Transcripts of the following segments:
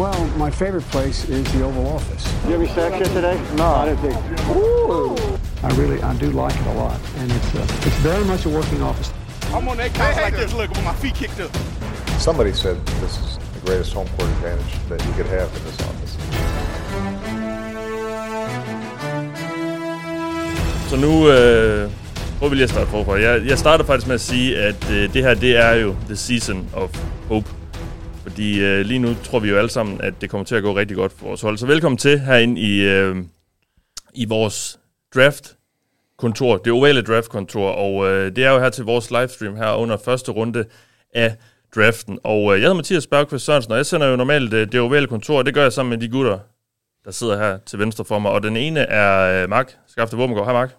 Well, my favorite place is the Oval Office. You have any sex yet today? No. I didn't think. Ooh. I really, I do like it a lot, and it's uh, it's very much a working office. I'm on that couch like this, look, with my feet kicked up. Somebody said this is the greatest home court advantage that you could have in this office. Så nu øh, prøver vi lige at starte forfra. Jeg, jeg starter faktisk med at sige, at øh, det her det er jo the season of hope. Fordi øh, lige nu tror vi jo alle sammen, at det kommer til at gå rigtig godt for vores hold. Så velkommen til herinde i, øh, i vores draft kontor, det ovale draftkontor, og øh, det er jo her til vores livestream her under første runde af draften. Og øh, jeg hedder Mathias Bergqvist Sørensen, og jeg sender jo normalt øh, det ovale kontor, og det gør jeg sammen med de gutter, der sidder her til venstre for mig. Og den ene er øh, Mark Skafte Våbengård. Hej Mark.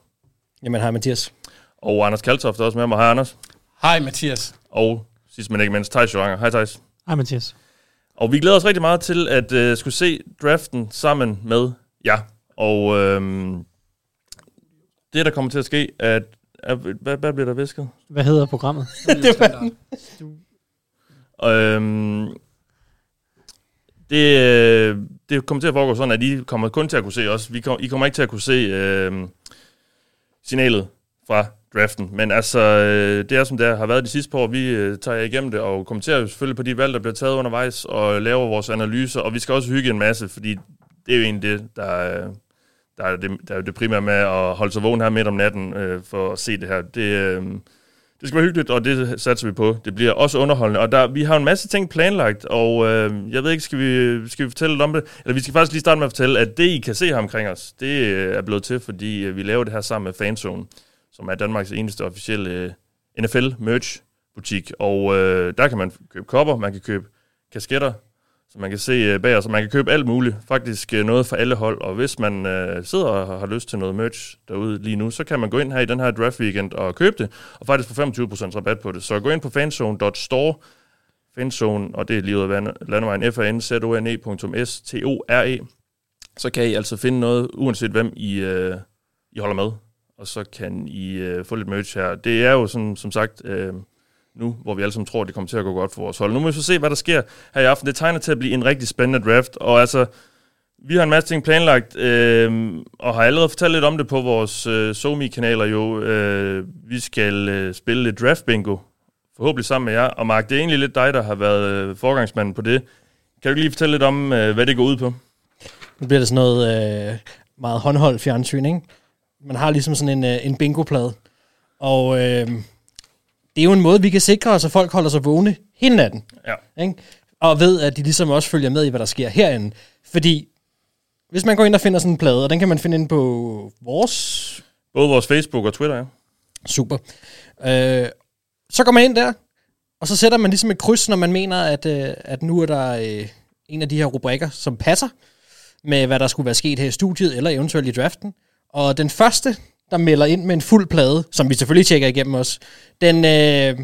Jamen, hej Mathias. Og Anders Kaltoft er også med mig. Hej Anders. Hej Mathias. Og sidst men ikke mindst, Thijs Joranger. Hej Thijs. Hej Mathias. Og vi glæder os rigtig meget til at øh, skulle se draften sammen med jer. Og øhm, det, der kommer til at ske, er, at- er hvad, hvad bliver der visket? Hvad hedder programmet? det var Øhm, det, øh, det kommer til at foregå sådan, at I kommer kun til at kunne se os. Vi kom, I kommer ikke til at kunne se øh, signalet fra draften. Men altså, øh, det er som det har været de sidste par år. Vi øh, tager jer igennem det og kommenterer jo selvfølgelig på de valg, der bliver taget undervejs, og laver vores analyser. Og vi skal også hygge en masse, fordi det er jo egentlig det, der, øh, der, er det, der er jo det primære med at holde sig vågen her midt om natten øh, for at se det her. Det, øh, det skal være hyggeligt, og det satser vi på. Det bliver også underholdende. Og der, vi har en masse ting planlagt, og øh, jeg ved ikke, skal vi, skal vi fortælle lidt om det? Eller vi skal faktisk lige starte med at fortælle, at det, I kan se her omkring os, det øh, er blevet til, fordi øh, vi laver det her sammen med Fanzone, som er Danmarks eneste officielle øh, NFL-merch-butik. Og øh, der kan man købe kopper, man kan købe kasketter, så man kan se øh, bag os, og man kan købe alt muligt. Faktisk øh, noget for alle hold, og hvis man øh, sidder og har lyst til noget merch derude lige nu, så kan man gå ind her i den her draft weekend og købe det, og faktisk få 25% rabat på det. Så gå ind på fanzone.store, fanzone, og det er lige ud af vand- landevejen, f a n z o n -E s t o r e så kan I altså finde noget, uanset hvem I, øh, I holder med, og så kan I øh, få lidt merch her. Det er jo sådan, som sagt... Øh, nu, hvor vi alle sammen tror, det kommer til at gå godt for vores hold. Nu må vi så se, hvad der sker her i aften. Det tegner til at blive en rigtig spændende draft, og altså, vi har en masse ting planlagt, øh, og har allerede fortalt lidt om det på vores øh, SoMe-kanaler jo. Øh, vi skal øh, spille lidt draft bingo, forhåbentlig sammen med jer. Og Mark, det er egentlig lidt dig, der har været øh, forgangsmanden på det. Kan du ikke lige fortælle lidt om, øh, hvad det går ud på? Nu bliver det sådan noget øh, meget håndholdt fjernsyn, ikke? Man har ligesom sådan en, øh, en bingoplade. Og øh, det er jo en måde, vi kan sikre os, at folk holder sig vågne hele natten. Ja. Ikke? Og ved, at de ligesom også følger med i, hvad der sker herinde. Fordi hvis man går ind og finder sådan en plade, og den kan man finde ind på vores Både vores Facebook og Twitter, ja. Super. Øh, så går man ind der, og så sætter man ligesom et kryds, når man mener, at, øh, at nu er der øh, en af de her rubrikker, som passer med, hvad der skulle være sket her i studiet, eller eventuelt i draften. Og den første, der melder ind med en fuld plade, som vi selvfølgelig tjekker igennem også, den, øh,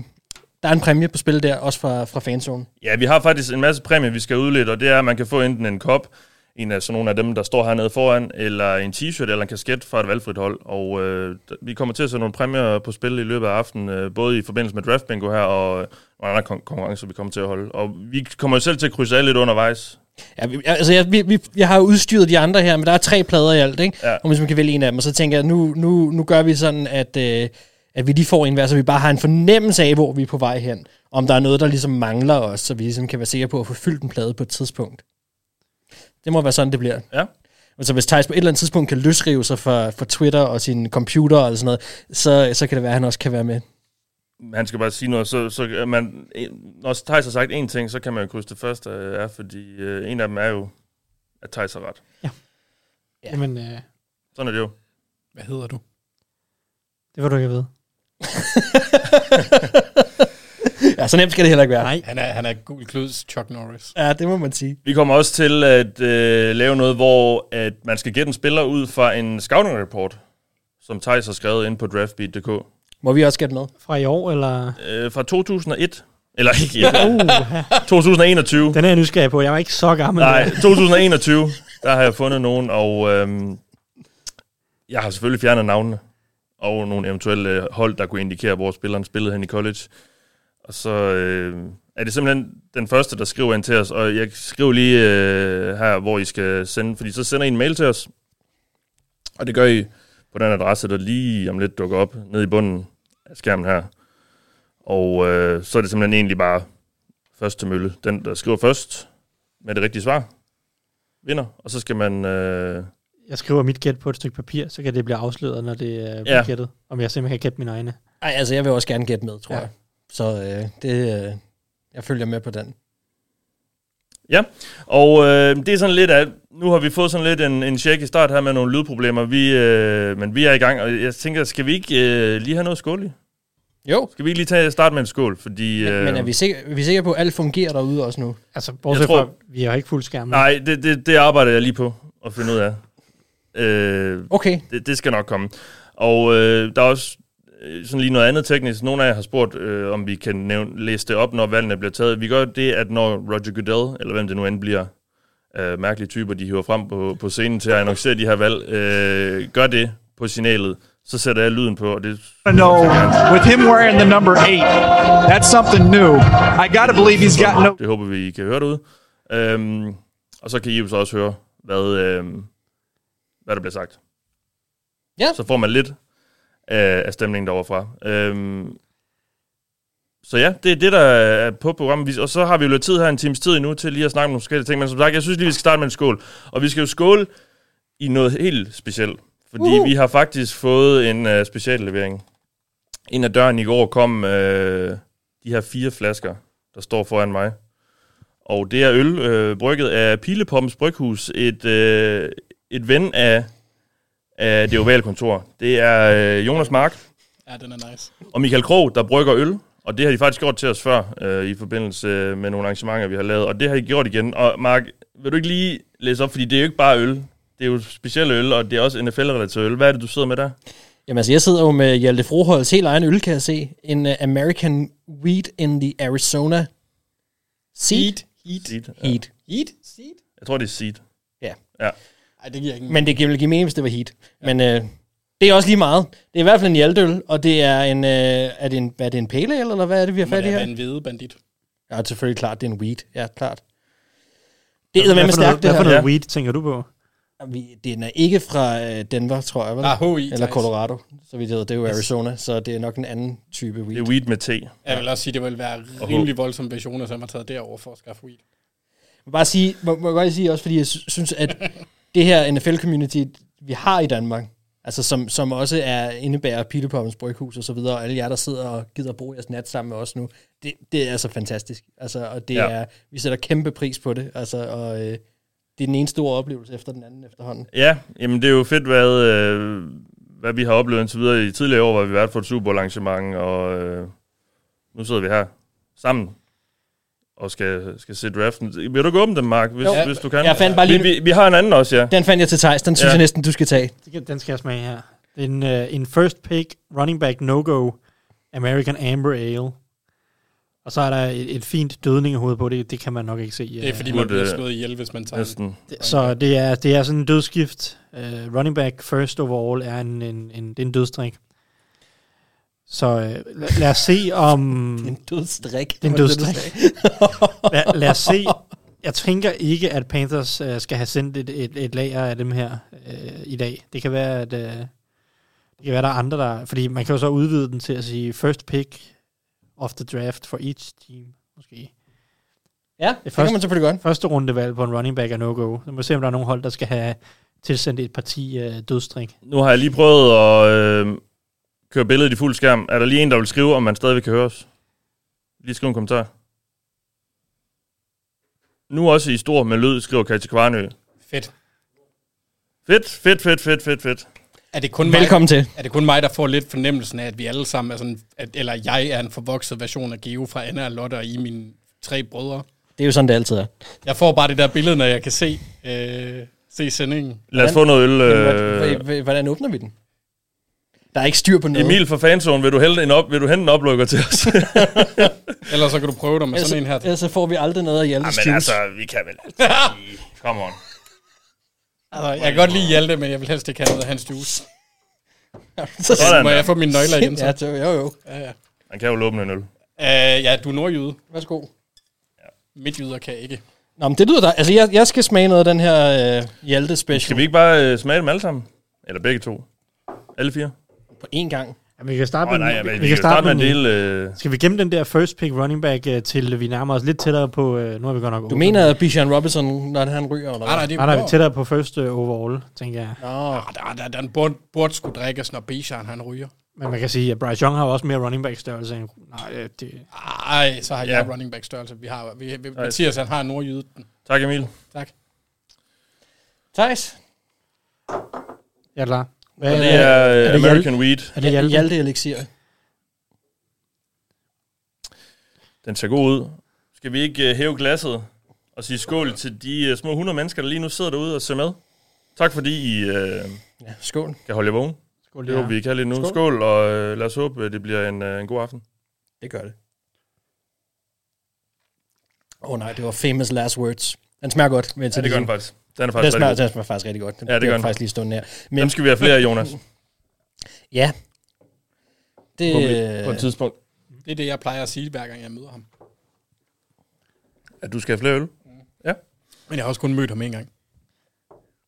der er en præmie på spil der, også fra, fra fanzone. Ja, vi har faktisk en masse præmie, vi skal udlede, og det er, at man kan få enten en kop, en af sådan nogle af dem, der står hernede foran, eller en t-shirt eller en kasket fra et valgfrit hold. Og øh, d- vi kommer til at sætte nogle præmier på spil i løbet af aftenen, øh, både i forbindelse med draft bingo her og øh, nogle andre kon- konkurrencer, vi kommer til at holde. Og vi kommer jo selv til at krydse af lidt undervejs. Ja, vi, altså, jeg, vi, vi, jeg har jo udstyret de andre her, men der er tre plader i alt, ikke? Ja. Ja. Og hvis man kan vælge en af dem, og så tænker jeg, nu, nu, nu gør vi sådan, at, øh, at vi lige får en hver, så vi bare har en fornemmelse af, hvor vi er på vej hen. Om der er noget, der ligesom mangler os, så vi ligesom kan være sikre på at få fyldt en plade på et tidspunkt. Det må være sådan, det bliver. Ja. Altså hvis Thijs på et eller andet tidspunkt kan løsrive sig fra, fra Twitter og sin computer eller sådan noget, så, så kan det være, at han også kan være med. Han skal bare sige noget, så, så øh, man, en- når Thijs har sagt én ting, så kan man jo krydse det første øh, af, fordi øh, en af dem er jo, at Thijs har ret. Ja. Jamen, øh, Sådan er det jo. Hvad hedder du? det var du ikke ved. Ja, så nemt skal det heller ikke være. Nej. Han er, han er gul kluds Chuck Norris. Ja, det må man sige. Vi kommer også til at øh, lave noget, hvor at man skal gætte en spiller ud fra en scouting report, som Thijs har skrevet ind på draftbeat.dk. Må vi også gætte med? Fra i år, eller? Øh, fra 2001. Eller ikke, ja. 2021. Den er jeg nysgerrig på. Jeg var ikke så gammel. Nej, 2021. Der har jeg fundet nogen, og øhm, jeg har selvfølgelig fjernet navnene og nogle eventuelle øh, hold, der kunne indikere, hvor spilleren spillede hen i college. Og så øh, er det simpelthen den første, der skriver ind til os, og jeg skriver lige øh, her, hvor I skal sende, fordi så sender I en mail til os, og det gør I på den adresse, der lige om lidt dukker op nede i bunden af skærmen her. Og øh, så er det simpelthen egentlig bare første mølle. Den, der skriver først med det rigtige svar, vinder, og så skal man... Øh, Jeg skriver mit gæt på et stykke papir, så kan det blive afsløret, når det er Ja. ja. gættet. Om jeg simpelthen kan gætte mine egne. Ej, altså, jeg vil også gerne gætte med, tror ja. Ja. jeg. Så øh, det, øh, jeg følger med på den. Ja, og øh, det er sådan lidt af, nu har vi fået sådan lidt en, en check i start her med nogle lydproblemer, vi, øh, men vi er i gang, og jeg tænker, skal vi ikke øh, lige have noget skål i? Jo, Skal vi ikke lige tage start med en skål, fordi... men, Øh, men er vi sikre, vi er sikre på, at alt fungerer derude også nu? Altså, bortset tror- tror... fra, vi har ikke fuld skærm. Nej, det, det, det arbejder jeg lige på at finde ud af. Øh, Okay, det, det skal nok komme. Og øh, der er også øh, sådan lige noget andet teknisk. Nogle af jer har spurgt, øh, om vi kan nævne, læse det op, når valgene bliver taget. Vi gør det, at når Roger Goodell, eller hvem det nu end bliver, øh, mærkelige typer, de hiver frem på, på scenen til at annoncere de her valg, øh, gør det på signalet, så sætter jeg lyden på, og det to know with him wearing the number eight. That's something new. I got to believe he's got no Det håber vi, I kan høre derude. Øhm, og så kan I jo så også høre, hvad, øhm, hvad der bliver sagt. Ja. Så får man lidt øh, af stemningen derovre fra. Øhm, så ja, det er det, der er på programmet. Vi- Og så har vi jo lidt tid her, en times tid endnu, til lige at snakke om nogle forskellige ting. Men som sagt, jeg synes lige, vi skal starte med en skål. Og vi skal jo skåle i noget helt specielt. Fordi uh-huh. vi har faktisk fået en øh, speciallevering. Ind ad døren i går kom øh, de her fire flasker der står foran mig. Og det er øl, øh, brygget af Pilepompens Bryghus, et, øh, et ven af, af det ovale kontor. Det er øh, Jonas Mark Ja, den er nice. og Michael Krog, der brygger øl. Og det har de faktisk gjort til os før, øh, i forbindelse øh, med nogle arrangementer, vi har lavet. Og det har de gjort igen. Og Mark, vil du ikke lige læse op, fordi det er jo ikke bare øl. Det er jo specielle øl, og det er også NFL-relateret øl. Hvad er det, du sidder med der? Jamen altså, jeg sidder jo med Hjalte Froholds helt egen øl, kan jeg se. En uh, American Wheat in the Arizona Seed Heat. Heat. Seed. Ja. Heat. Heat? Seed? Jeg tror, det er seed. Ja. Ja. Ej, det giver ikke en... Men det ville give mening, hvis det var heat. Men øh, det er også lige meget. Det er i hvert fald en Hjaltøl, og det er en... Øh, er, det en hvad er det en pale ale, eller hvad er det, vi har Må fat i det her? være en hvide bandit. Ja, selvfølgelig klart, det er en wheat. Ja, klart. Det er med hvad for noget, stærkt, det hvad her. for Ja. noget weed tænker du på? Vi- Den er ikke fra øh, Denver, tror jeg, vel? Ah, HI. eller Theis. Colorado, så vi ved. Det er jo Arizona, så det er nok en anden type Det wheat. er weed med te. Jeg vil også sige, det ville være rimelig voldsomt, hvis Jonas han var taget derover for at skaffe weed. må bare sige, må, må jeg godt lige sige også, fordi jeg sy- synes, at det her NFL-community, vi har i Danmark, altså som, som også er indebærer Pilepoppens Bryghus og så videre, og alle jer, der sidder og gider bruge jeres nat sammen med os nu, det, det er altså fantastisk. Altså, og det Ja. ja. er, vi sætter kæmpe pris på det, altså, og øh, det er den ene store oplevelse efter den anden efterhånden. Ja, jamen det er jo fedt, hvad, øh, hvad vi har oplevet indtil videre. I tidligere år var vi været for et Super Bowl arrangement, og øh, nu sidder vi her sammen og skal, skal se draften. Vil du gå åbne dem, Mark, hvis, Jo. hvis du kan? Jeg fandt bare lige- Vi, vi, vi har en anden også, ja. Den fandt jeg til Thijs, den synes Ja. ja. jeg næsten, du skal tage. Det kan- Den skal jeg smage her. Det er en, uh, en first pick running back no-go American Amber Ale. Og så er der et, et fint dødningehoved på det. Det kan man nok ikke se. Det er øh, fordi, Burde- man bliver slået ihjel, hvis man tager den. Næsten. Det- Så det er, det er sådan en dødsgift. Uh, running back first overall er en, en, en, det er en dødsdrik. Så uh, lad, lad os se om... En dødstrik. Det er en dødsdrik. lad, lad os se. Jeg tænker ikke, at Panthers øh, skal have sendt et, et, et lager af dem her øh, i dag. Det kan være, at øh, det kan være, der er andre, der... Fordi man kan jo så udvide den til at sige first pick of the draft for each team, måske. Ja, det kan man selvfølgelig godt. Første rundevalg på en running back er no-go. Så må vi se, om der er nogen hold, der skal have tilsendt et parti øh, dødstrik. Nu har jeg lige prøvet at øh, køre billedet i fuld skærm. Er der lige en, der vil skrive, om man stadigvæk kan høre os? Lige skriv en kommentar. Nu også i stor med lyd, skriver Katja Kvarnø. Fedt. Fedt, fedt, fedt, fedt, fedt, fedt. Er det kun Velkommen til. Mig, er det kun mig, der får lidt fornemmelsen af, at vi alle sammen er sådan... At, eller jeg er en forvokset version af Geo fra Anna og Lotte og I, mine tre brødre. Det er jo sådan, det altid er. Jeg får bare det der billede, når jeg kan se, øh, se sendingen. Lad os få noget øl. Øh, Hvordan, øh... hvordan åbner vi den? Der er ikke styr på noget. Emil fra Fanzone, vil du, hælde en op, vil du hente en oplukker til os? Ellers så kan du prøve dig med sådan en her. Ellers så får vi aldrig noget af Hjaltes juice. altså, vi kan vel... Come on. Altså, jeg kan godt lide Hjalte, men jeg vil helst ikke have noget af hans juice. så Sådan Må der. jeg få mine nøgler igen så? Ja, det- jo, jo. Ja, ja. Han kan jo åbne en øl. Øh, ja, du er nordjyde. Værsgo. midtjyder kan ikke. Nå, men det lyder da... Altså, jeg, jeg skal smage noget af den her øh, Hjalte Special Skal vi ikke bare øh, smage dem alle sammen? Eller begge to? Alle fire? på én gang. Ja, vi kan starte Åh, med, nej, den- jeg, vi, vi kan starte med en del... Øh, Skal vi gemme den der first pick running back, øh, til vi nærmer os lidt tættere på... Øh, nu er vi godt nok... Du mener, at Bijan Robinson, når han ryger, eller Nej, nej, hvad? det Nej, nej, vi er burde- tættere på first øh, overall, tænker jeg. Nå, Ah, der, der, der, den burde, burde skulle drikkes, når Bijan han ryger. Men man kan sige, at Bryce Young har jo også mere running back størrelse end... Nej, øh, det... Ej, så har jeg Ja. running back størrelse. Vi har, vi, vi, Mathias, han har nordjyden. tak, Emil. Tak. Thijs. Jeg er klar. Hvad Og det er øh, det American Weed. Er det Hjalte? Hjalte Elixir. Den ser god ud. Skal vi ikke øh, hæve glasset og sige skål til de øh, små 100 mennesker, der lige nu sidder derude og ser med? Tak fordi I øh, Ja, skål. kan holde jer vågen. Skål, Det håber vi kan lige nu. Skål, Skål. skål og øh, lad os håbe, øh, det bliver en, øh, en god aften. Det gør det. Åh oh, nej, det var famous last words. Den smager godt. Men Ja, det gør den faktisk. Den er Den faktisk smager, rigtig god. den smager faktisk rigtig godt. Den Ja, det gør bliver den. faktisk lige stående her. Men Dem skal vi have flere af, Jonas, ja, det, på, et- på et øh, tidspunkt. Det er det, jeg plejer at sige, hver gang jeg møder ham. At du skal have flere øl. Men jeg har også kun mødt ham en gang.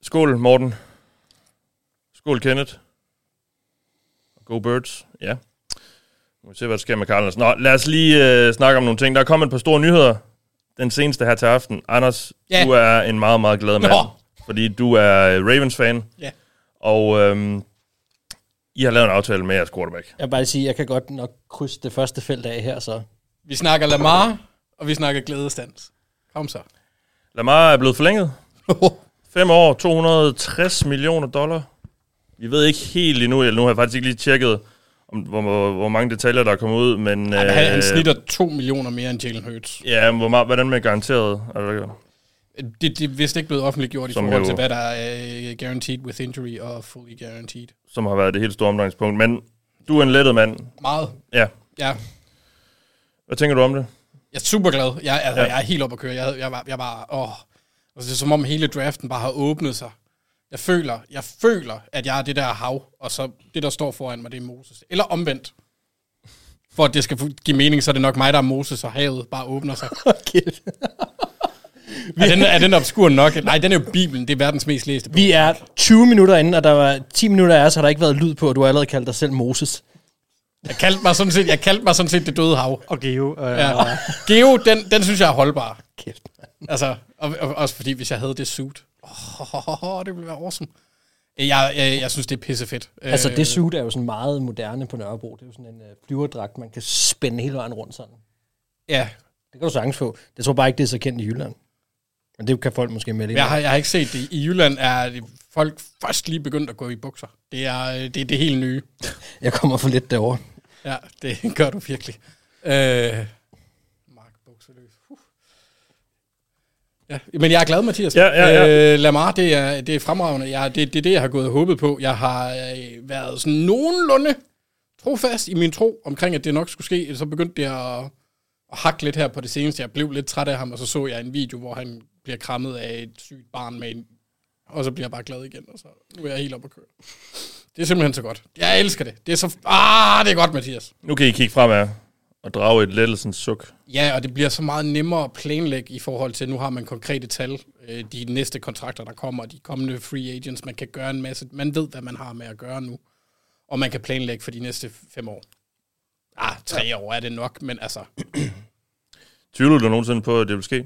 Skål, Morten. Skål, Kenneth. Go Birds. Ja. Nu må vi se, hvad der sker med Cardinals. Nå, lad os lige øh, snakke om nogle ting. Der er kommet et par store nyheder. Den seneste her til aften. Anders, Ja. yeah. du er en meget, meget glad mand. Nå. Fordi du er øh, Ravens-fan. Ja. Og øhm, I har lavet en aftale med jeres quarterback. jeg vil bare sige, jeg kan godt nok krydse det første felt af her, så Vi snakker Lamar, og vi snakker glædestands. Kom så. Lamar er blevet forlænget. 5 år, 260 millioner dollar. Vi ved ikke helt endnu, eller nu har jeg faktisk ikke lige tjekket, om, hvor, hvor, hvor mange detaljer, der er kommet ud, men... Han, han, han øh, snitter 2 millioner mere end Jalen Hurts. Ja, men hvor meget, hvordan med garanteret? Altså, Det, det er vist ikke blevet offentliggjort i Som forhold jo- til, hvad der er øh, guaranteed with injury og fully guaranteed. som har været det helt store omdrejningspunkt. Men du er en lettet mand. Meget. Ja. Ja, Hvad tænker du om det? Jeg er super glad. Jeg, altså, Ja. ja. jeg er helt oppe at køre. Jeg, havde- jeg, var, jeg var, åh. Altså, det er som om hele draften bare har åbnet sig. Jeg føler, jeg føler, at jeg er det der hav, og så det, der står foran mig, det er Moses. Eller omvendt. For at det skal fu- give mening, så er det nok mig, der er Moses, og havet bare åbner sig. er, den, er den obskur nok? Nej, den er jo Bibelen. Det er verdens mest læste bog. Vi er 20 minutter inde, og der var 10 minutter af os, har der ikke været lyd på, og du har allerede kaldt dig selv Moses. Jeg kaldte mig sådan set, jeg kaldte mig sådan set det døde hav. Og Geo. Øh, Ja. ja. Geo, den, den synes jeg er holdbar. Kæft, Altså, og, og, også fordi, hvis jeg havde det suit. Oh, det ville være awesome. Jeg, jeg, jeg synes, det er pissefedt. Øh, Altså, det suit er jo sådan meget moderne på Nørrebro. Det er jo sådan en øh, flyverdragt, man kan spænde hele vejen rundt sådan. Ja, Det kan du sagtens få. Jeg tror bare ikke, det er så kendt i Jylland. Men det kan folk måske melde ind. men jeg har, Har... jeg har ikke set det. I Jylland er det- folk først lige begyndt at gå i bukser. Det er øh, det, er det helt nye. Jeg kommer for lidt derover. Ja, det gør du virkelig. Øh, Mark bukserløs. Uh. Ja, men jeg er glad, Mathias. Ja, ja, ja. Øh, Lamar, det er, det er fremragende. Jeg, det, det er det, jeg har gået og håbet på. Jeg har øh, været sådan nogenlunde trofast i min tro omkring, at det nok skulle ske. Så begyndte jeg at, at hakke lidt her på det seneste. Jeg blev lidt træt af ham, og så så jeg en video, hvor han bliver krammet af et sygt barn med en... Og så bliver jeg bare glad igen, og så nu er jeg helt oppe at køre. Det er simpelthen så godt. Jeg elsker det. Det er så... Ah, det er godt, Mathias. Nu kan I kigge fremad og drage et lettelsens suk. Ja, og det bliver så meget nemmere at planlægge i forhold til, nu har man konkrete tal, øh, de næste kontrakter, der kommer, de kommende free agents, man kan gøre en masse, man ved, hvad man har med at gøre nu, og man kan planlægge for de næste fem år. Ah, tre år er det nok, men altså, Tvivlede du nogensinde på, at det ville ske?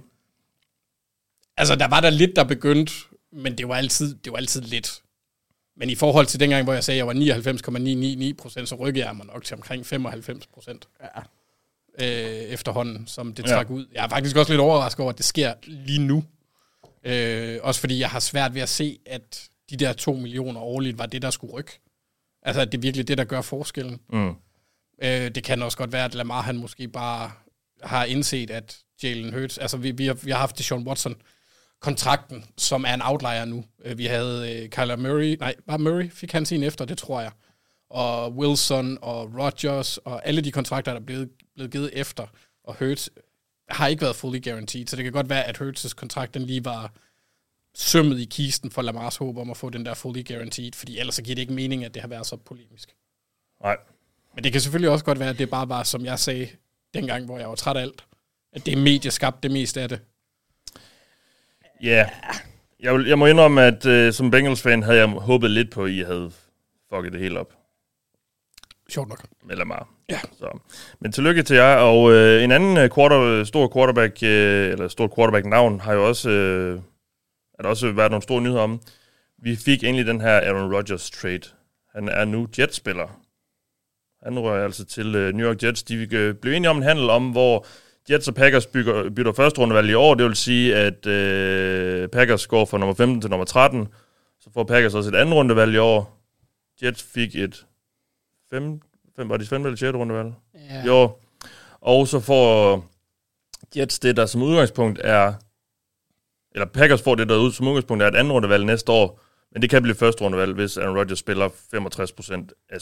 altså der var der lidt, der begyndte, men det var altid, det var altid lidt. Men i forhold til dengang, hvor jeg sagde, at jeg var 99,999 procent, så rykkede jeg mig nok til omkring 95 procent. Ja. Øh, efterhånden, som det Ja. trak ud. Jeg er faktisk også lidt overrasket over, at det sker lige nu. Øh, også fordi jeg har svært ved at se, at de der 2 millioner årligt var det, der skulle rykke. Altså, at det er virkelig det, der gør forskellen. Mm. Øh, det kan også godt være, at Lamar han måske bare har indset, at Jalen Hurts... Altså, vi, vi, har, vi har haft Sean Watson kontrakten, som er en outlier nu. Øh, Vi havde øh, Kyler Murray, nej, bare Murray fik han sin efter, det tror jeg. Og Wilson og Rodgers og alle de kontrakter, der er blevet, blevet givet efter. Og Hurts har ikke været fully guaranteed, så det kan godt være, at Hurts' kontrakt den lige var sømmet i kisten for Lamars håb om at få den der fully guaranteed, fordi ellers så giver det ikke mening, at det har været så polemisk. Nej. Men det kan selvfølgelig også godt være, at det bare var, som jeg sagde dengang, hvor jeg var træt af alt, At det er medieskabt det meste af det. Ja. Yeah. Jeg, vil- jeg må indrømme, at øh, som Bengals-fan havde jeg håbet lidt på, at I havde fucket det helt op. Sjovt nok. Eller meget. Ja. Så. Men tillykke til jer. Og øh, en anden øh, quarter, stor quarterback, øh, eller stor quarterback-navn, har jo også, øh, er der også været nogle store nyheder om. Vi fik endelig den her Aaron Rodgers trade. Han er nu Jets-spiller. Han rører altså til øh, New York Jets. De øh, blev enige om en handel om, hvor Jets og Packers bygger, bytter første rundevalg i år. Det vil sige, at øh, Packers går fra nummer 15 til nummer 13. Så får Packers også et andet rundevalg i år. Jets fik et fem, fem, var det femte eller sjette rundevalg? Ja. Jo. Og så får Jets det, der som udgangspunkt er, eller Packers får det, der ud som udgangspunkt er et andet rundevalg næste år, men det kan blive første rundevalg, hvis Aaron Rodgers spiller 65% af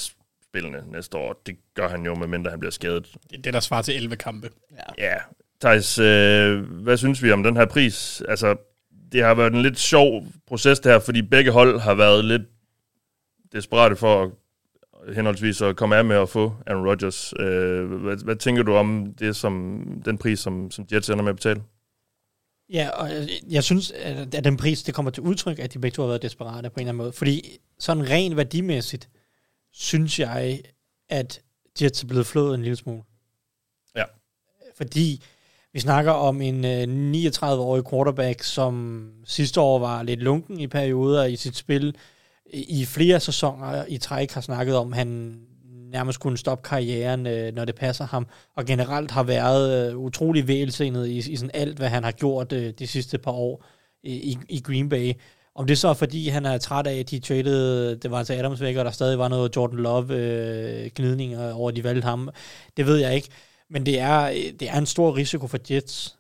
spillene næste år. Det gør han jo, medmindre han bliver skadet. Det er det, der svarer til 11 kampe. Ja. Thijs, øh, hvad synes vi om den her pris? Altså, det har været en lidt sjov proces det her, fordi begge hold har været lidt desperate for at henholdsvis at komme af med at få Aaron Rodgers. Øh, hvad, hvad tænker du om det som den pris, som, som Jets ender med at betale? Ja, og jeg, jeg synes, at at den pris, det kommer til udtryk, at de begge to har været desperate på en eller anden måde. Fordi sådan rent værdimæssigt, synes jeg, at Jets er blevet flået en lille smule. Ja. Fordi vi snakker om en øh, 39-årig quarterback, som sidste år var lidt lunken i perioder i sit spil. I i flere sæsoner i træk har snakket om, at han nærmest kunne stoppe karrieren, øh, når det passer ham og generelt har været øh, utrolig vælsenet i, i sådan alt, hvad han har gjort øh, de sidste par år i, i, i Green Bay. Om det så er, fordi han er træt af, at de tradede, det var altså Adams væk, og der stadig var noget Jordan Love-gnidninger øh, over, at de valgte ham, det ved jeg ikke. Men det er, øh, det er en stor risiko for Jets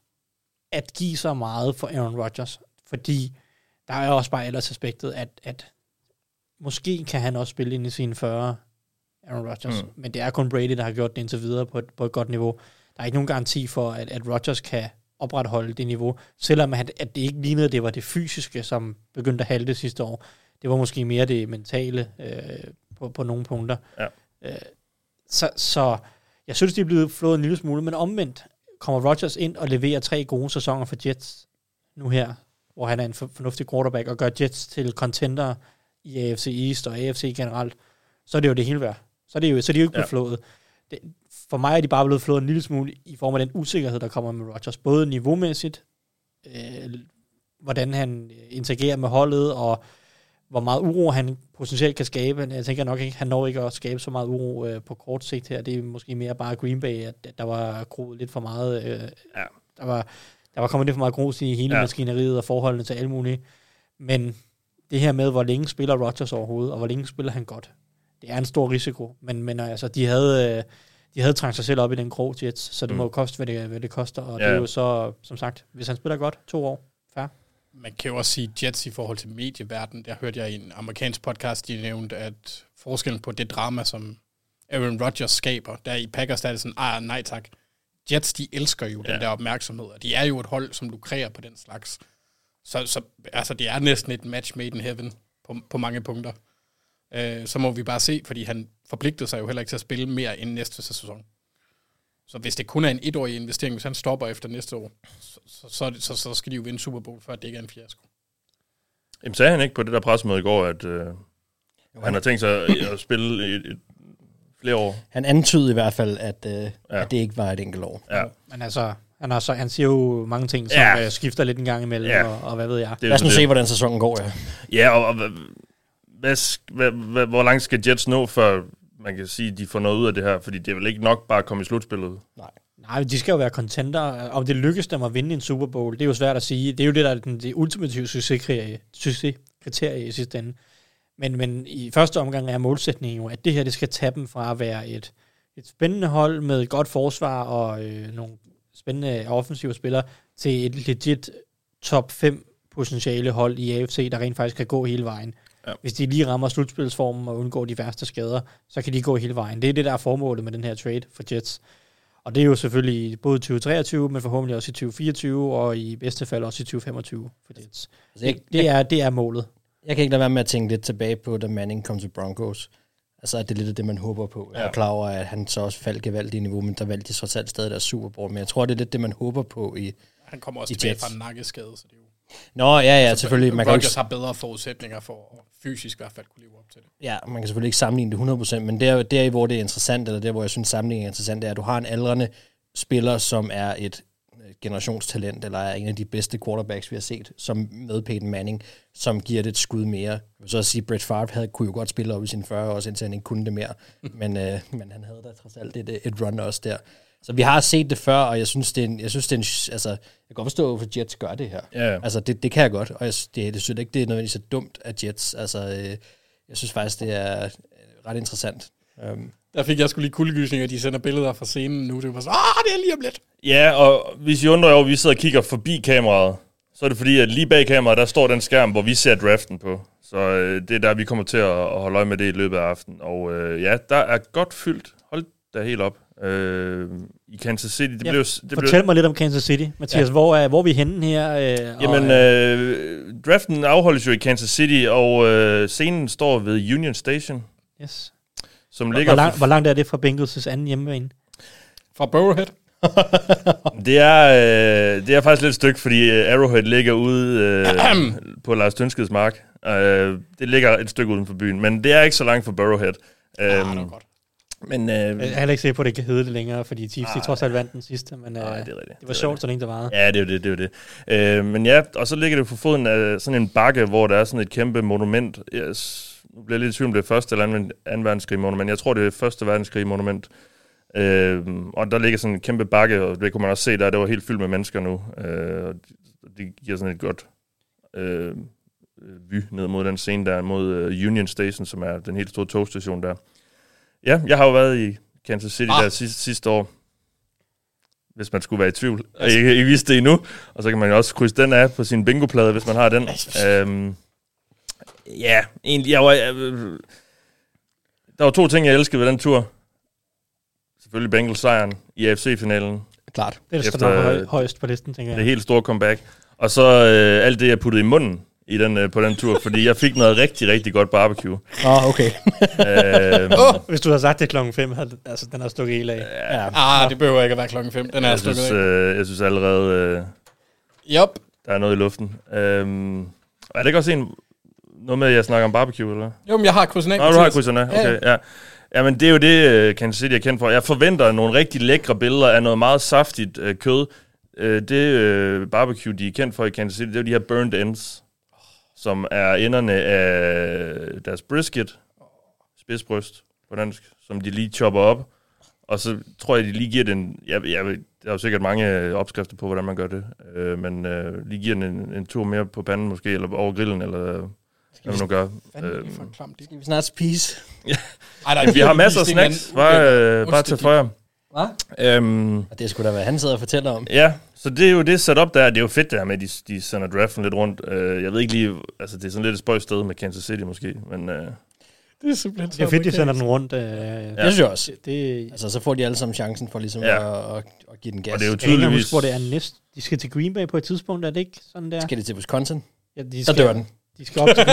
at give så meget for Aaron Rodgers, fordi der er også bare ellers aspektet, at, at måske kan han også spille ind i sine 40, Aaron Rodgers. Mm. Men det er kun Brady, der har gjort det indtil videre på et, på et godt niveau. Der er ikke nogen garanti for, at, at Rodgers kan opretholde det niveau, selvom at, at det ikke lignede, at det var det fysiske, som begyndte at halte sidste år. Det var måske mere det mentale øh, på, på nogle punkter. Ja. Øh, så, så jeg synes, de er blevet flået en lille smule, men omvendt kommer Rodgers ind og leverer tre gode sæsoner for Jets nu her, hvor han er en for, fornuftig quarterback og gør Jets til contender i AFC East og AFC generelt, så er det jo det hele værd. Så er det jo, så er de jo ikke blevet Ja. ja. flået. Det, for mig er de bare blevet flået en lille smule i form af den usikkerhed, der kommer med Rodgers. Både niveaumæssigt, øh, hvordan han øh, interagerer med holdet, og hvor meget uro han potentielt kan skabe. Jeg tænker nok ikke, han når ikke at skabe så meget uro øh, på kort sigt her. Det er måske mere bare Green Bay, at, at der var groet lidt for meget. Øh, Ja. der, var, der var kommet lidt for meget grus i hele Ja. ja. maskineriet og forholdene til alt muligt. Men det her med, hvor længe spiller Rodgers overhovedet, og hvor længe spiller han godt, det er en stor risiko. Men, men altså, de havde, øh, de havde trængt sig selv op i den grå Jets, så det Mm. mm. må jo koste, hvad det, hvad det koster. Og Ja. ja. det er jo så, som sagt, hvis han spiller godt, to år, fair. Man kan jo også sige Jets i forhold til medieverdenen. Der hørte jeg i en amerikansk podcast, de nævnte, at forskellen på det drama, som Aaron Rodgers skaber, der i Packers, der er det sådan, ah, nej tak. Jets, de elsker jo ja. Ja. den der opmærksomhed, og de er jo et hold, som lukrerer på den slags. Så, så altså, det er næsten et match made in heaven på, på mange punkter. Øh, så må vi bare se, fordi han forpligtede sig jo heller ikke til at spille mere end næste sæson. Så hvis det kun er en etårig investering, hvis han stopper efter næste år, så, så, så, er det- så, så skal de jo vinde Super Bowl, før det ikke er en fiasko. Jamen sagde han ikke på det der pressemøde i går, at øh, han har tænkt sig at- at spille i, i flere år? Han antydede i hvert fald, at, øh, ja. Ja. at det ikke var et enkelt år. Ja, Men altså, han, har så, han siger jo mange ting, som Ja. ja. øh, skifter lidt en gang imellem, Ja. ja. og, og hvad ved jeg. det er Lad os så nu det. se, hvordan sæsonen går, ja. Altså, Ja, og, og hvad, hvad, sk- hvad, hvad, hvor langt skal Jets nå, før man kan sige, at de får noget ud af det her? Fordi det er vel ikke nok bare at komme i slutspillet? Nej, de skal jo være contenter. Om det lykkes dem at vinde en Super Bowl, det er jo svært at sige. Det er jo det, der er den, det ultimative succeskriterie, succeskriterie i sidste ende. Men, men i første omgang er målsætningen jo, at det her det skal tage dem fra at være et, et spændende hold med et godt forsvar og øh, nogle spændende offensive spillere, til et legit top 5 potentiale hold i AFC, der rent faktisk kan gå hele vejen. Ja. Ja. Hvis de lige rammer slutspilsformen og undgår de værste skader, så kan de gå hele vejen. Det er det, der er formålet med den her trade for Jets. Og det er jo selvfølgelig både i 2023, men forhåbentlig også i 2024, og i bedste fald også i 2025 for Jets. Altså, jeg, Det, det, jeg, er, det er målet. jeg kan ikke lade være med at tænke lidt tilbage på, da Manning kom til Broncos. Altså, at det er lidt af det, man håber på. Jeg er Ja. klar over, at han så også faldt gevaldigt i niveau, men der valgte de trods alt stadig deres Super Bowl. Men jeg tror, det er lidt det, man håber på i... Han kommer også I tilbage Jets. fra en nakkeskade, så det er jo... Nå, ja, ja, selvfølgelig. Man kan jo Rodgers ikke, Altså, har bedre forudsætninger for at fysisk i hvert fald kunne leve op til det. ja, man kan selvfølgelig ikke sammenligne det 100%, men der, der hvor det er interessant, eller der, hvor jeg synes, sammenligningen er interessant, det er, at du har en aldrende spiller, som er et øh, generationstalent, eller er en af de bedste quarterbacks, vi har set, som med Peyton Manning, som giver det et skud mere. Jeg vil så sige, Brett Favre havde, kunne jo godt spille op i sine 40 år, også, indtil han ikke kunne det mere, men, øh, men han havde da trods alt et, et run også der. Så vi har set det før, og jeg synes, det er en, jeg synes, det er en, altså, jeg kan godt forstå, hvorfor Jets gør det her. Ja. Altså, det, det kan jeg godt, og jeg, sy- det, jeg synes ikke, det er nødvendigvis så dumt af Jets. Altså, øh, jeg synes faktisk, det er øh, ret interessant. Um, Der fik jeg skulle lige kuldegysninger, de sender billeder fra scenen nu. Det var så, ah, det er lige om lidt. Ja, og hvis I undrer jer over, at vi sidder og kigger forbi kameraet, så er det fordi, at lige bag kameraet, der står den skærm, hvor vi ser draften på. Så øh, det er der, vi kommer til at, at holde øje med det i løbet af aftenen. Og øh, ja, der er godt fyldt. Hold da helt op. Øh, I Kansas City, det Ja, ja, blev... Det blev- Fortæl mig lidt om Kansas City. Mathias, ja. hvor, er, hvor er vi henne her? Øh, Jamen, og, øh, draften afholdes jo i Kansas City, og øh, scenen står ved Union Station, yes. som hvor, ligger... lang, hvor langt er det fra Bengals' anden hjemmebane? Fra Burrowhead. Det er, øh, det er faktisk lidt et stykke, fordi øh, Arrowhead ligger ude øh, på Lars Tønskeds mark. Øh, det ligger et stykke uden for byen, men det er ikke så langt fra Burrowhead. Ah, det var Øhm, godt. Mm. men øh, Jeg er heller ikke sikker på, at det kan hedde det længere, fordi Chiefs de trods alt vandt den sidste, men øh, nej, det, det er rigtigt. var sjovt, så længe det varede. Ja, det er jo det, det er jo det. Øh, men ja, og så ligger det for foden af sådan en bakke, hvor der er sådan et kæmpe monument. Yes. Nu bliver jeg lidt i tvivl om det er første eller anden, anden verdenskrig monument. Jeg tror, det er første verdenskrig monument. Øh, og der ligger sådan en kæmpe bakke, og det kunne man også se der, det var helt fyldt med mennesker nu. Øh, og det- det giver sådan et godt øh, øh, vy ned mod den scene der, mod øh, Union Station, som er den helt store togstation der. Ja, jeg har jo været i Kansas City ah. der sidste, sidste år hvis man skulle være i tvivl, og ikke, ikke vidste det endnu. Og så kan man jo også krydse den af på sin bingoplade, hvis man har den. øhm, ja, egentlig, jeg var, jeg, der var to ting, jeg elskede ved den tur. Selvfølgelig Bengals sejren i AFC-finalen. klart. Det er det, der Efter- står nok høj- højst på listen, tænker jeg. Det helt store comeback. Og så øh, alt det, jeg puttede i munden i den, øh, på den tur, fordi jeg fik noget rigtig, rigtig godt barbecue. Åh, oh, okay. øhm, Hvis du havde sagt det klokken 5, havde, altså, den har stukket helt af. ja. Ah, det behøver ikke at være klokken 5. Den er jeg, stukket synes, af. øh, jeg synes allerede... Øh, Yup. Der er noget i luften. Øhm, er det ikke også en, noget med, at jeg snakker om barbecue, eller? Jo, men jeg har krydsen af. Nå, du har Mathias. krydserne. Ja, Okay, ja. Jamen, det er jo det, øh, Kansas City er kendt for. Jeg forventer nogle rigtig lækre billeder af noget meget saftigt øh, kød. Øh, det øh, barbecue, de er kendt for i Kansas City, det er jo de her burned ends, som er enderne af deres brisket, spidsbryst på dansk, som de lige chopper op. Og så tror jeg, de lige giver den... Jeg, jeg, der er jo sikkert mange øh, opskrifter på, hvordan man gør det. Øh, men øh, lige giver den en, en tur mere på panden måske, eller over grillen, eller øh, hvad man nu gør. Fanden, Øhm, for en klam disk. Skal vi snart spise? Ej, der vi har masser af det er en snacks. anden- Bare, øh, Ost, bare det er til før. Hvad? Øhm, Og det skulle da være, han sidder og fortæller om. ja, så det er jo det setup der. Det er jo fedt det her med, at de, de sender draften lidt rundt. Øh, jeg ved ikke lige, altså det er sådan lidt et spøjt sted med Kansas City måske, men øh, Det er simpelthen Det er fedt, de sender den rundt. Øh, ja. Ja. Det synes jeg også. Det, Altså, så får de alle sammen chancen for ligesom Ja. at, at, at, give den gas. og det er jo Jeg kan ikke engang huske, tydeligvis... hvor det er næst. De skal til Green Bay på et tidspunkt, er det ikke sådan der? Skal det til Wisconsin? Ja, de Så skal, dør den. De skal op til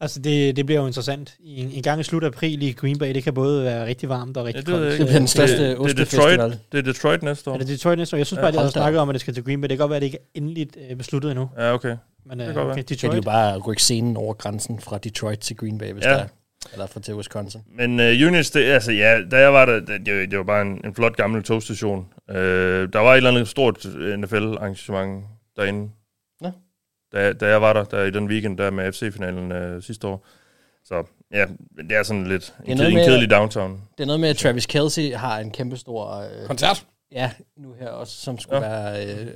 Altså, det, det bliver jo interessant. I en, en gang i slut april i Green Bay, det kan både være rigtig varmt og rigtig Ja, det ved jeg koldt. ikke. Det bliver den største det, det, er ostefestival. Detroit, det er Detroit næste år. Er det Detroit næste år? Jeg synes Ja, bare, de har hold da op. snakket om, at det skal til Green Bay. Det kan godt være, at det ikke er endeligt øh, besluttet endnu. Ja, okay. Men øh, kan godt være. okay, Kan de jo Detroit. bare rykke scenen over grænsen fra Detroit til Green Bay, hvis Ja. ja. der er. Eller fra til Wisconsin. Men uh, Units, det, altså ja, da jeg var der, det, det, det var bare en, en flot gammel togstation. Uh, der var et eller andet stort øh, NFL-arrangement derinde, Nå. da, da jeg var der, der i den weekend der med FC-finalen uh, sidste år. Så ja, men det er sådan lidt Det er en, noget ked, en med- kedelig downtown. Det er noget med, at Travis Kelsey har en kæmpe stor... Øh, Koncert ja, nu her også, som skulle ja. være, øh,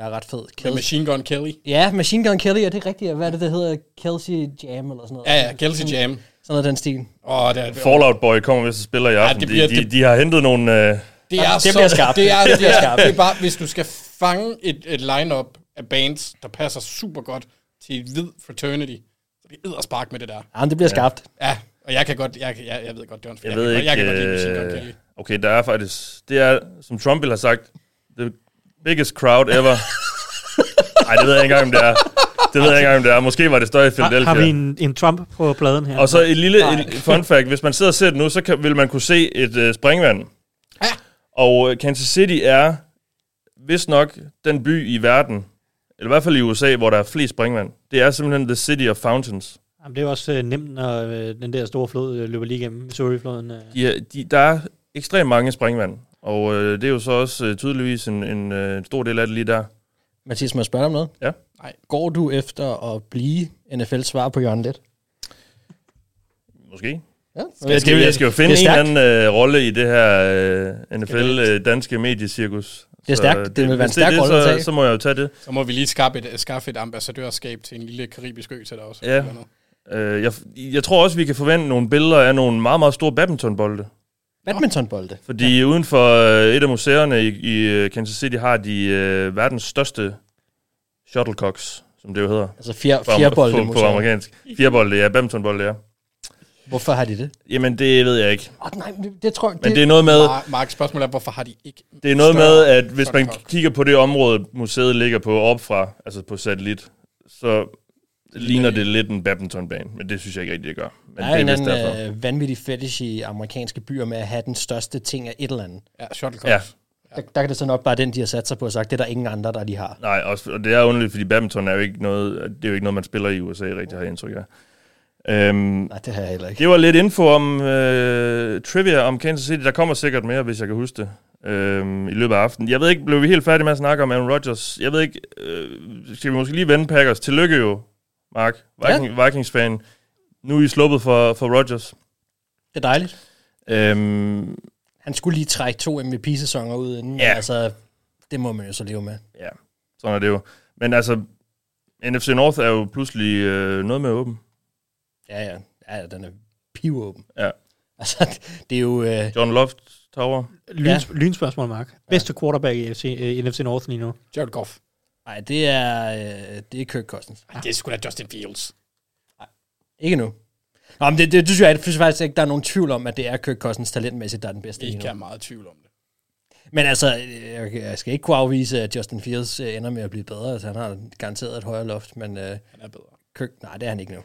være ret fed. med Kelsey. Machine Gun Kelly. Ja, Machine Gun Kelly, er det rigtigt? Hvad er det, der hedder? Kelsey Jam eller sådan noget? Ja, ja, Kelsey Jam. Sådan noget af den stil. Åh, det er, Fallout Boy kommer vist og spiller i aften. Ja, det det bliver- bliver, de, de, det- de har hentet nogle... Uh, Det er Det bliver skarpt. Det er, Det det, bliver er, skarpt. det er bare, hvis du skal fange et, et lineup af bands, der passer super godt til et hvid fraternity, så det er spark med det der. Ja, men det bliver skarpt. Ja, og jeg kan godt, jeg, kan- jeg, jeg ved godt, det er en jeg, jeg, ved kan, ikke... godt- jeg kan godt lide Machine Gun øh, Kelly. okay, der er faktisk... Det er, som Trump ville have sagt, the biggest crowd ever. Nej, det ved jeg ikke engang, om det er. Det ved jeg ikke engang, om det er. Måske var det større i Har, Philadelphia. har vi en, en Trump på pladen her? Og så et lille et fun fact. Hvis man sidder og ser det nu, så kan, vil man kunne se et øh, springvand. Ja. Og øh, Kansas City er vist nok den by i verden, eller i hvert fald i USA, hvor der er flest springvand. Det er simpelthen The City of Fountains. Jamen, det er jo også øh, nemt, når øh, den der store flod øh, løber lige igennem Missouri-floden. Øh. De, er- de, der er ekstremt mange springvand. Og øh, det er jo så også øh, tydeligvis en, en øh, stor del af det lige der. Mathias, må jeg spørge dig om noget? Ja. Nej. Går du efter at blive NFL's svar på Jørgen Let? Måske. Ja. Jeg skal, jeg skal jo finde en det er eller stærkt. anden øh, rolle i det her øh, NFL-danske mediecirkus. Det er Så, stærkt. øh, Det vil være en hvis stærk det, er rolle at det, tage. så, så må jeg jo tage det. Så må vi lige skaffe et, skaffe et ambassadørskab til en lille karibisk ø til dig også. Ja. Eller noget. Øh, jeg, jeg tror også, vi kan forvente nogle billeder af nogle meget, meget store badmintonbolde. Badmintonbolde. Fordi ja. uden for øh, et af museerne i, i øh, Kansas City har de øh, verdens største shuttlecocks, som det jo hedder. Altså fjer, På- fjerbolde. på, på amerikansk. Fjerbolde, ja. Badmintonbolde, ja. Hvorfor har de det? Jamen, det ved jeg ikke. Oh, nej, men det, det tror jeg... Men det, det er noget med, Mar- Mark, spørgsmålet er, hvorfor har de ikke... det er noget med større at hvis man shuttlecock? kigger på det område, museet ligger på opfra, altså på satellit, så ligner det lidt en badmintonbane. Men det synes jeg ikke rigtig, det gør. der Men det er er en vist eller derfor. anden øh, vanvittig fetish i amerikanske byer med at have den største ting af et eller andet. Ja, shuttlecock. Ja. Ja. Der, der kan det så nok bare den, de har sat sig på og sagt, det er der ingen andre, der lige har. Nej, også, og det er underligt, fordi badminton er jo ikke noget, det er jo ikke noget man spiller i USA, rigtig har jeg indtryk af. Øhm, Nej, det har jeg heller ikke. det var lidt info om øh, trivia om Kansas City. Der kommer sikkert mere, hvis jeg kan huske det, øhm, i løbet af aftenen. Jeg ved ikke, blev vi helt færdige med at snakke om Aaron Rodgers? Jeg ved ikke, øh, skal vi måske lige vende Packers? Tillykke jo, Mark, Viking, ja. Vikings-fan. Nu er I sluppet for, for Rodgers. Det er dejligt. Øhm, Han skulle lige trække to MVP-sæsoner ud inden, Ja. ja. altså, det må man jo så leve med. ja, sådan er det jo. Men altså, NFC North er jo pludselig øh, noget mere åben. Ja, ja. Ja, ja, den er pivåben. Ja. Altså, det er jo... Øh, John Loft Tower. Lyns, ja. Lynspørgsmål, Mark. Bedste quarterback i FC, øh, NFC North lige nu? Jared Goff. nej, det er, øh, det er Kirk Cousins. Ej, det er sgu da Justin Fields. Ikke nu. Nå, men det, det, det synes jeg, det synes jeg faktisk ikke, der er nogen tvivl om, at det er Kirk Cousins talentmæssigt, der er den bedste Ikke lige er nu. meget i tvivl om det. Men altså, øh, jeg, jeg skal ikke kunne afvise, at Justin Fields øh, ender med at blive bedre. Altså, han har garanteret et højere loft, men øh, Han er bedre. Kirk, nej, det er han ikke nu.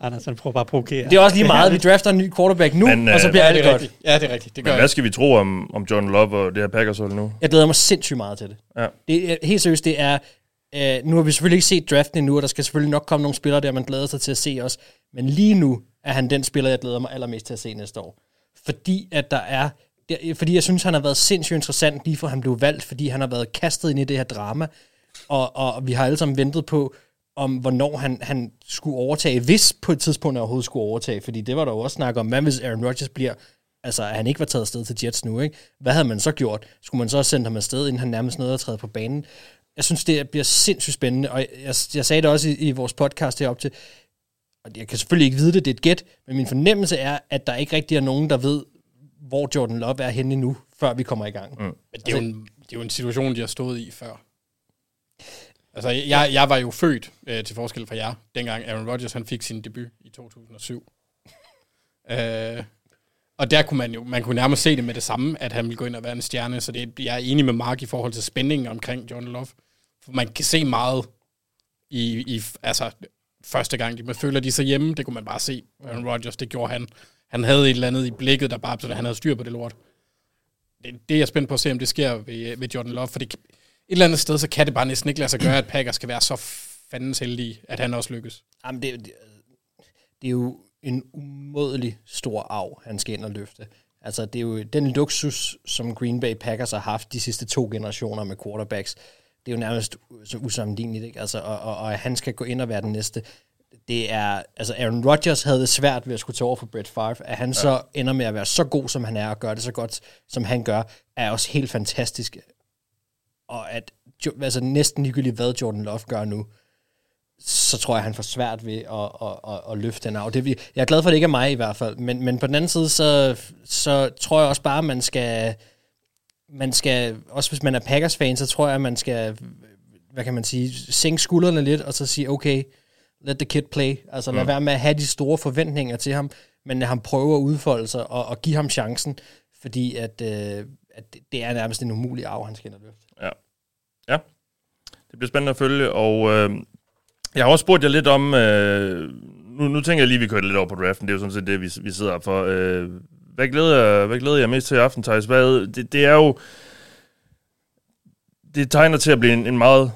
Anders, han prøver bare at provokere. Det er også lige meget, vi drafter en ny quarterback nu, Men, men, øh, og så øh, bliver Ja, alt det det er godt. rigtigt. Ja, det er rigtigt. Det gør Men jeg. hvad skal vi tro om, om John Love og det her Packers hold nu? Jeg glæder mig sindssygt meget til det. Ja. det er, helt seriøst, det er... Øh, nu har vi selvfølgelig ikke set draften endnu, og der skal selvfølgelig nok komme nogle spillere der, man glæder sig til at se også. Men lige nu er han den spiller, jeg glæder mig allermest til at se næste år. Fordi at der er... Der, fordi jeg synes, han har været sindssygt interessant, lige fra han blev valgt, fordi han har været kastet ind i det her drama. Og, og vi har alle sammen ventet på, om hvornår han, han skulle overtage, hvis på et tidspunkt han overhovedet skulle overtage. Fordi det var der jo også snak om, hvad hvis Aaron Rodgers bliver altså at han ikke var taget afsted til Jets nu, ikke? Hvad havde man så gjort? Skulle man så have sendt ham afsted, inden han nærmest nåede at træde på banen? Jeg synes, det bliver sindssygt spændende, og jeg, jeg, jeg sagde det også i, i vores podcast herop til, og jeg kan selvfølgelig ikke vide det, det er et gæt, men min fornemmelse er, at der ikke rigtig er nogen, der ved, hvor Jordan Love er henne nu, før vi kommer i gang. Mm. Men det er, jo en, det er jo en situation, de har stået i før. Altså, jeg, jeg var jo født, øh, til forskel fra jer, dengang Aaron Rodgers han fik sin debut i 2007. øh, og der kunne man jo man kunne nærmest se det med det samme, at han ville gå ind og være en stjerne, så det, jeg er enig med Mark i forhold til spændingen omkring John Love. For man kan se meget i, i altså, første gang, de, man føler de er så hjemme, det kunne man bare se. Aaron Rodgers, det gjorde han. Han havde et eller andet i blikket, der bare, så han havde styr på det lort det, det er jeg spændt på at se, om det sker ved, ved Jordan Love, for det, kan- et eller andet sted, så kan det bare næsten ikke lade sig gøre, at Packers skal være så fandens heldige, at han også lykkes. Jamen, det, er jo- det, det er jo en umådelig stor arv, han skal ind og løfte. Altså, det er jo den luksus, som Green Bay Packers har haft de sidste to generationer med quarterbacks. Det er jo nærmest u- så usammenligneligt, ikke? Altså, og, og, og at han skal gå ind og være den næste. Det er, altså Aaron Rodgers havde det svært ved at skulle tage over for Brett Favre. At han ja. så ender med at være så god, som han er, og gøre det så godt, som han gør, er også helt fantastisk. Og at Jo- altså, næsten ligegyldigt, hvad Jordan Love gør nu, så tror jeg, han får svært ved at, at, at, at løfte den af. Det, er vi- jeg er glad for, at det ikke er mig i hvert fald, men, men på den anden side, så, så tror jeg også bare, at man skal, man skal, også hvis man er Packers-fan, så tror jeg, at man skal, hvad kan man sige, sænke skuldrene lidt, og så sige, okay, let the kid play. Altså lad være med at have de store forventninger til ham, men lad ham prøve at udfolde sig, og, og give ham chancen, fordi at, øh, at det- det er nærmest en umulig arv, han skal ind og løfte. Ja, Det bliver spændende at følge, og øh, jeg har også spurgt jer lidt om, øh, nu, nu tænker jeg lige, at vi kører lidt over på draften, det er jo sådan set det, vi, vi sidder op for. Øh, hvad, glæder, hvad glæder jeg mest til i aften, Thijs? Hvad, det, det er jo, det tegner til at blive en, en meget...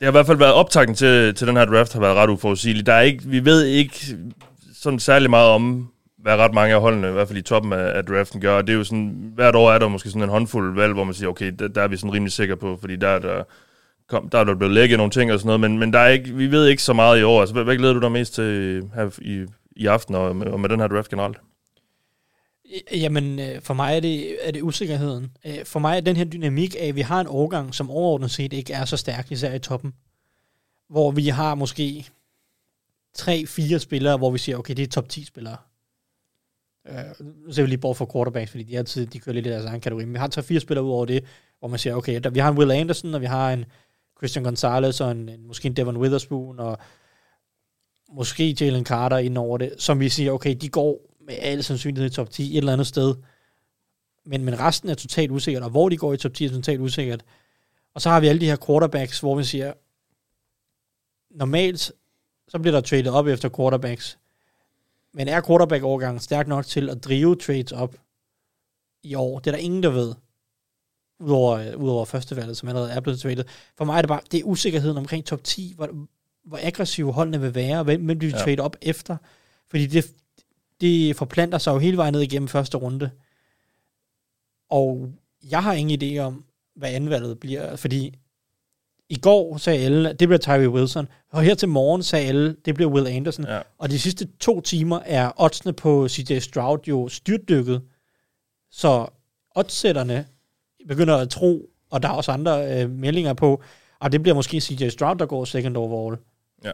Det har i hvert fald været optakten til, til den her draft, har været ret uforudsigelig. Der er ikke, vi ved ikke sådan særlig meget om, hvad ret mange af holdene, i hvert fald i toppen af, af draften, gør. Og det er jo sådan, hvert år er der måske sådan en håndfuld valg, hvor man siger, okay, der, der er vi sådan rimelig sikre på, fordi der er der, kom, der er der blevet lækket nogle ting og sådan noget, men, men der er ikke, vi ved ikke så meget i år. Altså, hvad, hvad glæder du dig mest til øh, her i, i aften og, med- og med den her draft generelt? Jamen, øh, for mig er det, er det usikkerheden. Øh, For mig er den her dynamik af, at vi har en årgang, som overordnet set ikke er så stærk, især i toppen. Hvor vi har måske 3-4 spillere, hvor vi siger, okay, det er top 10 spillere. Øh, Nu ser vi lige bort for quarterbacks, fordi de altid de kører lidt i deres egen kategori. Men vi har 3-4 spillere ud over det, hvor man siger, okay, der, vi har en Will Anderson, og vi har en Christian Gonzalez, og en, en måske en Devon Witherspoon, og måske Jalen Carter ind over det, som vi siger, okay, de går med al sandsynlighed i top 10 et eller andet sted. Men, men resten er totalt usikkert, og hvor de går i top 10 er totalt usikkert. Og så har vi alle de her quarterbacks, hvor vi siger, normalt, så bliver der traded op efter quarterbacks. Men er quarterback-overgangen stærk nok til at drive trades op i år? Det er der ingen, der ved. Udover, øh, udover førstevalget, som allerede er blevet traded. For mig er det bare, det er usikkerheden omkring top 10, hvor, hvor aggressive holdene vil være, og hvem hvem de vil Ja. trade op efter. Fordi det, det forplanter sig jo hele vejen ned igennem første runde. Og jeg har ingen idé om, hvad anvalget bliver, fordi i går sagde alle, det bliver Tyree Wilson, og her til morgen sagde alle, det bliver Will Anderson. Ja. Og de sidste to timer er oddsene på CJ Stroud jo styrtdykket, så oddsætterne begynder at tro, og der er også andre øh, meldinger på, og det bliver måske CJ Stroud, der går second overall. Ja.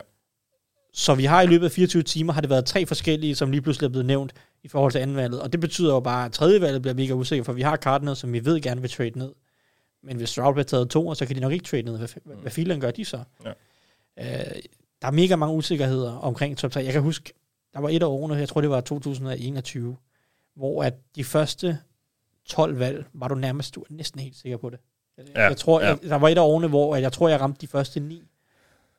Så vi har i løbet af 24 timer, har det været tre forskellige, som lige pludselig er blevet nævnt i forhold til andenvalget, og det betyder jo bare, at tredjevalget bliver mega usikker, for vi har Cardinals, som vi ved gerne vil trade ned. Men hvis Stroud bliver taget to, så kan de nok ikke trade ned. Hvad, hvad, hvad filen gør de så? Ja. Øh, der er mega mange usikkerheder omkring top 3. Jeg kan huske, der var et af årene, jeg tror det var 2021, hvor at de første 12 valg, var du nærmest du var næsten helt sikker på det. Ja, jeg tror, ja. ja. jeg, der var et af årene, hvor at jeg tror, jeg ramte de første ni.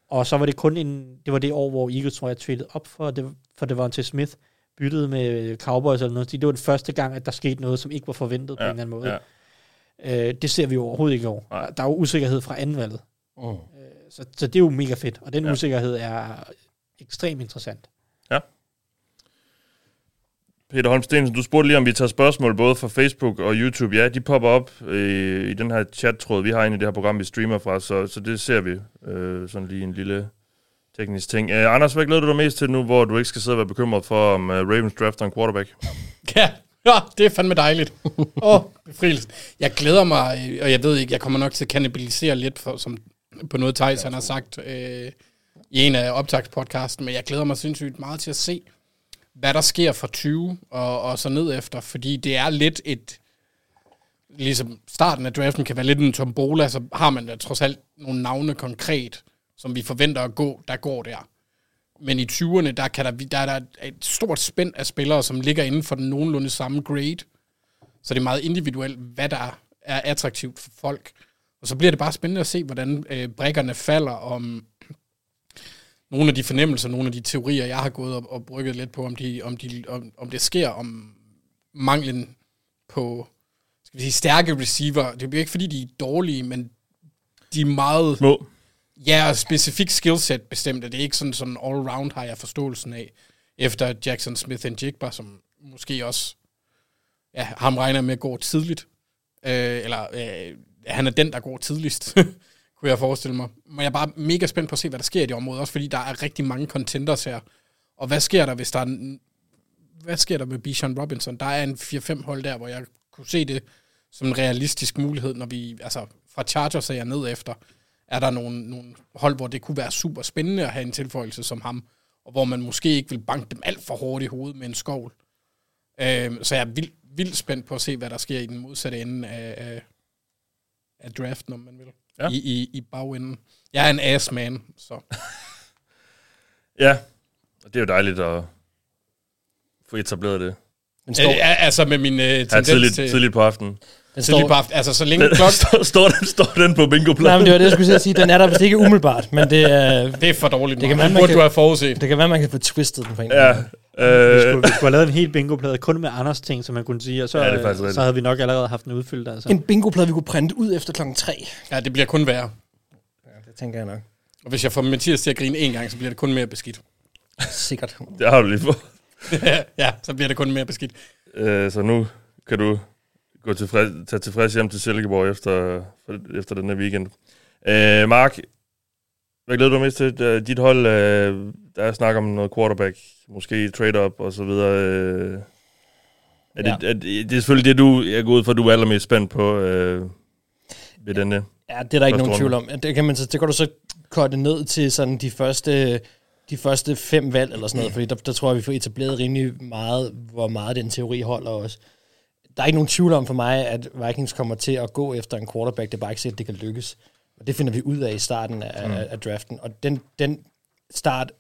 Og så var det kun en, det var det år, hvor Eagles, tror jeg, traded op for, det, for det var til Smith, byttede med Cowboys eller noget. Det var den første gang, at der skete noget, som ikke var forventet ja, på en eller anden måde. ja. Øh, det ser vi jo overhovedet ikke over. Nej. Der er jo usikkerhed fra anvalget. Oh. Så, så det er jo mega fedt, og den Ja. ja. usikkerhed er ekstremt interessant. Peter Holm Stensen, du spurgte lige, om vi tager spørgsmål både fra Facebook og YouTube. Ja, de popper op øh, i den her chat-tråd, vi har inde i det her program, vi streamer fra, så, så det ser vi. Øh, sådan lige en lille teknisk ting. Øh, Anders, hvad glæder du dig mest til nu, hvor du ikke skal sidde og være bekymret for, om øh, Ravens drafter en quarterback? Ja, ja, det er fandme dejligt. Åh, oh, befrielsen. Jeg glæder mig, øh, og jeg ved ikke, jeg kommer nok til at kanibalisere lidt for, som, på noget Thijs, han har sagt øh, i en af optagspodcasten, men jeg glæder mig sindssygt meget til at se, hvad der sker fra 20 og, og så ned efter, fordi det er lidt et, ligesom starten af draften kan være lidt en tombola, så har man da trods alt nogle navne konkret, som vi forventer at gå, der går der. Men i 20'erne, der, kan der, der er der et stort spænd af spillere, som ligger inden for den nogenlunde samme grade. Så det er meget individuelt, hvad der er attraktivt for folk. Og så bliver det bare spændende at se, hvordan øh, brækkerne falder om nogle af de fornemmelser, nogle af de teorier, jeg har gået og, og brygget lidt på, om, de, om, de, om, om det sker, om manglen på skal vi sige, stærke receiver. Det bliver ikke, fordi de er dårlige, men de er meget... Må. Ja, og specifikt skillset bestemt, og det er ikke sådan, sådan all-round har jeg forståelsen af, efter Jackson Smith and Jigba, som måske også, ja, ham regner jeg med går tidligt, øh, eller øh, han er den, der går tidligst, kunne jeg forestille mig. Men jeg er bare mega spændt på at se, hvad der sker i det område, også fordi der er rigtig mange contenders her, og hvad sker der, hvis der er, en- hvad sker der med Bijan Robinson? Der er en 4-5 hold der, hvor jeg kunne se det som en realistisk mulighed, når vi, altså fra Chargers er jeg ned efter, er der nogle, nogle hold, hvor det kunne være super spændende at have en tilføjelse som ham, og hvor man måske ikke vil banke dem alt for hårdt i hovedet med en skovl. Øhm, så jeg er vildt, vildt spændt på at se, hvad der sker i den modsatte ende af, af, af draften, om man vil. Ja. Ja. I, i, I bagenden. Jeg er en ass man, så Ja, og det er jo dejligt at få etableret det. Øh, al- altså med min øh, tendens Her tidligt, til... tidligt på aftenen. Den Så, lige står, bare, altså, så længe klok, står, står, den, står den på bingo nej, men det var det, jeg skulle til at sige. Den er der vist ikke umiddelbart, men det, øh, det er for dårligt. Det Det kan man- kan man, man burde kan- du have forudset. det kan være, man kan få twistet den på en eller Ja, anden måde. Vi øh, skulle, vi skulle have lavet en hel bingoplade kun med Anders ting, som man kunne sige, og så, Ja, det er ja, faktisk rigtigt. så havde vi nok allerede haft den udfyldt. Altså. En bingoplade, vi kunne printe ud efter klokken 3. Ja, det bliver kun værre. Det tænker jeg nok. Og hvis jeg får Mathias til at grine én gang, så bliver det kun mere beskidt. Sikkert. det har du lige fået. ja, så bliver det kun mere beskidt. Øh, så nu kan du gå tilfreds, tage tilfreds hjem til Silkeborg efter, efter den her weekend. Øh, Mark, hvad glæder du dig mest til? Øh, Dit hold, øh, der er snak om noget quarterback, måske trade-up og så videre. Øh, er det, ja. er det, det er selvfølgelig det, du jeg går ud for, du er allermest spændt på øh, ved denne. Ja, det er der ikke nogen Første tvivl om. Det kan, man så, det kan du så korte ned til sådan de første, de første fem valg eller sådan noget, fordi der, der tror jeg, vi får etableret rimelig meget, hvor meget den teori holder også. Der er ikke nogen tvivl om for mig, at Vikings kommer til at gå efter en quarterback. Det er bare ikke sikkert, det kan lykkes. Og det finder vi ud af i starten af, mm. af draften. Og den, den start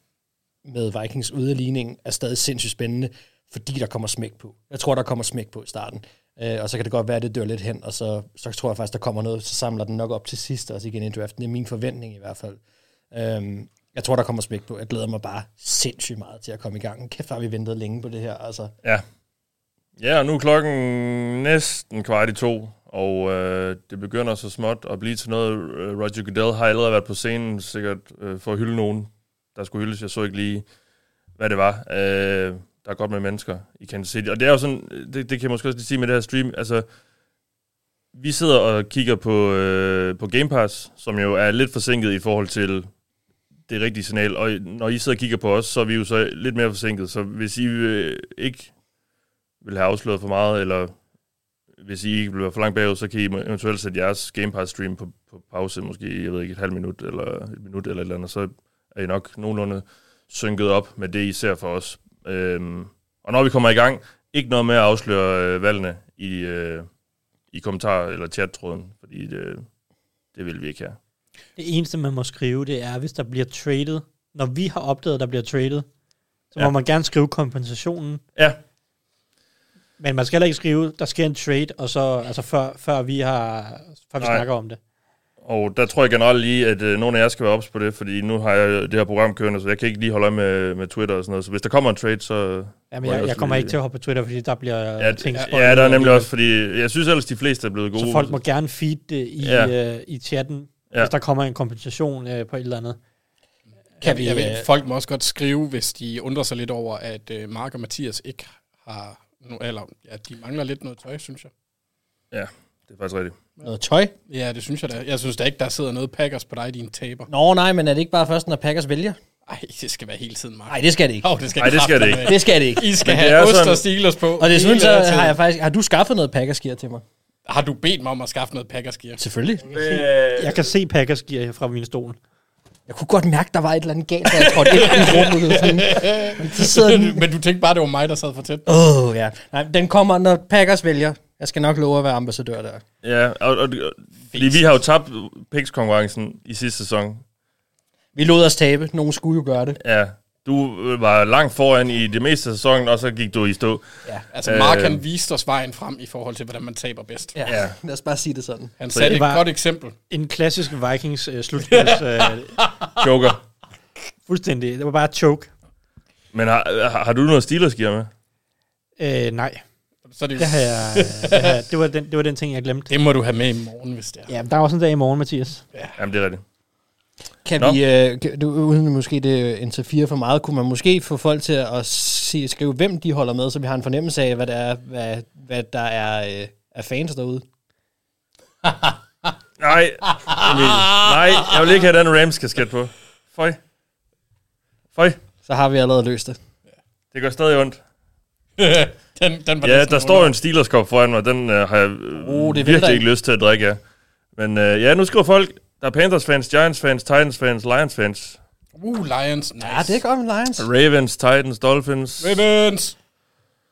med Vikings ude af ligningen er stadig sindssygt spændende, fordi der kommer smæk på. Jeg tror, der kommer smæk på i starten. Øh, og så kan det godt være, at det dør lidt hen, og så, så tror jeg faktisk, der kommer noget, så samler den nok op til sidst også igen i draften. Det er min forventning i hvert fald. Øhm, jeg tror, der kommer smæk på. Jeg glæder mig bare sindssygt meget til at komme i gang. Kæft, har vi ventet længe på det her. Altså, Ja. Ja, og nu er klokken næsten kvart i to, og øh, det begynder så småt at blive til noget. Øh, Roger Goodell har allerede været på scenen, sikkert øh, for at hylde nogen, der skulle hyldes. Jeg så ikke lige, hvad det var. Øh, der er godt med mennesker i Kansas City. Og det er jo sådan, det, det kan jeg måske også lige sige med det her stream, altså, vi sidder og kigger på, øh, på Game Pass, som jo er lidt forsinket i forhold til det rigtige signal. Og når I sidder og kigger på os, så er vi jo så lidt mere forsinket. Så hvis I øh, ikke vil have afsløret for meget, eller hvis I ikke vil være for langt bagud, så kan I eventuelt sætte jeres Game Pass stream på, på pause, måske jeg ved ikke, et halvt minut eller et minut eller et eller andet, så er I nok nogenlunde synket op med det, I ser for os. Øhm, og når vi kommer i gang, ikke noget med at afsløre øh, valgene i, øh, i kommentar- eller chattråden, fordi det, det vil vi ikke have. Det eneste, man må skrive, det er, hvis der bliver traded, når vi har opdaget, der bliver traded, så Ja. ja. må man gerne skrive kompensationen, Ja, men man skal heller ikke skrive, der sker en trade, og så, altså før, før vi har før vi Nej. snakker om det. Og der tror jeg generelt lige, at øh, nogle af jer skal være ops på det, fordi nu har jeg det her program kørende, så jeg kan ikke lige holde øje med, med Twitter og sådan noget. Så hvis der kommer en trade, så... Ja, må men jeg, også jeg kommer lige- ikke til at hoppe på Twitter, fordi der bliver Ja, ja, ting ja, spoilet. ja, der er nemlig også, fordi jeg synes ellers, de fleste er blevet gode. Så folk må gerne feed det i, Ja. ja. øh, i chatten, Ja. ja. hvis der kommer en kompensation øh, på et eller andet. kan Kan vi, jeg ved, øh, folk må også godt skrive, hvis de undrer sig lidt over, at øh, Mark og Mathias ikke har... No, eller, ja, de mangler lidt noget tøj, synes jeg. Det er faktisk rigtigt. noget tøj. Ja, det synes jeg da. Jeg synes da ikke, der sidder noget Packers på dig, din taber. Nå nej, men er det ikke bare først, når Packers vælger? Nej, det skal være hele tiden, Mark. Nej, det skal det ikke. Åh, det skal, Ej, det skal det ikke. kraftedeme Det skal det ikke. I skal Men det er have ost sådan- og Steelers på. Og desuden hele så tiden. har jeg faktisk... Har du skaffet noget Packers-gear til mig? Har du bedt mig om at skaffe noget Packers gear? Selvfølgelig. Jeg kan se Packers gear fra min stol. Jeg kunne godt mærke, der var et eller andet galt, da jeg trådte ind i rummet. Sådan. Men så sidder den... Men du tænkte bare, det var mig, der sad for tæt. Åh, oh, ja. Nej, den kommer, når Packers vælger. Jeg skal nok love at være ambassadør der. Ja, og, og, og fordi vi har jo tabt picks-konkurrencen i sidste sæson. Vi lod os tabe. Nogen skulle jo gøre det. Ja, du øh, var langt foran i det meste af sæsonen, og så gik du i stå. Altså, Mark Øh. han viste os vejen frem i forhold til, hvordan man taber bedst. Ja, ja. lad os bare sige det sådan. Han satte det et var- godt eksempel. En klassisk Vikings øh, slutspils, øh, Joker. fuldstændig. Det var bare choke. Men har, har, har du noget steelers gear med? Øh, nej, Så er det, det, har jo, jeg, øh, det, har, jeg- det, var den, det var den ting, jeg glemte. det må du have med i morgen, hvis det er. Ja, der er også en dag i morgen, Mathias. Jamen, det er rigtigt. Kan Nå. Nå. vi, øh, kan- du, uden måske det en til fire for meget, kunne man måske få folk til at se, skrive, hvem de holder med, så vi har en fornemmelse af, hvad der er, hvad, hvad der er øh, af fans derude. Nej, Emil. Nej, jeg vil ikke have den Rams-kasket på. Føj. Føj. Så har vi allerede løst det. Det gør stadig ondt. den, den var Ja, næsten der står jo under. en Steelers kop foran mig, den øh, har jeg Uh, øh, det oh, vælter virkelig ikke ikke. lyst til at drikke af. Men øh, ja, nu skriver folk, der er Panthers fans, Giants fans, Titans fans, Lions fans, Uh, Lions. Nice. Ja, Ah, det er godt med Lions. Ravens, Titans, Dolphins, Ravens.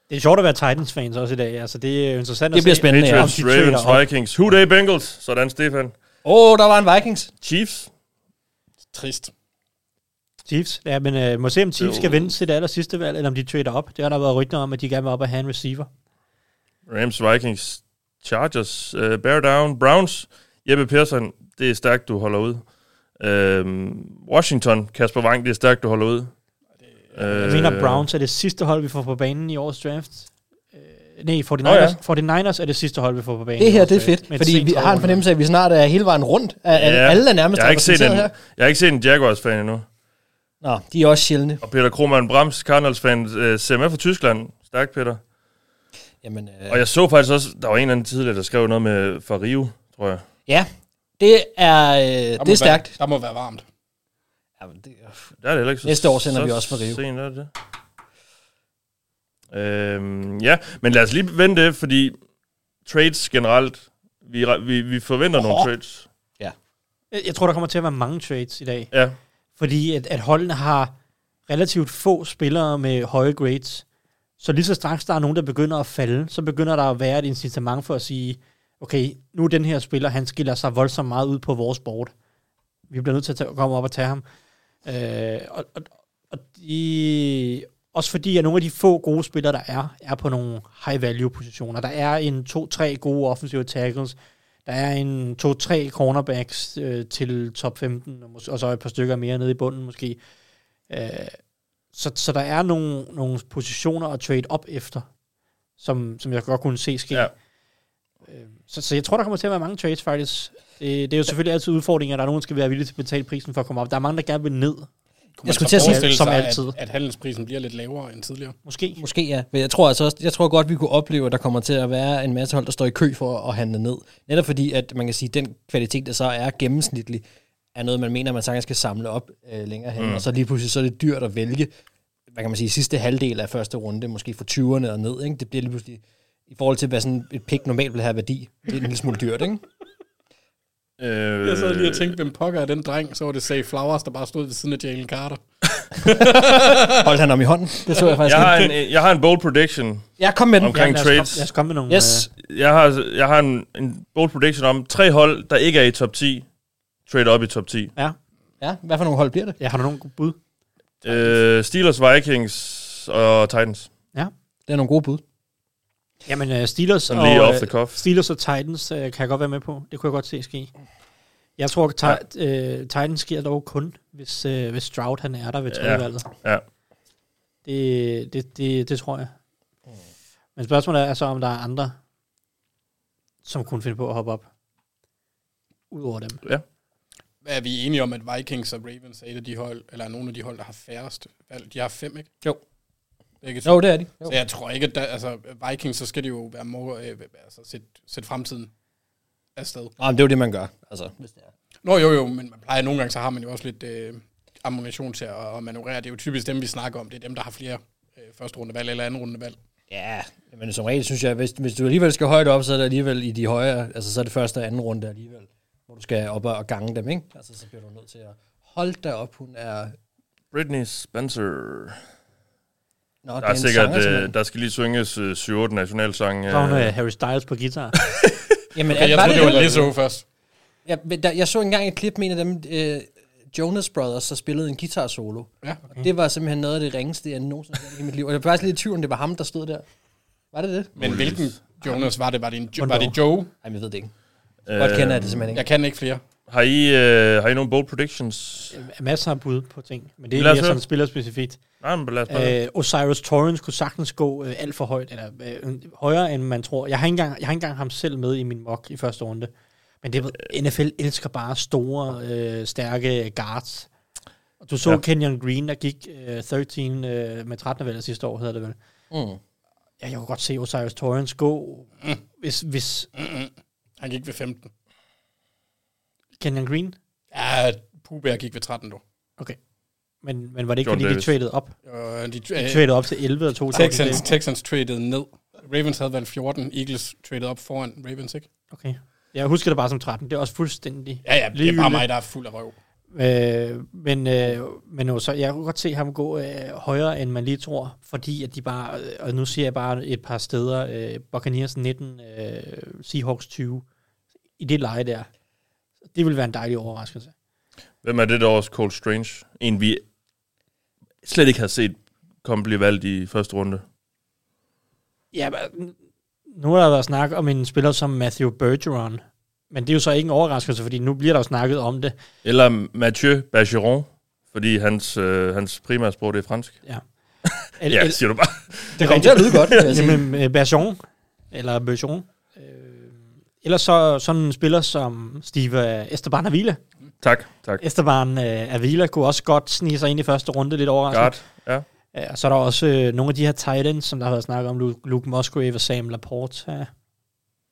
Det er sjovt at være Titans-fans også i dag. Altså, det er jo interessant Det at bliver se. spændende, ja. altså, Patriots, Om de trader Ravens, op. Vikings, Who Day Bengals, sådan Stefan, Åh, oh, der var en Vikings. Chiefs, Trist. Chiefs. Ja, men øh, må se, om Chiefs skal vinde til det aller sidste valg, eller om de trader op. Det har der været rygter om, at de gerne vil op og have en receiver. Rams, Vikings, Chargers, øh, Bear Down, Browns, Jeppe Persson, det er stærkt, du holder ud. Øh, Washington, Kasper Wang, det er stærkt, du holder ud. Jeg Øh. mener, Browns er det sidste hold, vi får på banen i årets draft. Øh, nej, 49ers, Nå oh, ja. ja. 49ers er det sidste hold, vi får på banen. i Det her, årets det er draft. fedt, Med et fordi sent vi har en tredje fornemmelse af, at vi snart er hele vejen rundt. Af, Ja. ja. Alle er nærmest Jeg har ikke set en, repræsenteret her. jeg har ikke set en Jaguars-fan endnu. Nå, de er også sjældne. Og Peter Krohmann Brams, Cardinals-fan, øh, ser med fra Tyskland. Stærkt, Peter. Jamen, øh, Og jeg så faktisk også, der var en eller anden tidligere, der skrev noget med fra Rio, tror jeg. ja, det er, øh, det er stærkt. Være, der må være varmt. Ja, men det, Der er det heller ikke så, Næste år sender så vi også fra Rio. Sent er det. Øhm, ja, men lad os lige vente, fordi trades generelt, vi, re- vi, vi forventer oh. nogle trades. runde. Jeg- Jeg tror, der kommer til at være mange trades i dag. Ja, fordi at, at holdene har relativt få spillere med høje grades. Så lige så straks der er nogen, der begynder at falde, så begynder der at være et incitament for at sige, okay, nu er den her spiller, han skiller sig voldsomt meget ud på vores board. Vi bliver nødt til at tage, komme op og tage ham. Øh, og, og, og de, også fordi, at nogle af de få gode spillere, der er, er på nogle high value positioner. Der er en 2-3 gode offensive tackles, der er en 2-3 cornerbacks øh, til top 15, og, mås- og så et par stykker mere nede i bunden måske. Øh, så, så der er nogle, nogle positioner at trade op efter, som, som jeg godt kunne se ske. Ja. Ja. Så, så jeg tror, der kommer til at være mange trades faktisk. Det, det er jo selvfølgelig altid udfordringer, at der er nogen, der skal være villige til at betale prisen for at komme op. Der er mange, der gerne vil ned, Jeg Kunne man skulle så til at sige, forestille som sig, altid. At, at handelsprisen bliver lidt lavere end tidligere. måske. Måske ja, men jeg tror altså også, jeg tror godt, vi kunne opleve, at der kommer til at være en masse hold, der står i kø for at handle ned. Netop fordi, at man kan sige, at den kvalitet, der så er gennemsnitlig, er noget, man mener, man sagtens skal samle op øh, længere hen, mm. og så lige pludselig så er det dyrt at vælge, hvad kan man sige, sidste halvdel af første runde, måske fra 20'erne og ned, ikke? det bliver lige pludselig, i forhold til, hvad sådan et pick normalt vil have værdi, det er en lille smule dyrt, ikke? øh, Jeg sad lige og tænkte, hvem pokker er den dreng? Så var det Save Flowers, der bare stod ved siden af Jalen Carter. Holdt han om i hånden? Det så jeg faktisk jeg, har ikke. en, øh, jeg har en bold prediction. Jeg kom med den. Omkring- lad os, trades. Kom, lad os komme med nogle... øh, Yes. Jeg har, jeg har en, en bold prediction om tre hold, der ikke er i top 10, trade op i top 10. Øh, ja. Ja, hvad for nogle hold bliver det? ja, har du nogle bud? Øh, Steelers, Vikings og Titans. Det er nogle gode bud. Jamen, uh, Steelers, Sådan lige og, off øh, the cuff. Steelers og Titans uh, kan jeg godt være med på. Det kunne jeg godt se ske. Jeg tror, at ti- uh, Titans sker dog kun, hvis, uh, hvis Stroud han er der ved Ja. tredjevalget. Ja. Det, det, det, det tror jeg. Men spørgsmålet er så, om der er andre, som kunne finde på at hoppe op. Udover dem. Er vi enige om, at Vikings og Ravens er et af de hold, eller er nogle af de hold, der har færrest valg? De har fem, ikke? Jo. Begge to. Jo, det er de. Jo. Så jeg tror ikke, at der, altså, Vikings, så skal det jo være mor, øh, altså, sætte, sætte fremtiden afsted. Nå, men det er jo det, man gør. Altså, hvis det er. Nå jo jo, men man plejer nogle gange, så har man jo også lidt øh, ammunition til at, at manøvrere. Det er jo typisk dem, vi snakker om. Det er dem, der har flere øh, første rundevalg eller anden rundevalg. Ja, men som regel synes jeg, hvis, hvis du alligevel skal højt op, så er det alligevel i de højere, altså så er det første og anden runde alligevel, hvor du skal op og og gange dem, ikke? Altså så bliver du nødt til at holde dig op, hun er... Britney Spencer. Nå, det Der er sikkert, simpelthen. øh, der skal lige synges øh, 7-8 nationalsang. Så har hun Øh. uh, Harry Styles på guitar. Jamen, Okay, jeg var troede, det var det, Lizzo først. ja, men der, jeg så engang et klip med en af dem, øh, Jonas Brothers, der spillede en guitar solo. Ja. Og det var simpelthen noget af det ringeste, jeg nogensinde har set i mit liv. Og jeg var faktisk lidt i tvivl, om det var ham, der stod der. Var det det? Men hvilken Jonas var det? Var det, en, jo- Hvornår? var det Joe? Ej, men jeg ved det ikke. Godt kender jeg det simpelthen Jeg ikke. kan ikke flere. Øh, Har I, øh, har I nogle bold predictions? Masser af bud på ting, men det er Lad os mere høre. sådan spillerspecifikt. Nej, men lad os bare... Øh, Øh, Osiris Torrens kunne sagtens gå øh, alt for højt, eller øh, højere end man tror. Jeg har, ikke engang, jeg har ikke engang ham selv med i min mock i første runde. Men det ved, Øh. NFL elsker bare store, øh, stærke guards. Og du så Ja. ja. Kenyon Green, der gik øh, 13 øh, med 13 valg sidste år, hedder det vel. Mm. Ja, jeg kunne godt se Osiris Torrens gå, Mm. hvis, hvis Han gik ved 15. Kenyon Green... Ja, Puber gik ved 13, du. Okay. Men, men var det ikke, Jordan fordi de Davis. traded op? Øh, de, De øh, traded op til 11 og 2. Texans, Texans traded ned. Ravens havde valgt 14. Eagles traded op foran Ravens, ikke? Okay. Jeg husker det bare som 13. Det er også fuldstændig Ja, ja, det er bare ligegyldigt. mig, der er fuld af røv. Øh, men øh, men også, jeg kunne godt se ham gå øh, højere, end man lige tror, fordi at de bare, øh, og nu siger jeg bare et par steder, øh, Buccaneers 19, øh, Seahawks 20, i det leje der. Det vil være en dejlig overraskelse. Hvem er det der års Cold Strange? En, vi slet ikke har set komme blive valgt i første runde. Ja, men, nu har der været snak om en spiller som Matthew Bergeron, men det er jo så ikke en overraskelse, fordi nu bliver der jo snakket om det. Eller Mathieu Bergeron, fordi hans, øh, hans primære sprog det er fransk. El, Ja, el, siger du bare. Det kommer til at lyde godt, vil jeg sige. Jamen, øh, Bergeron, eller Bergeron. Øh, ellers så sådan en spiller som Steve øh, Esteban Avila. tak, tak. Esteban øh, Avila kunne også godt snige sig ind i første runde, lidt overraskende. Godt. Ja. Ja, og så er der også øh, nogle af de her tight ends, som der har været snakket om, Luke, Luke Musgrave og Sam Laporte. Øh,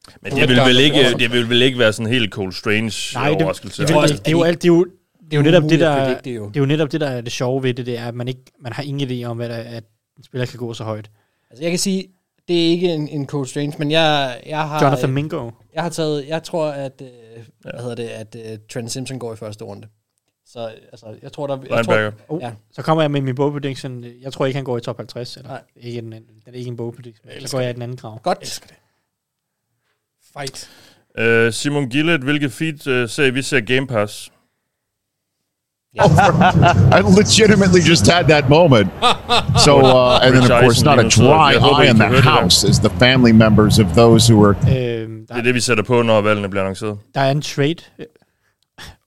Ja. Men det vil, vel ikke, det vil vel ikke være sådan en helt Cold Strange Nej, det, det, overraskelse. det, det, det, det, er jo alt, det er jo, det er jo netop det, Umuligt at der, predikte, det, jo. er jo netop det, der er det sjove ved det, det er, at man, ikke, man har ingen idé om, hvad der, at en spiller kan gå så højt. Altså, jeg kan sige, det er ikke en, en Cold Strange, men jeg, jeg har... Jonathan Mingo. Jeg har taget, jeg tror, at, øh, hvad hedder det, at øh, Trent Simpson går i første runde. Så altså, jeg tror, der... Jeg tror, Linebacker. Oh, Ja. ja. Så kommer jeg med min bow prediction. Jeg tror ikke, han går i top 50. Eller Nej. ikke en, en, det er ikke en bow prediction. Så elsker går jeg i den anden grav. godt. Fight. Øh, Simon Gillet, hvilket feed øh, ser I? vi? ser Game Pass. I legitimately just had that moment. So, uh, and then Rich of course, Eisen not a being absorbed. dry I hope eye he in converted the that. house is the family members of those who were. Øhm, Det er der, det, vi sætter på, når valgene bliver annonceret. der er en trade, øh,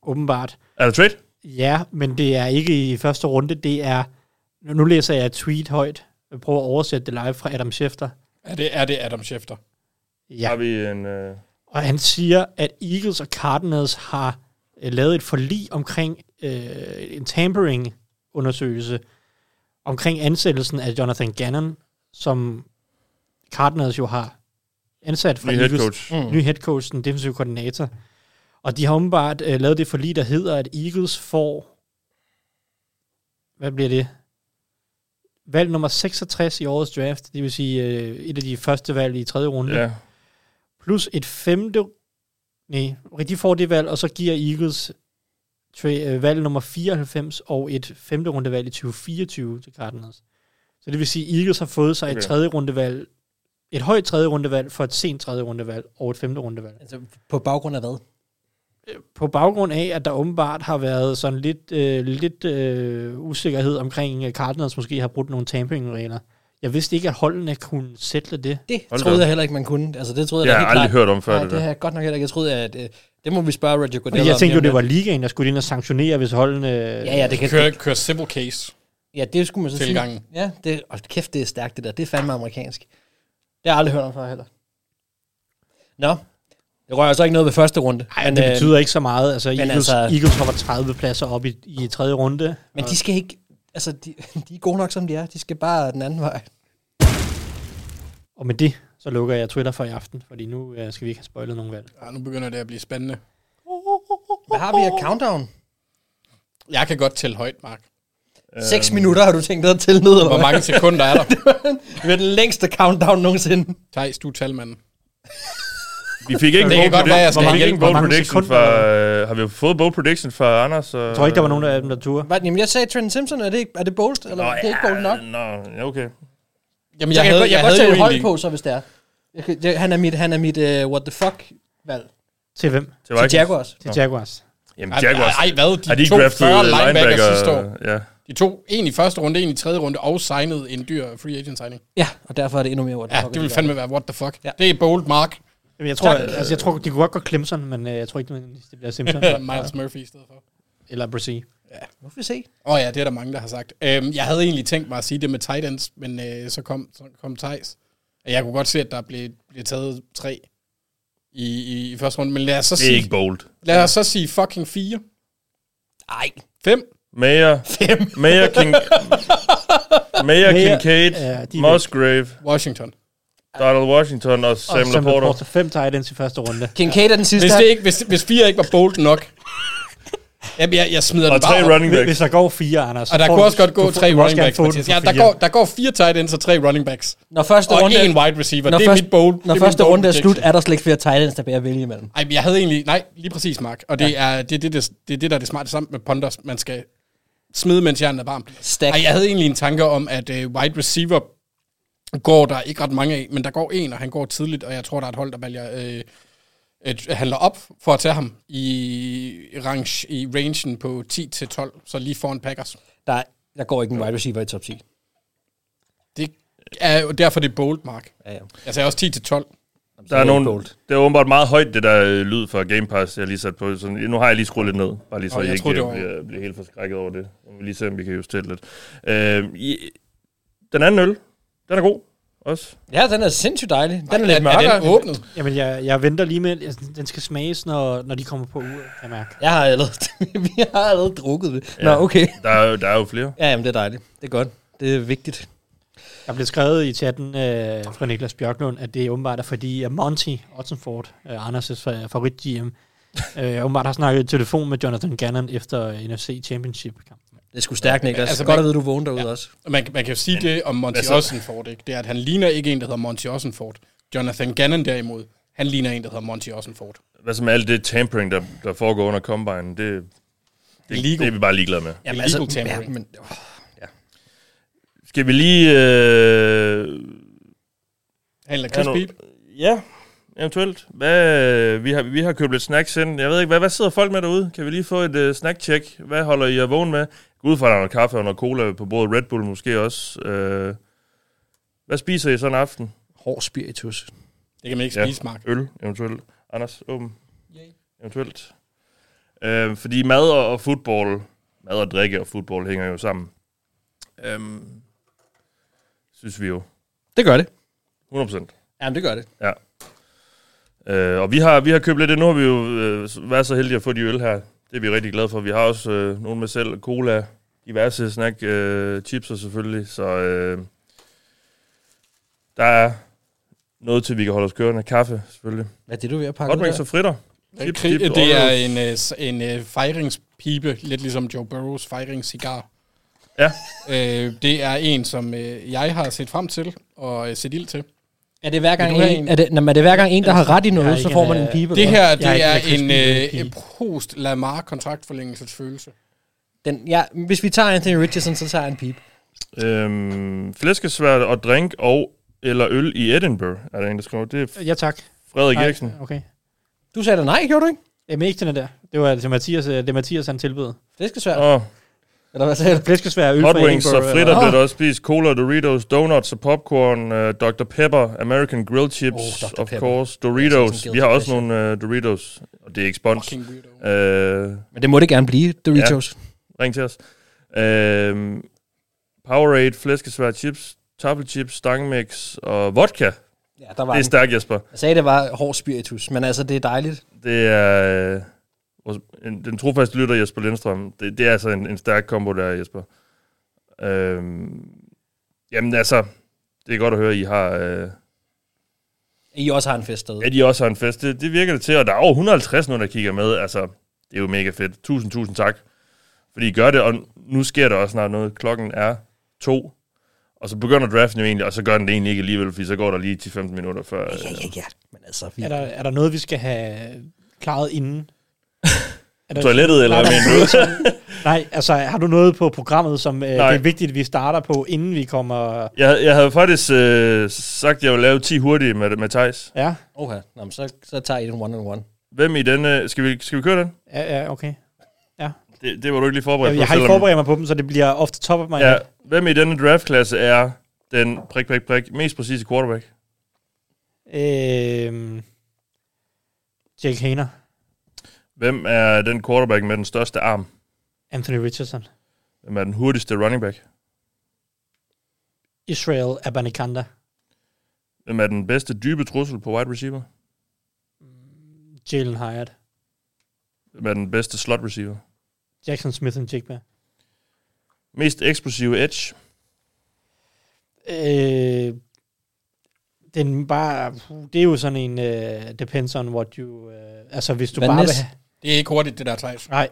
åbenbart. Er der trade? Ja, men det er ikke i første runde. Det er, nu nu læser jeg et tweet højt. Jeg prøver at oversætte det live fra Adam Schefter. Er det, er det Adam Schefter? Ja. Har Ja, vi en... Øh, og han siger, at Eagles og Cardinals har øh, lavet et forlig omkring øh, en tampering-undersøgelse omkring ansættelsen af Jonathan Gannon, som Cardinals jo har ansat fra ny head Eagles. coach. mm. ny head coach, den defensive koordinator. Og de har åbenbart øh, lavet det forlig, der hedder, at Eagles får... Hvad bliver det? Valg nummer 66 i årets draft, det vil sige øh, et af de første valg i tredje runde, Ja. plus et femte... Nej, de får det valg, og så giver Eagles tra- øh, valg nummer 94 og et femte rundevalg i 2024 til Cardinals. Så det vil sige, at Eagles har fået sig okay. Okay. et tredje rundevalg, et højt tredje rundevalg for et sent tredje rundevalg og et femte rundevalg. Altså, på baggrund af hvad? på baggrund af, at der åbenbart har været sådan lidt, øh, lidt øh, usikkerhed omkring, at Cardinals måske har brugt nogle tampering-regler. Jeg vidste ikke, at holdene kunne sætte det. Det Hold Hold da op. troede jeg heller ikke, man kunne. Altså, det troede Jeg jeg da har helt aldrig klart. hørt om før, Nej, det det der. har jeg godt nok heller ikke. Jeg troede, at øh, det må vi spørge Roger Goodell Fordi jeg om tænkte jo, lige det om var lidt. ligaen, der skulle ind og sanktionere, hvis holdene... Ja, ja, det kan Kører, kører civil case. Ja, det skulle man så Tilgangen. sige. Ja, det, og kæft, det er stærkt det der. Det er fandme amerikansk. Det har jeg aldrig hørt om før heller. Nå, det rører så ikke noget ved første runde. øh, Ej, men det betyder ikke så meget. Altså, Eagles, altså- altså, Eagles hopper 30 pladser op i, i tredje runde. Men de skal ikke... Altså, de, de er gode nok, som de er. De skal bare den anden vej. Og med det, så lukker jeg Twitter for i aften, fordi nu øh, skal vi ikke have spoilet nogen valg. Ja, nu begynder det at blive spændende. Hvad har vi af countdown? Jeg kan godt tælle højt, Mark. 6 minutter har du tænkt dig at tælle ned, eller Hvor hvad? mange sekunder er der? Det er den længste countdown nogensinde. Thijs, du er talmanden. Vi fik ikke Det en kan bold godt være, jeg prediction, skal vi fik hjælpe. ikke en Hvor bold mange prediction sekunder fra... Øh, har vi fået bold prediction fra Anders? Jeg tror ikke, der var nogen af dem, der turde. Hvad, jamen, jeg sagde Trent Simpson. Er det, ikke, er det bold, eller er det ikke bold nok? Nå, ja, okay. Jamen, Så jeg, kan havde, jeg, jeg, jeg, kan godt havde tage jo et hold egentlig... på, så hvis det er. Jeg, kan- jeg, han er mit, han er mit uh, what the fuck valg. Til hvem? Til Til Vikings. Jaguars. Til Jaguars. Jamen, Ej, Jaguars. ej, hvad? De, Har de to ikke draftet 40 linebacker sidste år. linebacker? Ja. De to, en i første runde, en i tredje runde, og signede en dyr free agent signing. Ja, og derfor er det endnu mere what the Ja, fuck. det at vil de fandme være what the fuck. Ja. Det er bold, Mark. Jamen, jeg tror, altså, jeg tror, de kunne godt gå Clemson, men øh, jeg tror ikke, nødvendigvis, det bliver Simpson Miles Murphy i stedet for. eller Brissy. gør. Nu får vi se. Åh oh ja, det er der mange, der har sagt. Øhm, jeg havde egentlig tænkt mig at sige det med tight ends, men øh, så kom, så kom Thijs. Og Jeg kunne godt se, at der blev, blev taget tre i, i, i første runde, men lad os så Det er sige, ikke bold. lad os så sige fucking fire. Ej, Fem. Mayer. Fem. Mayer, King, Mayer Kincaid, ja, de er Musgrave, Washington. Donald Washington og Sam Sam Laporta. Laporta. Laporta. Fem tight ends i første runde. Kincaid er den sidste. Hvis, det ikke, hvis, hvis fire ikke var bold nok. Jamen, jeg, jeg smider Og den tre bare op. running Hvis- backs. Hvis der går fire, Anders... Og der kunne også godt gå tre running backs. Mathias. Ja, der går, der går fire tight ends og tre running backs. Når første Og runde, en wide receiver. når det er først- mit bold. det når er min første bold runde er prediction. slut, er der slet ikke flere tight ends, der bærer at vælge imellem. Ej, men jeg havde egentlig... Nej, lige præcis, Mark. Og det, er, det, er det, det, det er det, der er det smarte sammen med ponders. Man skal smide, mens hjernen er varm. Stack. Ej, jeg havde egentlig en tanke om, at øh, wide receiver går der ikke ret mange af, men der går en, og han går tidligt, og jeg tror, der er et hold, der vælger, øh, et, handler op for at tage ham i, range, i rangen på 10-12, så lige foran Packers. Der, er- der går ikke en wide receiver i top 10. Det er jo derfor, det er bold, Mark. Altså, Ja, ja. Jeg sagde også 10-12. Der er nogen, det er åbenbart meget højt, det der øh, lyd fra Game Pass, jeg lige sat på. Så nu har jeg lige skruet lidt ned, bare lige så Nå, jeg, jeg jeg ikke troede, det øh, var- bliver, bliver helt forskrækket over det. Nu må vi lige se, om vi kan justere det lidt. Øh, i, den anden øl, den er god også. Ja, den er sindssygt dejlig. Den er Er, lidt mørkere. er den åbnet? Jamen, jeg, jeg venter lige med, altså, den skal smages, når, når de kommer på uret, kan jeg mærke. Jeg har allerede, vi har allerede drukket det. Nå, Ja. okay. Der er, jo- der er jo flere. Ja, jamen, det er dejligt. Det er godt. Det er vigtigt. Der blev skrevet i chatten øh, fra Niklas Bjørklund, at det åbenbart er fordi, at Monty Ottenford, øh, Anders' favorit GM, øh, åbenbart har snakket i telefon med Jonathan Gannon efter NFC Championship-kampen. Det er sgu stærkt, Niklas. Altså, altså, godt man- at vide, du vågner derude ja. også. Man, man kan jo sige det om Monty hvad så? Ossenford, ikke? Det er, at han ligner ikke en, der hedder Monty Ossenford. Jonathan Gannon derimod, han ligner en, der hedder Monty Ossenford. Hvad som alt det tampering, der, der foregår under Combine, det, det, Illegal. det er vi bare ligeglade med. Illegal Jamen, tampering. men, Skal vi lige... Øh, Han er have Chris nogle- Beat. Ja, eventuelt. Hvad, øh, vi, har, vi har købt lidt snacks ind. Jeg ved ikke, hvad, hvad sidder folk med derude? Kan vi lige få et uh, snack-check? Hvad holder I jer vågen med? Gå ud fra, at der er noget kaffe og noget cola på bordet. Red Bull måske også. Uh, hvad spiser I sådan en aften? Hård spiritus. Det kan man ikke Ja. spise, Mark. Øl, eventuelt. Anders, åben. Eventuelt. Øh, fordi mad og, og fodbold, mad og drikke og fodbold hænger jo sammen. Øhm, synes vi jo. Det gør det. 100 procent. Jamen, det gør det. Ja. Øh, og vi har, vi har købt lidt, ind. nu har vi jo øh, været så heldige at få de øl her. Det er vi rigtig glade for. Vi har også øh, nogle med selv, cola, diverse snack, øh, chips og selvfølgelig. Så øh, der er noget til, vi kan holde os kørende. Kaffe, selvfølgelig. Hvad er det, du er ved at pakke ud Hotwings der? og fritter. Øh, Chip, kri- chip, det er Oreos. en, øh, s- en øh, fejringspibe, lidt ligesom Joe Burrows fejringscigar. Ja. Øh, det er en, som øh, jeg har set frem til og øh, set ild til. Er det hver gang Vil du have en, en? er det, jamen, er det hver gang en, der har ret i Jeg noget, er så ikke får en, man en øh, pibe? Det eller her, det Jeg er ikke er Chris en Beat, jeg er øh, pige. post Lamar kontraktforlængelsesfølelse. hvad? Den, ja, hvis vi tager Anthony Richardson, så tager jeg en pibe. Øhm, flæskesværd og drink og eller øl i Edinburgh, er der en, der skriver. Det er Ja, tak. Frederik Nej, Eriksen. Okay. Du sagde da nej, gjorde du ikke? Jamen, ikke den der. Det var altså Mathias, øh, det er Mathias, han tilbød. Det skal svært. Og Eller hvad sagde du? Flæskesvær øl hot fra wings og Edinburgh, fritter eller- blev der også spist. Cola, Doritos, donuts og popcorn. Uh, Dr. Pepper, American Grill Chips, Oh, oh, Dr. of Pepper. course. Det er Doritos. sådan en Vi har også guilty nogle uh, Doritos. Og det er ikke spons. Fucking weirdo. Uh, Men det må det gerne blive, Doritos. Ja. ring til os. Uh, Powerade, flæskesvær chips, taffel chips, stangmix og vodka. Ja, der var Det er den. stærkt, Jesper. Jeg sagde, det var hård spiritus, men altså, det er dejligt. Det er øh, vores- en- den trofaste lytter Jesper Lindstrøm. Det, det er altså en, en stærk kombo der, Jesper. Øhm, jamen altså, det er godt at høre, at I har, øh, I også har en fest derude. at I også har en fest. Det, det virker det til, og der er over 150 nu, der kigger med. Altså, det er jo mega fedt. Tusind, tusind tak, fordi I gør det, og nu sker der også snart noget. Klokken er to, og så begynder draften jo egentlig, og så gør den det egentlig ikke alligevel, fordi så går der lige 10-15 minutter før. Øh, Ja, ja, ja. Men altså, vi... Er der, er der noget, vi skal have klaret inden? Er der- toilettet, eller Nej, hvad der- mener du? Nej, altså har du noget på programmet, som øh, det Nej. er vigtigt, at vi starter på, inden vi kommer... Jeg, jeg havde faktisk øh, sagt, at jeg ville lave 10 hurtige med, med Thijs. Ja, Oha, Nå, men så, så tager I den one-on-one. Hvem i denne... Skal vi, skal vi køre den? ja, ja okay. Det, det var du ikke lige forberedt Jeg, på. jeg har ikke selvom- forberedt mig på dem, så det bliver ofte top of mig. Ja, hvem i denne draftklasse er den prik, prik, prik mest præcise quarterback? Øhm, Jake Haner, Hvem er den quarterback med den største arm? Anthony Richardson, Hvem er den hurtigste running back? Israel Abanikanda, Hvem er den bedste dybe trussel på wide receiver? Jalen Hyatt, Hvem er den bedste slot receiver? Jackson Smith og Jigba. Mest eksplosive edge? Øh, den bare, puh, det er jo sådan en, uh, depends on what you, uh, altså hvis du Hvad bare vil næst? have, Det er ikke hurtigt, det der, Thijs. nej,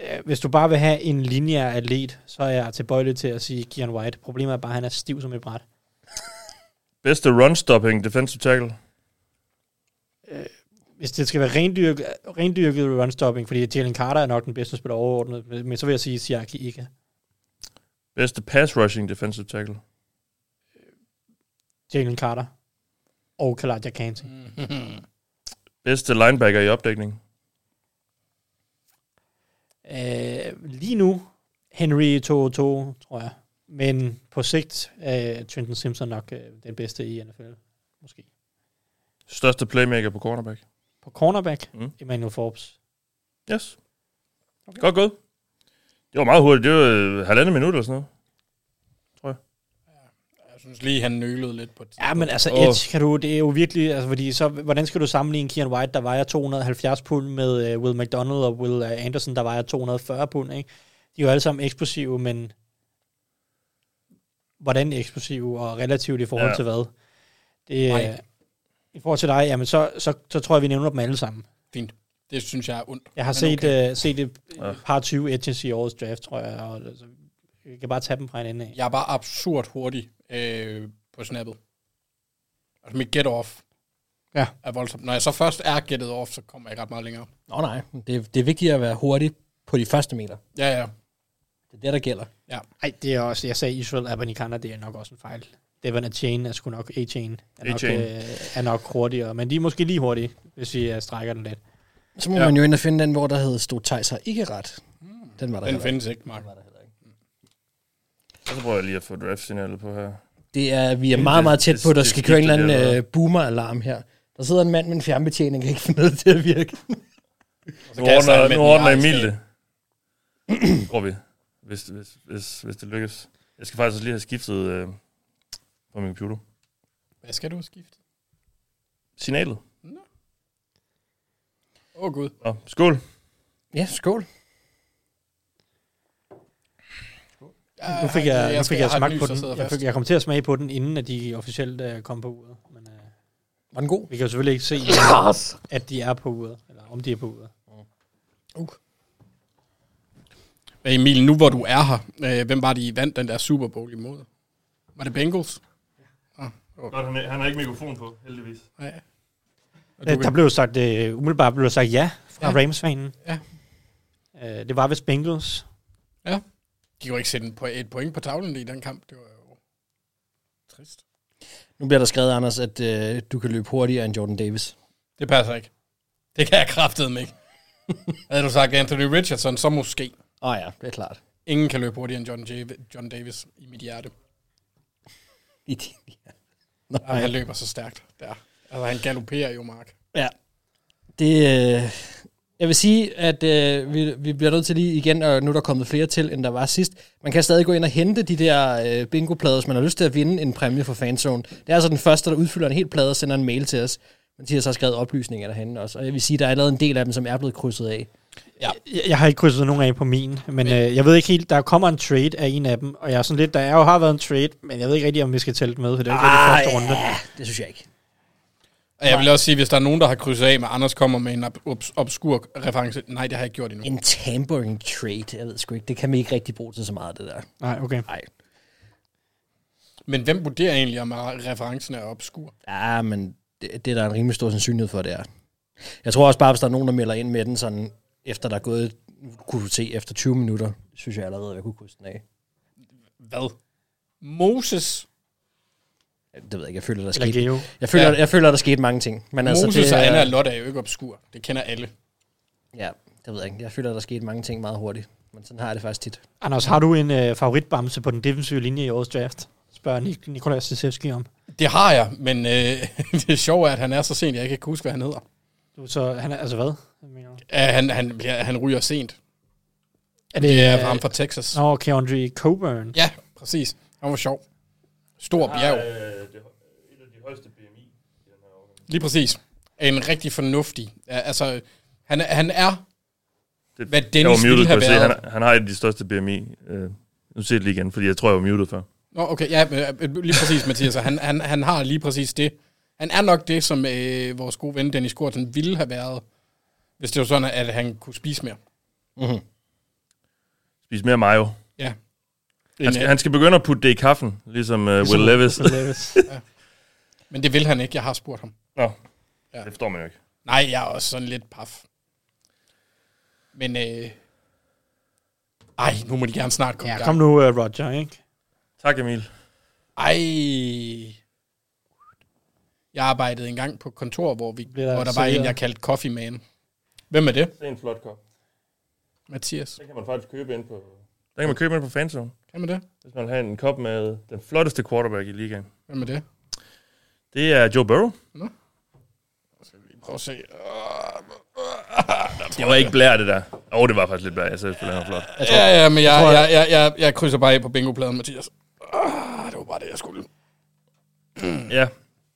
øh, hvis du bare vil have en linjær atlet, så er jeg tilbøjelig til at sige Kian White. Problemet er bare, at han er stiv som et bræt. Bedste run-stopping defensive tackle? hvis det skal være rendyrket, rendyrket runstopping, fordi Jalen Carter er nok den bedste spiller overordnet, men så vil jeg sige Siaki Ika. Bedste pass-rushing defensive tackle? Jalen Carter og Kalaja Kanti. Mhm. Bedste linebacker i opdækning? Øh, lige nu, Henry 2 2 tror jeg. Men på sigt er Trenton Simpson nok øh, den bedste i NFL, måske. Største playmaker på cornerback. På cornerback, Mm. mm. Emmanuel Forbes. Yes. Okay. Godt gået. Det var meget hurtigt. Det var øh, halvandet minut eller sådan noget. Jeg synes lige, han nølede lidt på det. Ja, men altså Åh. Edge, kan du, det er jo virkelig, altså fordi så, hvordan skal du sammenligne Kian White, der vejer 270 pund, med uh, Will McDonald og Will uh, Anderson, der vejer 240 pund, ikke? De er jo alle sammen eksplosive, men hvordan eksplosive og relativt i forhold Ja. ja. til hvad? Det, øh, Nej. I forhold til dig, jamen så, så, så tror jeg, vi nævner dem alle sammen. Fint. Det synes jeg er ondt. Jeg har Men set, okay. uh, set et, et par 20 edges i årets draft, tror jeg, og altså, jeg kan bare tage dem fra en ende af. Jeg er bare absurd hurtig øh, på snappet. Altså mit get-off Ja. er voldsomt. Når jeg så først er gettet off, så kommer jeg ikke ret meget længere. Nå nej, det, er- det er vigtigt at være hurtig på de første meter. Ja, ja. Det er det, der gælder. Nej, det er også, jeg sagde Israel Abanikana, det er nok også en fejl. Devon Achain er sgu nok, A-Chain er, nok, A-Chain. øh, er nok hurtigere, men de er måske lige hurtige, hvis vi uh, strækker den lidt. Så må ja. Ja. man jo ind og finde den, hvor der hed Stod Thijs har ikke ret. Hmm. Den var der Den heller findes ikke, Mark. Og så prøver jeg lige at få draft-signalet på her. Det er, vi er Det- meget, meget tæt det- på, der det skal køre en eller skifter det, anden eller øh, boomer-alarm her. Der sidder en mand med en fjernbetjening, der ikke får noget til at virke. Nu kan jeg starte ordner, med nu den, ordner jeg Emil skal- det. Tror vi. Hvis, hvis, hvis, hvis det lykkes. Jeg skal faktisk også lige have skiftet øh, på min computer. Hvad skal du skifte? Signalet. Åh oh, gud. Nå, skål. Ja, skål. Ja, Nu fik jeg, nu skal- fik jeg, har et smagt lys, på der sidder den. Jeg, fast. fik, jeg kom til at smage på den, inden at de officielt uh, kom på uret. Men uh, Var den god? vi kan jo selvfølgelig ikke se, at de er på uret, eller om de er på uret. Hey Emil, nu hvor du er her, øh, hvem var det, I vandt den der Super Bowl imod? Var det Bengals? Godt, han, han har ikke mikrofon på, heldigvis. Ja. Og du Okay. Øh, Der kan- blev sagt, uh, umiddelbart blev sagt ja fra Ja. ja. Rams-fanen. Ja. Uh, det var vist Bengals. De kunne ikke sætte en po- et point på tavlen i den kamp. Det var jo trist. Nu bliver der skrevet, Anders, at øh, du kan løbe hurtigere end Jordan Davis. Det passer ikke. Det kan jeg kraftedeme ikke. Havde du sagt Anthony Richardson, så måske. Åh oh, ja, det er klart. Ingen kan løbe hurtigere end John, J- John Davis i mit hjerte. I din... ja. Ej. Han Nej. løber så stærkt der. Altså, han galopperer jo, Mark. Ja. Det, øh, jeg vil sige, at øh, vi, vi bliver nødt til lige igen, og nu er der kommet flere til, end der var sidst. Man kan stadig gå ind og hente de der øh, bingo-plader, hvis man har lyst til at vinde en præmie for fanzone. Det er altså den første, der udfylder en hel plade og sender en mail til os. Men de har så skrevet oplysninger derhenne også. Og jeg vil sige, der er allerede en del af dem, som er blevet krydset af. Jeg, jeg har ikke krydset nogen af på min, men øh, jeg ved ikke helt, der kommer en trade af en af dem, og jeg er sådan lidt, der er jo har været en trade, men jeg ved ikke rigtig, om vi skal tælle den med, for det er jo ikke rigtig første runde. ja, det synes jeg ikke. Og jeg vil også sige, hvis der er nogen, der har krydset af med, Anders kommer med en ob- obs- obskur reference. Nej, det har jeg ikke gjort endnu. En tampering trade, jeg ved sgu ikke. Det kan man ikke rigtig bruge til så meget, det der. Nej, okay. Nej. Men hvem vurderer egentlig, om referencen er obskur? Ja, men det, det er der en rimelig stor sandsynlighed for, det er. Jeg tror også bare, hvis der er nogen, der melder ind med den sådan, efter der er gået, nu kunne du se, efter 20 minutter, synes jeg allerede, at jeg kunne krydse den af. Hvad? Moses Det ved jeg ikke, jeg føler, der Eller skete, Geo. jeg føler, Ja. jeg føler, der skete mange ting. Men Altså, altså, Moses det, det, og Anna og er, Lotte er jo ikke obskur. Det kender alle. ja, det ved jeg ikke. Jeg føler, der skete mange ting meget hurtigt. Men sådan har jeg det faktisk tit. Anders, har du en øh, favoritbamse på den defensive linje i årets draft? Spørger Nik- Nikolaj Sisevski om. Det har jeg, men øh, det sjove er, at han er så sent, jeg ikke kan huske, hvad han hedder. Du, så han er, altså hvad? Hvad mener du? Ja, han, han, bliver, han ryger sent. Er Det er øh, ham fra Texas. Nå, Keandre Coburn. Ja, præcis. Han var sjov. Stor bjerg. det, et af de højeste BMI. Lige præcis. En rigtig fornuftig. Ja, Altså, han, er- han er... Det- Hvad Jeg Dennis var ville muted, have kunne jeg se. været. Han, han har et af de største BMI. Øh, nu ser jeg det lige igen, fordi jeg tror, jeg var muted før. Nå, okay, ja, men, øh, lige præcis, Mathias. Han, han, han har lige præcis det. Han er nok det, som øh, vores gode ven Dennis Gorten ville have været, hvis det var sådan, at han kunne spise mere. Spis mere mayo. Ja. Han skal, han skal begynde at putte det i kaffen, ligesom uh, Will Levis. Will Levis. Men det vil han ikke. Jeg har spurgt ham. Nå, det forstår man jo ikke. Nej, jeg er også sådan lidt paf. Men øh... Ej, nu må de gerne snart komme ja, Kom nu, uh, Roger, ikke? Tak, Emil. Ej. Jeg arbejdede engang på et kontor, hvor, vi, Bliver der hvor der var serveret? en, jeg kaldte Coffee Man. Hvem er det? Det er en flot kop. Mathias. Den kan man faktisk købe ind på... Den kan man købe ind på fanzone, Hvem er det? hvis man vil have en kop med den flotteste quarterback i ligaen. Hvem er det? Det er Joe Burrow. Nå. Prøv at se. Det var ikke blær, det der. Åh, oh, det var faktisk lidt blær. Jeg sagde, at flot. Ja, ja, men jeg, jeg, jeg, jeg, jeg krydser bare af på bingopladen, Mathias. Ah, det var bare det, jeg skulle. Ja.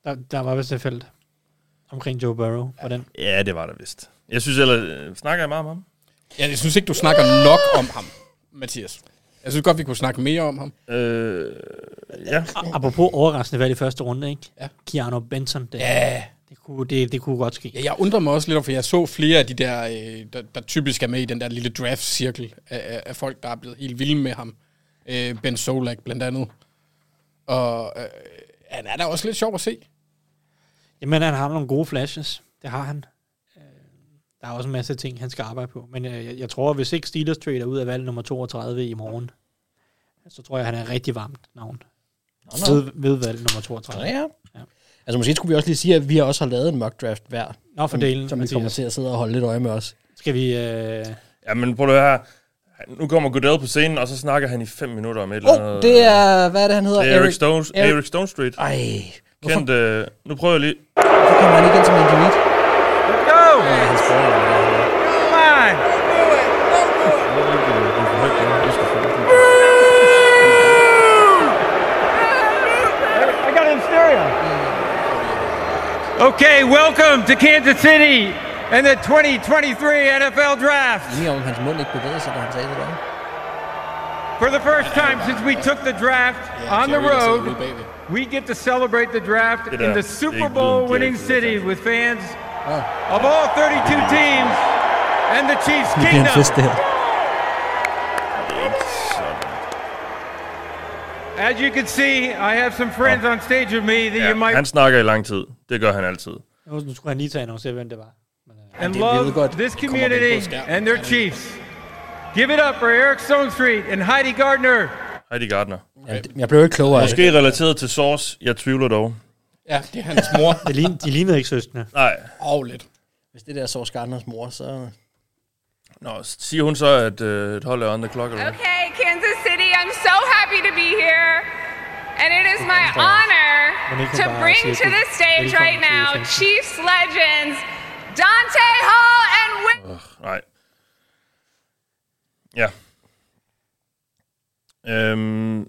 Der, der var vist et felt omkring Joe Burrow. Ja. Den. ja, det var der vist. Jeg synes ellers... øh, Snakker jeg meget om ham? Ja, jeg synes ikke, du snakker nok om ham, Mathias. Jeg synes godt, vi kunne snakke mere om ham. Øh, ja. Apropos overraskende valg i første runde, ikke? Ja. Keanu Benson. Det, Ja, det, kunne, det, det kunne godt ske. Ja, jeg undrer mig også lidt over, for jeg så flere af de der, øh, der, der typisk er med i den der lille draft-cirkel af, af, af folk, der er blevet helt vilde med ham. Øh, ben Solak blandt andet. Og øh, han er da også lidt sjov at se. Jamen, han har nogle gode flashes. Det har han. Øh, Der er også en masse ting, han skal arbejde på. Men øh, jeg, jeg tror, hvis ikke Steelers trader ud af valg nummer 32 i morgen, så tror jeg, han er et rigtig varmt navn. nå. Ved, ved valg nummer 32. Ja. Altså måske skulle vi også lige sige, at vi også har lavet en mock draft hver, Nå, for delen, som, som vi kommer til at sidde og holde lidt øje med os. Skal vi... Øh, Jamen, prøv at høre her. Nu kommer Goodell på scenen, og så snakker han i fem minutter om et eller Åh, andet. oh, det er, hvad er det, han hedder? Det er Eric, Stones, Eric. Eric- Eric Stone Street. Ej, hvorfor, Kendt, øh, nu prøver jeg lige. hvorfor kommer han ikke ind som individ? Okay, welcome to Kansas City and the 2023 NFL Draft. Lige om hans mund ikke bevægede sig, da han sagde det der. For the first time since we took the draft on the Jerry, der sidder ude road, bagved. we get to celebrate the draft Get in out. the Big Super blue Bowl winning jacket. city with fans of all 32 teams and the Chiefs Det bliver en kingdom. fest, det her. As you can see, I have some Oh. friends on stage with me that you Ja, might han snakker i lang tid. Det gør han altid. nu, nu skulle han lige tage og annoncere, hvem det var. and det er vildt godt. love this kommer op i en community busk, ja. and their Chiefs. Give it up for Eric Stone Street and Heidi Gardner. Heidi Gardner. Ja, det- jeg blev ikke klogere af det. Måske relateret til Source. Jeg tvivler dog. Ja, det er hans mor. De, lign, de lignede ikke søskende. Nej. Og lidt. Hvis det der så Gardners mor, så... Nå, siger hun så, at øh, et hold er on the clock, eller hvad? Okay, Kansas City, I'm so happy to be here. And it is my honor to bring to the stage right now Chiefs legends Dante Hall and Whit- Nej. Ja. Øhm,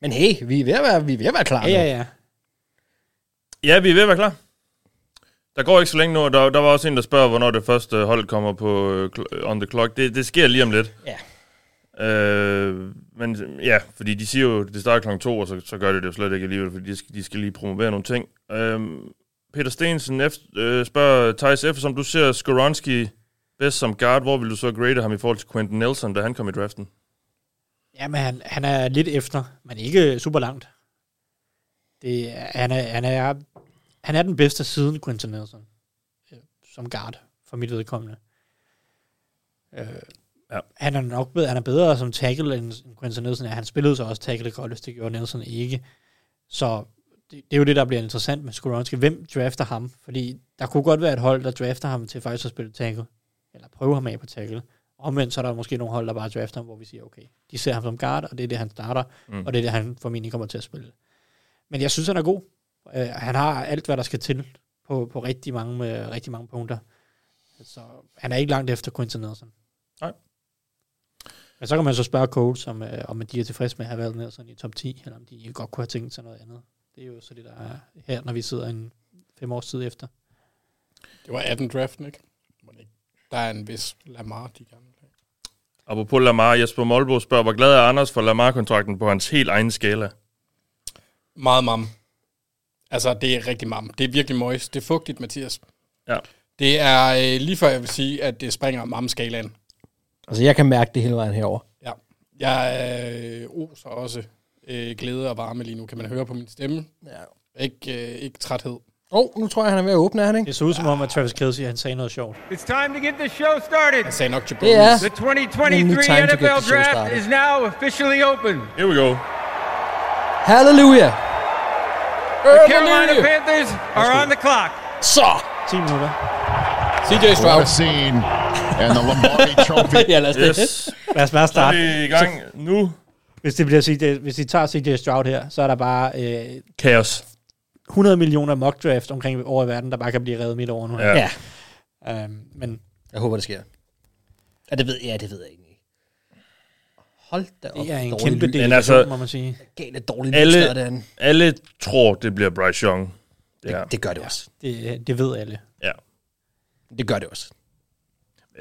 Men hey, vi er ved at være, vi er ved at være klar Ja, ja, ja. ja, vi er ved at være klar. Der går ikke så længe nu. Der, der var også en, der spørger, hvornår det første hold kommer på øh, cl- on the clock. Det, det sker lige om lidt. Ja. Øh, men ja, fordi de siger jo, at det starter klokken to, og så, så gør det det jo slet ikke alligevel, fordi de skal, de skal lige promovere nogle ting. Øh, Peter Stensen efter, øh, spørger Thijs F., som du ser Skoronski bedst som guard, hvor vil du så grade ham i forhold til Quentin Nelson, da han kom i draften? Jamen, han, han er lidt efter, men ikke super langt. Det, er- han, er, han, er, han er den bedste siden Quentin Nelson. øh, Som guard, for mit vedkommende. Øh, Ja. Han er nok bedre, han er bedre som tackle end end Quentin Nelson. er. Han spillede så også tackle godt, hvis det gjorde Nelson ikke. Så det, det er jo det, der bliver interessant med Skoronski. Hvem drafter ham? Fordi der kunne godt være et hold, der drafter ham til faktisk at spille tackle. Eller prøve ham af på tackle. Omvendt så er der måske nogle hold, der bare drafter ham, hvor vi siger, okay, de ser ham som guard, og det er det, han starter, mm. og det er det, han formentlig kommer til at spille. Men jeg synes, han er god. Øh, han har alt, hvad der skal til på, på rigtig, mange, øh, rigtig mange punkter. Så han er ikke langt efter Quinton Nelson. Nej. Men så kan man så spørge Coles, om, øh, om de er tilfredse med at have valgt Nelson i top 10, eller om de godt kunne have tænkt sig noget andet. Det er jo så det, der er her, når vi sidder en fem års tid efter. Det var 18 draften, ikke? Må det ikke? Der er en vis Lamar, de gamle. dage. Apropos Lamar, Jesper Molbo spørger, hvor glad er Anders for Lamar-kontrakten på hans helt egen skala? Meget mam. Altså, det er rigtig mam. Det er virkelig møjs. Det er fugtigt, Mathias. Ja. Det er øh, lige før, jeg vil sige, at det springer mam-skalaen. Altså, jeg kan mærke det hele vejen herover. Ja. Jeg øh, oser også øh, glæde og varme lige nu. Kan man høre på min stemme? Ja. Ikke, øh, ikke træthed. Åh, oh, nu tror jeg, han er ved at åbne, er han ikke? Det så ud som om, at Travis Kelsey han sagde noget sjovt. It's time to get the show started. Jeg sagde nok til Det er... The 2023 Need time to get the NFL show Draft started. is now officially open. Here we go. Halleluja! The Carolina Halleluja! Panthers are on the clock. Så! 10 minutter. CJ What Stroud. a scene. And the Lombardi Trophy. Ja, lad os yes. det. Yes. Lad os bare Så er starte. vi i gang nu. Hvis, det bliver CJ, hvis de tager CJ Stroud her, så er der bare øh, Kaos. 100 millioner mock draft omkring over i verden, der bare kan blive reddet midt over nu. Ja. ja. Øhm, men Jeg håber, det sker. Ja, det ved, ja, det ved jeg egentlig ikke. Hold da op. Det er en dårlig kæmpe lyd. del. Men altså, må man sige. Galt er dårlig lyd, alle, større det andet. alle tror, det bliver Bryce Young. Det, her. Det gør det også. det, det ved alle. Ja. Det gør det også.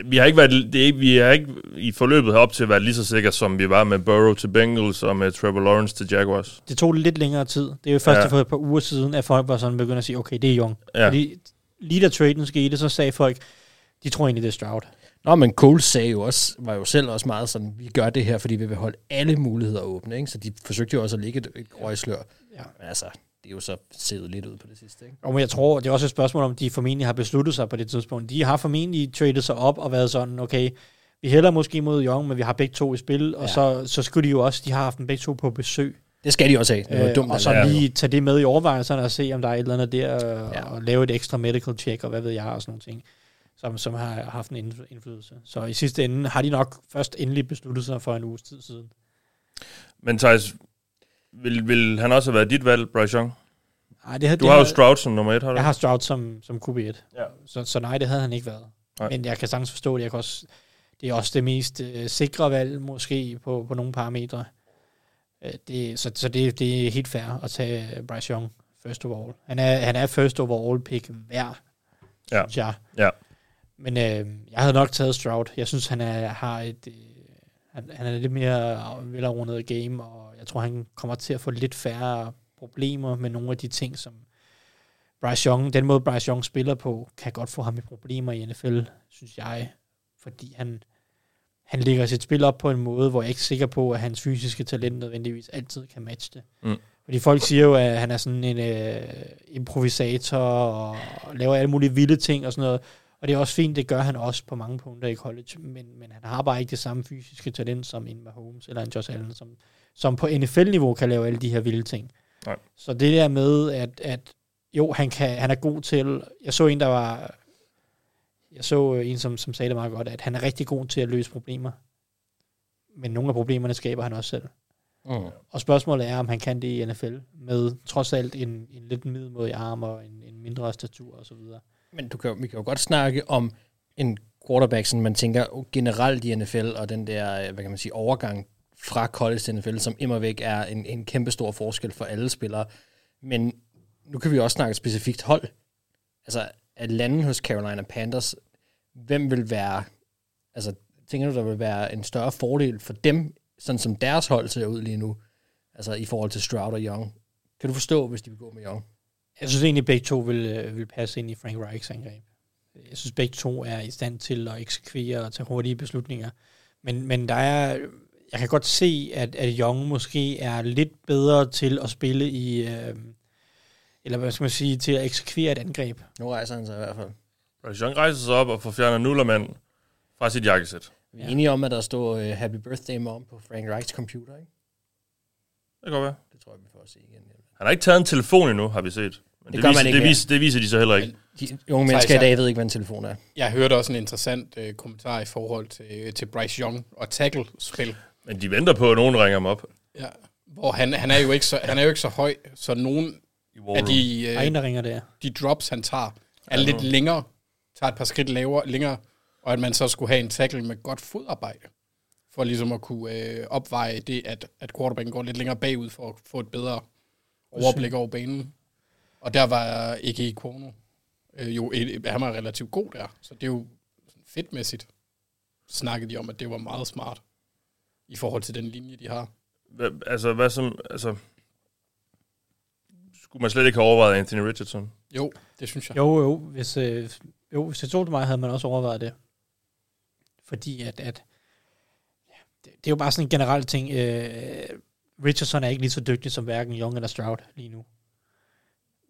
Vi har ikke været, det er, ikke- vi har ikke i forløbet herop til været lige så sikre, som vi var med Burrow til Bengals og med Trevor Lawrence til Jaguars. Det tog lidt længere tid. Det er jo først Ja. ja. for et par uger siden, at folk var sådan begyndt at sige, okay, det er Young. Ja. Fordi lige da traden skete, så sagde folk, de tror egentlig, det er Stroud. Nå, men Cole sagde jo også, var jo selv også meget sådan, vi gør det her, fordi vi vil holde alle muligheder åbne, ikke? Så de forsøgte jo også at lægge et, et røgslør. Ja. Men altså, det er jo så set lidt ud på det sidste, ikke? Og men jeg tror, det er også et spørgsmål, om de formentlig har besluttet sig på det tidspunkt. De har formentlig tradet sig op og været sådan, okay, vi hælder måske mod Young, men vi har begge to i spil, og Ja. så, så skulle de jo også, de har haft dem begge to på besøg. Det skal de også have. Det var Øh, dumt, og at så lade være. lige tage det med i overvejelserne og se, om der er et eller andet der, øh, Ja. ja. og lave et ekstra medical check, og hvad ved jeg, og sådan nogle ting, som, som har haft en indf- indflydelse. Så i sidste ende har de nok først endelig besluttet sig for en uges tid siden. Men Thijs, vil, vil han også have været dit valg, Bryce Young? Ej, det, her- Du det har jo her- Stroud som nummer et, har du? Jeg ikke? har Stroud som, som QB1. Ja. Så, så nej, det havde han ikke været. Nej. Nej. Men jeg kan sagtens forstå det. Jeg kan også, det er også det mest øh, sikre valg, måske, på, på nogle parametre. Øh, det, så så det, det er helt fair at tage Bryce Young first overall. Han er, han er first overall pick hver, Ja. synes jeg. Ja. Men øh, jeg havde nok taget Stroud. Jeg synes, han er, har et... Øh, han, han er lidt mere velafrundet game, og jeg tror, han kommer til at få lidt færre problemer med nogle af de ting, som Bryce Young, den måde Bryce Young spiller på, kan godt få ham i problemer i NFL, synes jeg. Fordi han, han lægger sit spil op på en måde, hvor jeg er ikke er sikker på, at hans fysiske talent nødvendigvis altid kan matche det. Mm. Fordi folk siger jo, at han er sådan en øh, improvisator og laver alle mulige vilde ting og sådan noget. Og det er også fint, det gør han også på mange punkter i college, men, men han har bare ikke det samme fysiske talent som en Mahomes eller en Josh Allen, som, som på NFL-niveau kan lave alle de her vilde ting. Nej. Så det der med, at, at jo, han, kan, han er god til, jeg så en, der var, jeg så øh, en, som, som sagde det meget godt, at han er rigtig god til at løse problemer. Men nogle af problemerne skaber han også selv. Mm. Og spørgsmålet er, om han kan det i NFL, med trods alt en, en lidt middelmodig arm og en, en mindre statur osv. Men du kan, jo- vi kan jo godt snakke om en quarterback, som man tænker generelt i NFL, og den der, øh, hvad kan man sige, overgang fra college til NFL, som immer væk er en, en kæmpe stor forskel for alle spillere. Men nu kan vi også snakke et specifikt hold. Altså, at landen hos Carolina Panthers, hvem vil være, altså, tænker du, der vil være en større fordel for dem, sådan som deres hold ser ud lige nu, altså i forhold til Stroud og Young? Kan du forstå, hvis de vil gå med Young? Jeg synes egentlig, at begge to vil, øh, vil passe ind i Frank Reichs angreb. Jeg synes, begge to er i stand til at eksekvere og tage hurtige beslutninger. Men, men der er, jeg kan godt se, at, at Young måske er lidt bedre til at spille i, øh, eller hvad skal man sige, til at eksekvere et angreb. Nu rejser han sig i hvert fald. Bryce Young rejser sig op og får fjernet nullermanden fra sit jakkesæt. Vi er ja. enige om, at der står uh, Happy Birthday Mom på Frank Reichs computer, ikke? Det kan godt være. Det tror jeg, vi får at se igen. Han har ikke taget en telefon endnu, har vi set. Men det, gør man viser, ikke det, mere. viser, det viser de så heller ikke. De unge mennesker i dag ved ikke, hvad en telefon er. Jeg hørte også en interessant øh, kommentar i forhold til, til Bryce Young og tackle-spil. Men de venter på, at nogen ringer ham op. Ja. Hvor han, han, er jo ikke så, han er jo ikke så høj, så nogen af de, Der er en, øh, der ringer der. de drops, han tager, er lidt længere, tager et par skridt lavere, længere, og at man så skulle have en tackle med godt fodarbejde, for ligesom at kunne øh, opveje det, at, at quarterbacken går lidt længere bagud for at få et bedre overblik over banen. Og der var ikke Kono øh, jo, et, han var relativt god der, så det er jo sådan fedtmæssigt snakkede de om, at det var meget smart i forhold til den linje, de har. Hva, altså, hvad som... Altså, skulle man slet ikke have overvejet Anthony Richardson? Jo, det synes jeg. Jo, jo, hvis, øh, jo, hvis det tog til mig, havde man også overvejet det. Fordi at, at ja, det, det er jo bare sådan en generel ting. Øh, Richardson er ikke lige så dygtig som hverken Young eller Stroud lige nu.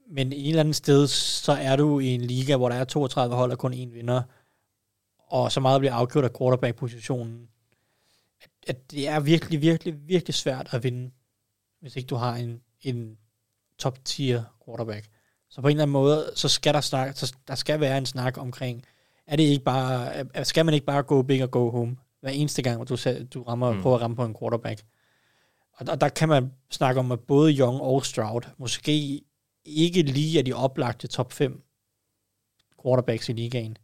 Men i et eller andet sted, så er du i en liga, hvor der er 32 hold og kun én vinder, og så meget bliver afgjort af quarterback-positionen, at, at det er virkelig, virkelig, virkelig svært at vinde, hvis ikke du har en, en top-tier quarterback. Så på en eller anden måde, så skal der, snak, så der skal være en snak omkring, er det ikke bare, er- skal man ikke bare gå big og go home, hver eneste gang, hvor du, selv- du rammer, Mm. mm. prøver at ramme på en quarterback. Og der, der kan man snakke om, at både Young og Stroud måske ikke lige er de oplagte top 5 quarterbacks i ligaen.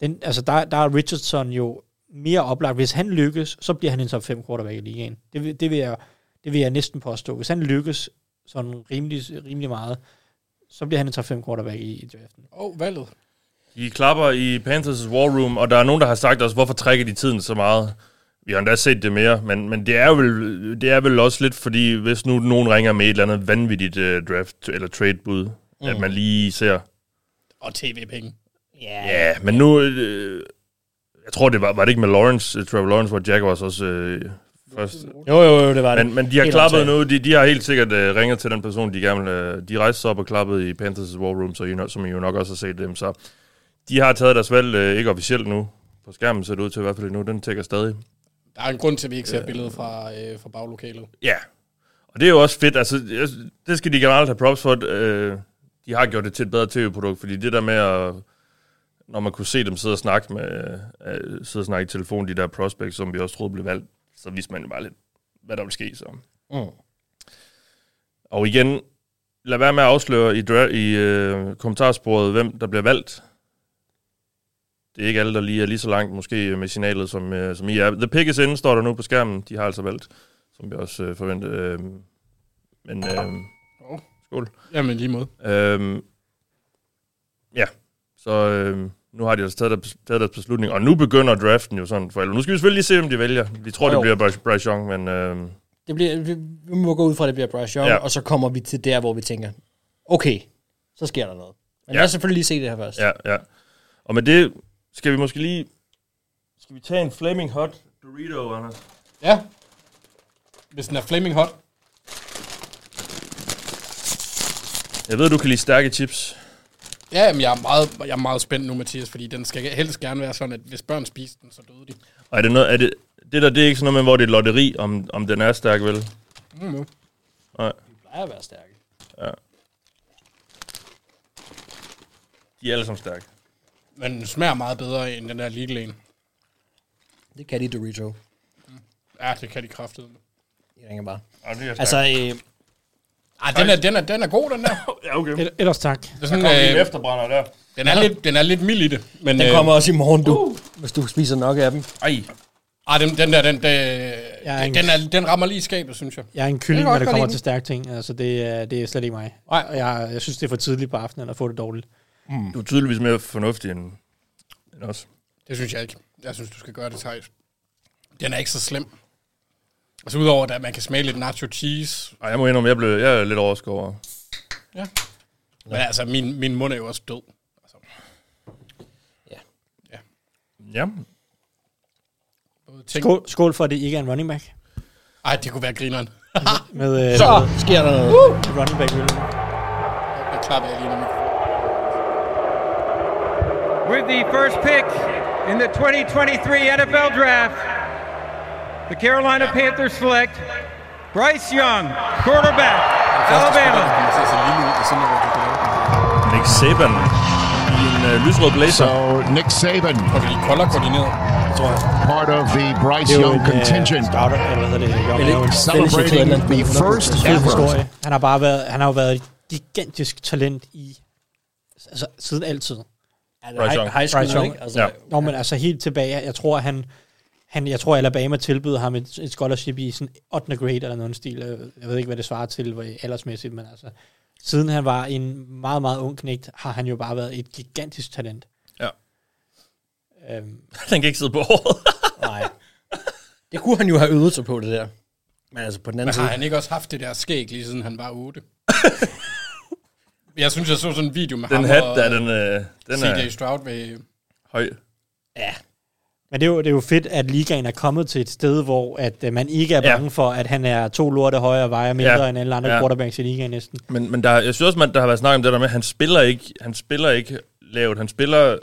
Den, altså der, der er Richardson jo mere oplagt. Hvis han lykkes, så bliver han en top 5 quarterback i ligaen. Det, vil- det, vil, jeg, det vil jeg næsten påstå. Hvis han lykkes sådan rimelig, rimelig meget, så bliver han en top 5 quarterback i, i draften. Åh, oh, valget. I klapper i Panthers' War Room, og der er nogen, der har sagt os, hvorfor trækker de tiden så meget? Vi har endda set det mere, men, men det, er vel, det er vel også lidt, fordi hvis nu nogen ringer med et eller andet vanvittigt uh, draft- eller trade-bud, mm. at Mm. man lige ser, Og tv-penge. Ja. ja, men nu, øh, jeg tror, det var, var det ikke med Lawrence, øh, Trevor Lawrence, hvor Jaguars også øh, først... Jo, jo, jo, det var det. Men, men de har Helt klappet omtalt. nu, de, de har helt sikkert øh, ringet til den person, de gerne vil, øh, de rejste sig op og klappede i Panthers' War Room, så I, nok- som I jo nok også har set dem, så de har taget deres valg, øh, ikke officielt nu, på skærmen ser det ud til i hvert fald nu, den tækker stadig. Der er en grund til, at vi ikke ser billedet fra, øh, fra baglokalet. Ja, og det er jo også fedt. Altså, jeg- det skal de generelt have props for. Øh, de har gjort det til et bedre tv-produkt, fordi det der med at når man kunne se dem sidde og snakke, med, øh, sidde og snakke i telefon, de der prospects, som vi også troede blev valgt, så vidste man jo bare lidt, hvad der ville ske. Så. Mm. Og igen, lad være med at afsløre i, dra- i øh, kommentarsporet, hvem der bliver valgt. Det er ikke alle, der lige er lige så langt måske med signalet, som, øh, som I er. The pick is in, står der nu på skærmen. De har altså valgt, som vi også øh, forventede. Øh, men øh, skål. Jamen, lige måde. Øh, ja, så øh, nu har de altså taget deres, taget deres beslutning. Og nu begynder draften jo sådan for alle. Nu skal vi selvfølgelig lige se, hvem de vælger. Vi tror, Jo. det bliver Bryce- Bryce Young, men... Øh, Det bliver, vi, vi må gå ud fra, at det bliver Bryce Young, Ja. ja. og så kommer vi til der, hvor vi tænker, okay, så sker der noget. Men Ja. ja. lad os selvfølgelig lige se det her først. Ja, ja. Og med det skal vi måske lige... Skal vi tage en Flaming Hot Dorito, Anders? Ja. Hvis den er flaming hot. Jeg ved, du kan lide stærke chips. Ja, men jeg er, meget, jeg er meget spændt nu, Mathias, fordi den skal helst gerne være sådan, at hvis børn spiser den, så døde de. Og er det noget... Er det, det der, det er ikke sådan noget med, hvor det er et lotteri, om, om den er stærk, vel? Mm-hmm. Nej. De plejer at være stærke. Ja. De er alle sammen stærke. Men den smager meget bedre end den der Lidl en. Det kan de Dorito. Ja, det kan de kraftede. Jeg ringer bare. Ja, det Ah, er Altså, øh, Ej, den er, den, er, den er god, den der. ja, okay. El- Ellers tak. Det er Der sådan, kommer lige en øh, efterbrænder der. den, er lidt, den er lidt mild i det. Men, øh, den kommer også i morgen, du, uh. hvis du spiser nok af dem. Ej, Ej, den, den der, den, den, er den, en- den, er, den rammer lige i skabet, synes jeg. Jeg er en kylling, Jeg kan når godt det godt kommer lide til stærke ting. Altså, det, er- det er slet ikke mig. Nej. Og Jeg, jeg synes, det er for tidligt på aftenen at få det dårligt. du er tydeligvis mere fornuftig end, end os. Det synes jeg ikke. Jeg synes, du skal gøre det sejt. Den er ikke så slem. Altså udover, at man kan smage lidt nacho cheese. Ej, jeg må indrømme, jeg, blev, jeg er lidt overrasket over. Ja. Men altså, min, min mund er jo også død. Altså, Ja. både ting. Skål, skål for, at det ikke er en running back. Ej, det kunne være grineren. Med, øh, Så sker der noget. Uh. running back øl. Jeg klapper jeg lige nu. With the first pick in the 2023 NFL Draft, the Carolina Panthers select Bryce Young, quarterback, Alabama. Det kommer til at se lille ud, og sådan noget, du kan lave. Nick Saban i en øh, lysrød blazer. So Nick Saban, Og det er lige kolder koordineret. part of the Bryce Det er jo Young en contingent, øh, starter, eller hvad hedder det? Young Eller- Owens. celebrating Fellowship the Atlanta. first fed ever Altså, historie. Han har bare været, han har jo været et gigantisk talent i, altså siden altid. Bryce Young. High, high Bryce school, Young. ikke? Altså, Ja. ja. Nå, men altså helt tilbage, jeg tror han, han jeg tror Alabama tilbød ham et, et scholarship i sådan 8. grade eller noget i den stil. Jeg- Jeg ved ikke, hvad det svarer til hvor aldersmæssigt, men altså, siden han var en meget, meget ung knægt, har han jo bare været et gigantisk talent. Ja. Øhm, Den kan ikke sidde på håret. Nej. Det kunne han jo have øvet sig på, det der. Men altså, på den anden Men side... har han ikke også haft det der skæg, lige siden han var 8? jeg synes, jeg så sådan en video med Den ham hat, og der, den, øh, den CJ er Stroud ved... høj. Ja. Men det er, jo, det er jo fedt, at ligaen er kommet til et sted, hvor at øh, man ikke er Ja. bange for, at han er to lorte højere og vejer mindre Ja. end alle andre Ja. ja. quarterbacks i ligaen næsten. Men, men der, jeg synes også, man, der har været snak om det der med, at han spiller ikke, han spiller ikke lavt. Han spiller...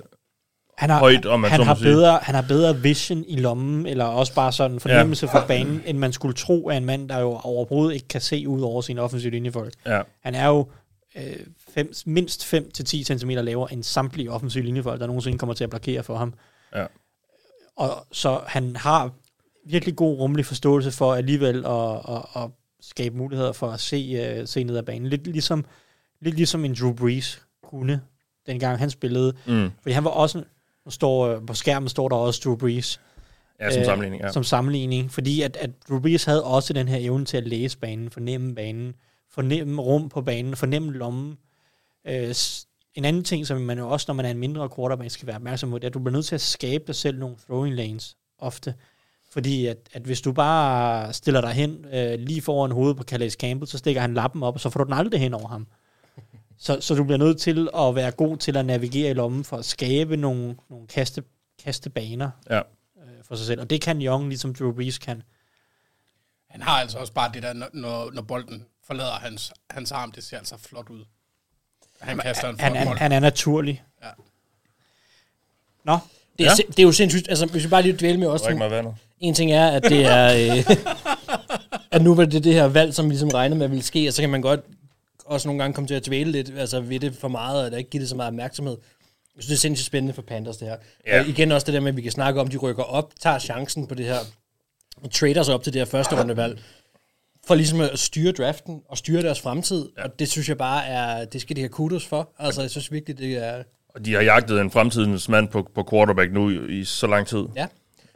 Han har, Højt, om man han, så må har sige. bedre, han har bedre vision i lommen, eller også bare sådan fornemmelse ja. for banen, end man skulle tro af en mand, der jo overhovedet ikke kan se ud over sine offensive linjefolk. Ja, Han er jo øh, fem, mindst 5-10 cm lavere end samtlige offensive linjefolk, der nogensinde kommer til at blokere for ham. ja. Og så han har virkelig god rummelig forståelse øh, for alligevel at, at, at skabe muligheder for at se, uh, se ned ad banen. Lidt ligesom lidt ligesom en Drew Brees kunne, dengang han spillede. Mm. Fordi han var også, nu står, øh, på skærmen står der også Drew Brees. Ja, som sammenligning, ja. Øh, Som sammenligning, fordi at, at Drew Brees havde også den her evne til at læse banen, fornemme banen, fornemme rum på banen, fornemme lommen. Øh, s- en anden ting, som man jo også, når man er en mindre quarterback, skal være opmærksom på, det er, at du bliver nødt til at skabe dig selv nogle throwing lanes ofte. Fordi at, at hvis du bare stiller dig hen øh, lige foran hovedet på Calais Campbell, så stikker han lappen op, og så får du den aldrig hen over ham. Så, så du bliver nødt til at være god til at navigere i lommen for at skabe nogle, nogle kaste, kastebaner Ja. øh, for sig selv. Og det kan Young, ligesom Drew Brees kan. Han har altså også bare det der, når- når, når bolden forlader hans, hans arm, det ser altså flot ud. Han kaster en flot Han, han, bold. han er naturlig. Ja. Nå. Det er, Ja. ja. det er jo sindssygt. Altså, hvis vi bare lige dvæler med også... ikke meget vandet. En ting er, at det er... Øh, at nu var det det her valg, som vi ligesom regnede med ville ske, og så kan man godt også nogle gange komme til at dvæle lidt altså ved det for meget, eller ikke give det så meget opmærksomhed. Jeg synes, det er sindssygt spændende for Panthers, det her. Ja. Og igen også det der med, at vi kan snakke om, at de rykker op, tager chancen på det her, og trader sig op til det her første rundevalg, for ligesom at styre draften og styre deres fremtid. Ja. Og det synes jeg bare er, det skal de have kudos for. Altså, jeg synes virkelig, det er... Og de har jagtet en fremtidens mand på, på quarterback nu i, i så lang tid. Ja.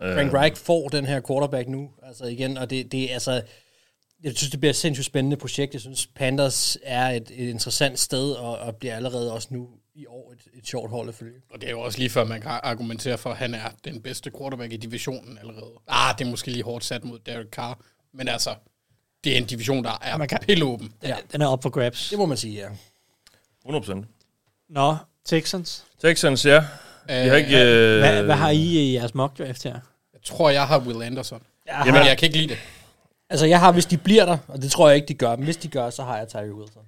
Øh, Frank Reich får den her quarterback nu, altså igen, og det, det er altså... Jeg synes, det bliver et sindssygt spændende projekt. Jeg synes, Panthers er et, et interessant sted, og, og bliver allerede også nu i år et, et sjovt hold at følge. Og det er jo også lige før, man kan argumentere for, at han er den bedste quarterback i divisionen allerede. Ah, det er måske lige hårdt sat mod Derek Carr, men altså, det er en division, der er man kan... pilleåben. Ja. Den er op for grabs. Det må man sige, ja. 100%. Nå, Texans. Texans, ja. De har ikke... Øh, Hvad, hvad har I i jeres mock draft her? Altså, Jeg tror, jeg har Will Anderson. Jeg Jamen, har- jeg kan ikke lide det. Altså, jeg har, hvis de bliver der, og det tror jeg ikke, de gør, men hvis de gør, så har jeg Tyree Wilson.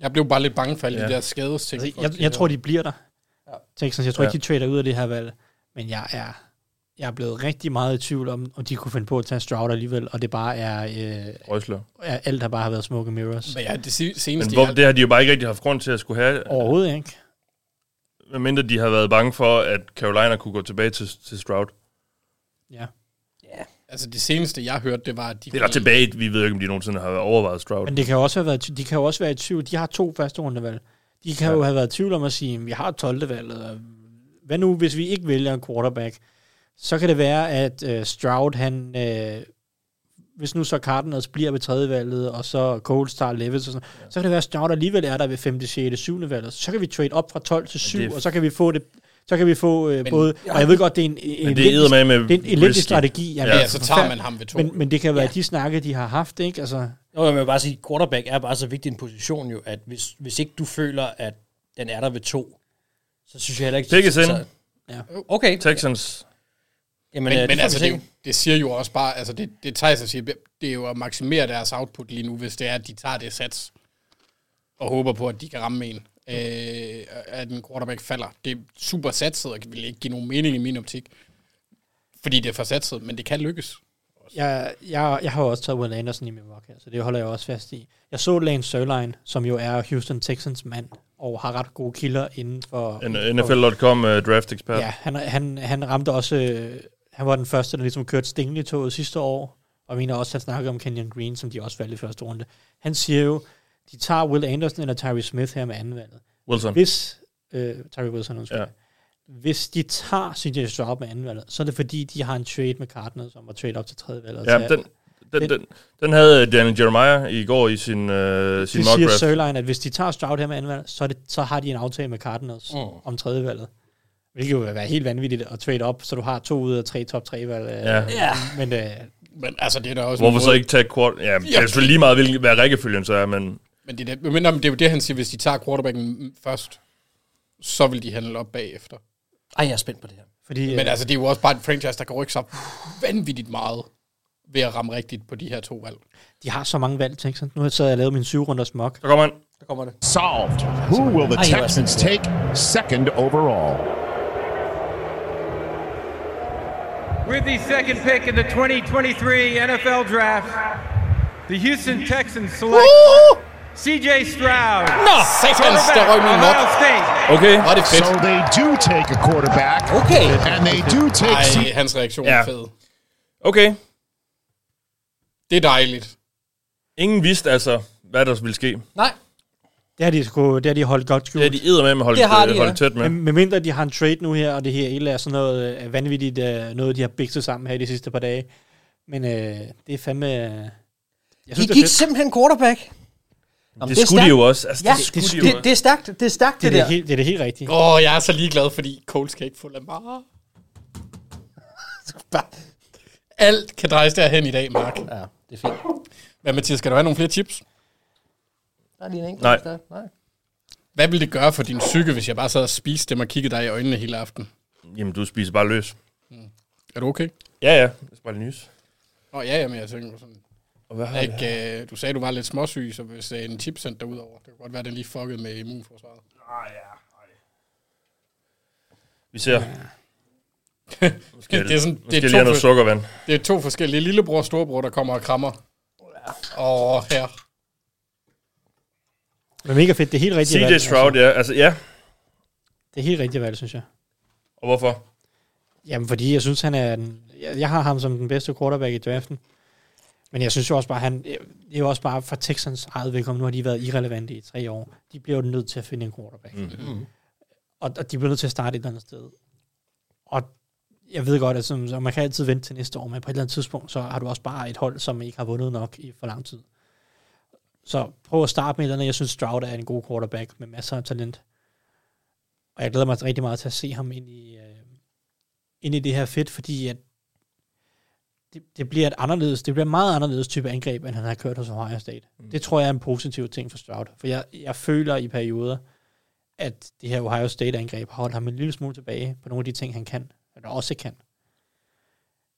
Jeg blev bare lidt bange for alle Ja. de der skades ting. Altså, jeg, jeg tror, de bliver der. Ja. Texans, jeg tror Ja. ja. ikke, de trader ud af det her valg. Men jeg er, jeg er blevet rigtig meget i tvivl om, om de kunne finde på at tage Stroud alligevel, og det bare er... Øh, Røsler. er alt, der bare har været smoke and mirrors. Men ja, det si- men seneste... hvor, jeg- det har de jo bare ikke rigtig haft grund til at skulle have. Overhovedet ikke. Medmindre de har været bange for, at Carolina kunne gå tilbage til, til Stroud. Altså, det seneste, jeg hørte, det var, at de... Eller tilbage, vi ved jo ikke, om de nogensinde har overvejet Stroud. Men det kan jo også have været, de kan jo også være i tvivl. De har to første rundevalg. De kan ja. jo have været i tvivl om at sige, at vi har 12. valget. og Hvad nu, hvis vi ikke vælger en quarterback? Så kan det være, at øh, Stroud, han... Øh, hvis nu så Cardinals bliver ved tredje valget, og så Coles tager Levis og sådan, ja. så kan det være, at Stroud alligevel er der ved 5., 6., 7. valget. Så kan vi trade op fra 12 til 7, det er- og så kan vi få det så kan vi få øh, Men- både... Og jeg ved godt, det er en, en, Men det er elendig- eddermame med det er en elendig risky. strategi. Ja, det er så tager man forfærdeligt. ham ved to. Men, men det kan være ja. de snakke, de har haft, ikke? Altså, Jo, jeg vil bare sige, quarterback er bare så vigtig en position jo, at hvis, hvis ikke du føler, at den er der ved to, så synes jeg heller ikke... Pickens ind. så- Ja. Okay. Texans. Jamen, Men, øh, men, det men får altså, vi se. det, er jo- det siger jo også bare, altså det, det Thijs siger, det er jo at maksimere deres output lige nu, hvis det er, at de tager det sats, og håber på, at de kan ramme en, øh, at en quarterback falder. Det er super satset, og det vil ikke give nogen mening i min optik, fordi det er for satset, men det kan lykkes. jeg, jeg, jeg har jo også taget Will Anderson i min mock her, så det holder jeg også fast i. Jeg så Lance Sørlein, som jo er Houston Texans mand, og har ret gode kilder inden for... N- NFL.com uh, draft ekspert. Ja, han, han, han ramte også... øh, Han var den første, der ligesom kørte stingen i toget sidste år, og jeg mener også, at han snakkede om Kenyon Green, som de også valgte i første runde. Han siger jo, de tager Will Anderson eller Tyree Smith her med andenvalget. Wilson. Hvis... Øh, Tyree Wilson, undskyld. Ja. Ja. Hvis de tager CJ Stroud med andenvalget, så er det fordi, de har en trade med Cardinals om at trade op til tredje valget. Ja, den, den, den, den havde øh, Daniel Jeremiah i går i sin, øh, sin Det mock siger draft. Sørlein, at hvis de tager Stroud her med anden valg, så, er det, så har de en aftale med Cardinals Mm. mm. om tredje valget. Hvilket jo vil være helt vanvittigt at trade op, så du har to ud af tre top tre valg. øh, Ja. Ja. Men, øh, Men altså, det er da også... en Hvorfor så måde- ikke tage quarter... Ja, det er Ja. selvfølgelig lige meget, hvilken- hvad rækkefølgen så er, men... Men det, er, det- men, nå, men det er jo det, han siger, hvis de tager quarterbacken først, så vil de handle op bagefter. Ej, jeg er spændt på det her. Fordi, men øh, altså, det er jo også bare en franchise, der kan rykke sig vanvittigt meget ved at ramme rigtigt på de her to valg. de har så mange valg, Texans. Nu har jeg sad og lavet min syv runders mock. Så kommer han. Der kommer det. Solved. Who will the Ej, hvor er Texans take second overall? With the second pick in the 2023 NFL Draft, the Houston Texans select C.J. Stroud. Nå, satans, quarterback, der røg min Ohio nok. State. Okay. So they do take a quarterback. Okay. And they do take. Ej, hans reaktion Ja. er fed. Okay. Det er dejligt. Ingen vidste altså, hvad der ville ske. Nej. Det har de, sgu, det har de holdt godt skjult. Det har de eddermame holdt- Det har de, øh, holdt ja. tæt med. Men, medmindre de har en trade nu her, og det her hele er sådan noget øh, vanvittigt, øh, noget de har bikset sammen her i de sidste par dage. Men øh, det er fandme... øh, Jeg De det er gik fedt. simpelthen quarterback. Nå, men Det skulle de stærkt. jo også. Altså, ja, det det, skulle det, de jo også. det, det, er stærkt, det er stærkt, det, det, er der. det, helt, det er det helt rigtige. Åh, oh, jeg er så ligeglad, fordi Coles kan ikke få Lamar. Alt kan drejes derhen i dag, Mark. Ja, det er fint. Hvad, Mathias, skal der være nogle flere chips? Der er lige en enkelt, Nej. der- Nej. Hvad ville det gøre for din psyke, hvis jeg bare sad og spiste dem og kiggede dig i øjnene hele aften? Jamen, du spiser bare løs. Er du okay? Ja, ja. Jeg skal bare lige nys. Åh, oh, ja, jamen, jeg tænker sådan... Og hvad har jeg ikke, øh, du sagde, du var lidt småsyg, så hvis øh, en chip sendte dig ud over, det kunne godt være, den lige fuckede med immunforsvaret. Ah, ja. Vi ser. Måske det, det er sådan, måske lige have noget for- sukkervand. Det er to forskellige lillebror og storebror, der kommer og krammer. Åh, her. Det er mega fedt. Det er helt rigtigt CJ Stroud, ja. Altså, ja. Det er helt rigtigt valg, synes jeg. Og hvorfor? Jamen, fordi jeg synes, han er... Den, jeg, jeg har ham som den bedste quarterback i draften. Men jeg synes jo også bare, han, det er jo også bare for Texans eget velkommen. Nu har de været irrelevante i tre år. De bliver jo nødt til at finde en quarterback. Mhm. Og, og de bliver nødt til at starte et eller andet sted. Og jeg ved godt, at som, så man kan altid vente til næste år, men på et eller andet tidspunkt, så har du også bare et hold, som ikke har vundet nok i for lang tid. Så prøv at starte med et eller andet. Jeg synes, Stroud er en god quarterback med masser af talent. Og jeg glæder mig rigtig meget til at se ham ind i, øh, ind i det her fedt, fordi at det, det bliver et anderledes, det bliver en meget anderledes type angreb, end han har kørt hos Ohio State. Mm. Det tror jeg er en positiv ting for Stroud, for jeg, jeg føler i perioder, at det her Ohio State-angreb har holdt ham en lille smule tilbage på nogle af de ting, han kan, eller også kan.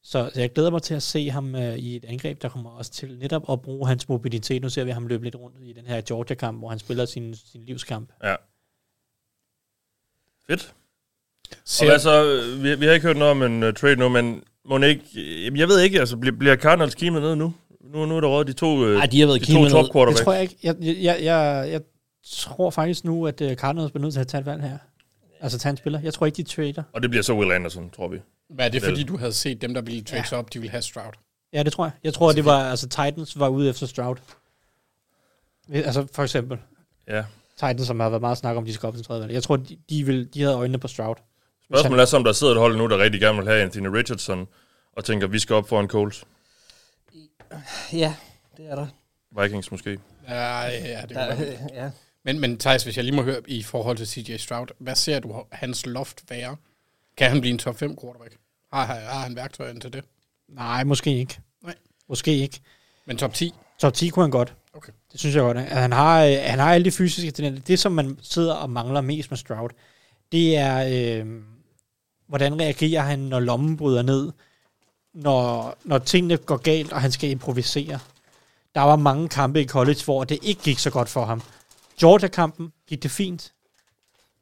Så, så jeg glæder mig til at se ham øh, i et angreb, der kommer også til netop at bruge hans mobilitet. Nu ser vi ham løbe lidt rundt i den her Georgia-kamp, hvor han spiller sin, sin livskamp. Ja. Fedt. Ser- Og hvad så? Øh, Vi, vi har ikke hørt noget om en uh, trade nu, men må ikke... øh, Jamen, jeg ved ikke, altså, bliver, bliver Cardinals kimet ned nu? Nu, nu er der råd de to, uh, Ej, de har været de kimet to ned. top Det quarterbacks. tror jeg ikke. Jeg, jeg, jeg, jeg, jeg tror faktisk nu, at øh, Cardinals bliver nødt til at tage et valg her. Altså tage en spiller. Jeg tror ikke, de trader. Og det bliver så Will Anderson, tror vi. Hvad er det, Vel. fordi du havde set dem, der ville trade sig op, de ville have Stroud? Ja, det tror jeg. Jeg tror, det var, altså Titans var ude efter Stroud. Altså for eksempel. Ja. Titans, som har været meget snak om, de skal op til tredje valg. Jeg tror, de, de, vil, de havde øjnene på Stroud. Hvis han- Spørgsmålet er, så, om der sidder et hold nu, der rigtig gerne vil have Anthony Richardson, og tænker, vi skal op foran Coles. Ja, det er der. Vikings måske. Ja, ja, det Der- der, ja. Men, men Thijs, hvis jeg lige må høre i forhold til CJ Stroud, hvad ser du hans loft være? Kan han blive en top 5 quarterback? Har, har, har han værktøjerne til det? Nej, måske ikke. Nej. Måske ikke. Men top 10? Top 10 kunne han godt. Okay. Det synes jeg godt. At han, har, øh, han har alle de fysiske talenter. Det, som man sidder og mangler mest med Stroud, det er, øh, hvordan reagerer han, når lommen bryder ned, når, når tingene går galt, og han skal improvisere. Der var mange kampe i college, hvor det ikke gik så godt for ham. Georgia-kampen gik det fint.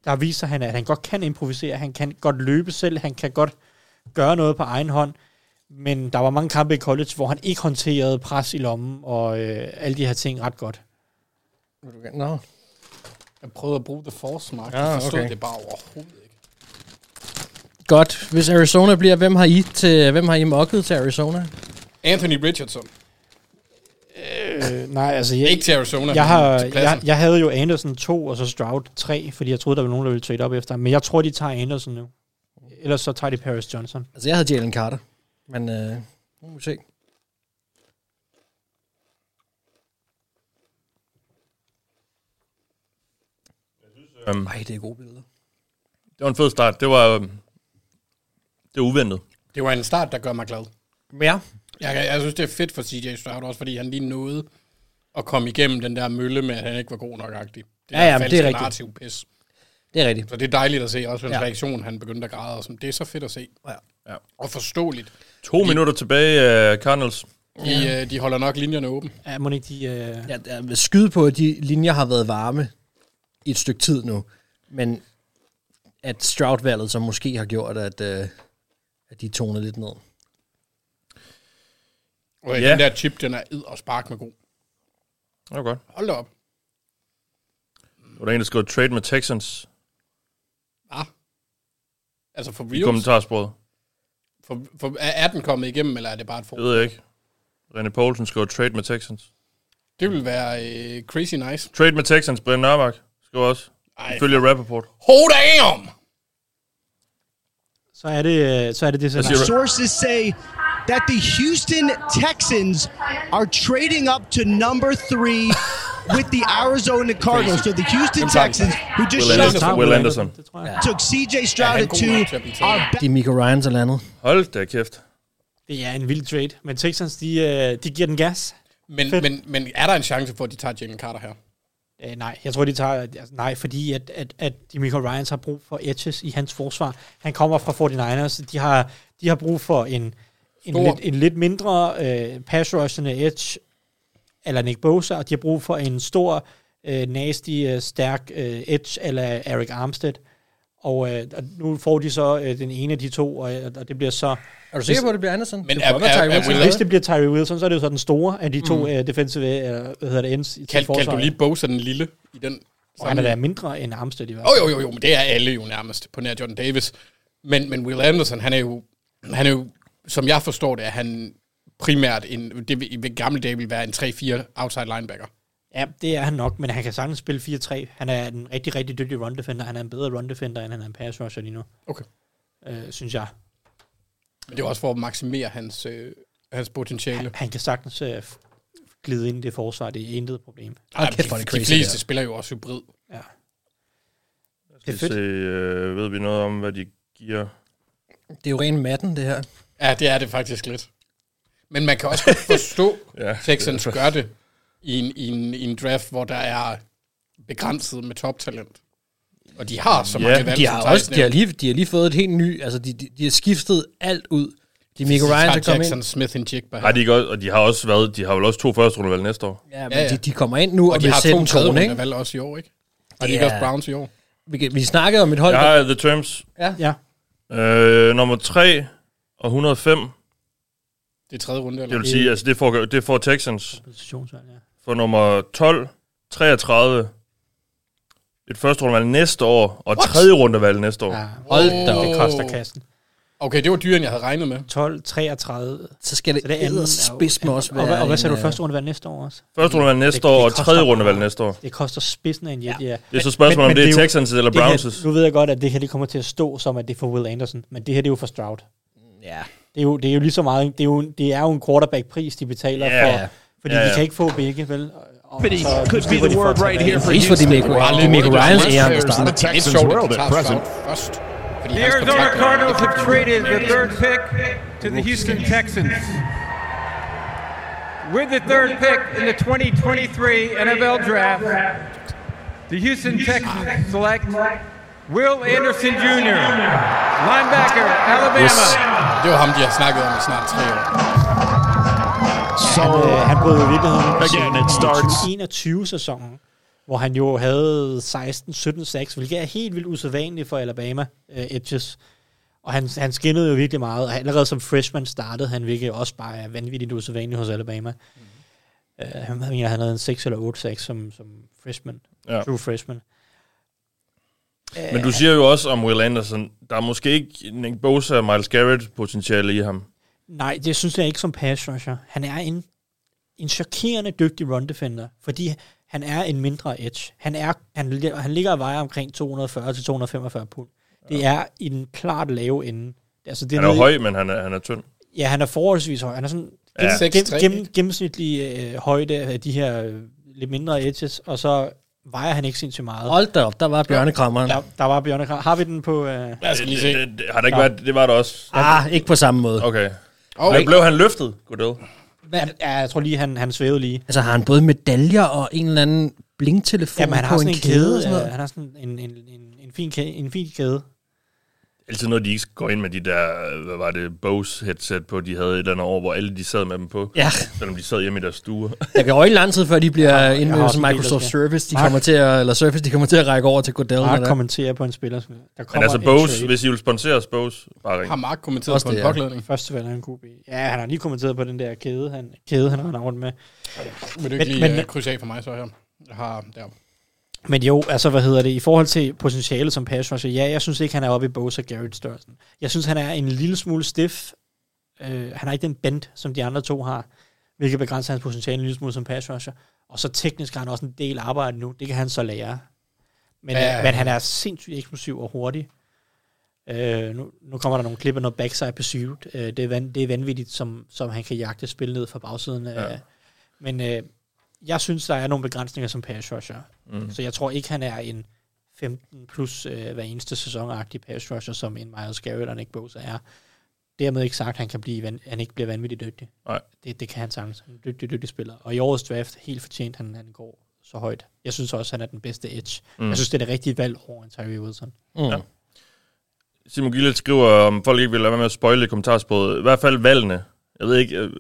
Der viser han, at han godt kan improvisere, han kan godt løbe selv, han kan godt gøre noget på egen hånd. Men der var mange kampe i college, hvor han ikke håndterede pres i lommen og øh, alle de her ting ret godt. Nå. Jeg prøvede at bruge The Force, Mark. Ah, Jeg forstod okay. det bare overhovedet ikke. Godt. Hvis Arizona bliver, hvem har I, til, hvem har I mokket til Arizona? Anthony Richardson. Øh, nej, altså... Jeg, Ikke til Arizona, Jeg, men har, til pladsen. jeg, jeg havde jo Anderson 2 og så Stroud 3, fordi jeg troede, der var nogen, der ville trade op efter ham. Men jeg tror, de tager Anderson nu. Ellers så tager de Paris Johnson. Altså, jeg havde Jalen Carter, men øh, nu må vi se. Um, Nej, det er gode billeder. Det var en fed start. Det var... øhm, Det var uventet. Det var en start, der gør mig glad. Ja. Jeg, jeg synes, det er fedt for CJ Stroud også, fordi han lige nåede at komme igennem den der mølle med, at han ikke var god nok agtig. Ja, ja, men det er rigtigt. narrativ pis. Det er rigtigt. Så det er dejligt at se også hans Ja. ja. reaktion, han begyndte at græde. Og sådan. Det er så fedt at se. Ja. Ja. Og forståeligt. To minutter tilbage af Cardinals. De, øh, de holder nok linjerne åbne. Ja, må ikke de... Øh... Jeg, jeg vil skyde på, at de linjer har været varme i et stykke tid nu, men at Stroud-valget så måske har gjort, at, øh, at de toner lidt ned. Og Ja. ja. den der chip, den er id og spark med god. Det var godt. Hold da op. Der var der en, der skrev trade med Texans Altså for i reals. kommentarsporet. For, for, er, er den kommet igennem, eller er det bare et for? Det ved jeg ikke. René Poulsen skrev trade med Texans. Det vil være øh, crazy nice. Trade med Texans, Brian Nørmark. Skal også. Ej. Ifølge Rappaport. Hold damn! Så er det øh, så er det, det scenarie. Sources say that the Houston Texans are trading up to number three with the Arizona Cardinals. So the Houston Texans, who just Will shut Anderson. Will Anderson. took C.J. Stroud at two, are Det er Miko Ryans eller andet. Hold da kæft. Det er en vild trade, men Texans, de, øh, de giver den gas. Men, Fedt. men, men er der en chance for, at de tager Jalen Carter her? Øh, nej, jeg tror, de tager... Altså, nej, fordi at, at, at de Michael Ryans har brug for edges i hans forsvar. Han kommer fra 49ers. De har, de har brug for en, en, Stor. lidt, en lidt mindre øh, pass rushende edge, eller Nick Bosa, og de har brug for en stor, øh, nasty, øh, stærk øh, edge, eller Eric Armstead. Og, øh, og nu får de så øh, den ene af de to, og, øh, og det bliver så... Er du sikker på, at det bliver Anderson? Men Det kunne er- godt være er- Tyree er Wilson. Will- Hvis det bliver Tyree Wilson, så er det jo så den store af de to mm. øh, defensive, eller hvad hedder det, ends i til Kald, kald du forsvaret. lige Bosa den lille i den Og han er da sammenhæng? mindre end Armstead i hvert Jo, jo, jo, jo, men det er alle jo nærmest, på nær Jordan Davis. Men, men Will Anderson, han er jo, han er jo, som jeg forstår det, er han primært en, det vil, ved gamle dage vil være en 3-4 outside linebacker. Ja, det er han nok, men han kan sagtens spille 4-3. Han er en rigtig, rigtig dygtig run defender. Han er en bedre run defender, end han er en pass rusher lige nu, Okay. øh, synes jeg. Men det er også for at maksimere hans, øh, hans potentiale. Han kan sagtens øh, f- glide ind i det forsvar. Det er intet problem. Ej, kæft, hvor er det de, de crazy, fleste det spiller jo også hybrid. Ja. Det Det er er fedt. fedt. Se, øh, ved vi noget om, hvad de giver? Det er jo ren matten, det her. Ja, det er det faktisk lidt. Men man kan også godt forstå, Ja, ja, Texans gør det i en, i, en, i en draft, hvor der er begrænset med toptalent. Og de har så Ja, mange ja, valg, De som har, Tyson også, de, har nævnte. lige, de har lige fået et helt ny... Altså, de, de, de har skiftet alt ud. De er Miko Så Ryans, tager der kommer Jackson ind. Smith and Jigba Har de ikke også, og de har også været, de har vel også to første rundevalg næste år. Ja, men Ja, ja. De, de kommer ind nu og, Og og de vil har sætte to en tone, ikke? tredjevalg også i år, ikke? Og Det de ikke også er- Browns i år. Vi, kan- vi snakkede om et hold, Jeg der... har The Terms. Ja. Øh, nummer 3 og 105. Det Det er tredje runde, eller? vil sige, altså det får, det får Texans. Positionsvalg, ja. For nummer 12, 33, et første rundevalg næste år, og What? tredje rundevalg næste år. ja. Hold da Det op. koster kassen. Okay, det var dyrere, end jeg havde regnet med. 12, 33. Så skal det, Så det det andet andet er jo- spids med også Og, være... hvad- og hvad en, sagde du øh, første rundevalg næste år også? Første rundevalg næste Det- år, det og koster tredje meget. rundevalg næste år. Det koster spidsen af en jet, ja. ja. Det er så spørgsmålet, om det er Texans eller Browns' Her, nu ved jeg godt, at det her det kommer til at stå som, at det er for Will Anderson, men det her det er jo for Stroud. Ja. Det er jo, det er jo lige så meget, det er jo, en- det er jo en quarterback-pris, de betaler Ja, ja. for, fordi Ja, ja, ja. de kan ikke få begge, vel? Og- og But he så could be slipper the de for at word tage right den. here for Pris for de Houston. Michael, Wow. de Michael Ryans æren, der players in starter. the Det er Texans sjovt, at world de at tager present. Stroud først. Fordi The hans Arizona kontrakt er- Cardinals have traded the third pick to the Houston Texans. With the third pick in the 2023 NFL Draft, the Houston Texans select Will Anderson Jr., linebacker, Alabama. Det var ham, de har snakket om i snart tre år. Han, øh, So han brød i virkeligheden ud Again, i it starts- 2021-sæsonen, hvor han jo havde 16-17 sacks, hvilket er helt vildt usædvanligt for Alabama øh, Edges. Og han, han skinnede jo virkelig meget, og allerede som freshman startede han, hvilket også bare er vanvittigt usædvanligt hos Alabama. Mm. Øh, han mener, han havde en 6 eller 8 sacks som, som freshman, Ja. ja. true freshman. Men du siger jo også om Will Anderson, der er måske ikke Nick Bosa og Miles Garrett potentiale i ham. Nej, det synes jeg ikke som pass rusher. Han er en, en chokerende dygtig run defender, fordi han er en mindre edge. Han, er, han, li- han ligger og vejer omkring 240-245 pund. Det er i den klart lave ende. Altså, det Han er jo nede i- høj, men han er, han er tynd. Ja, han er forholdsvis høj. Han er sådan Ja. ja. gennem, 6'3", gennem, ikke? gennemsnitlig øh, højde af de her øh, lidt mindre edges, og så vejer han ikke sindssygt meget. øh, Hold da op, der var bjørnekrammeren. Der, der var Bjørn Har vi den på... Øh, Lad os lige se. Det, det, har der ikke været, det var der også. Ah, ikke på samme måde. Okay. Og Men blev han løftet, Goodell? han, ja, jeg tror lige, han, han svævede lige. Altså har han både medaljer og en eller anden blinktelefon Jamen, han på har sådan en en kæde. og sådan øh, noget? han har sådan en, en, en, en, fin kæde, en fin kæde. Altid når de ikke går ind med de der, hvad var det, Bose headset på, de havde et eller andet år, hvor alle de sad med dem på. Ja, Selvom de sad hjemme i deres stue. der kan øje lang tid, før de bliver indmeldt også som en del, der Microsoft skal. Service. De Mark. kommer til at, eller uh, Surface, de kommer til at række over til Goodell. Mark Eller. kommenterer på en spiller. som- Der Men kommer altså en Bose, trade. hvis I vil sponsere os, Bose, bare ring. har Mark kommenteret Også på en det, ja. påklædning. Første valg er en QB. Ja, han har lige kommenteret på den der kæde, han, kæde, han render rundt med. Vil du ikke Men- lige men- øh, krydse af for mig så her? Jeg har der. Men jo, altså hvad hedder det, i forhold til potentialet som pass rusher, ja, jeg synes ikke, han er oppe i Bosa Garrett størrelsen. Jeg synes, han er en lille smule stiff. Øh, han har ikke den bend, som de andre to har, hvilket begrænser hans potentiale en lille smule som pass rusher. Og så teknisk har han også en del arbejde nu. Det kan han så lære. Men, Ja, ja, ja, ja. ja. men han er sindssygt eksplosiv og hurtig. Øh, nu, nu kommer der nogle klip af noget backside pursuit. Øh, det, er van, det er vanvittigt, som, som han kan jagte spil ned fra bagsiden. Ja. Øh, men øh, jeg synes, der er nogle begrænsninger som pass rusher. Mhm. Mm. Så jeg tror ikke, han er en 15 plus øh, hver eneste sæsonagtig pass rusher, som en Miles Garrett eller Nick Bosa er. Dermed ikke sagt, at han, kan blive, van- han ikke bliver vanvittigt dygtig. Nej. Det, det kan han sagtens. Han er en dygtig, dygtig spiller. Og i årets draft, helt fortjent, han, han går så højt. Jeg synes også, han er den bedste edge. Mm. Mm. Jeg synes, det er det rigtige valg over en Tyree Wilson. Mm. Ja. Simon Gillet skriver, om folk ikke vil lade være med at spoile i kommentarsproget. I hvert fald valgene. Jeg ved ikke, øh,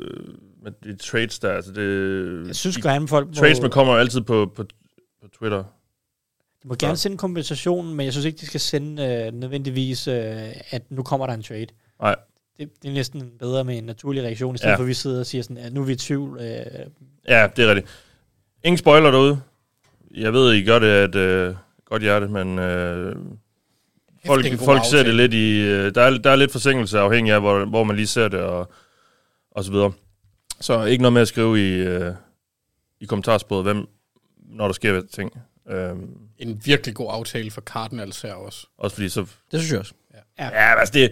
men det er trades der. Altså det, Jeg synes de- gerne, folk må- Trades, man kommer jo altid på, på, på Twitter. De må gerne sende kompensationen, men jeg synes ikke, de skal sende øh, nødvendigvis, øh, at nu kommer der en trade. Nej. Det, det er næsten bedre med en naturlig reaktion, i stedet Ja. ja. for at vi sidder og siger sådan, at nu er vi i tvivl. Øh, Ja, det er rigtigt. Ingen spoiler derude. Jeg ved, I gør det af et øh, godt hjerte, men øh, folk, det er en god folk ser det aftale. lidt i... Øh, der, er, der er lidt forsinkelse afhængig af, hvor, hvor man lige ser det og, og så videre. Så ikke noget med at skrive i, øh, i kommentarsproget, hvem, når der sker ting. Øh, En virkelig god aftale for Cardinals her også. også fordi så... Det synes jeg også. Ja, ja altså det...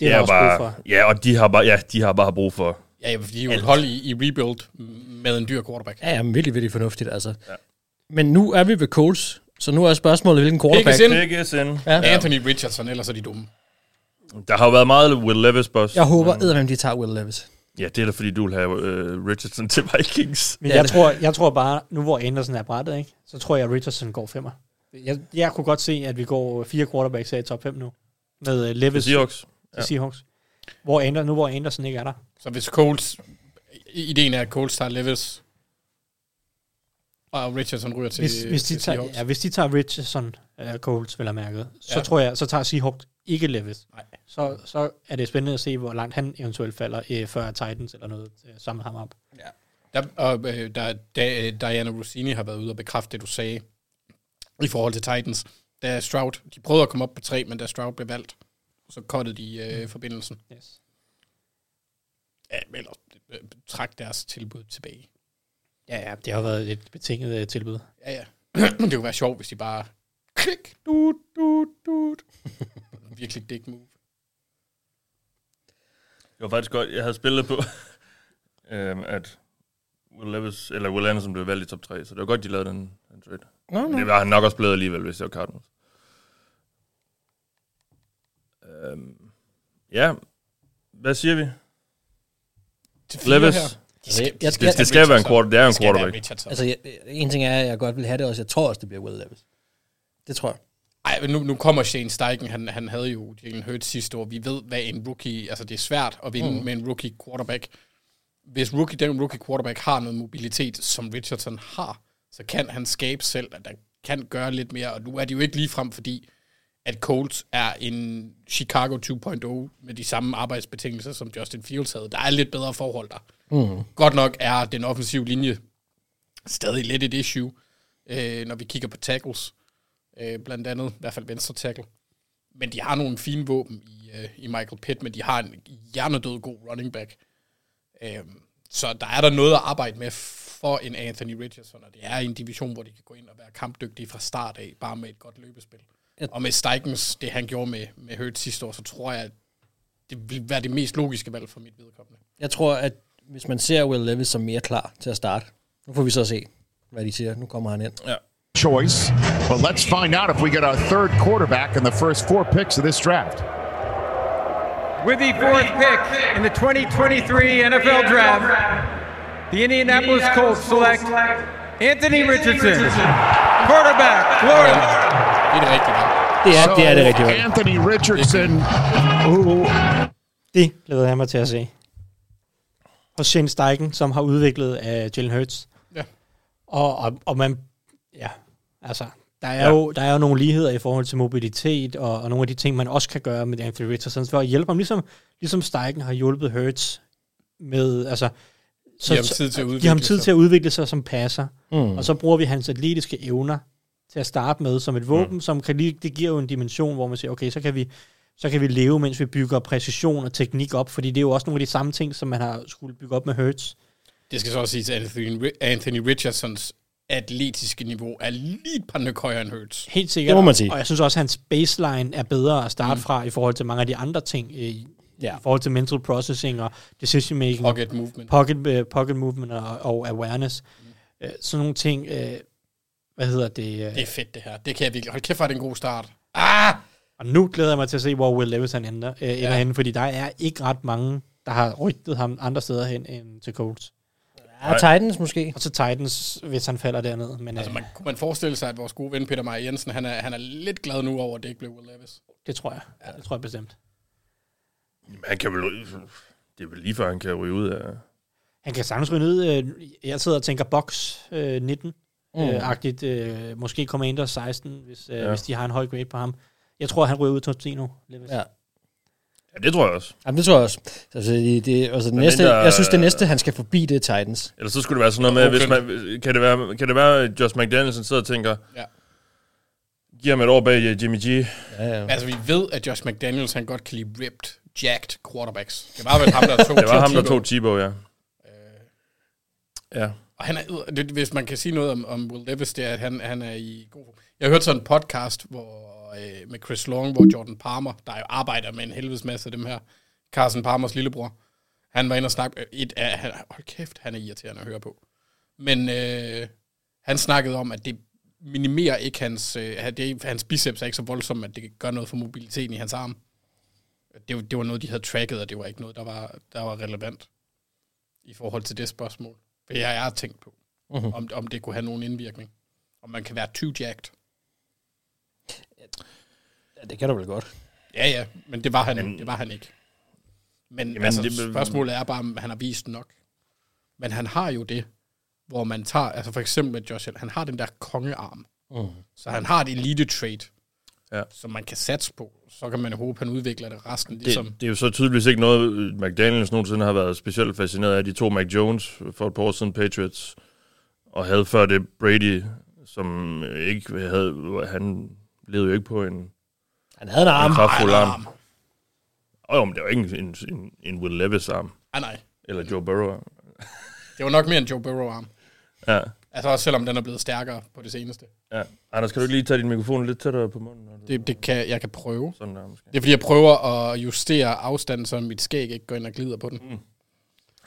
der også bare, brug for. Ja, og de har bare, ja, de har bare brug for... Ja, ja, fordi de er jo et hold i, i rebuild med en dyr quarterback. Ja, ja, virkelig, virkelig fornuftigt, altså. Ja. Men nu er vi ved Coles, så nu er spørgsmålet, hvilken quarterback... Pickens ind. Ja. Anthony Richardson, ellers er de dumme. Der har jo været meget Will Levis, boss. Jeg håber, eddermem, de tager Will Levis. Ja, det er da fordi, du vil have øh, Richardson til Vikings. men jeg, tror, jeg tror bare, nu hvor Anderson er brættet, ikke, så tror jeg, at Richardson går femmer. Jeg, jeg kunne godt se, at vi går fire quarterbacks her i top 5 nu. Med øh, Levis. Til Seahawks. Ja. Seahawks. Hvor Ander, nu hvor Anderson ikke er der. Så hvis Coles... i- Ideen er, at Coles tager Levis, og Richardson ryger til, Hvis, hvis, de til tager, Seahawks. ja, hvis de tager Richardson, uh, Coles vil have mærket, så Ja. tror jeg, så tager Seahawks ikke Levis. Nej. Så, så er det spændende at se, hvor langt han eventuelt falder, øh, før Titans eller noget øh, samler ham op. Der, og, øh, der, da, Diana Rossini har været ude og bekræfte det, du sagde, i forhold til Titans. Da Stroud, de prøvede at komme op på tre, men da Stroud blev valgt, så kottede de øh, forbindelsen. Yes. Ja, men ellers øh, trak deres tilbud tilbage. Ja, ja, det har været et betinget øh, tilbud. Ja, ja. det kunne være sjovt, hvis de bare... Klik, dut, dut, dut. Virkelig dick move. Det var faktisk godt, jeg havde spillet på, øhm, at Will, Levis, eller Will Anderson blev valgt i top 3, så det var godt, de lavede den, den trade. Nå, nå. Men Det var han nok også blevet alligevel, hvis det var Cardinals. Øhm, ja, hvad siger vi? Til fire Levis. her. Det Jeg- Altså, skal, jeg- det, det skal være en quarter, det er en quarterback. Altså, jeg, en ting er, at jeg godt vil have det også. Jeg tror også, det bliver Will Levis. Det tror jeg. Ej, men nu, nu kommer Shane Steichen, han, han havde jo Jalen Hurts sidste år. Vi ved, hvad en rookie... Altså, det er svært at vinde Mm. mm. med en rookie quarterback. Hvis rookie, den rookie quarterback har noget mobilitet, som Richardson har, så kan han skabe selv, at han kan gøre lidt mere. Og nu er det jo ikke ligefrem, fordi at Colts er en Chicago 2.0 med de samme arbejdsbetingelser, som Justin Fields havde. Der er lidt bedre forhold der. Mm. Godt nok er den offensive linje stadig lidt et issue, øh, når vi kigger på tackles. Øh, blandt andet, i hvert fald venstre tackle. Men de har nogle fine våben i, øh, i Michael Pittman. De har en hjernedød god running back. Øh, så der er der noget at arbejde med for en Anthony Richardson, og det er en division, hvor de kan gå ind og være kampdygtige fra start af, bare med et godt løbespil. Ja. Og med Steichens, det han gjorde med, med Hurts sidste år, så tror jeg, at det vil være det mest logiske valg for mit vedkommende. Jeg tror, at hvis man ser Will Levis som mere klar til at starte, nu får vi så se, hvad de siger. Nu kommer han ind. Ja. Choice, but let's find out if we get our third quarterback in the first four picks of this draft. With the fourth pick in the 2023 NFL Draft, the Indianapolis Colts select Anthony Richardson, quarterback, Florida. Det er, det er det rigtige So, valg. Anthony Richardson, who Det glæder jeg mig til at se. Hos Shane Steichen, som har udviklet uh, Jalen Hurts. Ja. Og, og, og man, ja, altså, der er, Ja. ja. jo, der er jo nogle ligheder i forhold til mobilitet, og, og nogle af de ting, man også kan gøre med Anthony Richardson, for at hjælpe ham, ligesom, ligesom Steichen har hjulpet Hurts med, altså, Giver ham tid til at give ham udvikle tid sig. til at udvikle sig som passer, Mm. mm. og så bruger vi hans atletiske evner til at starte med som et våben, mm. som kan lige, det giver jo en dimension, hvor man siger, okay, så kan vi så kan vi leve, mens vi bygger præcision og teknik op, fordi det er jo også nogle af de samme ting, som man har skulle bygge op med Hertz. Det skal så også siges, at Anthony, Anthony Richardsons atletiske niveau er lige et par nyk højere end Hurts. Helt sikkert. Og jeg synes også, at hans baseline er bedre at starte mm. fra i forhold til mange af de andre ting. I, Ja. I forhold til mental processing og decision making. Pocket movement. Pocket, øh, pocket movement og, og awareness. Øh, sådan nogle ting. Øh, hvad hedder det? Øh, Det er fedt, det her. Det kan jeg virkelig. Hold kæft, hvor er det en god start. Og nu glæder jeg mig til at se, hvor Will Levis han ender, øh, ender ja. henne, fordi der er ikke ret mange, der har rygtet ham andre steder hen end til Colts. Ja, Titans måske. Og til Titans, hvis han falder derned. Men, altså, man, Kunne man forestille sig, at vores gode ven Peter Meyer Jensen, han er, han er lidt glad nu over, at det ikke blev Will Levis. det tror jeg. Ja. Det tror jeg bestemt. Jamen, han kan vel... Det er vel lige før, han kan ryge ud af... Han kan sagtens ryge ned. Øh, jeg sidder og tænker box øh, 19. Mm. Øh, agtigt, øh, måske Commanders 16, hvis, øh, Ja. ja. hvis de har en høj grade på ham. Jeg tror, han ryger ud til 10 nu. Levis. Ja. Ja, det tror jeg også. Jamen, det tror jeg også. Altså, det, det, altså, det Men næste, mindre- jeg synes, det næste, han skal forbi, det er Titans. Eller så skulle det være sådan noget med, hvis man, kan, det være, kan det være, at Josh McDaniels han sidder og tænker, Ja. giv ham et år bag øh, Jimmy G. Ja, Ja. Altså, vi ved, at Josh McDaniels, han godt kan lide ripped, jacked quarterbacks. Det var vel ham, der tog Det var ham, der Tebow. tog Tebow, ja. Øh. Ja. Og han er, yder- det, hvis man kan sige noget om, om Will Levis, det er, at han, han er i god form. Jeg hørte sådan en podcast hvor, øh, med Chris Long, hvor Jordan Palmer, der jo arbejder med en helvedes masse af dem her, Carson Palmers lillebror, han var inde og snakke, øh, et af, han, hold kæft, han er irriterende at høre på. Men øh, han snakkede om, at det minimerer ikke hans, øh, at det, hans biceps er ikke så voldsom, at det gør noget for mobiliteten i hans arm. Det, var- det var noget, de havde tracket, og det var ikke noget, der var, der var relevant i forhold til det spørgsmål. For jeg har tænkt på, Mhm. om, om det kunne have nogen indvirkning. Om man kan være too jacked. Ja, det kan du vel godt. Ja, ja, men det var han, men, det var han ikke. Men Jamen, Jamen, altså, det- det, spørgsmålet er bare, om han har vist nok. Men han har jo det, hvor man tager, altså for eksempel med Josh Allen, han har den der kongearm. Mhm. Så han har et elite trait, ja. som man kan satse på. Så kan man håbe, han udvikler det resten. Ligesom, Det, det er jo så tydeligvis ikke noget, øh, McDaniels nogensinde har været specielt fascineret af. De to Mac Jones for et par år siden Patriots, og havde før det Brady, som ikke havde... Han levede jo ikke på en... Han havde en arm. En kraftfuld Ah, Han havde en arm. Åh, oh, men det var ikke en, en, en Will Levis arm. Ah, nej. Eller Joe Burrow. det var nok mere en Joe Burrow-arm. Ja. Altså også selvom den er blevet stærkere på det seneste. ja. Anders, kan du ikke lige tage din mikrofon lidt tættere på munden? når du- Det, det kan, jeg kan prøve. Sådan der, måske. Det er fordi, jeg prøver at justere afstanden, så mit skæg ikke går ind og glider på den. Mm.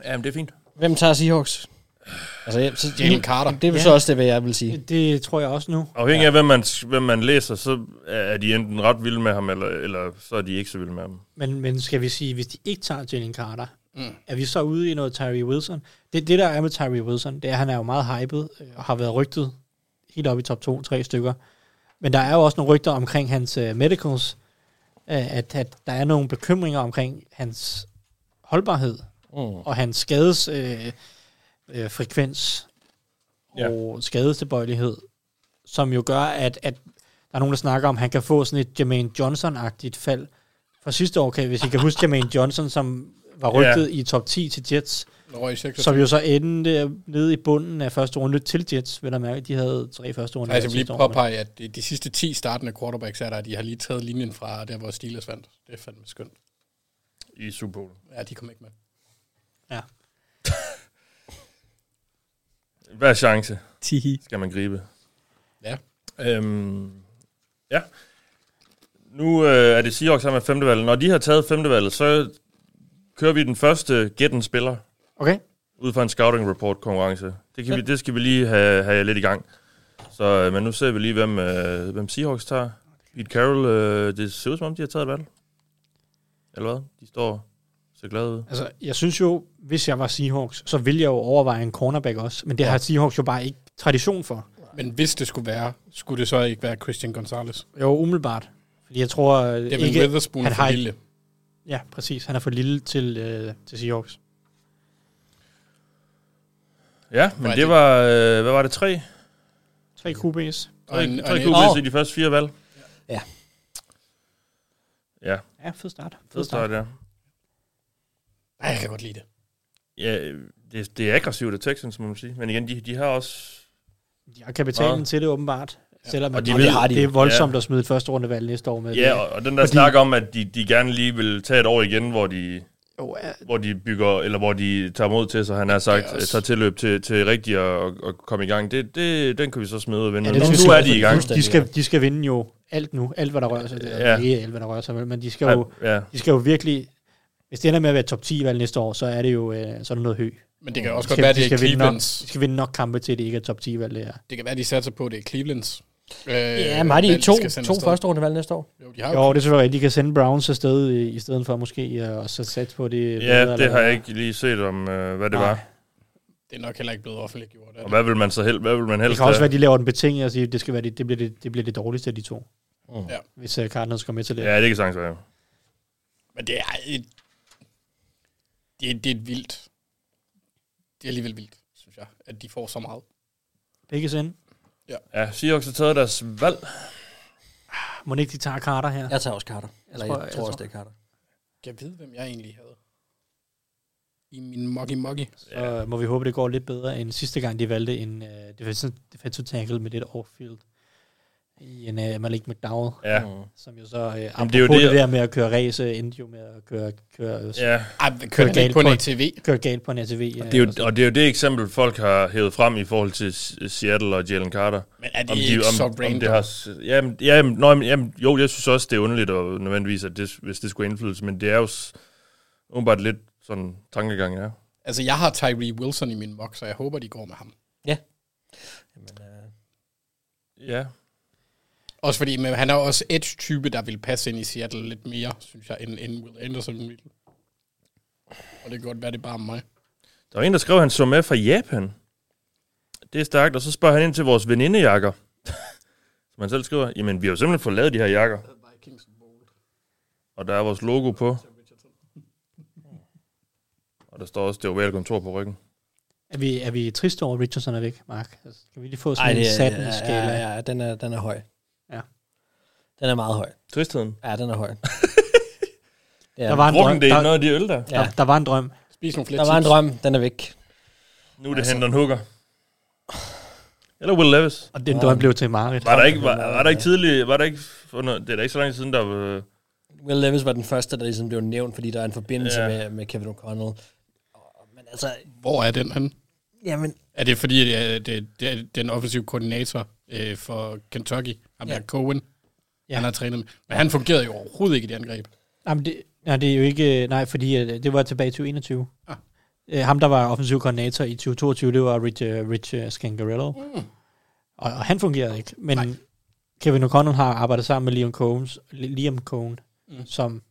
Jamen, det er fint. Hvem tager Seahawks? Altså, jeg, så, Jalen Carter. Det er vel så også det, hvad jeg vil sige. Det tror jeg også nu. Afhængig af, hvem man, hvem man læser, så er de enten ret vilde med ham, eller, eller så er de ikke så vilde med ham. Men, men skal vi sige, hvis de ikke tager Jalen Carter, mm. er vi så ude i noget Tyree Wilson? Det, det der er med Tyree Wilson, det er, at han er jo meget hyped øh, og har været rygtet helt op i top 2-3 stykker. Men der er jo også nogle rygter omkring hans øh, medicals, øh, at, at der er nogle bekymringer omkring hans holdbarhed Mm. og hans skades øh, øh, frekvens Ja. og skadestilbøjelighed, som jo gør, at, at der er nogen, der snakker om, at han kan få sådan et Jermaine Johnson-agtigt fald. Fra sidste år, kan, hvis I kan huske Jermaine Johnson, som var Ja. rygtet i top 10 til Jets, Røg i seks og som to. jo så endte nede i bunden af første runde til Jets, vil jeg mærke, de havde tre første runde. Nej, jeg vil lige påpege, at de- de sidste 10 startende quarterbacks er der, de har lige taget linjen fra der, hvor Steelers vandt. Det er fandme skønt. I Super Bowl. Ja, de kom ikke med. Ja. Hver chance Tihi. skal man gribe. Ja. Øhm, ja. Nu øh, er det Seahawks sammen med femtevalget. Når de har taget femtevalget, så kører vi den første gætten spiller. Okay. Ud fra en scouting report konkurrence. Det, kan vi, det skal vi lige have, have lidt i gang. Så, øh, men nu ser vi lige, hvem, øh, hvem Seahawks tager. Pete Carroll, øh, det ser ud som om, de har taget et valg. Eller hvad? De står så glade ud. Altså, jeg synes jo, hvis jeg var Seahawks, så ville jeg jo overveje en cornerback også, men det Ja. har Seahawks jo bare ikke tradition for. Men hvis det skulle være, skulle det så ikke være Christian Gonzalez? Jo, umiddelbart. Fordi jeg tror øh, Devin ikke... Witherspoon er for har ikke- lille. Ja, præcis. Han er for lille til, øh, til Seahawks. Ja, Var men det- det var, øh, hvad var det, tre? Tre QB's. Tre, en- tre en- QB's i de første fire valg. Ja. Ja. Ja, fed start. Fed start, ja. Nej, jeg kan godt lide det. Ja, det, det er aggressivt af Texans, må man sige. Men igen, de, de har også... De har kapitalen til det åbenbart. Ja. Selvom Og og de de ved- det, har de, det er jo. voldsomt Ja. ja. at smide et første rundevalg næste år med. Ja, og, og den der Fordi... snak om, at de, de gerne lige vil tage et år igen, hvor de Oh, ja. Hvor de bygger, eller hvor de tager mod til sig, han har sagt, yes. tager tilløb til, til rigtigt og, og komme i gang. Det, det, den kan vi så smide ud og vinde. Ja, den nu er de i gang. De skal, de skal vinde jo alt nu. Alt, hvad der rører sig. Det er Ja. ikke alt, hvad der rører sig, vel, men de skal jo, Ja. de skal jo virkelig... Hvis det ender med at være top 10-valg næste år, så er det jo øh, sådan noget hø. Men det kan De også skal- godt være, de det er skal vinde nok- Clevelands. De skal vinde nok kampe til, at det ikke er top 10-valg, det her. Det kan være, de satser på, at det er Clevelands. Øh, Ja, men har de valg, ikke to, skal sende to afsted. første runde valg næste år? Jo, de har Jo, det er selvfølgelig rigtigt. De kan sende Browns afsted øh, i, i stedet for måske, øh, og så satse på det. Ja, det har jeg ikke lige set om, øh, hvad det Nej. var. Det er nok heller ikke blevet offentliggjort. Og hvad vil man så helst? Hvad vil man helst Det kan også have? være, at de laver den betinget og siger, at det, skal være det, det, bliver det, det bliver det dårligste af de to. Mm. Ja. Hvis uh, Cardinals går med til det. Ja, det kan sagtens være. Men det er et, det er, det er et vildt. Det er alligevel vildt, synes jeg, at de får så meget. Begge sinde. Ja, Seahawks har taget deres valg. Må ikke de tager Carter her? Jeg tager også Carter. Eller jeg tror, jeg tror også, det er Carter. Kan jeg vide, hvem jeg egentlig havde? I min muggy muggy. Så ja. må vi håbe, det går lidt bedre end sidste gang, de valgte en uh, defensive, defensive tackle med lidt offfield i en uh, Malik McDowell. Ja. Som jo så, uh, Jamen, det er jo det, det- det der med at køre race, øh, endte jo med at køre, køre, Ja. Ej, men kørte han ikke på en ATV? Køre galt på en ATV. Det er jo, og det er jo det eksempel, folk har hævet frem i forhold til S- Seattle og Jalen Carter. Men er det ikke så random? det har, s- jamen, jamen, nå, jamen, jamen, jo, jeg synes også, det er underligt, og nødvendigvis, at det, hvis det skulle have indflydelse, men det er jo s- åbenbart lidt sådan tankegang, ja. Altså, jeg har Tyree Wilson i min mock, så jeg håber, de går med ham. Ja. Også fordi men han er også edge-type, der vil passe ind i Seattle lidt mere, synes jeg, end, end Will Anderson vil. Og det kan godt være, det er bare mig. Der var en, der skrev, at han så med fra Japan. Det er stærkt, og så spørger han ind til vores venindejakker. Som han selv skriver, jamen, vi har jo simpelthen fået lavet de her jakker. Og der er vores logo på. Og der står også det ovale kontor på ryggen. Er vi, er vi triste over, at Richardson er væk, Mark? Altså, kan vi lige få Ej, sådan Ej, en det er- sadden-skala? ja, ja, ja, den er, den er høj. Ja. Den er meget høj. Tristheden? Ja, den er høj. Der var en drøm. Drukken, det er Der- noget af de øl der. Der, der var en drøm. Spis nogle flere Der var en chips. drøm, den er væk. Nu er det Hendon Hooker. Eller Will Levis. Og den drøm blev til Marit. Var der ikke, var, var der ikke tidlig, var der ikke, for noget, det er da ikke så lang tid siden, der var, Will Levis var den første, der ligesom blev nævnt, fordi der er en forbindelse Ja. ja. med, med Kevin O'Connell. Og- Men altså, Hvor er den han? jamen, Er det fordi, at det, det er den offensive koordinator øh, for Kentucky, ham ja. Ja. der Cohen, Ja. ja. han har trænet med. Men han fungerede jo overhovedet ikke i det angreb. Jamen, det, nej, det er jo ikke... Nej, fordi øh, det var tilbage i 2021. Ah. Ah. Ham, der var offensiv koordinator i 2022, det var Rich, øh, Rich øh, Scangarello. Mm. Og, og han fungerede ikke. Men nej. Kevin O'Connell har arbejdet sammen med Liam Combs, Liam Cohn, mm. som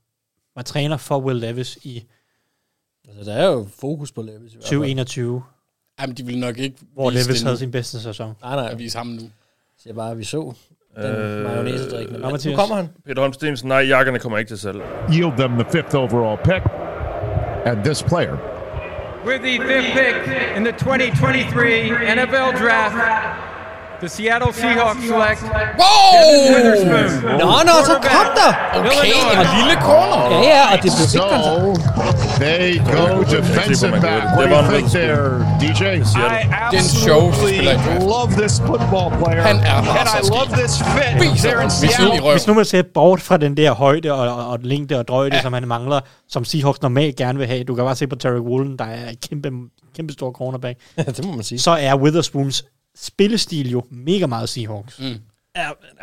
var træner for Will Levis i altså, der er jo fokus på Levis. i hvert fald. 2021, Jamen, de ville nok ikke hvor vise Levis det havde nu, sin bedste sæson. Nej, nej, at vise ham nu. det er bare, at vi så den Øh, øh, mayonnaise-drikkende. mand. Nu Mathias. kommer han. Peter Holm Stensen, nej, jakkerne kommer ikke til salg. Yield them the fifth overall pick and this player. With the fifth pick in the 2023 NFL Draft, the Seattle Seahawks select Wow! Witherspoon. Nå, nå, så kom der! Okay, en lille corner. Ja, ja, og det blev ikke altså. So they go defensive back. What do you think there, DJ? I Den show spiller i draft. love this football player. Han er and I rasende. love this fit. Viser They're in ham. Hvis Seattle. nu i røven. Hvis nu man ser bort fra den der højde og, og, og længde og drøjde, ja. som han mangler, som Seahawks normalt gerne vil have. Du kan bare se på Terry Woolen, der er en kæmpe, kæmpe stor cornerback. det må man sige. Så er Witherspoons spillestil jo mega meget Seahawks. Mm.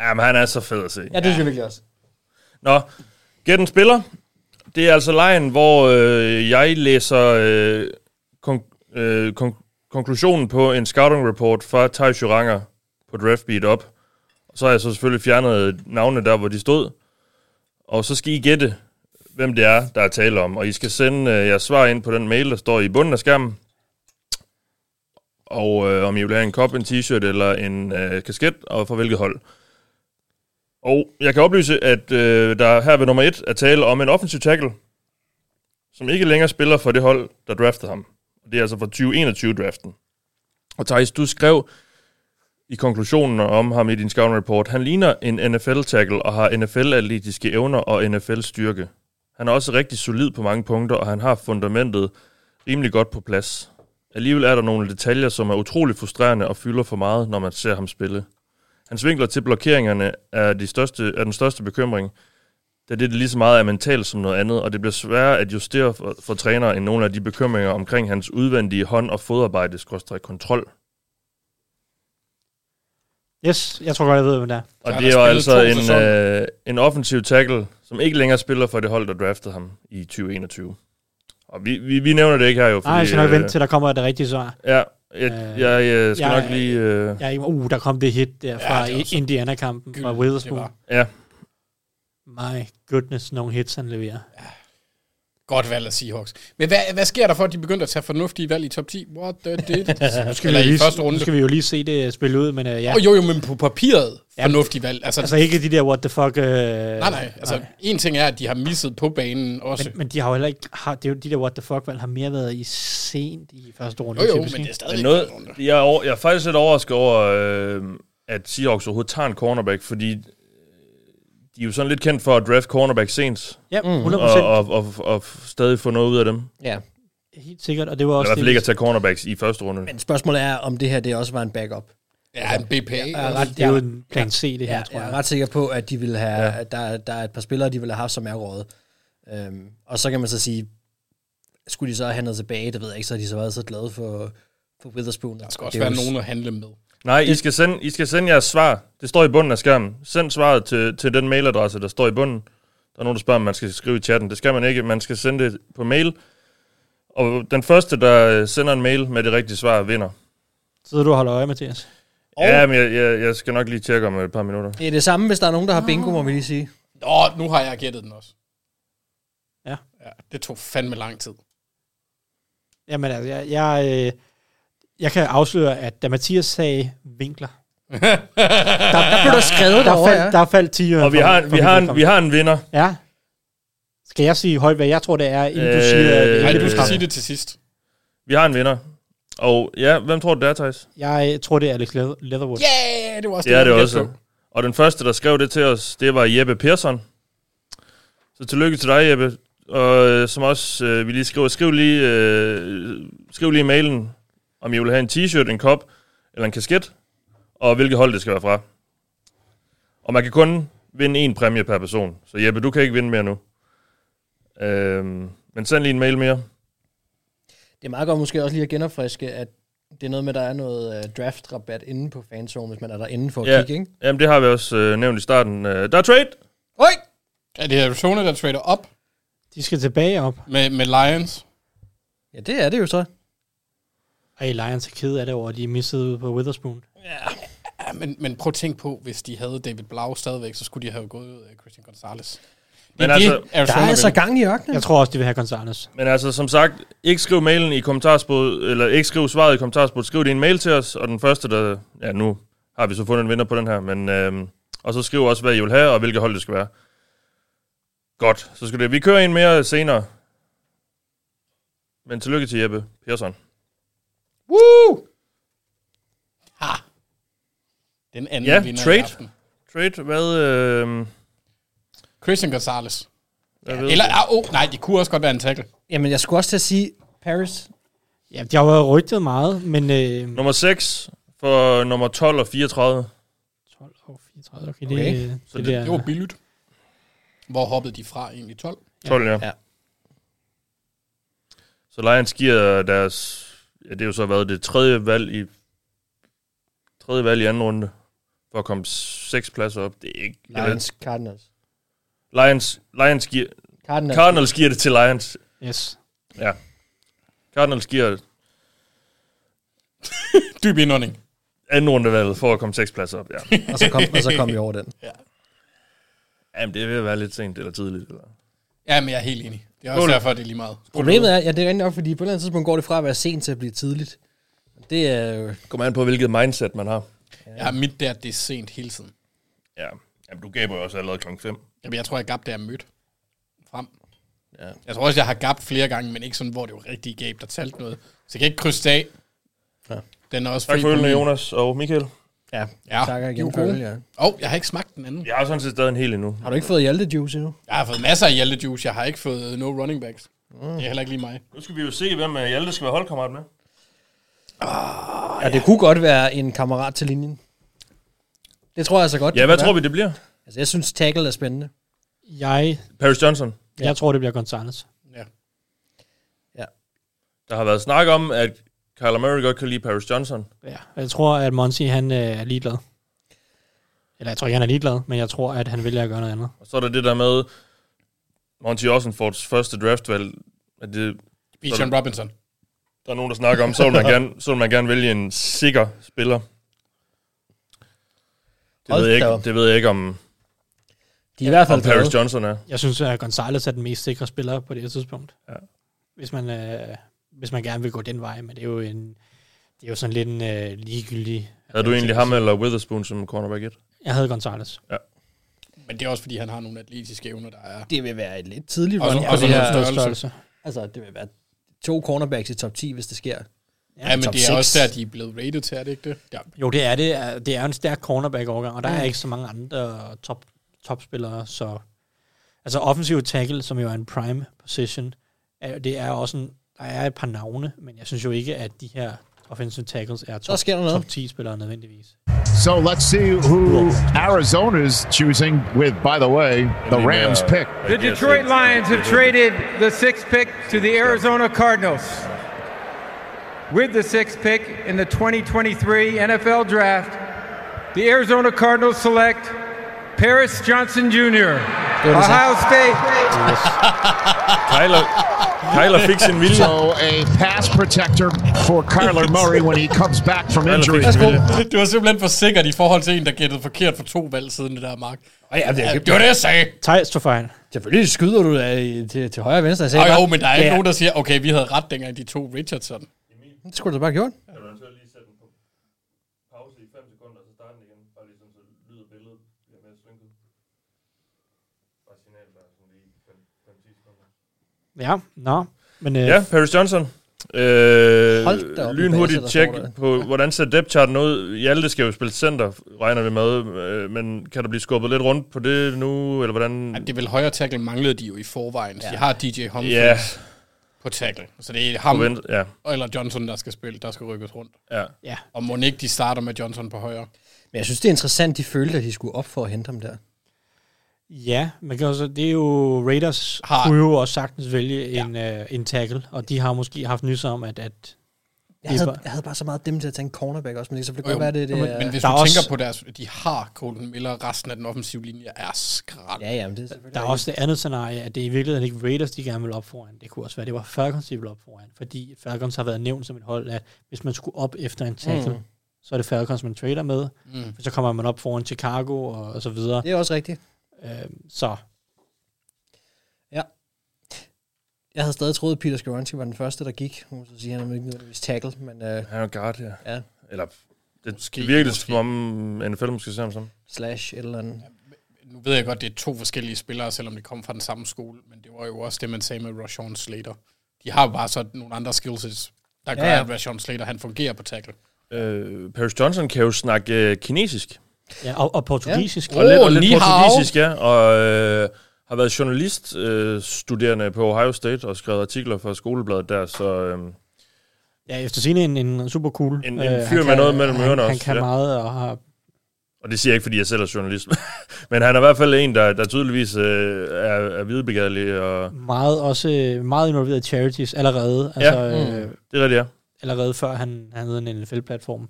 Jamen, han er så fed at se. Ja, det synes jeg virkelig også. Nå, gæt en spiller. Det er altså lejen, hvor øh, jeg læser øh, konk- øh, konk- konklusionen på en scouting report fra Tej Juranger på DraftBeat op. Og så har jeg så selvfølgelig fjernet navnene der, hvor de stod. Og så skal I gætte, hvem det er, der er tale om. Og I skal sende øh, jeres svar ind på den mail, der står i bunden af skærmen. Og øh, om I vil have en kop, en t-shirt eller en øh, kasket, og fra hvilket hold. Og jeg kan oplyse, at øh, der her ved nummer et er tale om en offensiv tackle, som ikke længere spiller for det hold, der draftede ham. Og det er altså fra 2021-draften. Og Thijs, du skrev i konklusionen om ham i din scouting report, han ligner en NFL-tackle og har NFL-atletiske evner og NFL-styrke. Han er også rigtig solid på mange punkter, og han har fundamentet rimelig godt på plads. Alligevel er der nogle detaljer, som er utrolig frustrerende og fylder for meget, når man ser ham spille. Hans vinkler til blokeringerne er, de største, er den største bekymring. da det lige så meget er mentalt som noget andet, og det bliver sværere at justere for, for træner end nogle af de bekymringer omkring hans udvendige hånd- og fodarbejde, skråstreg kontrol. Yes, jeg tror godt, jeg ved, hvem det er. Og det er jo altså en, øh, en offensiv tackle, som ikke længere spiller for det hold, der draftede ham i 2021. Og vi, vi, vi nævner det ikke her jo, øh, Nej, jeg skal nok vente til, der kommer det rigtige svar. Ja, jeg, Øh, jeg, jeg skal jeg- nok lige... Øh, Ja, uh, der kom det hit der fra ja, Indiana-kampen fra Witherspoon. Ja. My goodness, nogle hits han leverer. Godt valg af Seahawks. Men hvad, hvad sker der for, at de begyndte at tage fornuftige valg i top 10? What the did? Altså, nu, skal vi Eller jo i lige, første runde. nu skal vi jo lige se det spille ud, men uh, ja. Åh, jo, jo, men på papiret fornuftige valg. Altså, Altså, altså ikke de der what the fuck... Uh, nej, nej. Altså, en ting er, at de har misset på banen også. Men, men de har jo heller ikke... Har, det er jo de der what the fuck-valg har mere været i sent i første runde. Jo, jo, typisk, men ikke? det er stadig Men noget, jeg, er over, jeg er faktisk lidt overrasket over, øh, at Seahawks overhovedet tager en cornerback, fordi øh, de er jo sådan lidt kendt for at draft cornerback sent. Ja, Og- 100%. Mm. Og, og, og, og stadig få noget ud af dem. Ja. Helt sikkert, og det var Eller i også... hvert fald det, ikke at tage cornerbacks i første runde. Men spørgsmålet er, om det her det også var en backup. Ja, en BPA. Jeg er også. ret, Det er jo jeg- en plan C, det her, tror Jeg er jeg. ret sikker på, at de ville have, ja. at der, der er et par spillere, de ville have haft som er rådet. Øhm, og så kan man så sige, skulle de så have noget tilbage, det ved jeg ikke, så har de så været så glade for, for Witherspoon. Der skal også være nogen at handle med. Nej, I skal, sende, I skal sende jeres svar. Det står i bunden af skærmen. Send svaret til, til den mailadresse, der står i bunden. Der er nogen, der spørger, om man skal skrive i chatten. Det skal man ikke. Man skal sende det på mail. Og den første, der øh, sender en mail med det rigtige svar, vinder. Sidder du og holder øje, Mathias? Og ja, men jeg, jeg, jeg skal nok lige tjekke om et par minutter. Det er det samme, hvis der er nogen, der har bingo, må vi lige sige. Nå, nu har jeg gættet den også. Ja. ja det tog fandme lang tid. Øh, Jamen altså, jeg, jeg, øh, jeg kan afsløre, at da Mathias sagde vinkler, der, der blev der skrevet der derovre, ja. faldt, der faldt 10 Og vi har, en- vi, har en, vi har en vinder. Ja. Skal jeg sige højt, hvad jeg tror, det er, inden du Øh, siger... at det nej, ikke du er skal straffet? sige det til sidst. Vi har en vinder. Og ja, hvem tror du, det er, Thijs? Jeg øh, tror, det er Alex Leather- Leatherwood. Yeah, det var Det er det også. Og den første, der skrev det til os, det var Jeppe Persson. Så tillykke til dig, Jeppe. Og øh, som også, øh, vi lige skriver, skriv lige, øh, skriv lige i mailen, om I vil have en t-shirt, en kop eller en kasket, og hvilket hold det skal være fra. Og man kan kun vinde én præmie per person. Så Jeppe, du kan ikke vinde mere nu. Øhm, men send lige en mail mere. Det er meget godt måske også lige at genopfriske, at det er noget med, at der er noget uh, draft-rabat inde på fanzone, hvis man er derinde for at Ja, kigge, ikke? jamen det har vi også øh, nævnt i starten. Øh, der er trade! Oj! Er det Arizona, der trader op De skal tilbage op. med, med Lions? Ja, det er det jo så. Ej, Lions er ked af det over, at de missede ude på Witherspoon. Ja, men, men prøv at tænke på, hvis de havde David Blau stadigvæk, så skulle de have gået ud af Christian Gonzalez. Men altså- Arizona Der er altså vil. gang i ørkenen. Jeg tror også, de vil have Gonzalez. Men altså, som sagt, ikke skriv mailen i kommentarspot, eller ikke skriv svaret i kommentarspot, skriv din mail til os, og den første, der, ja nu har vi så fundet en vinder på den her, men, øhm, og så skriv også, hvad I vil have, og hvilket hold det skal være. Godt, så skal det, vi kører en mere senere. Men tillykke til Jeppe Persson. Woo! Ha! Den anden Ja, vinder i trade. aften. Trade, hvad, øhm, Christian Gonzalez. Ja, ved Eller, det. ah, oh, nej, det kunne også godt være en tackle. Jamen, jeg skulle også til at sige Paris. Ja, de har jo været rygtet meget, men... Øh, nummer 6 for nummer 12 og 34. 12 og 34, okay. Okay. Det, det, Så det, det- der, Det var billigt. Hvor hoppede de fra egentlig? 12? 12, ja. ja. Så Lions giver deres... Ja, det har jo så været det tredje valg i... Tredje valg i anden runde. For at komme seks pladser op. Det er ikke... Lions, Cardinals. Eller, Lions, Lions giver... Cardinals. Cardinals giver det til Lions. Yes. Ja. Cardinals giver det. Dyb indånding. anden rundevalget for at komme seks pladser op, ja. Og så kom, og så kom vi over den. Jamen, det vil være lidt sent eller tidligt. Eller? Ja, men jeg er helt enig. Det er også Skål. derfor, det er lige meget. Problemet er, ja, det er rigtig nok, fordi på et eller andet tidspunkt går det fra at være sent til at blive tidligt. Det er jo... Kommer an på, hvilket mindset man har. Ja, mit der, det er sent hele tiden. Ja. Jamen, du gaber jo også allerede klokken 5. Jamen, jeg tror, jeg gab, der er mødt frem. Ja. Jeg tror også, jeg har gabt flere gange, men ikke sådan, hvor det var rigtig gab, der talte noget. Så jeg kan ikke krydse det af. Ja. Den er også Tak fri for på ølene, min- Jonas og Michael. Ja, Ja, takker Ah, de er igen for gode. øl, ja. Åh, oh, jeg har ikke smagt den anden. Jeg har sådan set stadig en hel endnu. Har du ikke fået Hjalte Juice endnu? Jeg har fået masser af Hjalte Juice. Jeg har ikke fået øh, no running backs. Mm. Det er heller ikke lige mig. Nu skal vi jo se, hvem øh, Hjalte skal være holdkammerat med. Ja, det kunne godt være en kammerat til linjen. Det tror jeg så godt. Ja, det hvad kunne tror vi, være. det bliver? Altså, jeg synes, tackle er spændende. Jeg, Paris Johnson. jeg tror, det bliver Gonzalez. Der har været snak om, at Kyler Murray godt kan lide Paris Johnson. Ja. Og Jeg tror, at Monty han øh, er ligeglad. Eller jeg tror ikke, han er ligeglad, men jeg tror, at han vælger at gøre noget andet. Og så er der det der med Monty Ossenfords første draftvalg. At det, Bijan så er der- Robinson. Der er nogen, der snakker om, så vil man gerne, så vil man gerne vælge en sikker spiller. Det Hold ved, jeg da ikke, op. det ved jeg ikke om... De er i hvert fald om Paris glade. Johnson er. Jeg synes, at Gonzalez er den mest sikre spiller på det her tidspunkt. Ja. Hvis, man, øh, hvis man gerne vil gå den vej, men det er jo, en, det er jo sådan lidt en øh, ligegyldig... Havde du egentlig ham eller Witherspoon som cornerback 1? Jeg havde Gonzalez. Men det er også, fordi han har nogle atletiske evner, der er... Det vil være et lidt tidligt Og- run. og på så det noget her. størrelse. Størrelse. Altså, det vil være to cornerbacks i top 10, hvis det sker. Ja, men top det er seks. også der, de er blevet rated til, er det ikke det? Ja. Jo, det er det. Er- Det er jo en stærk cornerback-overgang, og der er Mm. ikke så mange andre top, topspillere, så... Altså offensiv tackle, som jo er en prime position, er, det er også en... Der er et par navne, men jeg synes jo ikke, at de her offensive tackles er top, sker der noget. top 10-spillere nødvendigvis. So let's see who Arizona's choosing with, by the way, the Rams pick. The Detroit Lions have traded the sixth pick to the Arizona Cardinals. With the sixth pick in the 2023 NFL Draft, the Arizona Cardinals select Paris Johnson Jr., is it. Ohio State. Kyler, Kyler fik sin vilje. So a pass protector for Kyler Murray when he comes back from Kyler injury. fik sin vilje. Det var simpelthen for sikkert i forhold til en, der gættede forkert for to valg siden det der, Mark. ja, det er- det var det, jeg sagde. Thijs tog fejl. Selvfølgelig skyder du da til, til højre og venstre. Jeg Ej, sagde bare- jo, men der er ikke Ja, nogen, der siger, okay, vi havde ret dengang, de to Richardson. Det skulle du da bare have gjort. Ja, nå. Men, øh, Ja, Paris Johnson. Øh, Hold da op, en lynhurtigt base, der tjek står der. på, hvordan ser depth charten ud. Hjalte skal jo spille center, regner vi med, øh, men kan der blive skubbet lidt rundt på det nu, eller hvordan? Ja, det er vel højre tackle manglede de jo i forvejen. Ja. De har DJ Humphries Ja. ja. på tackle. Så det er På ham venstre- ja, eller Johnson, der skal spille, der skal rykkes rundt. ja. ja. Og må ikke de starter med Johnson på højre. Men jeg synes, det er interessant, de følte, at de skulle op for at hente ham der. Ja, man kan også, det er jo Raiders har. Har- kunne jo også sagtens vælge ja. en, øh, en tackle, og de har måske haft nys om, at, at Jeg Det er havde, bare- jeg havde bare så meget dem til at tage en cornerback også, men det kan selvfølgelig Jo, godt være, det, det men, er... men hvis Der du er tænker også- på deres... De har Colton Miller, og resten af den offensive linje er skrald. ja, ja, men det er selvfølgelig... der er rigtigt. også det andet scenarie, at det i virkeligheden ikke Raiders, de gerne vil op foran. Det kunne også være, det var Falcons, de ville op foran, fordi Falcons har været nævnt som et hold, at hvis man skulle op efter en tackle, mm. så er det Falcons, man trader med, mm. så kommer man op foran Chicago og, og så videre. det er også rigtigt. Øhm, så Jeg havde stadig troet, at Peter Skoronski var den første, der gik. Nu må jeg så sige, at han er ikke nødvendigvis tackle, men øh, Han er jo guard, ja. ja, Eller, det, Måske, det virkelig måske. som om NFL måske ser ham som. slash et eller andet. Nu ved jeg godt, det er to forskellige spillere, selvom de kom fra den samme skole, men det var jo også det, man sagde med Rashawn Slater. De har jo bare så nogle andre skills, der gør, Ja, ja, ja. ja. at Rashawn Slater han fungerer på tackle. Øh, Paris Johnson kan jo snakke øh, kinesisk. ja, og, og portugisisk. Og lidt, og lidt ni hao. portugisisk, ja. Og øh, har været journalist øh, studerende på Ohio State og skrevet artikler for skolebladet der, så øh, Ja, efter sine en, en super cool. øh, En- en han fyr med kan- noget mellem han- ørerne Han også, kan ja. meget og har og det siger jeg ikke, fordi jeg selv er journalist, men han er i hvert fald en, der, der tydeligvis øh, er, er hvidebegærlig, og meget også øh, meget involveret i charities allerede, altså Ja. Mm. øh, det er rigtigt, ja. allerede før han, han havde en NFL-platform.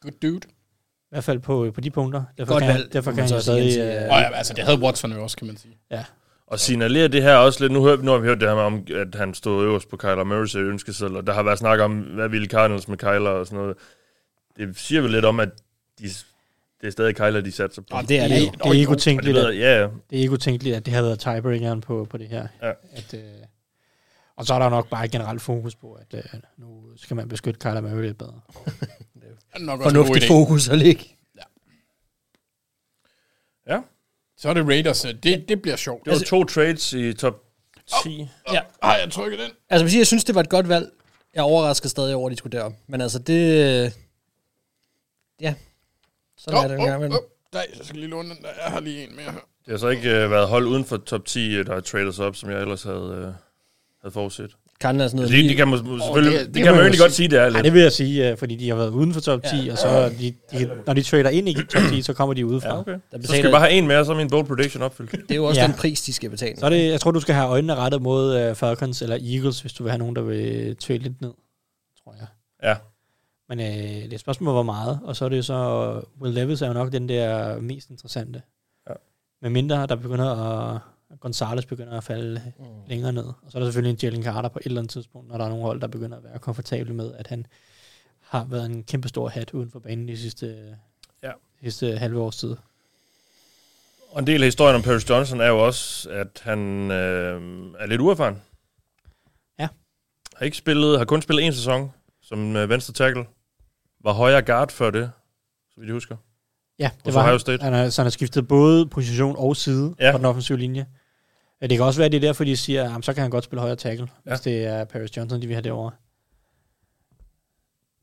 Good dude. I hvert fald på, på de punkter. Derfor Godt kan, valg, derfor må kan man han jo så sige, stadig... han siger. Øh, Og ja, altså, det havde Watson jo også, kan man sige. Og signalerer det her også lidt. Nu, hør, nu har vi hørt det her med, om, at han stod øverst på Kyler Murray's ønskeseddel, og der har været snak om, hvad ville Cardinals med Kyler og sådan noget. Det siger vel lidt om, at de, det er stadig Kyler, de satser på. Og det er det, jo. er- det er ikke Og det utænkeligt, ved at, jeg, ja, ja. det, er ikke utænkeligt, at det har været tiebreakeren på, på det her. Ja. At, øh, og så er der nok bare et generelt fokus på, at øh, nu skal man beskytte Kyler Murray lidt bedre. Er Nok også en god Fornuftigt idé. fokus at ligge. Så er det Raiders. øh, Det, det bliver sjovt. Det var to trades i top 10. Ja. Ej, jeg trykker den. Altså, hvis jeg synes, det var et godt valg. Jeg er overrasket stadig over, at de skulle derop. Men altså, det... øh, Ja. Sådan er det en gang Oh, oh, imellem. oh. Nej, jeg skal lige låne den der. Jeg har lige en mere her. Det har så ikke øh, været hold uden for top 10, øh, der har tradet sig op, som jeg ellers havde, øh, havde forudset. Cardinals noget. Det, det kan man selvfølgelig, det, det, kan man jo egentlig godt sige, det er lidt. Nej, det vil jeg sige, øh, fordi de har været uden for top 10, ja. og så er de, de, når de trader ind i top 10, så kommer de udefra. Ja, okay. Så skal vi bare have en mere, så er min bold prediction opfyldt. Det er jo også ja. den pris, de skal betale. Så er det, jeg tror, du skal have øjnene rettet mod øh, Falcons eller Eagles, hvis du vil have nogen, der vil trade lidt ned, tror jeg. Ja. Men øh, det er et spørgsmål, hvor meget. Og så er det jo så, Will Levis er jo nok den der mest interessante. Ja. Med mindre, der begynder at Gonzalez begynder at falde mm. længere ned. Og så er der selvfølgelig en Jalen Carter på et eller andet tidspunkt, når der er nogle hold, der begynder at være komfortable med, at han har været en kæmpe stor hat uden for banen de sidste, Ja. sidste halve års tid. Og en del af historien om Paris Johnson er jo også, at han øh, er lidt uerfaren. Ja. Har ikke spillet, har kun spillet en sæson som øh, venstre tackle. Var højre guard før det, så vidt jeg husker. Ja, Hos det var Ohio han. State. Han har, så han har skiftet både position og side Ja. ja. på den offensive linje. Ja, Det kan også være, at det er derfor, de siger, at så kan han godt spille højre tackle, ja. hvis det er Paris Johnson, de vil have derovre.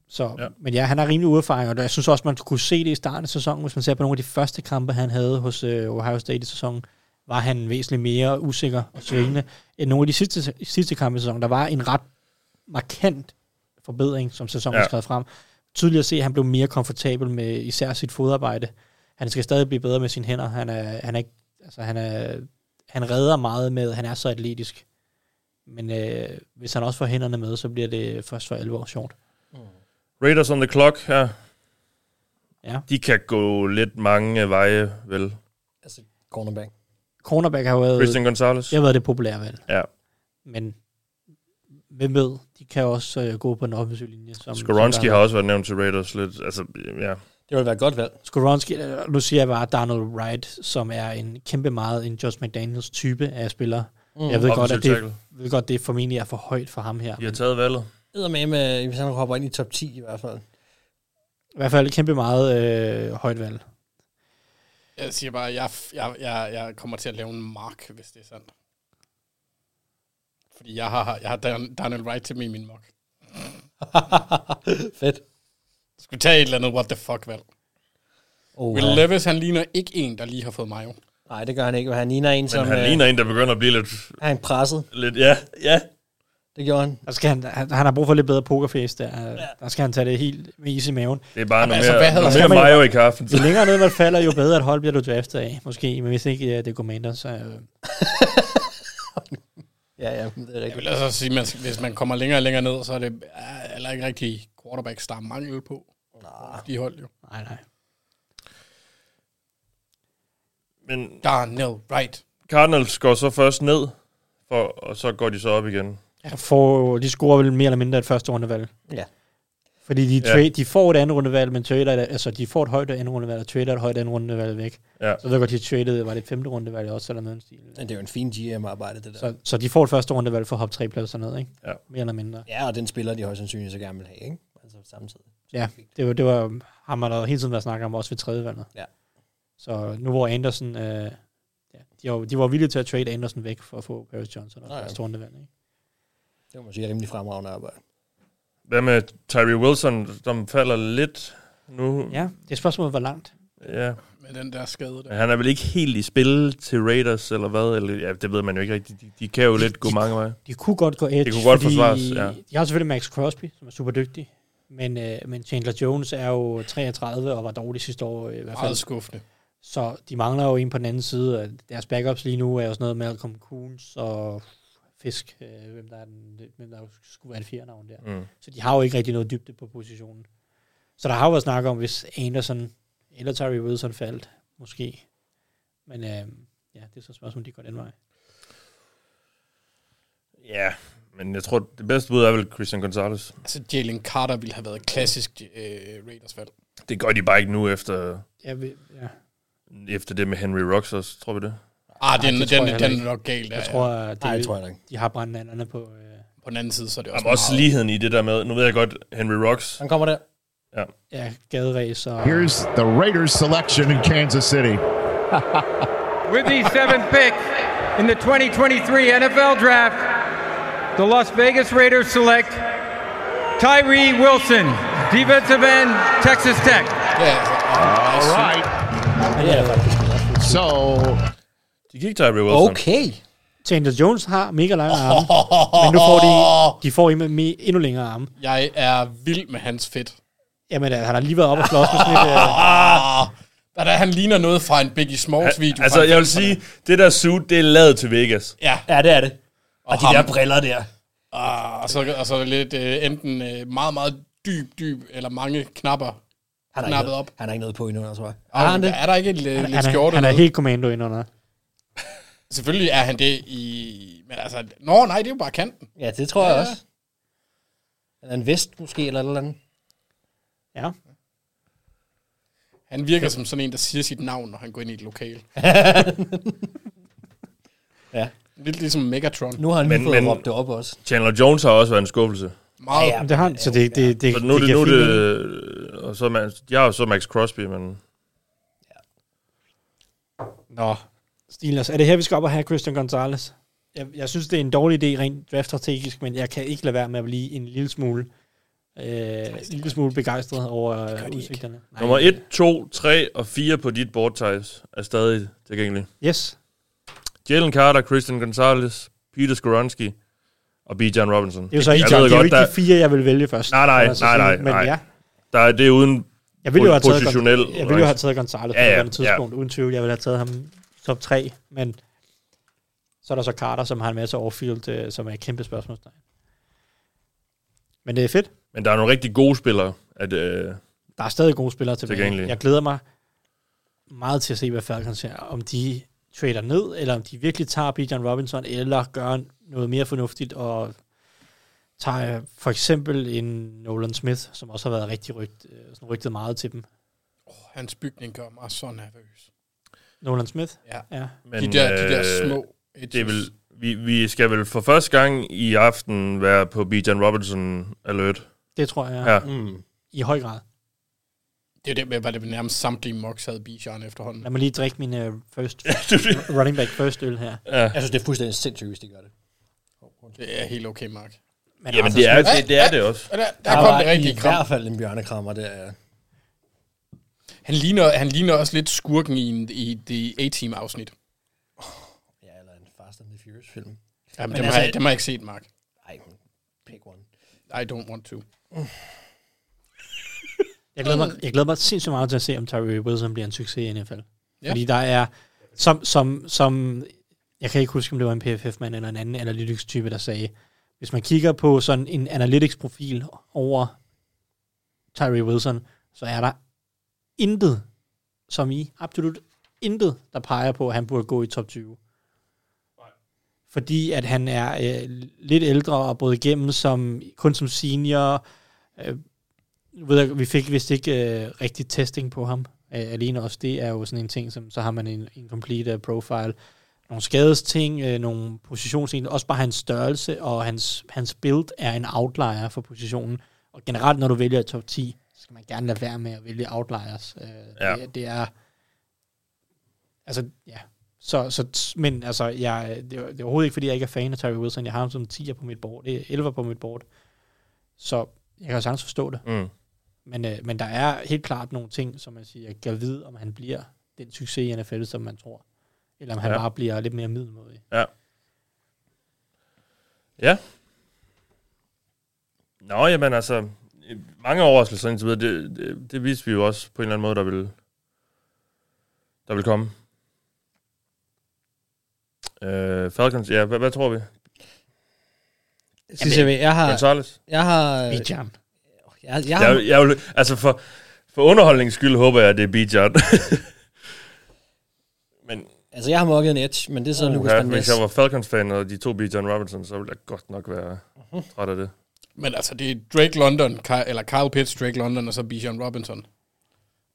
Så, ja. Men ja, han har rimelig uerfaring, og jeg synes også, man kunne se det i starten af sæsonen, hvis man ser på nogle af de første kampe, han havde hos øh, Ohio State i sæsonen, var han væsentligt mere usikker og svingende end nogle af de sidste, sidste kampe i sæsonen. Der var en ret markant forbedring, som sæsonen Ja. ja. skrev frem. Tydeligt at se, at han blev mere komfortabel med især sit fodarbejde. Han skal stadig blive bedre med sine hænder. Han er, han er, ikke, altså, han er, han redder meget med, han er så atletisk. Men øh, hvis han også får hænderne med, så bliver det først for alvor sjovt. Raiders on the clock her. Ja. De kan gå lidt mange øh, veje, vel? Cornerback. Cornerback har jo været, Christian Gonzalez. det har været det populære valg. Ja. Men hvem ved, de kan også øh, gå på den offensive linje. Som, som Skoronski der- har også været nævnt til Raiders lidt. Altså, ja. Det ville være et godt valg. Skoronski, øh, nu siger jeg bare Donald Wright, som er en kæmpe meget en Josh McDaniels type af spiller. Mm. Mm. Jeg ved godt, Offensive at det, tackle. ved godt, det formentlig er for højt for ham her. De har taget valget. Edder med, med, hvis han hopper ind i top 10 i hvert fald. I hvert fald kæmpe meget øh, højt valg. Jeg siger bare, jeg, jeg, jeg, jeg kommer til at lave en mark, hvis det er sandt. Fordi jeg har, jeg har Dan- Daniel Wright til med i min mock. Fedt. Skulle tage et eller andet what the fuck valg. Oh, Will Levis, han ligner ikke en, der lige har fået mayo. Nej, det gør han ikke. Han ligner en, Men som... øh, han ligner en, der begynder at blive lidt... Han er presset. lidt ja, ja. Det gjorde han. Der skal han, han, han har brug for lidt bedre pokerface der. Ja. Der skal han tage det helt med is i maven. Det er bare noget altså, mere, hvad havde- noget mere mayo i kaffen. Jo længere ned man falder, jo bedre et hold bliver du draftet af, måske. Men hvis ikke ja, det er Commanders, så... Øh, Ja, ja, det er Jeg rigtigt. vil altså sige, man, hvis man kommer længere og længere ned, så er det øh, heller ikke rigtig quarterback, der er mangel på. De hold jo. nej, nej. Men Daniel Wright. Cardinals går så først ned, for, og så går de så op igen. Jeg Får, de scorer vel mere eller mindre et første rundevalg. Ja. Fordi de, Ja. trade, de får et andet rundevalg, men trader, et- altså de får et højt andet rundevalg, og trader et højt andet rundevalg væk. Ja. Så ved jeg godt, de traded, var det et femte rundevalg også, eller noget i den stil. Men det er jo en fin GM-arbejde, det der. Så, så de får et første rundevalg for at hoppe tre pladser ned, ikke? Ja. Mere eller mindre. Ja, og den spiller de højst sandsynligt så gerne vil have, ikke? Altså samtidig. Ja, det var, det var ham, der hele tiden været snakket om, også ved tredje valget. Ja. Så nu hvor Anderson, øh, ja, de, var, de var villige til at trade Anderson væk for at få Paris Johnson og Nå ja. første rundevalg, ikke? Det må man sige er rimelig fremragende arbejde. Hvad med Tyree Wilson, som falder lidt nu? Ja, det er spørgsmålet, hvor langt. ja. Med den der skade Men der. han er vel ikke helt i spil til Raiders, eller hvad? Eller, ja, det ved man jo ikke rigtigt. De, de kan jo lidt gå mange veje. De kunne godt gå edge, Det kunne godt forsvares, ja. de har selvfølgelig Max Crosby, som er super dygtig, men, øh, men Chandler Jones er jo 33 og var dårlig sidste år øh, i hvert fald. Meget skuffende. Så de mangler jo en på den anden side. og Deres backups lige nu er jo sådan noget Malcolm Coons og Fisk, øh, hvem der, er den, hvem der skulle være et fjerde navn der. Mm. Så de har jo ikke rigtig noget dybde på positionen. Så der har jo været snak om, hvis Anderson eller Terry Wilson faldt, måske. Men øh, ja, det er så et spørgsmål, om de går den vej. Ja, men jeg tror, det bedste bud er vel Christian Gonzalez. Altså, Jalen Carter ville have været klassisk øh, Raiders valg. Det gør de bare ikke nu efter, Ja, vi, ja. efter det med Henry Rocks også, tror vi det? Ah, den, Ej, det tror den, jeg den, heller den er ikke. nok galt. Jeg ja, tror, det, Nej, det tror jeg ikke. de har brændt anderne på... Øh, ja. På den anden side, så er det også, Jamen, også meget- ligheden i det der med, nu ved jeg godt, Henry Rocks. Han kommer der. ja, gaderæs og... Here's the Raiders selection in Kansas City. With the seventh pick in the 2023 NFL Draft, the Las Vegas Raiders select Tyree Wilson, defensive end, Texas Tech. Ja, All altså, right. Ja, det er faktisk. So De gik Tyree Wilson. Okay. Chandler Jones har mega lange arme, men nu får de, de får endnu, me- endnu længere arme. Jeg er vild med hans fedt. Jamen, øh, han har lige været op og slås med sådan et... Øh, Ah, der, der, han ligner noget fra en Biggie Smalls video. Altså, fra jeg vil 90'erne. sige, det der suit, det er lavet til Vegas. Ja. Ja, det er det. Og, de der briller der. Ah, og, så, og så lidt øh, enten øh, meget, meget dyb, dyb, eller mange knapper Han har, ikke knappet noget, op. han har ikke noget på endnu, altså, tror jeg. Og Har han det? Er der ikke en lidt, han, lidt han, er, skjorte? han er med? helt kommando indenunder. Selvfølgelig er han det i... Men altså, nå nej, det er jo bare kanten. Ja, det tror ja. jeg Ja. også. Eller en vest måske, eller et eller andet. Ja. Han virker som sådan en, der siger sit navn, når han går ind i et lokal. Ja. Lidt ligesom Megatron. Nu har han lige Men, fået men råbt det op også. Chandler Jones har også været en skuffelse. Meget. Jamen, det har han, så det, det, det, Så nu er det, giver nu er fin det, mening. øh, og så er man, jeg har jo så Max Crosby, men Nå, Steelers. Er det her, vi skal op og have Christian Gonzalez? Jeg, jeg synes, det er en dårlig idé rent draftstrategisk, men jeg kan ikke lade være med at blive en lille smule, øh, en lille smule begejstret over øh, udsigterne. Nej. nummer 1, 2, 3 og 4 på dit board ties er stadig tilgængelige. Yes. Jalen Carter, Christian Gonzalez, Peter Skoronski og B. John Robinson. Det er jo så Jeg ikke, ved det er jo godt, ikke der- de fire, jeg vil vælge først. Nej, nej, kan man så nej, sige. nej, Men nej. ja, Der er det er uden jeg ville jo have taget, positionel... Gon- jeg ville jo have taget Gonzalez på Ja, ja, et eller andet ja. tidspunkt, uden tvivl. Jeg ville have taget ham top 3, men så er der så Carter, som har en masse overfield, øh, som er et kæmpe spørgsmålstegn. Men det er fedt. Men der er nogle rigtig gode spillere. At, øh, der er stadig gode spillere tilbage. Tilgængelige. Jeg glæder mig meget til at se, hvad Falcons her, om de trader ned, eller om de virkelig tager Bijan Robinson, eller gør noget mere fornuftigt, og tager øh, for eksempel en Nolan Smith, som også har været rigtig rygt, øh, sådan rygtet meget til dem. Hans bygning gør mig så nervøs. Nolan Smith? Ja. ja. men, de, der, de der øh, små... edges. Det er vel, vi, vi skal vel for første gang i aften være på B. John Robinson alert. Det tror jeg Ja. Mm. i høj grad. Det er jo det med, hvad det nærmest samtlige mocks havde Bijan efterhånden. Lad mig lige drikke min uh, first, running back first øl her. Ja. Jeg synes, det er fuldstændig sindssygt, hvis de gør det. Det er helt okay, Mark. Men altså Jamen, det er det, det, er det også. Og der, der, der kom var det rigtige i kram. hvert fald en bjørnekrammer der, ja. Han ligner, han ligner også lidt skurken i, en- i det A-Team-afsnit. ja eller en Fast and the Furious film. Jamen, Men dem, altså- har jeg, dem har jeg ikke set, Mark. Ej, pick one. I don't want to. Jeg glæder, mig, jeg glæder mig sindssygt meget til at se, om Tyree Wilson bliver en succes i NFL. Ja. Ja. Fordi der er, som, som, som, jeg kan ikke huske, om det var en PFF-mand eller en anden analytics-type, der sagde, hvis man kigger på sådan en analytics-profil over Tyree Wilson, så er der intet, som i absolut intet, der peger på, at han burde gå i top 20. Fordi at han er øh, lidt ældre og brød igennem som, kun som senior, nu ved jeg, vi fik vist ikke øh, rigtig testing på ham. Øh, alene også det er jo sådan en ting, som så har man en, en complete øh, profile. Nogle skadesting, øh, nogle positionsting, også bare hans størrelse og hans, hans build er en outlier for positionen. Og generelt, når du vælger i top 10, så skal man gerne lade være med at vælge outliers. Øh, Ja. ja. det, det er... Altså, ja. Så, så, t- men altså, jeg, det, er, det er overhovedet ikke, fordi jeg ikke er fan af Terry Wilson. Jeg har ham som 10'er på mit board, eh, 11'er på mit board. Så jeg kan jo sagtens forstå det. Mm. Men, øh, men der er helt klart nogle ting, som man siger, jeg kan vide, om han bliver den succes i NFL, som man tror. Eller om han Ja. ja. bare bliver lidt mere middelmodig. Ja. Ja. Nå, jamen altså, øh, mange overraskelser indtil videre, det, det, det viste vi jo også på en eller anden måde, der vil, der vil komme. Øh, Falcons, ja, hvad, hvad tror vi? Jamen, jeg, jeg har... Gonzalez? Jeg har... Bijan. Jeg, jeg, har Jeg, jeg, vil, altså for, for underholdningens skyld håber jeg, at det er Bijan. men altså, jeg har mokket en edge, men det er så Lucas ja, Van hvis Ness. jeg var Falcons-fan, og de to Bijan Robinson, så ville jeg godt nok være træt af det. Men altså, det er Drake London, Ky- eller Kyle Pitts, Drake London, og så Bijan Robinson.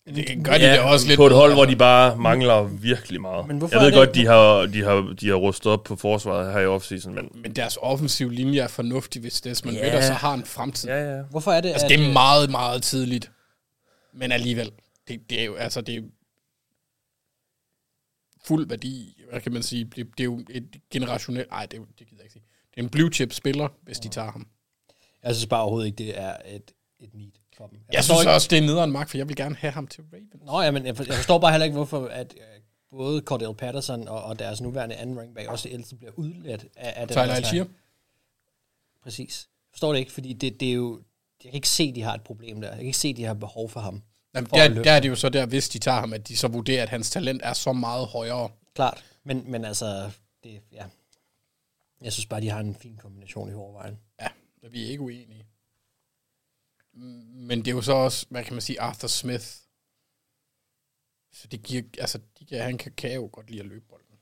Det gør de det også lidt. på et hold, hvor de bare mangler virkelig meget. Men hvorfor jeg ved er det- godt, de har, de, har, de har rustet op på forsvaret her i offseason, men... Men deres offensive linje er fornuftig, hvis Desmond Ja. yeah. Ritter så har en fremtid. Ja, ja. Hvorfor er det, Altså, at... det er øh, meget, meget tidligt. Men alligevel, det, det er jo, altså, det er fuld værdi, hvad kan man sige, det, det er jo et generationelt, nej, det, er jo- det gider jeg ikke sige. Det er en blue chip spiller, hvis de tager ham. Jeg synes bare overhovedet ikke, det er et, et need for dem. Jeg forstår synes ikke, også, det er nederen magt, for jeg vil gerne have ham til Ravens. Nå, ja, men jeg, for, jeg forstår bare heller ikke, hvorfor at, øh, både Cordell Patterson og, og deres nuværende anden running back, også ellers bliver udlært af, af den Tyler her snak. Algier. Præcis. Jeg forstår det ikke, fordi det, det er jo... Jeg kan ikke se, at de har et problem der. Jeg kan ikke se, at de har behov for ham. Jamen, For at der, løfte. der er det jo så der, hvis de tager ham, at de så vurderer, at hans talent er så meget højere. Klart. Men, men altså, det, ja. Jeg synes bare, de har en fin kombination i overvejen. Ja, vi er ikke uenige. Men det er jo så også, hvad kan man sige, Arthur Smith. Så det giver, altså, de kan, han kan, kan jo godt lide at løbe bolden.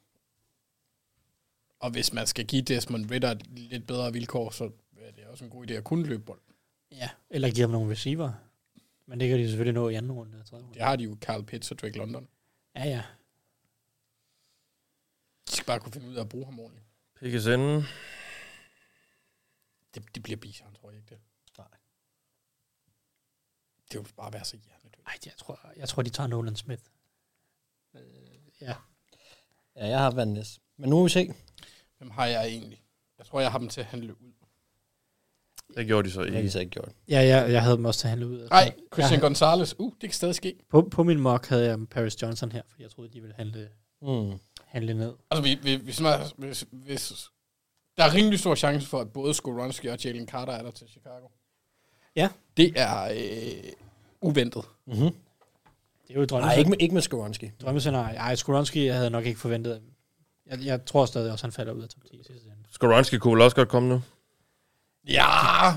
Og hvis man skal give Desmond Ritter lidt bedre vilkår, så er det også en god idé at kunne løbe bolden. Ja, eller give ham nogle receiver. Men det kan de selvfølgelig nå i anden runde. og tredje runde. Det har de jo Carl Pitts og Drake London. Ja, ja. De skal bare kunne finde ud af at bruge ham ordentligt. Pickens inden. Det, det bliver Bijan, tror jeg ikke det. Nej. Det vil bare være så hjernedødt. Ej, jeg tror, jeg tror, de tager Nolan Smith. Øh, Ja. Ja, jeg har Van Ness. Men nu må vi se. Hvem har jeg egentlig? Jeg tror, jeg har dem til at handle ud. Det gjorde de så Det ikke. har de så ikke gjort. Ja, jeg, jeg havde dem også til at handle ud. Nej, Christian jeg, Gonzalez. Uh, det kan stadig ske. på, på min mock havde jeg Paris Johnson her, fordi jeg troede, de ville handle, Mm. handle ned. Altså, vi, vi, hvis, man, hvis, hvis, der er rimelig stor chance for, at både Skoronski og Jalen Carter er der til Chicago. Ja. Det er øh, uventet. Mm-hmm. Det er jo et Nej, ikke drømmescenarie. med, ikke med Skoronski. drømmescenarie. Ej, Skoronski havde jeg nok ikke forventet. Jeg, jeg tror stadig også, han falder ud af top 10 i sidste ende. Skoronski kunne vel også godt komme nu. Ja,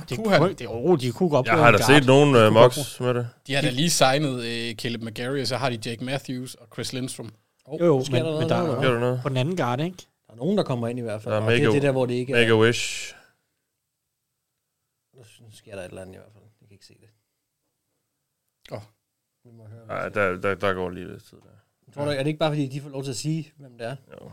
Det, kunne han. det, det, oh, de kunne godt Jeg bruge har en da guard. set nogen De uh, kunne godt mocks med det. De har da lige signet øh, Caleb McGarry, og så har de Jake Matthews og Chris Lindstrom. Oh, Jo, jo, sker men- men der er- noget, Gør du noget? bruge- På den anden guard, ikke? Der er nogen, der kommer ind i hvert fald. Der er og det er Mako. det der, hvor det ikke er... Make a wish. Nu sker der et eller andet i hvert fald. Jeg kan ikke se det. Åh. Vi må høre. Nej, der, der, der går lige lidt tid der. Tror du, er det ikke bare, fordi de får lov til at sige, hvem det er? Jo.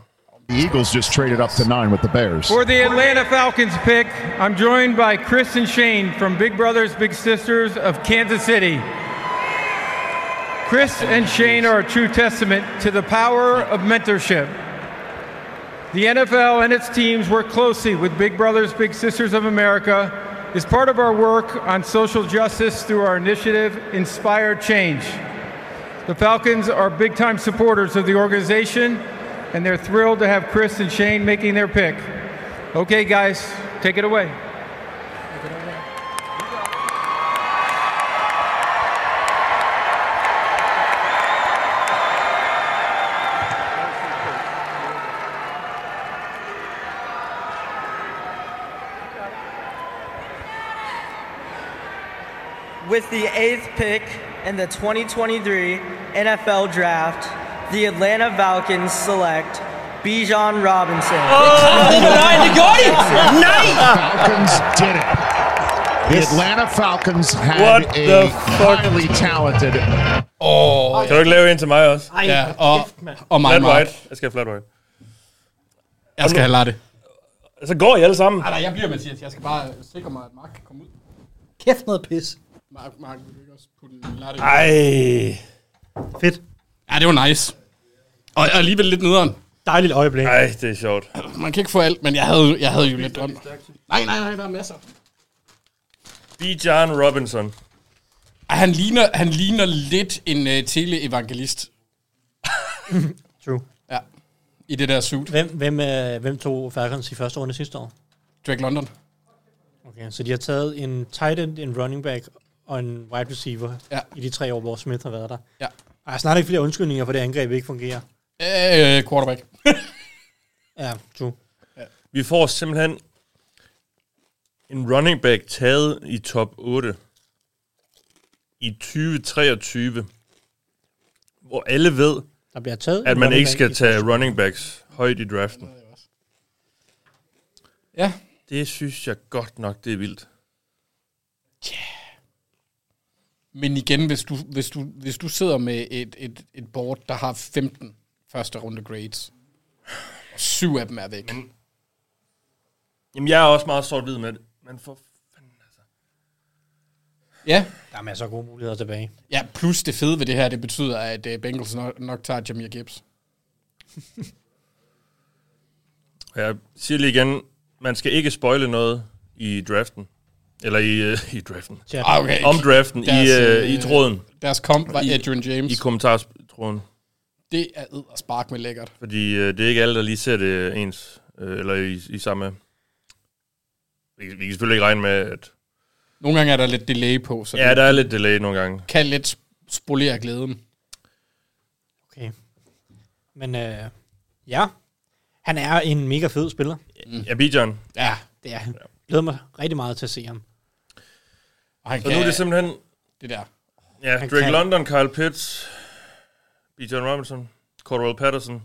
The Eagles just traded up to nine with the Bears. For the Atlanta Falcons pick, I'm joined by Chris and Shane from Big Brothers Big Sisters of Kansas City. Chris and Shane are a true testament to the power of mentorship. The NFL and its teams work closely with Big Brothers Big Sisters of America as part of our work on social justice through our initiative Inspire Change. The Falcons are big time supporters of the organization, and they're thrilled to have Chris and Shane making their pick. Okay, guys, take it away. With the eighth pick in the 2023 NFL Draft, the Atlanta Falcons select Bijan Robinson. Nej, det gjorde de! Nej! Falcons did it. The Atlanta Falcons had What a the fuck? highly talented. Åh, oh, Kan du ikke lave en til mig også? Ej, ja, og, og mig, Flat Mark. white. Jeg skal have flat white. Jeg skal have latte. Så går I alle sammen. Ah, Nej, nej, jeg bliver Mathias. Jeg skal bare sikre mig, at Mark kan komme ud. Kæft noget pis. Mark, Mark vil du ikke også putte en latte i? Ej. Fedt. Ja, det var nice. Og og alligevel lidt nederen. Dejligt øjeblik. Ej, det er sjovt. Man kan ikke få alt, men jeg havde, jeg havde jo lidt drømt. Nej, nej, nej, der er masser. B. John Robinson. Ej, Han ligner, han ligner lidt en uh, teleevangelist. True. Ja. I det der suit. Hvem, hvem, øh, hvem tog Falcons i første runde sidste år? Drake London. Okay, så de har taget en tight end, en running back og en wide receiver Ja. ja. i de tre år, hvor Smith har været der. Ja. Ej, snart ikke flere undskyldninger for det angreb ikke fungerer. Øh, quarterback. Ja, true. Vi får simpelthen en running back taget i top 8 i 2023, hvor alle ved, Der bliver taget at en man running ikke back skal i- tage running backs højt i draften. ja. Det synes jeg godt nok, det er vildt. Men igen, hvis du, hvis du, hvis du sidder med et, et, et board, der har 15 første runde grades, og syv af dem er væk. Mm. Jamen, jeg er også meget sort-hvid med det. Men for fanden altså. Ja. Der er masser af gode muligheder tilbage. ja, plus det fede ved det her, det betyder, at øh, Bengals nok, nok tager Jameer Gibbs. Jeg siger lige igen, man skal ikke spoile noget i draften. Eller i, øh, i draften. Chat. Ah, okay. Om draften i, Deres, øh, i øh, tråden. Deres komp var I- Adrian James. I kommentartråden. Det er ed og spark med lækkert. Fordi øh, det er ikke alle, der lige ser det ens, øh, eller i, i samme... Vi, vi kan selvfølgelig ikke regne med, at... Nogle gange er der lidt delay på, så Ja, der er lidt delay nogle gange. kan lidt sp- spolere glæden. Okay. Men øh, ja, han er en mega fed spiller. Mm. Abidjan. Ja, det er han. Glæder mig rigtig meget til at se ham. Og han Så nu er det simpelthen... Det der. Ja, Han Drake kan. London, Kyle Pitts, B. John Robinson, Cordell Patterson.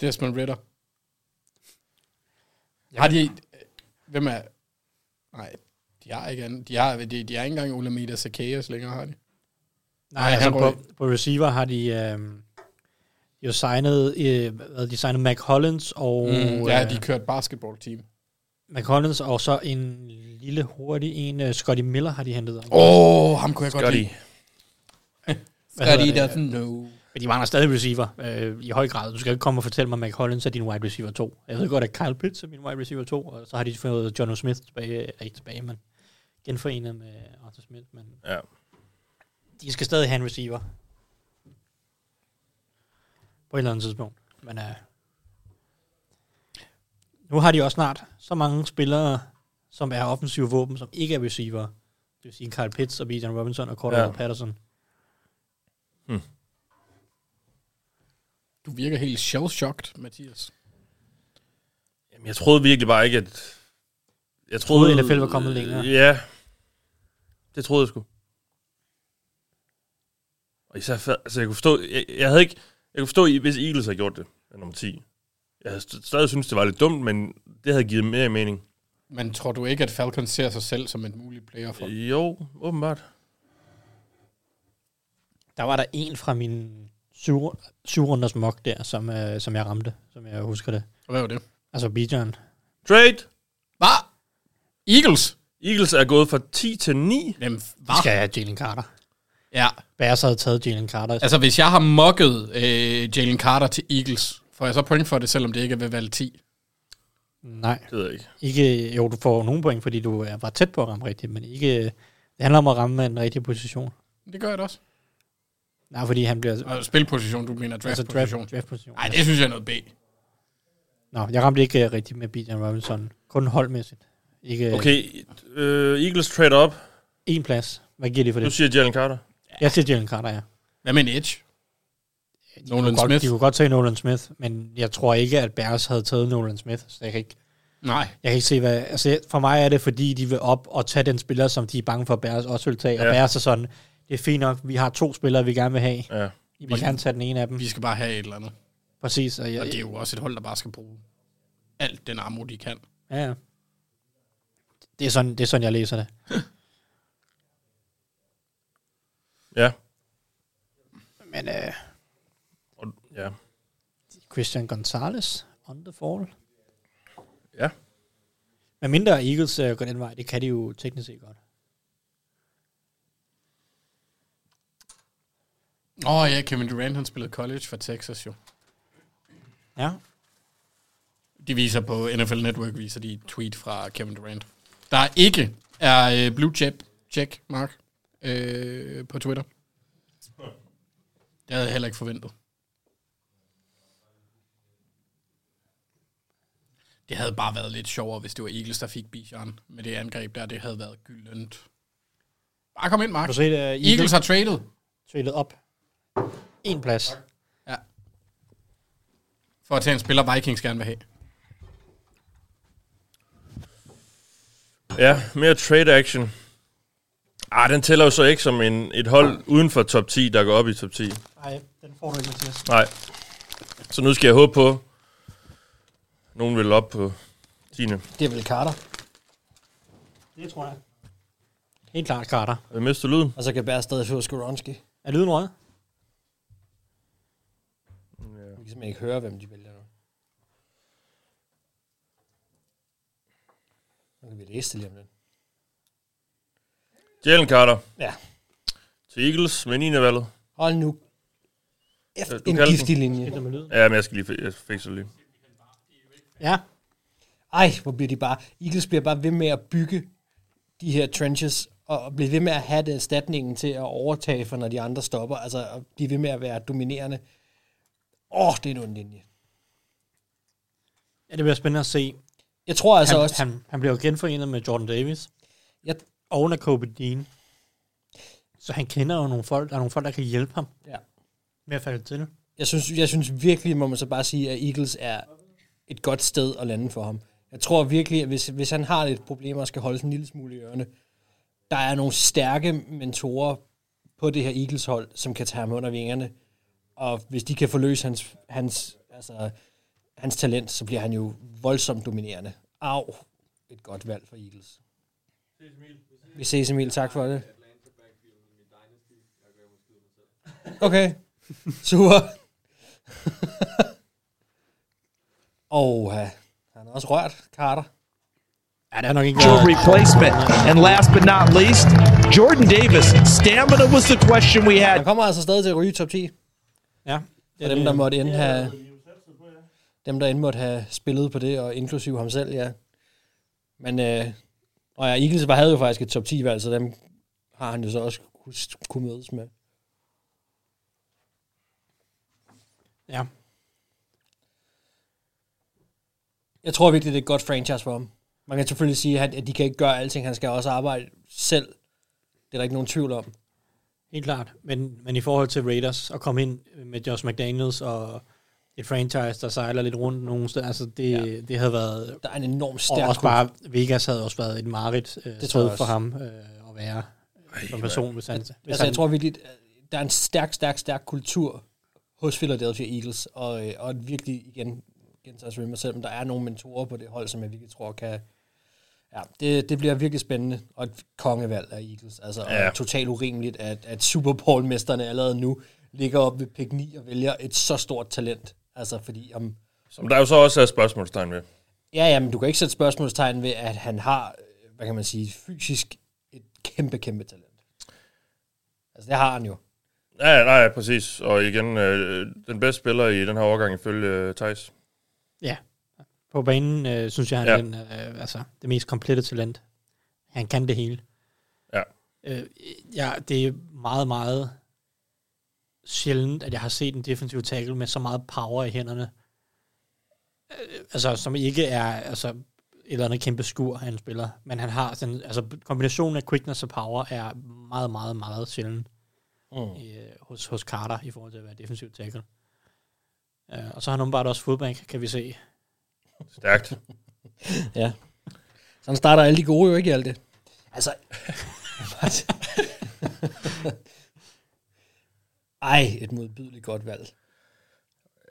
Desmond Ritter. Har de... Hvem er... Nej, de har ikke andet. De har, de, de har ikke engang Olamide Zacchaeus længere, har de? Nej, han altså røg. på, på receiver har de øh, jo signet, øh, hvad hedder de signet Mac Hollins og... Mm, ja, øh, de kørte basketballteam. Mac Hollins og så en lille hurtig en, øh, Scotty Miller har de hentet. Åh, ham kunne jeg godt Scotty. lide. Hvad hedder Scotty det? doesn't know. Men de mangler stadig receiver øh, i høj grad. Du skal ikke komme og fortælle mig, at Mac Hollins er din wide receiver 2. Jeg ved godt, at Kyle Pitts er min wide receiver 2, og så har de fået John Smith tilbage, eller ikke tilbage, men genforenet med Arthur Smith. Men Ja. de skal stadig have en receiver. På et eller andet tidspunkt. Men øh, nu har de også snart så mange spillere, som er offensive våben, som ikke er receiver. Det vil sige Kyle Pitts og Bijan Robinson og Cordell Ja. ja. Patterson. Du virker helt shell-shocked, Mathias. Jamen, jeg troede virkelig bare ikke, at... Jeg Øh, troede, NFL var kommet længere. Ja. Det troede jeg sgu. Og især før, altså jeg kunne forstå, jeg, jeg havde ikke, jeg kunne forstå, hvis Eagles havde gjort det, er nummer 10. Jeg havde st- stadig synes det var lidt dumt, men det havde givet mere mening. Men tror du ikke, at Falcons ser sig selv som et muligt player for? Jo, åbenbart. Der var der en fra min syv, syvrunders mock der, som, øh, som jeg ramte, som jeg husker det. Hvad var det? Altså Bijan. Trade! Hvad? Eagles? Eagles er gået fra 10 til 9. Jamen, De skal have Jalen Carter. Ja. Bears havde taget Jalen Carter. Altså, hvis jeg har mocket øh, Jalen Carter til Eagles, får jeg så point for det, selvom det ikke er ved valg 10? Nej. Det ved jeg ikke. ikke. Jo, du får nogle point, fordi du er- var tæt på at ramme rigtigt, men ikke... Det handler om at ramme den rigtige position. Det gør jeg da også. Nej, fordi han bliver... Og spilposition, du mener draftposition. Altså, draft, draftposition. Nej, det synes jeg er noget B. Nå, jeg ramte ikke øh, rigtigt med Bijan Robinson. Kun holdmæssigt. Ikke, Okay, øh, Eagles trade op. En plads. Hvad giver de for det? Du siger Jalen Carter. Jeg siger Jalen Carter, ja. Hvad med en edge? De Nolan kunne, godt, Smith? de kunne godt tage Nolan Smith, men jeg tror ikke, at Bears havde taget Nolan Smith, så jeg kan ikke, Nej. jeg kan ikke se, hvad... Altså, for mig er det, fordi de vil op og tage den spiller, som de er bange for, at Bears også vil tage. Ja. Og Ja. Bears er sådan, det er fint nok, vi har to spillere, vi gerne vil have. Ja. I må Vi- gerne tage den ene af dem. Vi skal bare have et eller andet. Præcis, og jeg- og det er jo også et hold, der bare skal bruge alt den armor, de kan. Ja, ja. Det er sådan, det er sådan jeg læser det. Ja. Men øh, Og, ja. Christian Gonzalez, on the fall. Ja. Men mindre Eagles øh, går den vej, det kan de jo teknisk set godt. Åh oh, ja, Kevin Durant, han spillede college for Texas jo. Ja. De viser på NFL Network, viser de et tweet fra Kevin Durant. Der ikke er øh, blue chip check, Mark, øh, på Twitter. Det havde jeg heller ikke forventet. Det havde bare været lidt sjovere, hvis det var Eagles, der fik Bijan med det angreb der. Det havde været gyldent. Bare kom ind, Mark. Har du set, øh, Eagles- Eagles, Eagles har traded. Trillet op. En plads. Ja. For at tage en spiller, Vikings gerne vil have. Ja, mere trade action. Ah, den tæller jo så ikke som en, et hold uden for top 10, der går op i top 10. Nej, den får du ikke, Mathias. Nej. Så nu skal jeg håbe på, nogen vil op på 10. Det er vel Carter. Det tror jeg. Helt klart Carter. Jeg mister lyden. Og så kan Bær stadig få Skoronski. Er lyden rød? Ja. Vi kan simpelthen ikke høre, hvem de vælger nu. Nu kan vi læse det lige om lidt. Jalen Carter. Ja. Til Eagles med 9. valget. Hold nu. F, Øh, du en kalder giftig den? linje. Ja, men jeg skal lige fi- jeg fikse det lige. Ja. Ej, hvor bliver de bare... Eagles bliver bare ved med at bygge de her trenches, og blive ved med at have det erstatningen til at overtage for, når de andre stopper. Altså, at blive ved med at være dominerende. Åh, oh, det er en ond linje. Ja, det bliver spændende at se. Jeg tror altså han, også- Han, han bliver jo genforenet med Jordan Davis. Jeg... Og under Kobe Dean. Så han kender jo nogle folk, der er nogle folk, der kan hjælpe ham. Ja. Med at falde til. Jeg synes, jeg synes virkelig, må man så bare sige, at Eagles er et godt sted at lande for ham. Jeg tror virkelig, at hvis, hvis han har lidt problemer og skal holde en lille smule i ørerne, der er nogle stærke mentorer på det her Eagles-hold, som kan tage ham under vingerne. Og hvis de kan forløse hans, hans, altså, hans talent, så bliver han jo voldsomt dominerende. Au, et godt valg for Eagles. Vi ses, Emil. Tak for det. Okay. Super. Og han er også rørt, Carter. Ja, det har nok ikke replacement. And last but not least, Jordan Davis. Stamina was the question we had. Han kommer altså stadig til at ryge i top 10. Ja. For dem, der måtte enten have... Dem, der end måtte have spillet på det, og inklusive ham selv, ja. Men, øh, og ja, Eagles var- havde jo faktisk et top 10-valg, så dem har han jo så også kunne, kunne mødes med. Ja. Jeg tror virkelig, det er et godt franchise for ham. Man kan selvfølgelig sige, at at de kan ikke gøre alting. Han skal også arbejde selv. Det er der ikke nogen tvivl om. Helt klart. Men, men i forhold til Raiders at komme ind med Josh McDaniels og et franchise, der sejler lidt rundt nogen steder, altså det, ja. det havde været... Der er en enorm Og stærk også bare, Vegas havde også været et mareridt øh, Det tror jeg sted også. for ham øh, at være øh, som person, hvis At- han... hvis altså, han, jeg tror virkelig, at der er en stærk, stærk, stærk kultur hos Philadelphia Eagles, og, øh, og virkelig igen, gentager jeg mig selv, men der er nogle mentorer på det hold, som jeg virkelig tror kan... Ja, det, det bliver virkelig spændende, og et kongevalg af Eagles. Altså, ja. Ja. og totalt urimeligt, at, at Super Bowl-mesterne allerede nu ligger op ved pick 9 og vælger et så stort talent. Altså, fordi om... Som der jo så også er spørgsmålstegn ved. Ja, ja, men du kan ikke sætte spørgsmålstegn ved, at han har, øh, hvad kan man sige, fysisk et kæmpe, kæmpe talent. Altså, det har han jo. Ja, ja, nej, præcis. Og igen, øh, den bedste spiller i den her overgang ifølge øh, Thijs. Ja. På banen øh, synes jeg, han ja. er Ja. den, øh, altså, det mest komplette talent. Han kan det hele. Ja. Øh, ja, det er meget, meget sjældent, at jeg har set en defensiv tackle med så meget power i hænderne. Øh, altså, som ikke er altså, et eller andet kæmpe skur, han spiller. Men han har sådan, altså, kombinationen af quickness og power er meget, meget, meget sjældent Mm. øh, hos, hos Carter i forhold til at være defensiv tackle. Øh, og så har han åbenbart også fodbank, kan vi se. Stærkt. ja. Sådan starter alle de gode jo ikke i alt det. Altså... Ej, et modbydeligt godt valg.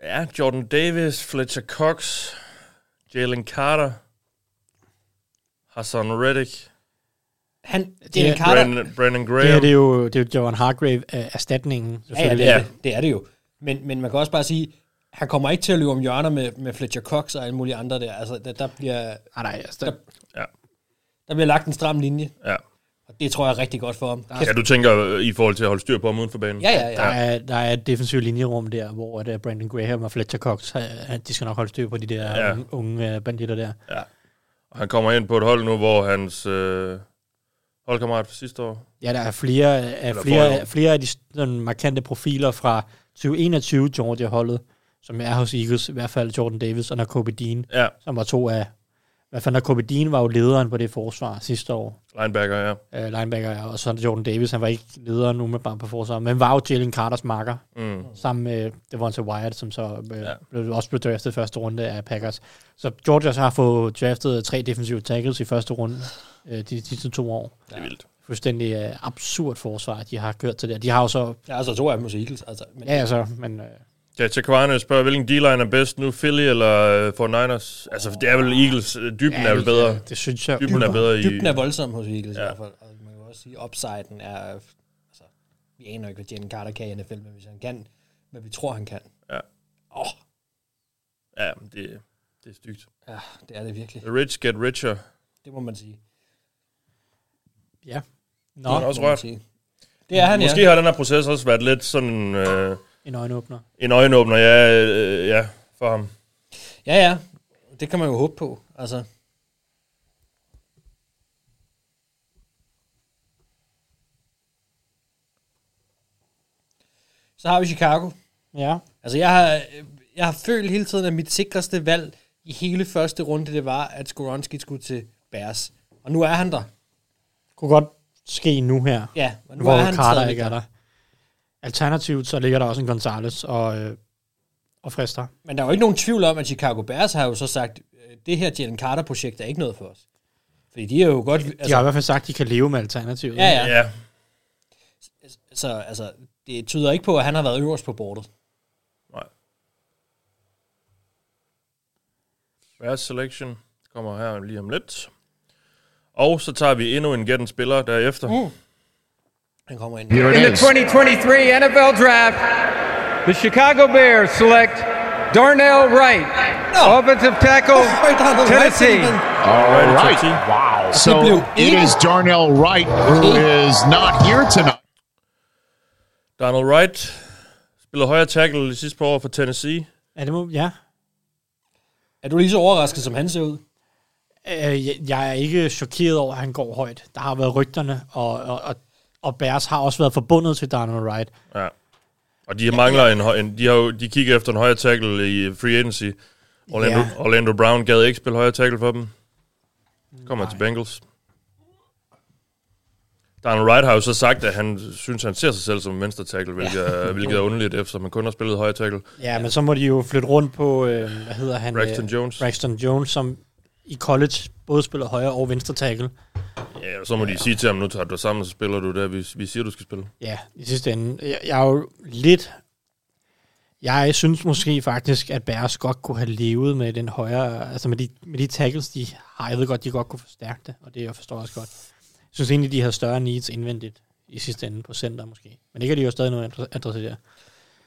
Ja, Jordan Davis, Fletcher Cox, Jalen Carter, Hassan Reddick. Han, Jalen Brandon- Carter- Brandon Graham. Det her det er jo, det er jo Johan Hargrave af erstatningen. Øhm. Ja, ja, selvfølgelig. det, er, det. det er det jo. Men, men man kan også bare sige, han kommer ikke til at løbe om hjørner med, med Fletcher Cox og alle mulige andre der. Altså, der, der bliver... Nej, nej, altså, der, ja. der bliver lagt en stram linje. Ja. Og det tror jeg er rigtig godt for ham. Der er- Ja, du tænker øh, i forhold til at holde styr på ham uden for banen? Ja, ja, Der, er, der er et defensivt linjerum der, hvor at øh, Brandon Graham og Fletcher Cox, øh, de skal nok holde styr på de der Ja. ja. unge øh, banditter der. Ja. Og han kommer ind på et hold nu, hvor hans øh, holdkammerat fra sidste år... Ja, der er flere, øh, er Eller forrige år. flere, flere af de sådan, markante profiler fra 2021 Georgia-holdet, som er hos Eagles, i hvert fald Jordan Davis og Nakobe Dean, Ja. som var to af... I hvert fald Nakobe Dean var jo lederen på det forsvar sidste år. Linebacker, ja. øh, linebacker, ja, og så Jordan Davis, han var ikke leder nu med bare på forsvaret, men var jo Jalen Carters marker, Mm. sammen med Devonta Wyatt, som så øh, ja. blev, også blev draftet i første runde af Packers. Så Georgia så har fået draftet tre defensive tackles i første runde øh, de, de sidste to år. Det er vildt. Fuldstændig øh, absurd forsvar, de har kørt til det. De har jo så... Ja, altså to af dem hos Eagles. Altså, men, Ja, altså, men... Øh, Ja, Chakwane spørger, hvilken D-line er bedst nu, Philly eller for Niners? Altså, det er vel Eagles. øh, Dybden Ja, er vel bedre. det synes jeg. Dybden er bedre i... Dybden er voldsom hos Eagles ja. i hvert fald. Og man kan jo også sige, at upsiden er... Altså, vi aner jo ikke, hvad Jalen Carter kan i NFL, men hvis han kan, hvad vi tror, han kan. Ja. Åh, Ja, men det, det er stygt. ja, det er det virkelig. The rich get richer. Det må man sige. Ja. Nå, det er også må man rørt. sige. Det er han, Måske ja. har den her proces også været lidt sådan... Øh, En øjenåbner. En øjenåbner, ja, øh, ja, for ham. Ja, ja. Det kan man jo håbe på. Altså, Så har vi Chicago. Ja. Altså, jeg har, jeg har følt hele tiden, at mit sikreste valg i hele første runde, det var, at Skoronski skulle til Bears. Og nu er han der. kunne godt ske nu her. Ja, og nu hvor er han Carter stadig ikke er der. der. Alternativt, så ligger der også en Gonzales og, øh, og Frister. Men der er jo ikke nogen tvivl om, at Chicago Bears har jo så sagt, øh, det her Jalen Carter-projekt er ikke noget for os. Fordi de er jo godt... De har i hvert fald sagt, at de kan leve med alternativet. Altså- Ja, ja. ja. Så altså, det tyder ikke på, at han har været øverst på bordet. Bears selection kommer her lige om lidt. Og så tager vi endnu en gætten spiller derefter. Mm. Den kommer ind. Here it In the is. 2023 NFL Draft, the Chicago Bears select Darnell Wright, offensive tackle, Tennessee. All right. Wow. So it is Darnell Wright who is not here tonight. Donald Wright spillede højre tackle i sidste par år for Tennessee. Ja, det må, ja. Er du lige så overrasket, som han ser ud? Øh, jeg- jeg er ikke chokeret over, at han går højt. Der har været rygterne, og, og, og, og Bears har også været forbundet til Darnell Wright. Ja. Og de mangler en, høj- en de, har jo, de kigger efter en højre tackle i free agency. Orlando, Ja. Orlando Brown gad ikke spille højre tackle for dem. Kommer til Bengals. Donald Wright har jo så sagt, at han synes, han ser sig selv som en venstre tackle, hvilket, er, hvilket er underligt, efter man kun har spillet højre tackle. Ja, men så må de jo flytte rundt på, øh, hvad hedder han? Braxton Jones. Braxton Jones, som i college både spiller højre og venstre tackle. Ja, og så må ja. de sige til ham, nu tager du dig sammen, så spiller du der, vi, vi siger, du skal spille. Ja, i sidste ende. Jeg, jeg er jo lidt... Jeg synes måske faktisk, at Bears godt kunne have levet med den højere... Altså med de, med de tackles, de har. Jeg ved godt, de godt kunne forstærke det, og det jeg forstår også godt. Jeg synes egentlig, de havde større needs indvendigt i sidste ende på center måske. Men det kan de jo stadig noget at adressere.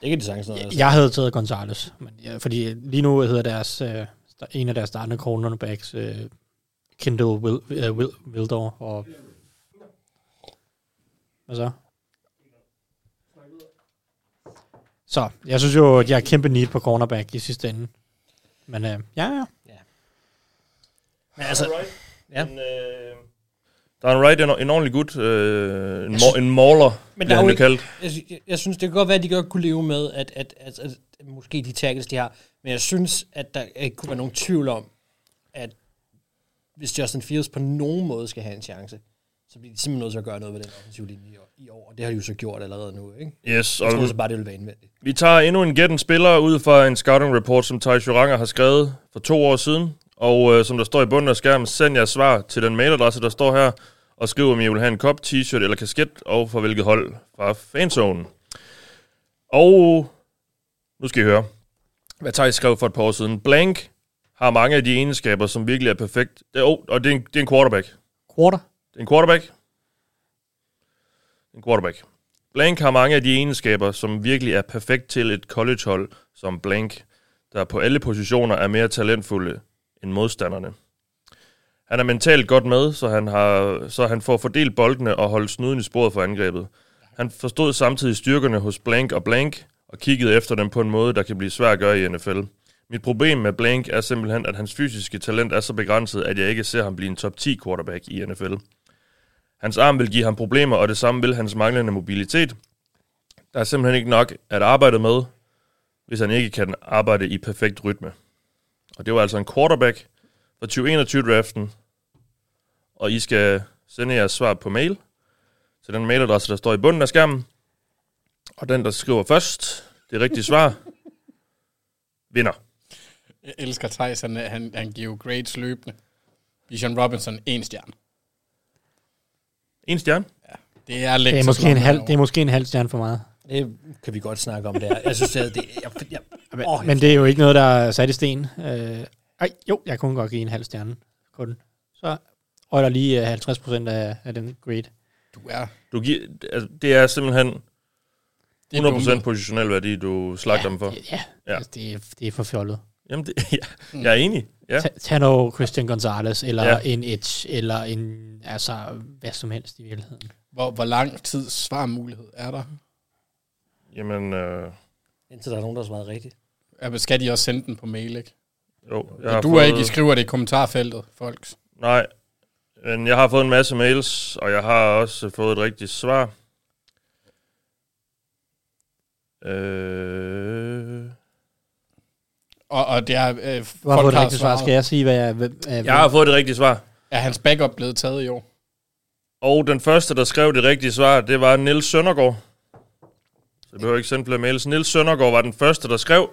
Det kan de sagtens nå altså. at adressere. Jeg havde taget Gonzalez, men ja, fordi lige nu hedder deres, øh, sta- en af deres startende cornerbacks øh, Kendall Wil, øh, Wil, Wildor. Og hvad så? Så jeg synes jo, at jeg er kæmpe need på cornerback i sidste ende. Men øh, ja, ja. Men altså, ja. Donald Wright er en, en ordentlig gut, øh, en, mor, en mauler, Men men der er jo han jo ikke, jeg, kaldt. sy- jeg- jeg synes, det kan godt være, at de godt kunne leve med, at, at, at, at, at måske de tackles, de har. Men jeg synes, at der ikke kunne være nogen tvivl om, at hvis Justin Fields på nogen måde skal have en chance, så bliver de simpelthen nødt til at gøre noget ved den offensive linje i år- i år. Og det har de jo så gjort allerede nu, ikke? Yes, jeg og- troede så bare, det ville være indvendigt. Vi tager endnu en gætten spiller ud fra en scouting report, som Thijs Joranger har skrevet for to år siden. Og øh, som der står i bunden af skærmen, send jeres svar til den mailadresse, der står her, og skriv, om I vil have en kop, t-shirt eller kasket, og for hvilket hold fra fanzonen. Og nu skal I høre, hvad Thijs skrev for et par år siden. Blank har mange af de egenskaber, som virkelig er perfekt. Det, oh, og det er, en, det er en quarterback. Quarter? Det er en quarterback. En quarterback. Blank har mange af de egenskaber, som virkelig er perfekt til et collegehold som Blank, der på alle positioner er mere talentfulde end modstanderne. Han er mentalt godt med, så han, har, så han får fordelt boldene og holdt snuden i sporet for angrebet. Han forstod samtidig styrkerne hos Blank og Blank, og kiggede efter dem på en måde, der kan blive svær at gøre i NFL. Mit problem med Blank er simpelthen, at hans fysiske talent er så begrænset, at jeg ikke ser ham blive en top 10 quarterback i NFL. Hans arm vil give ham problemer, og det samme vil hans manglende mobilitet. Der er simpelthen ikke nok at arbejde med, hvis han ikke kan arbejde i perfekt rytme. Og det var altså en quarterback fra 2021-draften. Og I skal sende jeres svar på mail til den mailadresse, der står i bunden af skærmen. Og den, der skriver først det rigtige svar, vinder. Jeg elsker Thijs, han, han, han giver jo grades løbende. Bijan Robinson, en stjerne. En stjerne? Ja, det er Det er, lækkert. måske en halv, det er måske en halv stjerne for meget. Det kan vi godt snakke om der. Jeg synes, at det jeg, jeg, jeg, åh, Men det er jo ikke noget, der er sat i sten. Øh, ej, jo, jeg kunne godt give en halv stjerne. Kun. Så og der lige øh, 50 procent af, af den grade. Du er. Du giver, altså, det er simpelthen Det er 100% dumhed. positionel værdi, du slagter dem for. Ja, ja. Altså, det, er, det er for fjollet. Jamen, det, ja. jeg er enig. Ja. Ta- Tag noget Christian Gonzalez, eller Ja. ja. en Edge, eller en, altså, hvad som helst i virkeligheden. Hvor, hvor lang tid svarmulighed er der? Jamen, øh, Indtil der er nogen, der har svaret rigtigt. Ja, men skal de også sende den på mail, ikke? Jo, jeg har jeg du er ikke, fået- I skriver det i kommentarfeltet, folks. Nej, men jeg har fået en masse mails, og jeg har også fået et rigtigt svar. Øh, Og, og det er, øh, Du har fået det rigtige svar. Skal jeg sige, hvad jeg... Hvad, hvad- Jeg har fået det rigtige svar. Er hans backup blevet taget i år? Og den første, der skrev det rigtige svar, det var Nils Søndergaard. Så jeg behøver ikke sende flere mails. Nils Søndergaard var den første, der skrev.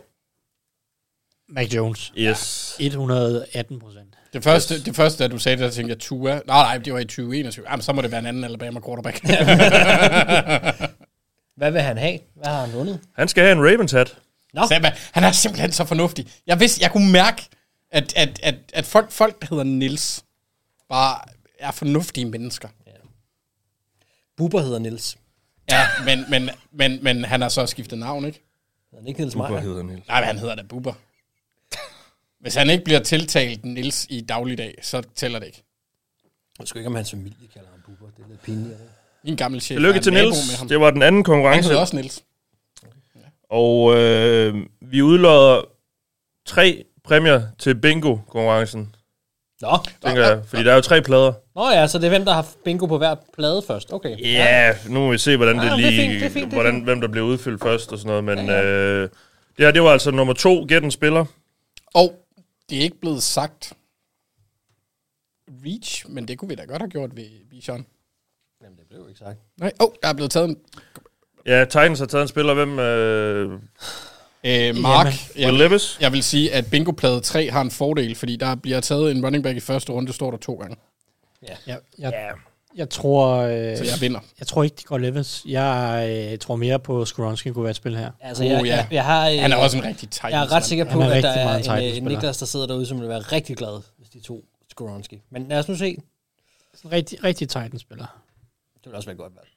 Mac Jones. Yes. 118 procent. Det første, det første, da du sagde det, der tænkte jeg, Tua. Nej, nej, det var i 2021. Jamen, så må det være en anden Alabama quarterback. Hvad vil han have? Hvad har han vundet? Han skal have en Ravens hat. Nå. Samba, han er simpelthen så fornuftig. Jeg vidste, jeg kunne mærke, at, at, at, at folk, folk, der hedder Nils bare er fornuftige mennesker. Bubber hedder Nils. Ja, men, men, men, men han har så skiftet navn, ikke? Hedder han ikke Niels Bubber Meyer? hedder Niels. Nej, men han hedder da Bubber. Hvis han ikke bliver tiltalt Nils i dagligdag, så tæller det ikke. Jeg skal ikke, om hans familie kalder ham Bubber. Det er lidt pinligt. er det ikke? Min gammel chef. Tillykke er til nabo Niels. med ham. Det var den anden konkurrence. Han hedder også Niels. Og øh, vi udlodder tre præmier til bingo-konkurrencen. Nå. Tænker jeg, fordi der er jo tre plader. Nå ja, så det er hvem, der har haft bingo på hver plade først. Okay. Ja, nu må vi se, hvordan Ah, det det er lige... fint, det er fint, det er hvordan, fint. hvem der bliver udfyldt først og sådan noget, men... Ja, ja. Øh, det her, det var altså nummer to, Gæt en spiller. Og det er ikke blevet sagt reach, men det kunne vi da godt have gjort ved Bichon. Jamen, det blev ikke sagt. Nej, åh, oh, der er blevet taget en... Ja, Titans har taget en spiller. Hvem? Øh... Øh, Mark, Will Levis? jeg vil sige, at bingoplade 3 har en fordel, fordi der bliver taget en running back i første runde, det står der to gange. Ja. Jeg, jeg, jeg tror... Øh, Så jeg vinder. Jeg tror ikke, de går Levis. Jeg øh, tror mere på, at Skoronski kunne være et spil her. Altså, jeg, jeg, jeg har, øh, Uh, Han er også en rigtig Titans, Jeg er mand. ret sikker Han på, er at der rigtig er meget en, øh, en Titans-spiller. Niklas, der sidder derude, som vil være rigtig glad, hvis de to Skoronski. Men lad os nu se. Det Sådan en rigtig, rigtig Titans-spiller. vil også være godt valg.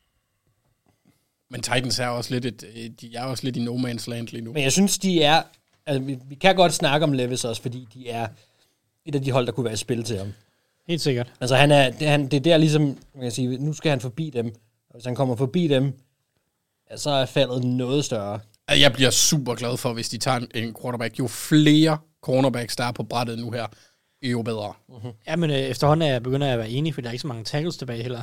Men Titans er også lidt, et, øh, de er også lidt i no man's land lige nu. Men jeg synes, de er... Altså, vi, vi kan godt snakke om Levis også, fordi de er et af de hold, der kunne være i spil til ham. Helt sikkert. Altså, han er, det, han, det er der ligesom, man kan sige, nu skal han forbi dem. Og hvis han kommer forbi dem, ja, så er faldet noget større. At Jeg bliver super glad for, hvis de tager en- en quarterback. Jo flere cornerbacks, der er på brættet nu her, jo bedre. Mm. Ja, men øh, efterhånden er jeg begynder jeg at være enig, for der er ikke så mange tackles tilbage heller.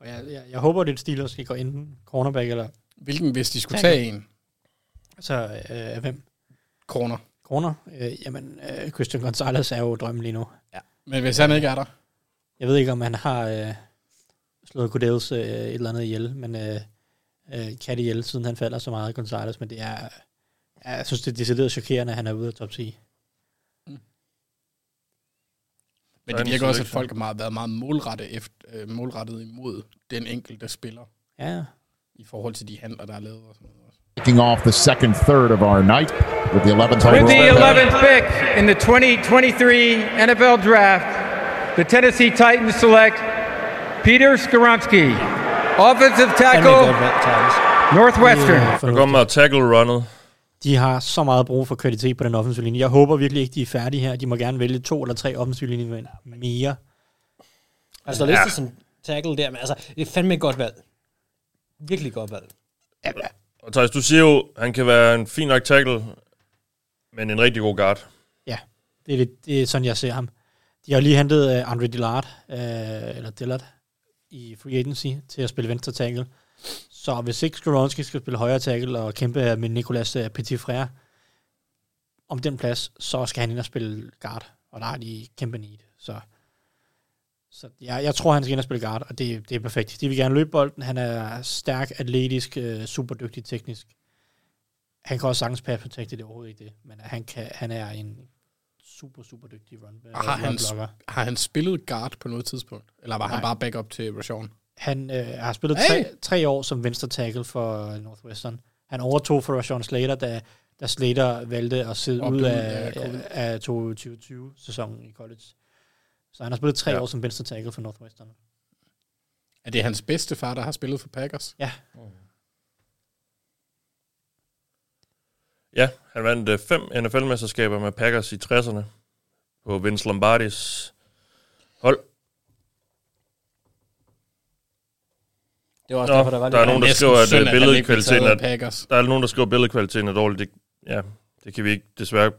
Og jeg, jeg, jeg håber, det er Steelers, skal gå enten cornerback eller... Hvilken, hvis de skulle Tackle. tage en? Så øh, hvem? Corner. Corner? Øh, jamen, øh, Christian Gonzalez er jo drømmen lige nu. Ja. Men hvis han ikke er der? Jeg ved ikke, om han har øh, slået Godels øh, et eller andet ihjel, men øh, øh, kan det ihjel, siden han falder så meget, Gonzalez, men det er... ja, Jeg synes, det er decideret chokerende, at han er ude af top 10. Men Ryan det virker også, at selection. folk har meget, været meget målrettet, efter, øh, målrettet imod den enkelte spiller. Ja. I forhold til de handler, der er lavet. og sådan noget. Kicking off the second third of our night with the 11th With the overall pick. 11th pick in the 2023 NFL Draft, the Tennessee Titans select Peter Skoronsky, offensive tackle, Northwestern. Der kommer tackle runnet. De har så meget brug for kvalitet på den offensive linje. Jeg håber virkelig ikke, de er færdige her. De må gerne vælge to eller tre offensive linjer mere. Altså, der Ja. ja. listet som tackle der, men altså, det er fandme et godt valg. Virkelig godt valg. Og Thijs, du siger jo, han kan være en fin nok tackle, men en rigtig god guard. Ja, det er, lidt, det er sådan, jeg ser ham. De har jo lige hentet uh, Andre Dillard, uh, eller Dillard, i free agency til at spille venstre tackle. Så hvis ikke Skoronski skal spille højre tackle og kæmpe med Nicolas øh, Petitfrère om den plads, så skal han ind og spille guard, og der har de kæmpe need. Så, så jeg, jeg tror, han skal ind og spille guard, og det, det er perfekt. De vil gerne løbe bolden. Han er stærk, atletisk, øh, super dygtig teknisk. Han kan også sagtens pass protect, det er overhovedet ikke det, men han, kan, han er en super, super dygtig run. Og har, han, blocker. har han spillet guard på noget tidspunkt? Eller var Nej. Nej. han bare backup til Rashawn? Han øh, har spillet Hey! hey. tre, tre år som venstre tackle for øh, Northwestern. Han overtog for Rashawn Slater, da, da Slater valgte at sidde Og ud blev af, ud af covid. af 2020-sæsonen i college. Så han har spillet tre Ja. ja. år som venstre tackle for Northwestern. Er det hans bedste far, der har spillet for Packers? Ja. Ja, han vandt øh, fem NFL-mesterskaber med Packers i 60'erne på Vince Lombardis hold. Det var Nå, der er nogen, der skriver, at øh, billedkvaliteten er, Packers. der er nogen, der skriver, at billedkvaliteten er dårlig. Det, ja, det kan vi ikke desværre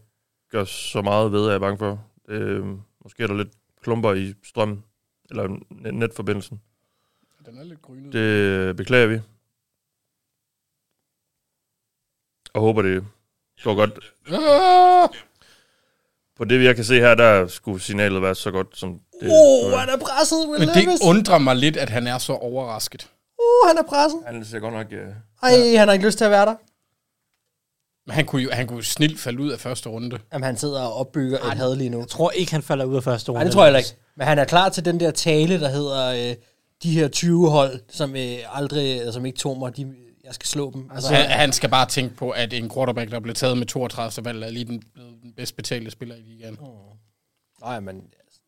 gøre så meget ved, er jeg bange for. Øh, måske er der lidt klumper i strømmen, eller net- netforbindelsen. Den er lidt grynet. Det øh, beklager vi. Og håber, det går godt. Ah! På det, jeg kan se her, der skulle signalet være så godt som det. Oh, han er presset, Will Men det Levis. undrer mig lidt, at han er så overrasket. Uh, han er presset. Han ser godt nok... Uh... Ej, han har ikke lyst til at være der. Men han kunne jo, han kunne jo snilt falde ud af første runde. Jamen, han sidder og opbygger et had lige nu. Jeg tror ikke, han falder ud af første runde. Nej, det tror jeg heller ikke. Men han er klar til den der tale, der hedder øh, de her 20 hold, som øh, aldrig, eller som ikke tog mig, de, jeg skal slå dem. Altså, han, han skal bare tænke på, at en quarterback, der blev taget med 32. valg, er lige den, blevet den bedst betalte spiller i ligaen. Nej, men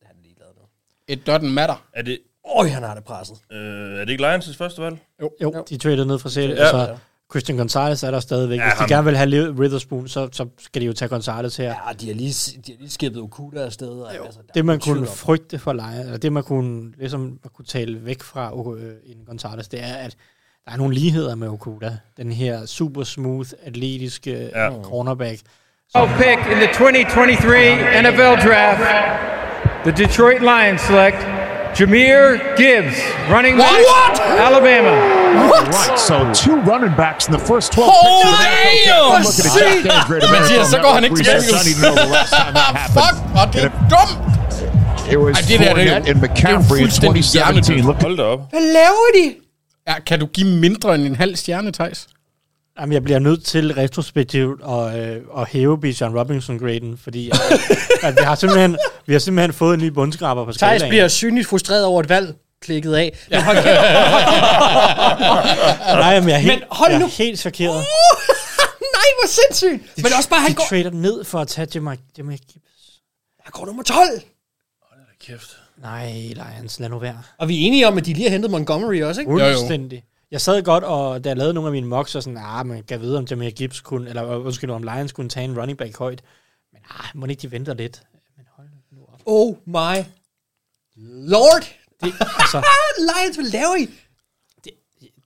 han er ligeglad nu. It doesn't matter. Er det... Øj, han har det presset. Øh, er det ikke Lions' første valg? Jo. Jo, de traded ned fra Seattle. Ja. Ja. Så Christian Gonzalez er der stadigvæk. Ja, Hvis ham. de gerne vil have Liv- Witherspoon, så, så skal de jo tage Gonzalez her. Ja, de har lige, de har lige skippet Okuda afsted. Og, altså, der Det er man ingen kunne tvivl om. frygte for Lions, eller det man kunne, ligesom, man kunne tale væk fra øh, en Gonzalez, det er, at der er nogle ligheder med Okuda. Den her super smooth, atletiske ja. cornerback. pick in the 2023 NFL Draft, the Detroit Lions select Jameer Gibbs, running back, What? Alabama. All right, so two running backs in the first 12 Holy picks. damn! I'm looking at Jack Daniels, great Men American siger, så går han ikke til research. I need to know the last time that happened. Ah, Fuck, og det er dumt! It was Ej, det der, det er Fournette jo- and McCaffrey in 2017. Look Hold da op. Hvad laver de? Ja, kan du give mindre end en halv stjerne, Thijs? Jamen, jeg bliver nødt til retrospektivt at, øh, at hæve Bijan Robinson-graden, fordi at, at vi, har simpelthen, vi har simpelthen fået en ny bundskraber på skalaen. Thijs bliver synligt frustreret over et valg klikket af. Men hold kæft. Nej, men jeg er helt, Men hold jeg nu. Er helt chokeret. Uh, Nej, hvor sindssygt. Men også bare, han de går... trader ned for at tage Jamal, Jamal Gibbs. Han går nummer 12. Kæft. Nej, Lions, lad nu være. Og vi er enige om, at de lige har hentet Montgomery også, ikke? Fuldstændig. Jeg sad godt, og da jeg lavede nogle af mine mocks, og sådan, ah, man kan vide, om Jameer Gibbs kunne, eller øh, undskyld, om Lions kunne tage en running back højt. Men ah, må ikke de venter lidt? Oh my lord. Det, altså, Lions, hvad laver I?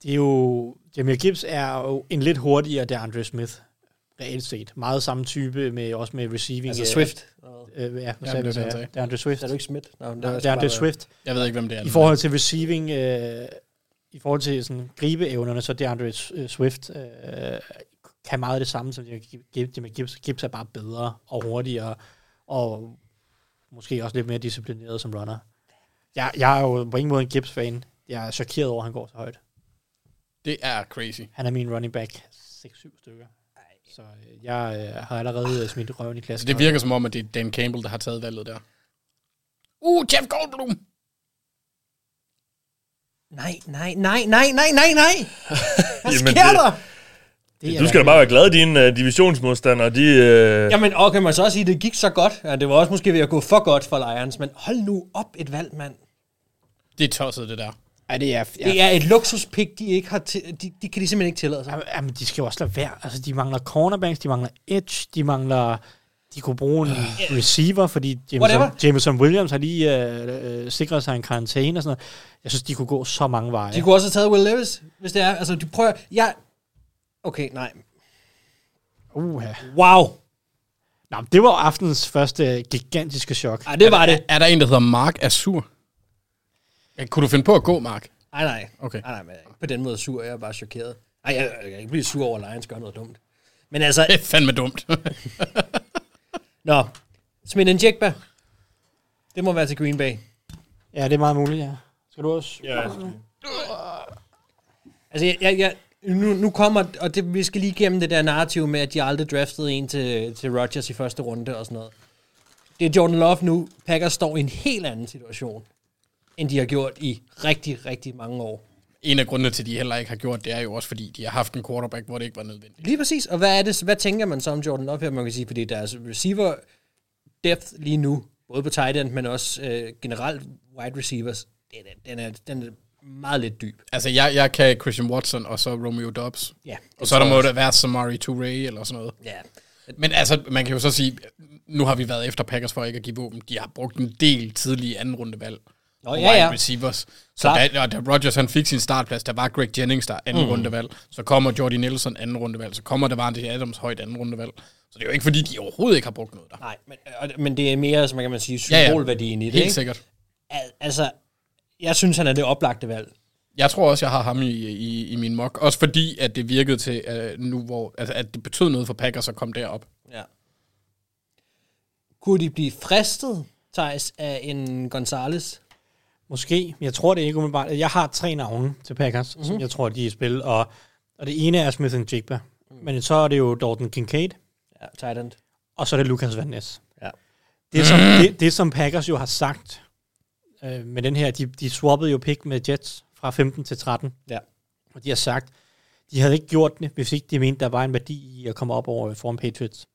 det er jo, Jameer Gibbs er jo en lidt hurtigere DeAndre Smith, reelt set. Meget samme type, med, også med receiving. Altså øh, Swift. Øh, ja, det hvad sagde var du, det, han sagde sagde. jeg? DeAndre Swift. Er du ikke Smith? Nå, men Nå, var- det er Andre Swift. Jeg ved ikke, hvem det er. I forhold til receiving, øh, i forhold til sådan gribeevnerne, så DeAndre S- øh, Swift øh, kan meget af det samme som Jimmy Gibbs. Gibbs er bare bedre og hurtigere, og måske også lidt mere disciplineret som runner. Jeg, jeg er jo på ingen måde en Gibbs-fan. Jeg er chokeret over, at han går så højt. Det er crazy. Han er min running back. 6-7 stykker. Så øh, jeg øh, har allerede øh, smidt røven i Altså, klassen. det virker som om, at det er Dan Campbell, der har taget valget der. Uh, Jeff Goldblum! Nej, nej, nej, nej, nej, nej, nej. Hvad Jamen, sker det- der? Du skal da bare være glad, at dine uh, divisionsmodstandere, de... Uh... Jamen, og kan man så også sige, at det gik så godt. Ja, det var også måske ved at gå for godt for Lions, men hold nu op et valg, mand. Det er tosset, det der. Ja, det er, Det er et luksuspik, de ikke har til, de, de kan de simpelthen ikke tillade sig. Jamen, Jamen, de skal jo også lade være. Altså, de mangler cornerbacks, de mangler edge, de mangler... De kunne bruge en receiver, fordi Whatever. Jameson, Jameson Williams har lige øh, øh, sikret sig en karantæne og sådan noget. Jeg synes, de kunne gå så mange veje. De kunne også have taget Will Levis, hvis det er. Altså, de prøver... Jeg... Okay, nej. Uha. Wow. Nå, men det var aftenens første gigantiske chok. Ej, det var det. Er der en, der hedder Mark Azur? Ja, Kunne du finde på at gå, Mark? Nej, nej. Okay. Nej, nej, men jeg er ikke på den måde sur. Jeg er bare chokeret. Nej, jeg, jeg kan ikke blive sur over, at Lions gør noget dumt. Men altså... Det er fandme dumt. Nå. Smid en Jekba. Det må være til Green Bay. Ja, det er meget muligt, ja. Skal du også? Ja, Altså, jeg, jeg, jeg, nu, nu kommer... Og det, vi skal lige igennem det der narrativ med, at de aldrig draftede en til, til Rodgers i første runde og sådan noget. Det er Jordan Love nu. Packers står i en helt anden situation, end de har gjort i rigtig, rigtig mange år. en af grundene til, at de heller ikke har gjort det, er jo også, fordi de har haft en quarterback, hvor det ikke var nødvendigt. Lige præcis. Og hvad, er det, hvad tænker man så om Jordan Love her? Man kan sige, fordi deres receiver depth lige nu, både på tight end, men også øh, generelt wide receivers, den er, den, er, den er meget lidt dyb. Altså, jeg, jeg kan Christian Watson og så Romeo Dobbs. Ja, og så der må der være Samari Touré eller sådan noget. Ja. Men altså, man kan jo så sige, nu har vi været efter Packers for ikke at give våben. De har brugt en del tidlige anden rundevalg. Nå, på ja, wide ja. receivers. Så Klart. da, og da Rodgers han fik sin startplads, der var Greg Jennings, der er anden Mm. mm. rundevalg. Så kommer Jordi Nelson anden rundevalg. Så kommer Davante Adams højt anden rundevalg. Så det er jo ikke, fordi de overhovedet ikke har brugt noget der. Nej, men, og, men det er mere, som man kan man sige, Ja, ja. symbolværdien i det. Helt ikke? sikkert. Al, altså, jeg synes, han er det oplagte valg. Jeg tror også, jeg har ham i, i, i min mock. Også fordi, at det virkede til uh, nu, hvor... Altså, at det betød noget for Packers at komme derop. Ja. Kunne de blive fristet, Thijs, af en Gonzales? Måske. Jeg tror det ikke umiddelbart. Jeg har tre navne til Packers, Mhm. mm-hmm. som jeg tror, de er i spil. Og, og det ene er Smith Jigba. Mm. Men så er det jo Dalton Kincaid. Ja, tight end. Og så er det Lucas Van Ness. Ja. Det, som, det, det, som Packers jo har sagt øh, med den her, de, de swappede jo pick med Jets fra 15 til 13. Ja. Og de har sagt, de havde ikke gjort det, hvis ikke de mente, der var en værdi i at komme op over foran Patriots.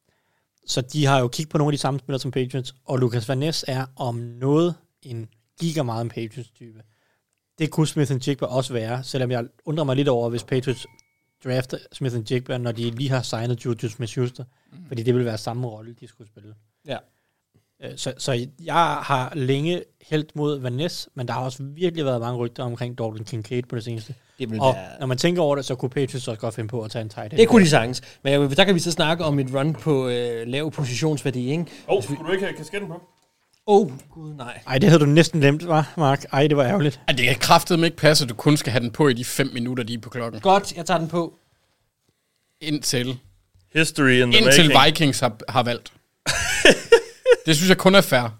Så de har jo kigget på nogle af de samme spillere som Patriots, og Lucas Van Ness er om noget en giga meget en Patriots-type. Det kunne Smith Jigba også være, selvom jeg undrer mig lidt over, hvis Patriots drafter Smith Jigba, når de lige har signet Juju Smith-Schuster, mm. fordi det ville være samme rolle, de skulle spille. Ja. Øh, Så, så jeg har længe hældt mod Van Ness, men der har også virkelig været mange rygter omkring Dalton Kincaid på det seneste. Det vil og være- når man tænker over det, så kunne Patriots også godt finde på at tage en tight end. Det kunne de sagtens. Men jeg, der kan vi så snakke om et run på øh, lav positionsværdi, ikke? Åh, oh, skulle du ikke have kasketten på? Åh, oh, gud nej. Ej, det havde du næsten glemt, var Mark? Ej, det var ærgerligt. Ej, det kan kraftedeme ikke passe, at du kun skal have den på i de 5 minutter, de er på klokken. Godt, jeg tager den på. Indtil, History in the indtil making. Vikings har, har valgt. det synes jeg kun er fair.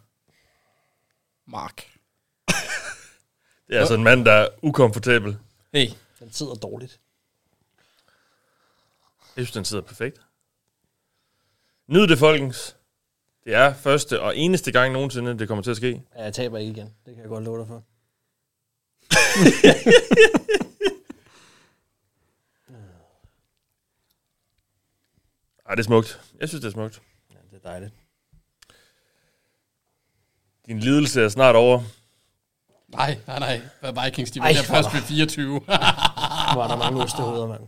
Mark. Det er altså en mand, der er ukomfortabel. Jeg Hey. Den sidder dårligt. synes, den sidder perfekt. Nyd det, folkens. Det er første og eneste gang nogensinde, det kommer til at ske. Ja, jeg taber ikke igen. Det kan jeg godt love dig for. Ej, det er smukt. Jeg synes, det er smukt. Ja, det er dejligt. Din lidelse er snart over. Nej, nej, nej. Hvad er Vikings, de Ej, vælger hvor først der- med 24. Hvor er der mange ostehoveder, mand.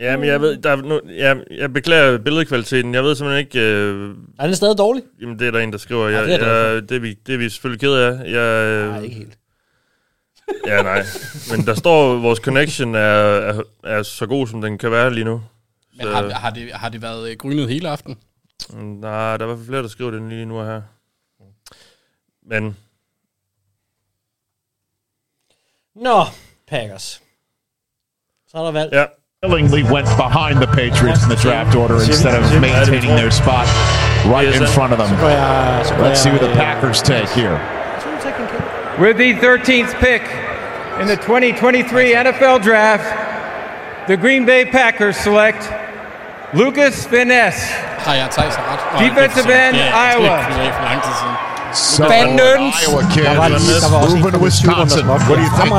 Ja, men jeg ved, der er nu, jeg, jeg beklager billedkvaliteten. Jeg ved simpelthen ikke... Øh, Er den stadig dårlig? jamen, det er der en, der skriver. Ja, Jeg, det er jeg glad for. jeg, det, er vi, det er vi selvfølgelig ked af. Jeg, øh, Nej, ikke helt. Ja, nej. Men der står, at vores connection er, er, er så god, som den kan være lige nu. Men har, har, det, har det været øh, grynet hele aften? Mm, Nej, der er i hvert fald flere, der skriver den lige nu her. Men Nå, Packers. Så er der valgt. Yeah. Willingly went behind the Patriots in the draft order instead of maintaining their spot right in front of them. Let's see who the Packers take here. With the 13th pick in the 2023 NFL Draft, the Green Bay Packers select Lucas Finesse, Har jeg Thijs ret? Og Defensive Gibson. end, Ja, Iowa. Det er for lang tid siden. So, Bandits. Iowa kid, Der var lige- der var også en moving to Wisconsin. What do you think?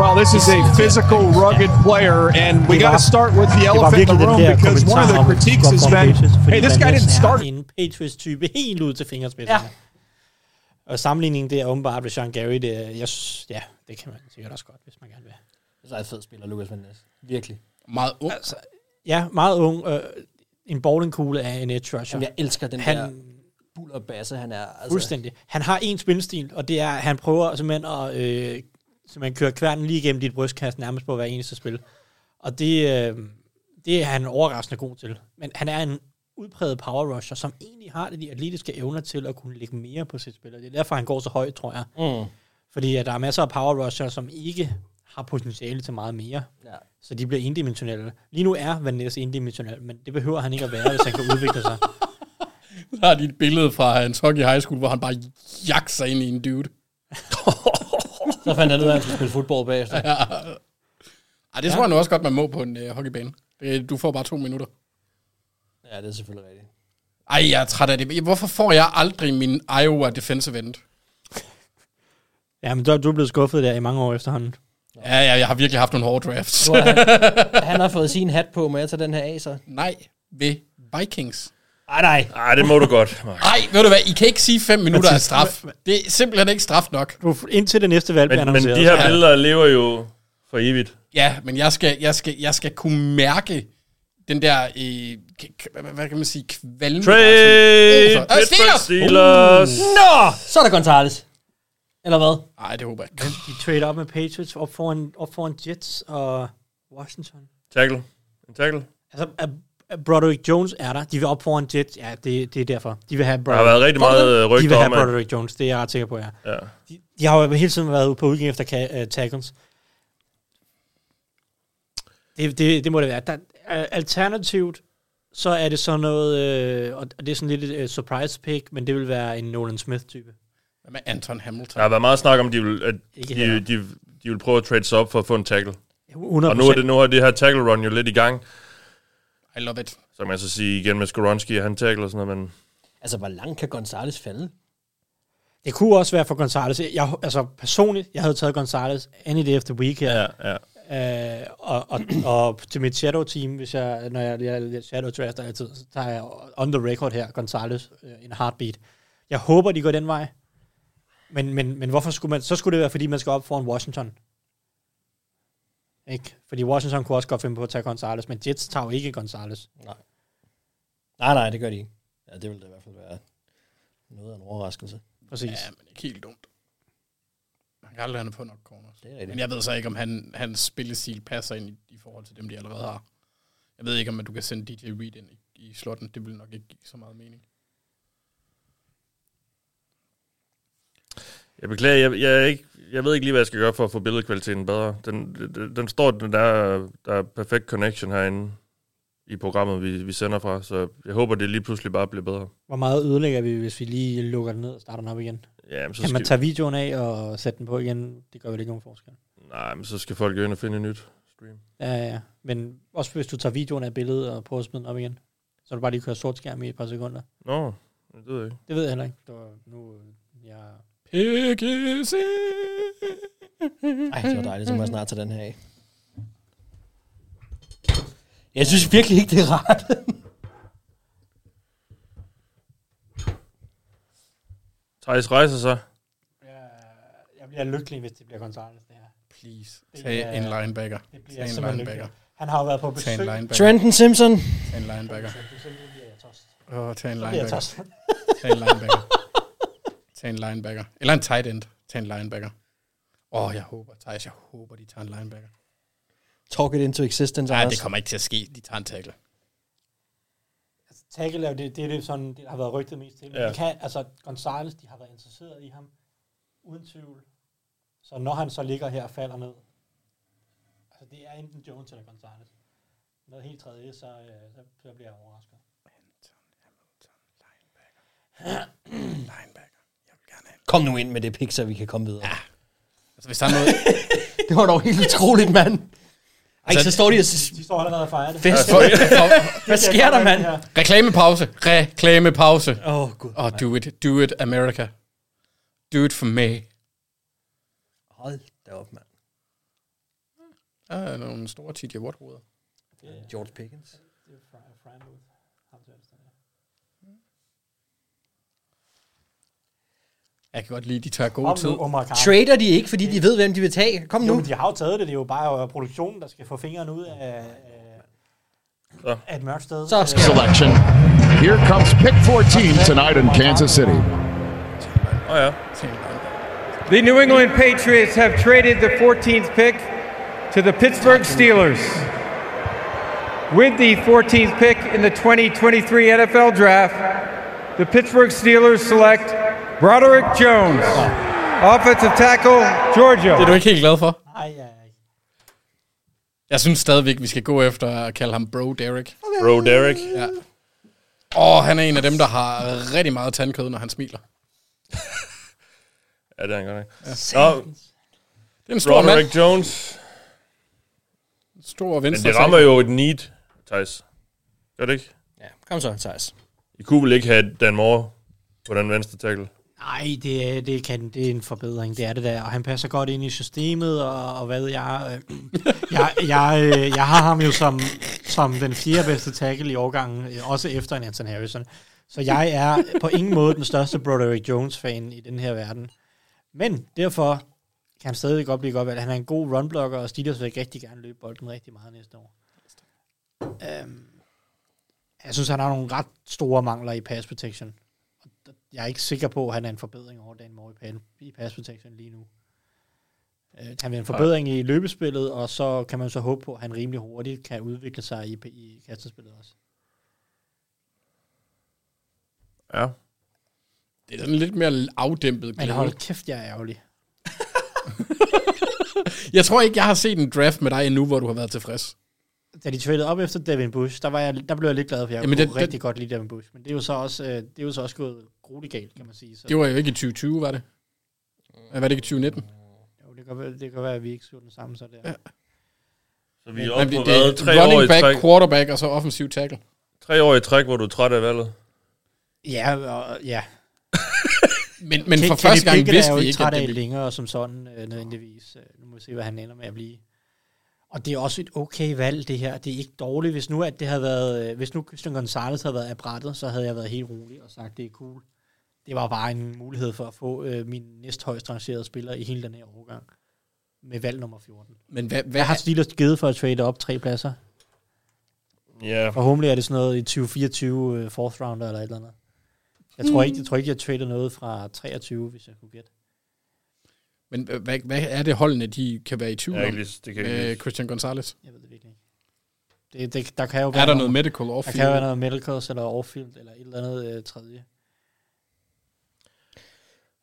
Well, this is a physical, rugged player, and we got to start with the elephant in the room because one of the critiques has been, hey, this guy didn't start. en Patriots-type helt ud til fingerspidserne. Ja. Og sammenligningen, det er åbenbart ved Sean Gary. Det, er- jeg, synes- ja, det kan man sikkert også godt, hvis man gerne vil. Så er en fed spiller, Lucas Van Ness. Virkelig. Meget ung. Altså, ja, meget ung. Øh, en bowlingkugle af en edge rusher. Jamen, jeg elsker den han, der buller og basse, han er. Altså, Fuldstændig. Han har en spilstil, og det er, at han prøver simpelthen at øh, simpelthen køre kværnen lige igennem dit brystkast nærmest på hver eneste spil. Og det, øh, det er han overraskende god til. Men han er en udpræget power rusher, som egentlig har de atletiske evner til at kunne lægge mere på sit spil. Og det er derfor, han går så højt, tror jeg. Mm. Fordi at der er masser af power rusher, som ikke har potentiale til meget mere. Ja. Så de bliver indimensionelle. Lige nu er Van Ness indimensionel, men det behøver han ikke at være, hvis han kan udvikle sig. Der har de et billede fra hans hockey high school, hvor han bare jagter sig ind i en dude. Så fandt han ud af, at han skulle spille fodbold bagefter. Ja. Ej, det tror jeg nu også godt, man må på en øh, hockeybane. Det, du får bare to minutter. Ja, det er selvfølgelig rigtigt. Ej, jeg er træt af det. Hvorfor får jeg aldrig min Iowa defensive end? Ja, men du, du er blevet skuffet der i mange år efterhånden. Ja, ja, jeg har virkelig haft nogle hårde drafts. Nu har han, han har fået sin hat på, må jeg tage den her af, så? Nej, ved Vikings. Ej, nej. ej, det må du godt, Mark. Nej, ved du hvad, I kan ikke sige 5 minutter af Mathis, straf. Det er simpelthen ikke straf nok. Du, indtil det næste valg bliver Men, men annonceret. de her Ja. billeder lever jo for evigt. Ja, men jeg skal, jeg skal, jeg skal kunne mærke den der, øh, k- k- hvad- hvad kan man sige, kvalme. Trade! Øh, Pittsburgh Steelers! Steelers! Uh. Nå, så er der Gonzales. Eller hvad? Nej, det håber jeg ikke. De trade op med Patriots, op foran, op foran Jets og Washington. Tackle. En tackle. Altså, er, er Broderick Jones er der. De vil op foran Jets. Ja, det, det er derfor. De vil have Der har været Broderick. rigtig meget øh, De vil rygter have om, at... Broderick Jones. Det er jeg ret sikker på, ja. Ja. De, de har jo hele tiden været ude på udgivning efter ka- uh, tackles. Det, det, det må det være. Der, uh, alternativt så er det sådan noget, øh, og det er sådan lidt et øh, surprise pick, men det vil være en Nolan Smith-type. Hvad med Anton Hamilton? Der har været meget snak om, de vil, at Ikke de, her. de, de vil prøve at trade sig op for at få en tackle. 100%. Og nu er, det, nu er det her tackle run jo lidt i gang. I love it. Så kan man så sige igen med Skoronski, at han tackler og sådan noget, men Altså, hvor langt kan Gonzales falde? Det kunne også være for Gonzalez. Jeg, altså personligt, jeg havde taget Gonzalez any day of the week her. Ja, ja. Øh, og, og, og, til mit shadow team, hvis jeg, når jeg, jeg, jeg shadow drafter altid, så tager jeg on the record her, Gonzalez, øh, en heartbeat. Jeg håber, de går den vej. Men, men, men hvorfor skulle man, så skulle det være, fordi man skal op foran Washington. Ikke? Fordi Washington kunne også godt finde på at tage Gonzalez, men Jets tager jo ikke Gonzalez. Nej. Nej, nej, det gør de ikke. Ja, det ville da i hvert fald være noget af en overraskelse. Præcis. Ja, men ikke helt dumt. Han kan aldrig lande på nok corners. Det er rigtigt. Men jeg ved så ikke, om han, hans spillestil passer ind i, i forhold til dem, de allerede har. Jeg ved ikke, om du kan sende DJ Reed ind i, i slotten. Det vil nok ikke give så meget mening. jeg beklager, jeg, jeg, er ikke, jeg ved ikke lige, hvad jeg skal gøre for at få billedkvaliteten bedre. Den, den, den står, den der, der er perfekt connection herinde i programmet, vi, vi sender fra, så jeg håber, det lige pludselig bare bliver bedre. Hvor meget ødelægger vi, hvis vi lige lukker den ned og starter den op igen? Ja, men så kan man skal- tage videoen af og sætte den på igen? Det gør vel ikke nogen forskel. Nej, men så skal folk jo ind og finde et nyt. Ja, ja, ja. Men også hvis du tager videoen af billedet og prøver at smide den op igen, så du bare lige kører sort skærm i et par sekunder. Nå, det ved jeg ikke. Det ved jeg heller ikke. Det var nu, øh, jeg... PGC! Ej, det var dejligt, så må jeg snart tage den her af. Jeg synes virkelig ikke, det er rart. Thijs rejser sig. Jeg bliver lykkelig, hvis det bliver Gonzalez, det her. Please. Tag en linebacker. Det Tag bliver en simpelthen linebacker. lykkelig. Han har jo været på Tag en besøg. linebacker. Trenton Simpson. Tag en linebacker. Åh, oh, tag en Så bliver jeg linebacker. tosset. Tag en linebacker. Tag en linebacker. Eller en tight end. Tag en linebacker. Åh, oh, jeg håber, Thijs, jeg håber, de tager en linebacker. Talk it into existence, Nej, det Anders. kommer ikke til at ske. De tager en tackle. Tackle er jo det, det, er det sådan, det har været rygtet mest til. Men Ja. ja. kan, altså, Gonzalez, de har været interesseret i ham, uden tvivl. Så når han så ligger her og falder ned, altså det er enten Jones eller Gonzalez. Noget helt tredje, så, øh, så, så bliver jeg overrasket. Kom nu ind med det pik, så vi kan komme videre. Ja. Altså, hvis der er noget... det var dog helt utroligt, mand. Ej, så står de og... s- De står allerede og fejrer det. Fest. Hvad sker der, mand? Reklamepause. Reklamepause. Åh, oh, gud. Åh, oh, do it. Do it, America. Do it for me. Hold da op, mand. Der er nogle store TJ Watt-hoveder. George Pickens. Jeg kan godt lide, de tager Kom god nu, tid. Omar Khan. Trader de ikke, fordi de ved, hvem de vil tage. Kom Jo, nu. men de har jo taget det. Det er jo bare øh, produktionen, der skal få fingeren ud af, øh, af et mørkt sted. Så skal Selection. Here comes pick 14 tonight in Kansas City. The New England Patriots have traded the 14th pick to the Pittsburgh Steelers. With the 14th pick in the 2023 NFL Draft, the Pittsburgh Steelers select Broderick Jones, offensive tackle, Georgia. Det er du ikke helt glad for? Nej, ja. Jeg synes stadigvæk, vi skal gå efter at kalde ham Bro Derek. Bro Derek. Ja. Og han er en af dem, der har rigtig meget tandkød, når han smiler. Ja, det er han godt ikke. Ja. Nå, Det er en stor Roderick mand. Jones. Stor Men venstre. det rammer jo et need, Thijs. Gør det ikke? Ja, kom så, Thijs. I kunne vel ikke have Dan Moore på den venstre tackle? Nej, det, er- det, kan, det er en forbedring, det er det der. Og han passer godt ind i systemet, og, og hvad ved jeg, øh, jeg, jeg, øh, jeg har ham jo som, som den fjerde bedste tackle i årgangen, øh, også efter en Anton Harrison. Så jeg er på ingen måde den største Broderick Jones-fan i den her verden. Men derfor kan han stadig godt blive godt valgt. Han er en god runblocker, og Steelers vil rigtig gerne løbe bolden rigtig meget næste år. Øhm, jeg synes, han har nogle ret store mangler i pass protection. Og der- Jeg er ikke sikker på, at han er en forbedring over Dan Moore i pan- i pass protection lige nu. Øh, Han vil en forbedring i løbespillet, og så kan man så håbe på, at han rimelig hurtigt kan udvikle sig i, i kastespillet også. Ja. Det er sådan lidt mere afdæmpet Men glæde. hold kæft, jeg er ærgerlig. Jeg tror ikke, jeg har set en draft med dig endnu, hvor du har været tilfreds. da de traded op efter Devin Bush, der, var jeg, der blev jeg lidt glad, for jeg Jamen, Jamen, kunne det- rigtig godt lide Devin Bush. Men det er jo så også, øh, det er jo så også gået grueligt galt, kan man sige. Så Det var jo ikke i 2020, var det? Var det ikke i 2019? jo, det, kan, være- det kan være, at vi ikke så den samme, så der. Ja. Så vi er Jamen, oppe på det- det er hvad? Tre år, i running back, træk, quarterback og så offensiv tackle. tre år i træk, hvor du er træt af valget. Ja, og, ja. Men- men for Kenny første gang Pickett vidste er jo vi ikke ikke, træt at det af ville- længere som sådan, øh, nødvendigvis. Øh, Nu må vi se, hvad han ender med at blive. Og det er også et okay valg, det her. Det er ikke dårligt. Hvis nu, at det havde været, øh, hvis nu Christian Gonzalez havde været af brættet, så havde jeg været helt rolig og sagt, det er cool. Det var bare en mulighed for at få øh, min næsthøjst rangerede spiller i hele den her årgang. Med valg nummer 14. Men hvad, Hvad har Steelers givet for at trade op tre pladser? Ja. Forhåbentlig er det sådan noget i 2024 uh, fourth rounder eller et eller andet. Jeg Mm. tror ikke, jeg, tror ikke, jeg trader noget fra 23, hvis jeg kunne gætte. Men hva- hvad, hvad er det holdene, de kan være i tvivl Jeg er om? ikke lige- det kan jeg ikke med lige- Christian Gonzalez. Jeg ved det virkelig ikke. Det, det, der kan jo Er være der noget medical Der off-field? kan jo være noget medical eller off-field eller et eller andet øh, tredje.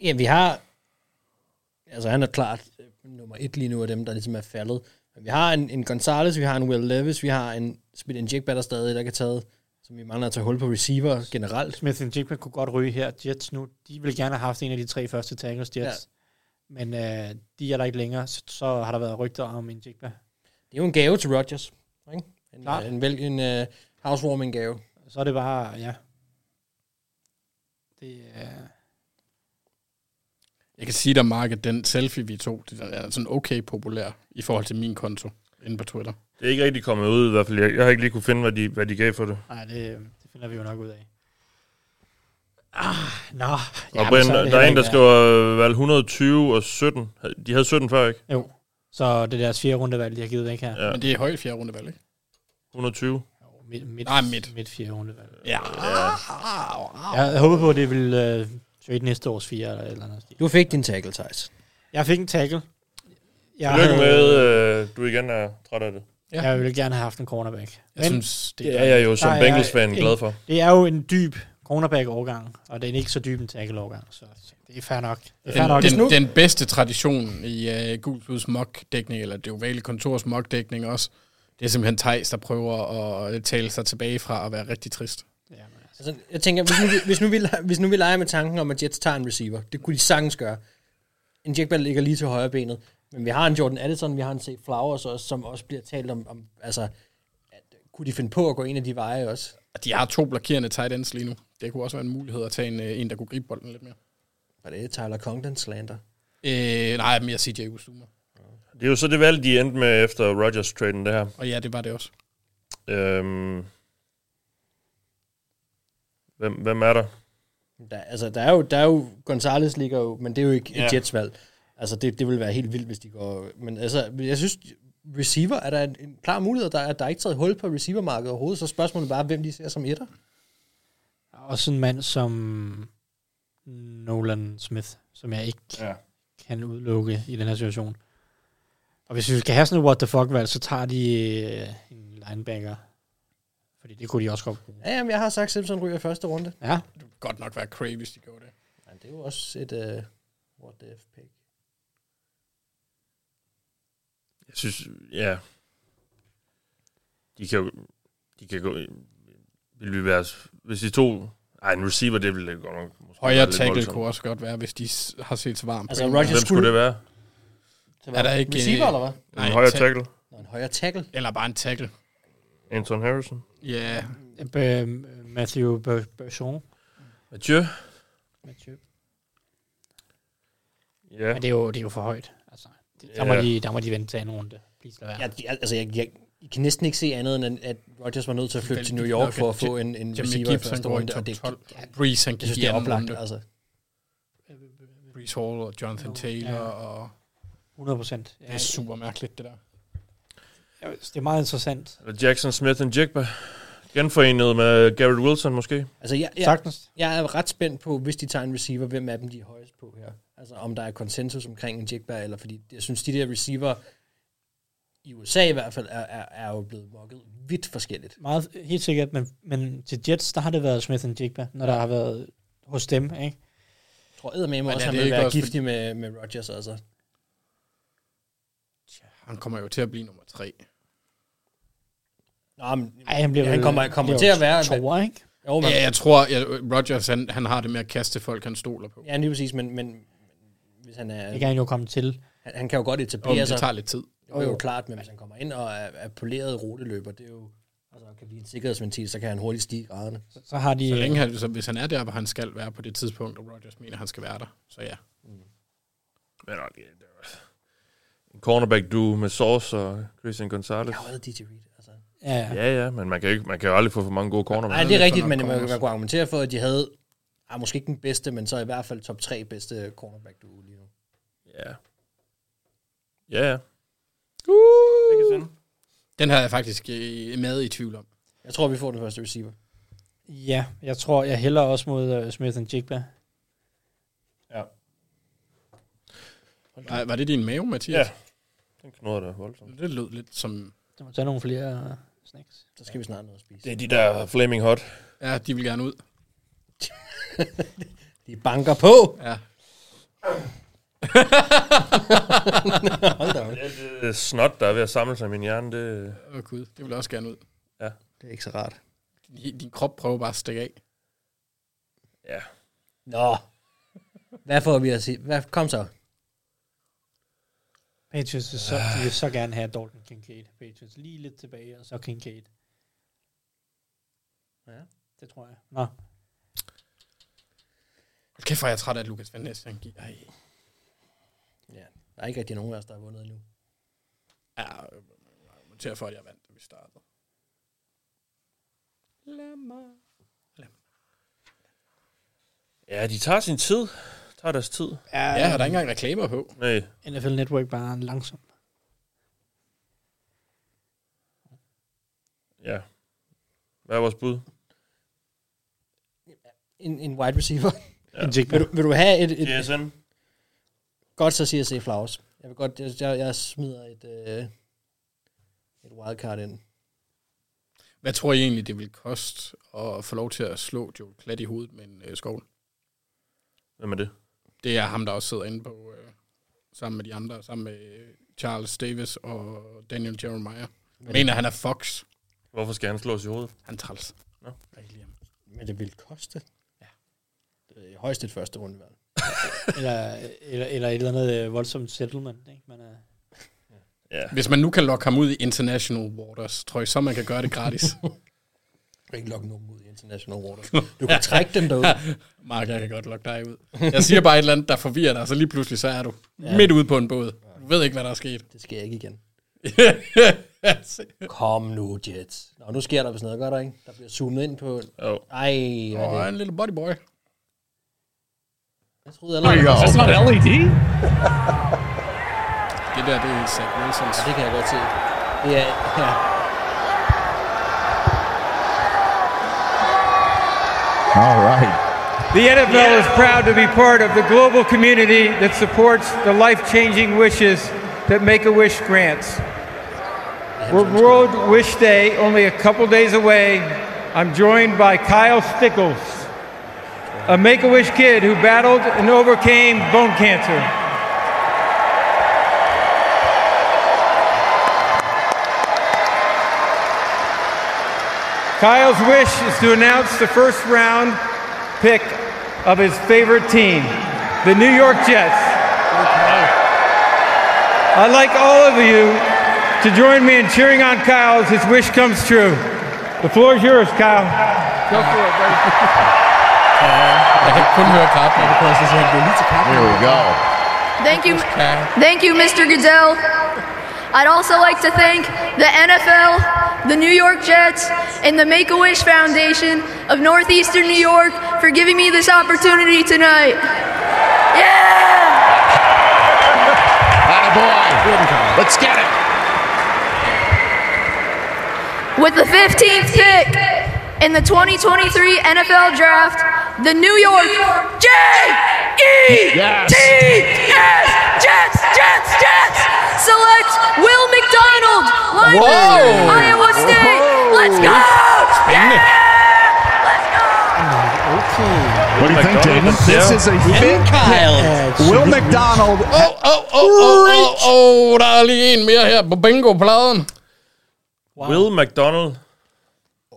Ja, vi har... Altså, han er klart øh, nummer et lige nu af dem, der ligesom er faldet. Men vi har en, en Gonzalez, vi har en Will Levis, vi har en Smith and Jigba, der stadig der kan tage, som vi mangler at tage hul på receiver generelt. Smith and Jigba kunne godt ryge her. Jets nu, de ville gerne have haft en af de tre første tackles, Jets. Ja. Men øh, de er der ikke længere, så, så har der været rygter om en Jigba. Det er jo en gave til Rodgers. Ikke? En, Klart. en, vel, en uh, housewarming gave. Så er det bare, ja. Det øh, er... Jeg kan sige dig, Mark, at den selfie, vi tog, det er sådan okay populær i forhold til min konto inde på Twitter. Det er ikke rigtig kommet ud i hvert fald. Jeg, jeg har ikke lige kunne finde, hvad de, hvad de gav for det. Nej, det, det finder vi jo nok ud af. Ah, nå. Ja, og Jamen, Brian, så det der er en, heller der ikke- skriver øh, valg 120 og 17. De havde 17 før, ikke? Jo, så det er deres fjerde rundevalg, de har givet væk her. Ja. Men det er højt fjerde rundevalg, ikke? 120. Midt, midt, Nej, midt. midt fjerde rundevalg. Ja. Jeg havde håbet på, at det ville øh, trade næste års fire eller et eller andet. Du fik din tackle, Thijs. Jeg fik en tackle. Jeg Tillykke med, øh, du igen er træt af det. Ja. Jeg ville gerne have haft en cornerback. Jeg synes, det er- Det er jeg jo som der er Bengals-fan en- glad for. Det er jo en dyb cornerback-årgang, og det er ikke så dyb en tackle-årgang, så så det er fair nok. Det er fair Den, nok. den, den bedste tradition i uh, Gulsbyds mockdækning, eller det ovale kontors mockdækning også, det er simpelthen Thijs, der prøver at øh, tale sig tilbage fra at være rigtig trist. Altså, jeg tænker, hvis nu, vi- hvis, nu vi, le- hvis nu vi leger med tanken om, at Jets tager en receiver, det kunne de sagtens gøre. En Jackball ligger lige til højre benet, men vi har en Jordan Addison, vi har en C. Flowers også, som også bliver talt om, om altså, at, kunne de finde på at gå en af de veje også? Og de har to blokerende tight ends lige nu. Det kunne også være en mulighed at tage en, øh, en der kunne gribe bolden lidt mere. Var det Tyler Conklin slander? Øh, nej, mere CJ Uzuma. Det er jo så det valg, de endte med efter Rodgers-traden, det her. Og ja, det var det også. Øhm, hvem, hvem er der? Der, altså, der er jo, der er jo, Gonzalez ligger jo, men det er jo ikke Ja. et Jets-valg. Altså, det, det ville være helt vildt, hvis de går... Men altså, jeg synes, receiver er der en, en klar mulighed, der er, der er ikke taget hul på receivermarkedet overhovedet, så spørgsmålet er bare, hvem de ser som etter. Også en mand som Nolan Smith, som jeg ikke ja. kan udelukke i den her situation. Og hvis vi skal have sådan et what the fuck-valg, så tager de øh, en linebacker. Fordi det kunne de også godt bruge. Ja, jamen, jeg har sagt, at Simpson ryger i første runde. Ja. Det ville godt nok være crazy, hvis de gjorde det. Men det er jo også et uh, what the f pick. Jeg synes, ja. De kan jo, de kan gå, vil vi være, hvis de to, ej, en receiver, det ville godt nok måske være Højere lidt tackle voldsomt. kunne også godt være, hvis de s- har set så varmt. Altså, på en. Rodgers Hvem skulle skulle- det være? Er der ikke... Receiver, eller hvad? En højere ta- tackle. Nå, en højere tackle. Eller bare en tackle. Anton Harrison. Ja. Yeah. Matthew Ber- Bergeron. Mathieu. Mathieu. Ja. Men det er jo, det er jo for højt. Altså, det, der, Ja. må de, der må de vente til anden runde. Please lad være. Ja, de- altså, jeg, jeg, jeg kan næsten ikke se andet, end at Rodgers var nødt til at flytte Vel, til New det er York nok, for at at få Ja- en, en Jimmy receiver i Gibson første går i runde. top øh, og det, 12. det- Breeze, han jeg gik synes, i det er anden oplagt. runde. Altså. Brees Hall og Jonathan Taylor og... 100 procent. Det er super mærkeligt, det der. Det er meget interessant. Eller Jackson Smith and Jigba. Genforenet med Garrett Wilson måske. Altså, jeg, jeg, Sagtens. jeg er ret spændt på, hvis de tager en receiver, hvem af dem de er højest på her. Altså, om der er konsensus omkring en Jigba, eller fordi jeg synes, de der receiver i USA i hvert fald, er, er, er jo blevet mokket vidt forskelligt. Meget, helt sikkert, men, men til Jets, der har det været Smith and Jigba, når der har været hos dem, ikke? Jeg tror eddermame Men også, er at han det vil ikke være også giftig med, med Rodgers, altså. Han kommer jo til at blive nummer tre. Nå, men, Ej, han bliver han vel- kommer, kommer jo, til at være... tror, ikke? Jo, men, Ja, jeg tror, jeg, Rodgers, han, han har det med at kaste folk, han stoler på. Ja, lige præcis, men, men hvis han er... Det kan han jo komme til. Han, han kan jo godt etablere Jo, men det sig. tager lidt tid. Det er jo klart, men hvis han kommer ind og er, er poleret roteløber, det er jo... Altså, kan blive en sikkerhedsventil, så kan han hurtigt stige i graderne. Så har de- Så længe han, så hvis han er der, hvor han skal være på det tidspunkt, og Rodgers mener, han skal være der, så ja. Men okay, det var en cornerback duo med Sauce og Christian Gonzalez. Jeg DJ Reed, altså. Ja, ja. ja, ja, men man kan, ikke, man kan jo aldrig få for mange gode cornerbacks. Nej, det er rigtigt, men man, man kunne argumentere for, at de havde... Ah, måske ikke den bedste, men så i hvert fald top 3 bedste cornerback duo lige nu. Ja. Ja, ja. Den her er jeg faktisk øh, med i tvivl om. Jeg tror, vi får den første receiver. Ja, jeg tror, jeg hælder også mod uh, Smith and Jigba. Var, var det din mave, Mathias? Ja. Den knurrede da voldsomt. Det lød lidt som... Der må tage nogle flere øh, snacks. Så skal vi snart noget at spise. Det er de der Flaming Hot. Ja, de vil gerne ud. de banker på! Ja. Hold da op. Det er snot, der er ved at samle sig i min hjerne. Det... Åh oh, gud, det vil jeg også gerne ud. Ja. Det er ikke så rart. Din, din krop prøver bare at stikke af. Ja. Nå. Hvad får vi at se? Hvad, kom så. Patriots vil så, de vil så gerne have Dalton Kincaid. Patriots lige lidt tilbage, og så Kincaid. Ja. Det tror jeg. Nå. Hold kæft, hvor er jeg træt af, at Lukas Van Ness, han giver... Ej. Ja. Der er ikke rigtig nogen af os, der har vundet endnu. Ja, jeg argumenterer for, at jeg vandt, da vi startede. Lad mig. Ja, de tager sin tid. Tager deres tid. Ja, Ja, og der er ikke engang reklamer på. Nej. NFL Network bare langsom. Ja. Hvad er vores bud? En, en wide receiver. Ja. En vil, du, vil du have et... et GSM. Godt, så siger jeg C. Flowers. Jeg vil godt... Jeg, jeg, jeg smider et... Øh, et wildcard ind. Hvad tror I egentlig, det vil koste at få lov til at slå Joe Klatt i hovedet med en øh, skovl? Hvem er det? Det er ham, der også sidder inde på, øh, sammen med de andre, sammen med øh, Charles Davis og Daniel Jeremiah. Men- Men mener, han er Fox. Hvorfor skal han slås i hovedet? Han træls. Nå. Men det vil koste. Ja. Det er højst et første runde. eller, eller, eller et eller andet øh, voldsomt settlement. Ikke? øh, Man er, Ja. Hvis man nu kan lokke ham ud i international waters, tror jeg så, man kan gøre det gratis. Du kan ikke lokke nogen ud i International Waters. Du kan trække dem derud. Mark, jeg kan godt lokke dig ud. Jeg siger bare et eller andet, der forvirrer dig, og så lige pludselig så er du Ja. ja. midt ude på en båd. Du ved ikke, hvad der er sket. Det sker ikke igen. Se. Kom nu, Jets. Nå, nu sker der vist noget, gør der ikke? Der bliver zoomet ind på... Jo. Ej, hvad er Åh, en det? lille bodyboy. Jeg troede allerede... There you go. That's not LED? det der, det er Zach Wilsons. Ja, det kan jeg godt se. Ja, ja. All right. The NFL is proud to be part of the global community that supports the life changing wishes that Make a Wish grants. We're World Wish Day only a couple days away. I'm joined by Kyle Stickles, a Make a Wish kid who battled and overcame bone cancer. Kyle's wish is to announce the first round pick of his favorite team, the New York Jets. I'd like all of you to join me in cheering on Kyle as his wish comes true. The floor is yours, Kyle. Go for it, Jeg kan kun høre Cartman. Det kunne jeg så sige, han blev lige til Cartman. Here we go. Thank you. Thank you, Mr. Goodell. I'd also like to thank the NFL, the New York Jets, and the Make a Wish Foundation of Northeastern New York for giving me this opportunity tonight. Attaboy. Let's get it. With the 15th pick in the 2023 NFL Draft, the New York J-E-T-S, Yes. Jets, Jets, Jets, select Will McDonald, linebacker, Whoa. Iowa State. Let's go! Spændende. Okay. What do you think, David? This is a big pick. Will McDonald. Åh, åh, åh, åh, åh, åh, der er lige en mere her på bingo-pladen. Wow. Will McDonald.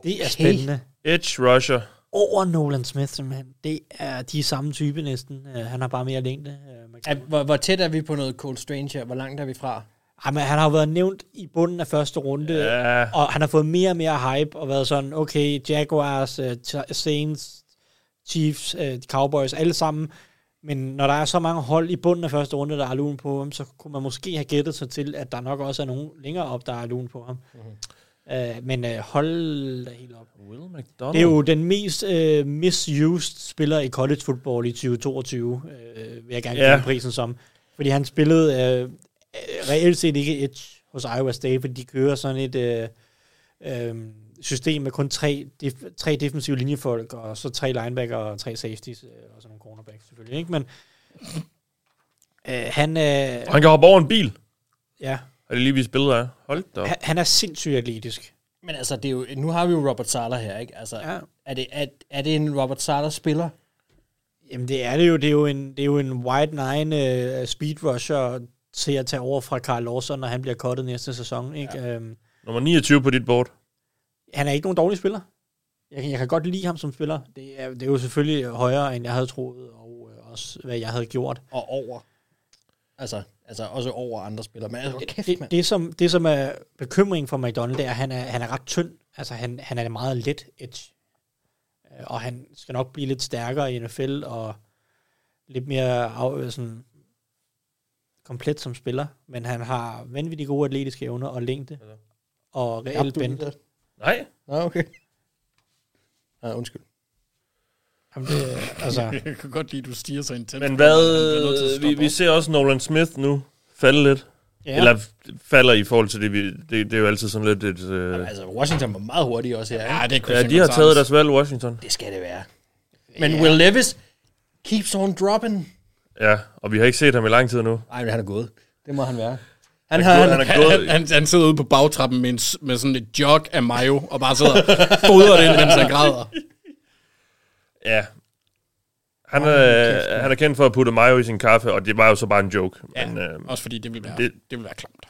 Det er spændende. Edge rusher. Over Nolan Smith, simpelthen. Det er de er samme type næsten. Øh, han har bare mere længde. Øh, man Er, hvor, hvor tæt er vi på noget Cold Strange her? Hvor langt er vi fra? Ej, men han har jo været nævnt i bunden af første runde, Ja. og han har fået mere og mere hype, og været sådan, okay, Jaguars, øh, T- Saints, Chiefs, øh, Cowboys, alle sammen. Men når der er så mange hold i bunden af første runde, der har lun på ham, så kunne man måske have gættet sig til, at der nok også er nogen længere op, der har lun på ham. Mm-hmm. Øh, men øh, hold da helt op. Will Det er jo den mest øh, misused spiller i college football i 2022, øh, vil jeg gerne Ja. give yeah. prisen som. Fordi han spillede øh, reelt set ikke edge hos Iowa State, fordi de kører sådan et øh, øh, system med kun tre, def- tre defensive linjefolk, og så tre linebacker og tre safeties, øh, og sådan nogle cornerbacks selvfølgelig, ikke? Men øh, han... Øh, Og han kan hoppe over en bil. Ja. Har de lige vist billeder af? Hold da op. Han, han er sindssygt atletisk. Men altså, det er jo, nu har vi jo Robert Sala her, ikke? Altså, ja. er, det, er, er det en Robert Sala-spiller? Jamen det er det jo. Det er jo en, det er jo en wide nine uh, speed rusher til at tage over fra Carl Lawson, når han bliver cuttet næste sæson. Ikke? Ja. Um, Nummer 29 på dit board. han er ikke nogen dårlig spiller. Jeg, kan- jeg kan godt lide ham som spiller. Det er, det er jo selvfølgelig højere, end jeg havde troet, og øh, også hvad jeg havde gjort. Og over. Altså, altså også over andre spillere. Men altså, kæft, det, det, som, det, som er bekymring for McDonald, det er, at han er, han er ret tynd. Altså, han, han er meget let edge. Øh, Og han skal nok blive lidt stærkere i NFL, og lidt mere af, øh, sådan, komplet som spiller. Men han har vanvittigt gode atletiske evner og længde. Og reelt Abdul bend. der. Nej. Nå, okay. Nej, undskyld. Jamen, det, altså, jeg kan godt lide, at du stiger så intens. Men Han bliver nødt til hvad, vi, at stoppe vi op. ser også Nolan Smith nu falde lidt. Ja. Ja. Eller f- falder i forhold til det, vi, det, det er jo altid sådan lidt et... Øh, Altså, Washington var meget hurtig også her. Ja, det ja, de har taget deres valg, Washington. Det skal det være. Men Will Levis keeps on dropping. Ja, og vi har ikke set ham i lang tid nu. Nej, men han er gået. Det må han være. Han Han, har- han, han han, er gået- han, han, han sidder ude på bagtrappen med, en, s- med sådan et jog af mayo, og bare sidder og fodrer det ind, mens han græder. Ja. Han er, han er kendt for at putte mayo i sin kaffe, og det var jo så bare en joke. Ja, men, øh, også fordi det ville være, det- det, det ville være klamt.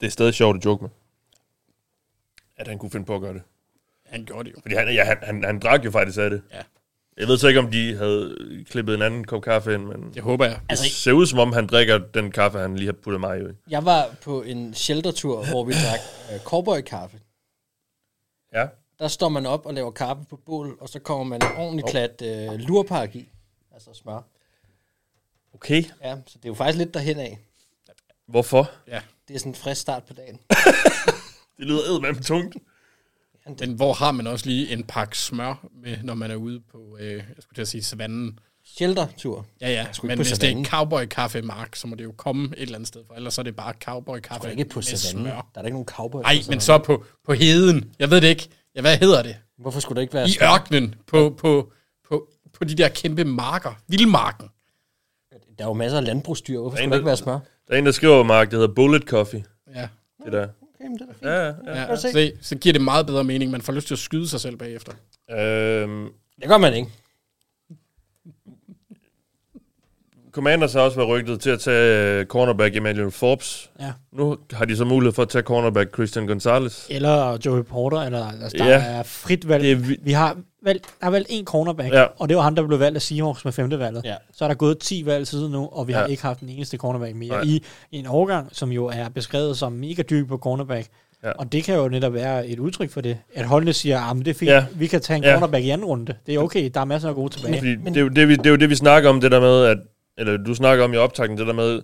det er stadig sjovt at joke med. At han kunne finde på at gøre det. Han gjorde det jo. Fordi han, ja, han, han, han drak jo faktisk af det. Ja. Jeg ved så ikke, om de havde klippet en anden kop kaffe ind, men... Det håber jeg. Det Altså- ser ud som om, han drikker den kaffe, han lige har puttet mig i. Jeg var på en sheltertur, hvor vi drak øh, cowboy-kaffe. Ja. Der står man op og laver kaffe på bål, og så kommer man en ordentlig Hov. oh. klat øh, lurpak i. Altså smør. Okay. Ja, så det er jo faktisk lidt derhen af. Hvorfor? Ja. Det er sådan en frisk start på dagen. Det lyder eddermame tungt. Men hvor har man også lige en pakke smør med, når man er ude på, øh, jeg skulle til at sige, savannen? Sheltertur. Ja, ja, Jeg skulle men ikke på hvis savannen. det er cowboy-kaffe, Mark, så må det jo komme et eller andet sted fra. Ellers så er det bare cowboy-kaffe Jeg er ikke på savannen. Der er da ikke nogen cowboy. Nej, men så på, på heden. Jeg ved det ikke. Ja, hvad hedder det? Hvorfor skulle det ikke være I savannen? ørkenen. På, på, på, på de der kæmpe marker. Vildmarken. Der er jo masser af landbrugsdyr. Hvorfor Der skulle er en, der ikke der- være smør? Der er en, der skriver, Mark, det hedder Bullet Coffee. Ja. Det der. Okay, men det er da fint. Ja, ja, ja. Ja, se, så giver det meget bedre mening. Man får lyst til at skyde sig selv bagefter. Øhm, Det gør man ikke. Commanders har også været rygtet til at tage øh, cornerback Emmanuel Forbes. Ja. Nu har de så mulighed for at tage cornerback Christian Gonzalez. Eller Joey Porter, eller altså, der Ja. ja. er frit valg. Det er vi... vi har valgt, der er valgt en cornerback, Ja. ja. og det var ham, der blev valgt af Seahawks med femte valget. Ja. Så er der gået 10 valg siden nu, og vi har Ja. ja. ikke haft den eneste cornerback mere Nej. i, i en overgang, som jo er beskrevet som mega dyb på cornerback. Ja. Og det kan jo netop være et udtryk for det, at holdene siger, at det er fint, Ja. ja. vi kan tage en Ja. cornerback i anden runde. Det er okay, der er masser af gode tilbage. Fordi det, er jo det, vi, det er jo det, vi snakker om, det der med, at, eller du snakker om i optakten, det der med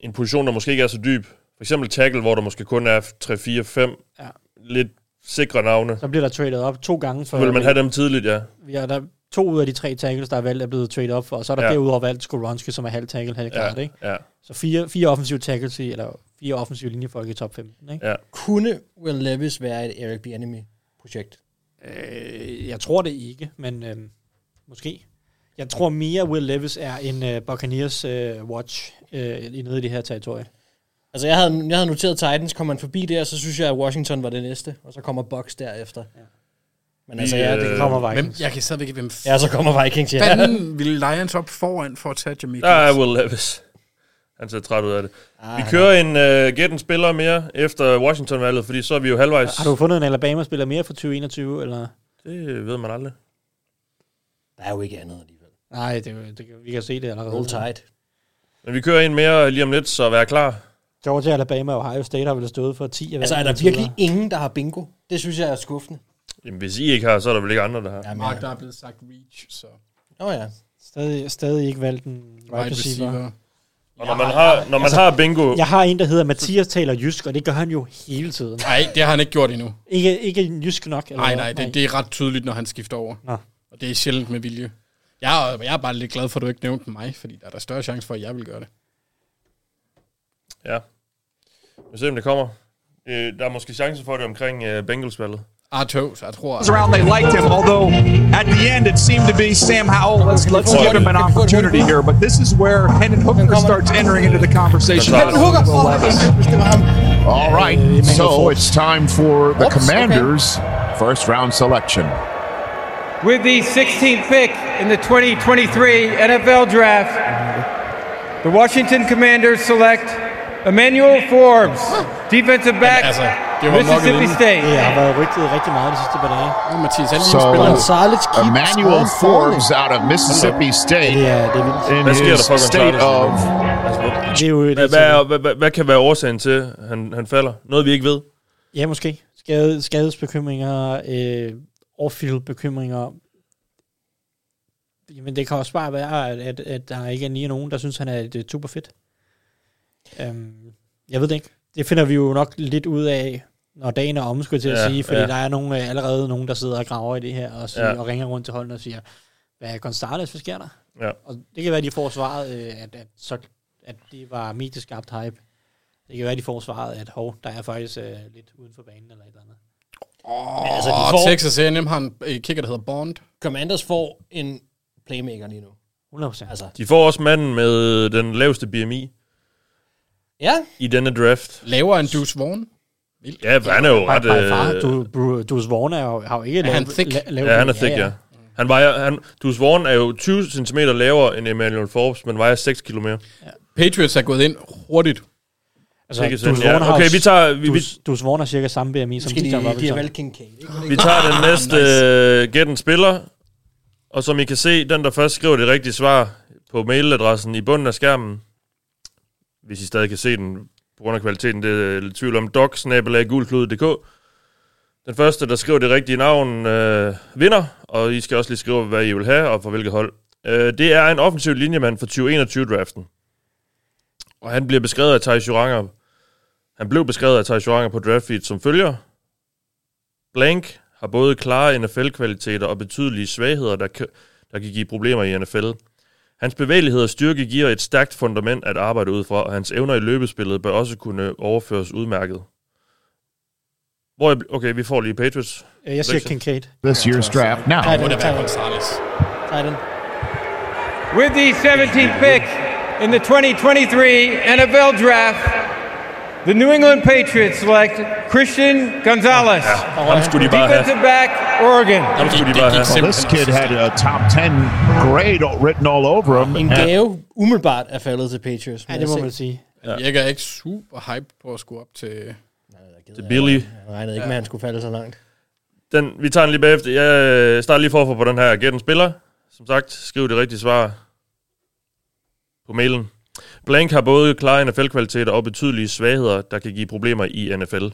en position, der måske ikke er så dyb. For eksempel tackle, hvor der måske kun er 3, 4, 5 Ja. lidt sikre navne. Så bliver der traded op to gange. Så vil man have dem tidligt, ja. Ja, der er to ud af de tre tackles, der er valgt, er blevet traded op for, og så er der Ja. ja. derudover valgt Skoronski, som er halv tackle, halv ja. ikke? Ja. Så fire, fire offensive tackles i, eller fire offensive linjefolk i top 15, ikke? Ja. Kunne Will Levis være et Eric Bieniemy-projekt? Øh, jeg tror det ikke, men øh, måske. Jeg tror mere, Will Levis er en øh, Buccaneers øh, watch øh, i nede i det her territorie. Altså, jeg havde, jeg havde noteret Titans, kom man forbi der, så synes jeg, at Washington var det næste, og så kommer Bucks derefter. Ja. Men altså, Vi, ja, øh, det kommer Hvem, Vikings. jeg kan stadigvæk ikke, hvem f- Ja, så kommer Vikings, ja. Fanden ville Lions op foran for at tage Jamie Der er Will Levis. Han ser træt ud af det. Ah, vi kører en uh, gæt en spiller mere efter Washington-valget, fordi så er vi jo halvvejs. Har du fundet en Alabama-spiller mere for 2021, eller? Det ved man aldrig. Der er jo ikke andet alligevel. Nej, det, det, vi kan se det allerede. Hold tight. Men vi kører en mere lige om lidt, så vær klar. Georgia, Alabama og Ohio State har vel stået for 10 af Altså, er der virkelig ingen, der har bingo? Det synes jeg er skuffende. Jamen, hvis I ikke har, så er der vel ikke andre, der har. Ja, Mark, der er blevet sagt reach, så... Åh oh, ja. Stadig, stadig ikke valgt en wide receiver. receiver. Og når man har, når man altså, har bingo... Jeg har en, der hedder Mathias taler jysk, og det gør han jo hele tiden. Nej, det har han ikke gjort endnu. Ikke, ikke jysk nok? Eller nej, nej, det, det er ret tydeligt, når han skifter over. Nå. Og det er sjældent med vilje. Jeg, er- jeg er bare lidt glad for, at du ikke nævnte mig, fordi der er der større chance for, at jeg vil gøre det. Ja. Vi ser, om det kommer. Øh, der er måske chance for det omkring øh, Bengals-valget. Ah, tøvs, jeg tror... was around, they liked him. Although at the end, it seemed to be Sam Howell. Let's let's give him an opportunity here. But this is where Hendon Hooker starts entering into the conversation. All right, so it's time for the Commanders' first round selection. With the 16th pick in the 2023 NFL Draft, the Washington Commanders select Emmanuel Forbes, defensive back, altså, Mississippi State. Ja, har været rygtet rigtig meget de sidste par dage. Oh, Mathias, So Emmanuel Forbes out of Mississippi State in Hvad sker his der for state of Gonzalez? Det er jo et, Hvad, hvad, er- hvad, hvad, hvad kan være årsagen til, at han, han falder? Noget, vi ikke ved. Ja, måske. Skade, skadesbekymringer, øh, off-field bekymringer. Jamen, det kan også bare være, at, at, at der ikke er lige nogen, der synes, han er et, øh, super fedt. Um, jeg ved det ikke. Det finder vi jo nok lidt ud af, når dagen er omme, skulle jeg til at Ja, ja, sige, fordi ja. ja. der er nogen, øh, allerede nogen, der sidder og graver i det her, og, siger, Ja. ja. og ringer rundt til holdene og siger, hvad er Gonzales, hvad sker der? Ja. Og det kan være, de får svaret, øh, at, at, så, at det var medieskabt hype. Det kan være, de får svaret, at hov, der er faktisk øh, lidt uden for banen eller et eller andet. Åh, altså, altså, de og får- Texas A&M har en øh, kicker, der hedder Bond. Commanders får en playmaker lige nu. 100%. Altså, De får også manden med den laveste BMI ja. i denne draft. Lavere end Deuce Vaughn. Vildt. Ja, for han er jo By, ret... by far, øh, du, du, du Svorn er jo, har jo ikke Er han thick? ja, han er thick, ja. Han vejer, han, du Sworn er jo 20 cm lavere end Emmanuel Forbes, men vejer 6 km. Patriots er gået ind hurtigt. Altså, Ikke du sådan, Svorn ja. har jo- Okay, vi tager- vi- du, vi- du Svorn har cirka samme BMI som Måske de, Bijan de har Robinson. valgt Kincaid. ikke? Vi tager den næste uh, Get en Spiller, og som I kan se, den der først skriver det rigtige svar på mailadressen i bunden af skærmen, hvis I stadig kan se den på grund af kvaliteten, det er jeg lidt tvivl om, doc Den første, der skriver det rigtige navn, øh, vinder, og I skal også lige skrive, hvad I vil have, og for hvilket hold. Øh, det er en offensiv linjemand for 2021-draften. Og han bliver beskrevet af Thijs Joranger. Han blev beskrevet af Thijs Joranger på draftfeed som følger. Blank har både klare NFL-kvaliteter og betydelige svagheder, der kan, der kan give problemer i NFL. Hans bevægelighed og styrke giver et stærkt fundament at arbejde ud fra, og hans evner i løbespillet bør også kunne overføres udmærket. Hvor er, okay, vi får lige Patriots. Øh, Jeg siger Prediction. Kincaid. this year's draft. Now, Titan, Titan, Titan. With the 17th pick in the 2023 NFL Draft, the New England Patriots select Christian Gonzalez, ham skulle de bare have. defensive back, Oregon. Ham skulle de bare have. well, this kid had a top 10 grade all- written all over him. En and- gave umiddelbart er faldet til Patriots. Ja, det må man sige. Han virker ikke super hype på at skulle op til... Det er Billy. Jeg regnede ikke med, at han skulle falde så langt. Den, vi tager den lige bagefter. Jeg øh, starter lige forfra på den her. Gæt en spiller. Som sagt, skriv det rigtige svar på mailen. Blank har både klare NFL-kvaliteter og betydelige svagheder, der kan give problemer i NFL.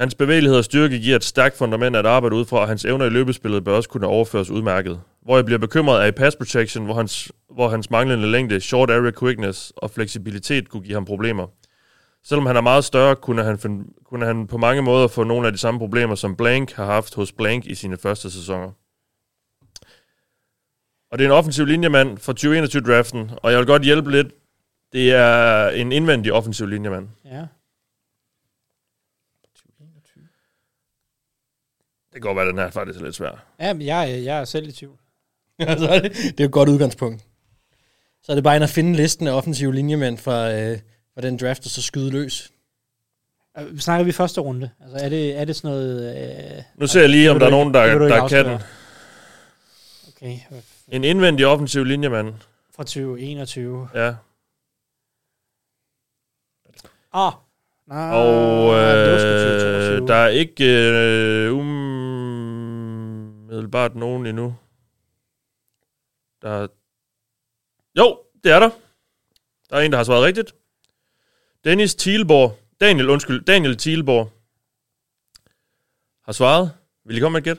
Hans bevægelighed og styrke giver et stærkt fundament at arbejde ud fra, og hans evner i løbespillet bør også kunne overføres udmærket. Hvor jeg bliver bekymret er i pass protection, hvor hans, hvor hans manglende længde, short area quickness og fleksibilitet kunne give ham problemer. Selvom han er meget større, kunne han, finde, kunne han på mange måder få nogle af de samme problemer, som Blank har haft hos Blank i sine første sæsoner. Og det er en offensiv linjemand for 2021-draften, og jeg vil godt hjælpe lidt. Det er en indvendig offensiv linjemand. Ja. Det kan godt være, den her faktisk er lidt svær. Ja, men jeg, er- jeg er selv i tvivl. Altså, det, det er jo et godt udgangspunkt. Så er det bare ind at finde listen af offensive linjemænd fra, øh, fra den draft, og så skyde løs. Øh, Snakker vi første runde? Altså, er det, er det sådan noget... Øh, Nu ser jeg lige, om der det vil er du nogen, ikke- det der, vil du der ikke kan den. afsløre. Okay, En indvendig offensiv linjemand. fra 2021. Ja. Ah. Nej, og øh, der er ikke øh, umiddelbart nogen endnu. Der... Jo, det er der. Der er en, der har svaret rigtigt. Dennis Thielborg. Daniel, undskyld. Daniel Thielborg har svaret. Vil I komme med et gæt?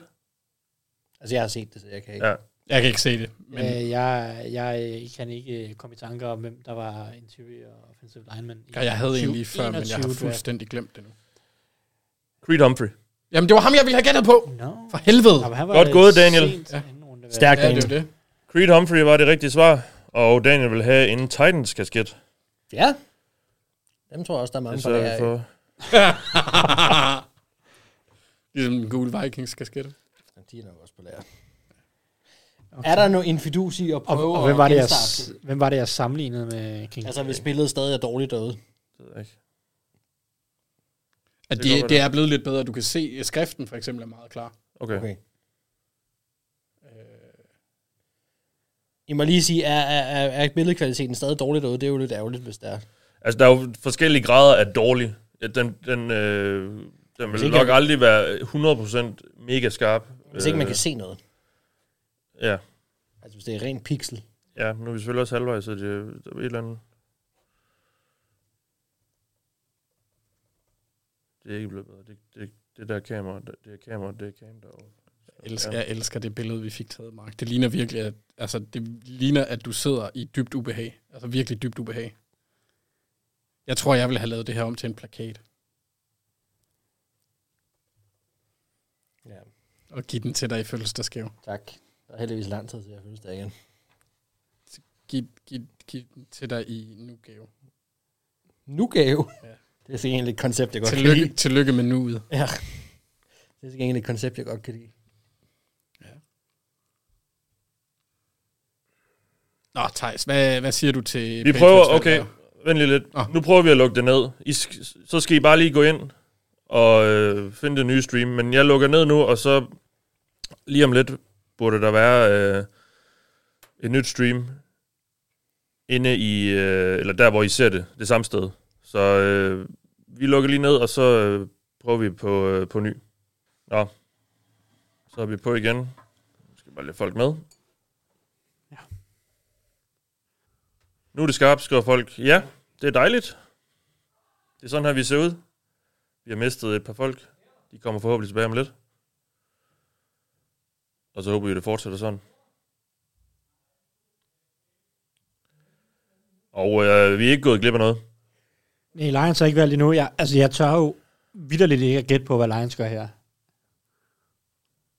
Altså, jeg har set det, så jeg kan ikke. Ja. Jeg kan ikke se det. Men... Øh, jeg, jeg kan ikke øh, komme i tanker om, hvem der var interior offensive lineman. i Og jeg havde en lige 2021 før, men jeg har draft. fuldstændig glemt det nu. Creed Humphrey. Jamen, det var ham, jeg ville have gættet på. No. For helvede. Nå, men han var Godt det gået, Daniel. sent. Ja. Stærk Ja, det er Daniel. jo det. Creed Humphrey var det rigtige svar, og Daniel vil have en Titans-kasket. Ja. Dem tror jeg også, der er mange Det fra sørger det vi her. for. ligesom den gule Vikings kasket. De er nok også på lager. Er der noget infidus i at Og, prøve og hvem, var at det, jeg, genstarte det? hvem var det, jeg sammenlignede med King? Altså, hvis billedet stadig er dårligt derude. At Det det, går det er blevet lidt bedre. Du kan se, at skriften for eksempel er meget klar. Okay. Okay. I må lige sige, er, er, er, er billedkvaliteten stadig dårlig derude? Det er jo lidt ærgerligt, hvis det er. Altså, der er jo forskellige grader af dårlig. Ja, Den, den, øh, den Hvis vil ikke nok jeg- aldrig være 100% mega skarp. Hvis ikke man Øh, kan se noget. Ja. Altså, hvis det er rent pixel. Ja, nu er vi selvfølgelig også halvvejs, så det der er et eller andet... Det er ikke blevet bedre. Det, det, det der kamera, det, det er kamera, det er kamera derovre. Jeg elsker, jeg elsker det billede, vi fik taget, Mark. Det ligner virkelig, at, altså, det ligner, at du sidder i dybt ubehag. Altså virkelig dybt ubehag. Jeg tror, jeg ville have lavet det her om til en plakat. Ja. Og give den til dig i fødselsdagsgave. Tak. Der er heldigvis lang tid til, jeg føles der igen. Giv, giv, giv den til dig i nu-gave. Nu gave. Ja. Det er så egentlig et koncept, jeg godt kan Tillykke, lide. tillykke med nuet. Ja. Det er så egentlig et koncept, jeg godt kan lide. Nå, Thijs, hvad, hvad siger du til... Vi Patriots prøver, valg okay, der? Ah. vent lige lidt. Nu prøver vi at lukke det ned. I sk- så skal I bare lige gå ind og øh, finde det nye stream. Men jeg lukker ned nu, og så lige om lidt burde der være øh, et nyt stream inde i, øh, eller der, hvor I ser det, det samme sted. Så øh, vi lukker lige ned, og så øh, prøver vi på, øh, på ny. Nå, så er vi på igen. Nu skal vi bare lidt folk med. Nu er det skarpt, skriver folk. Ja, det er dejligt. Det er sådan her, vi ser ud. Vi har mistet et par folk. De kommer forhåbentlig tilbage om lidt. Og så håber vi, at det fortsætter sådan. Og øh, vi er ikke gået glip af noget. Nej, Lions har ikke valgt endnu. Jeg, altså, jeg tør jo vidderligt ikke at gætte på, hvad Lions gør her.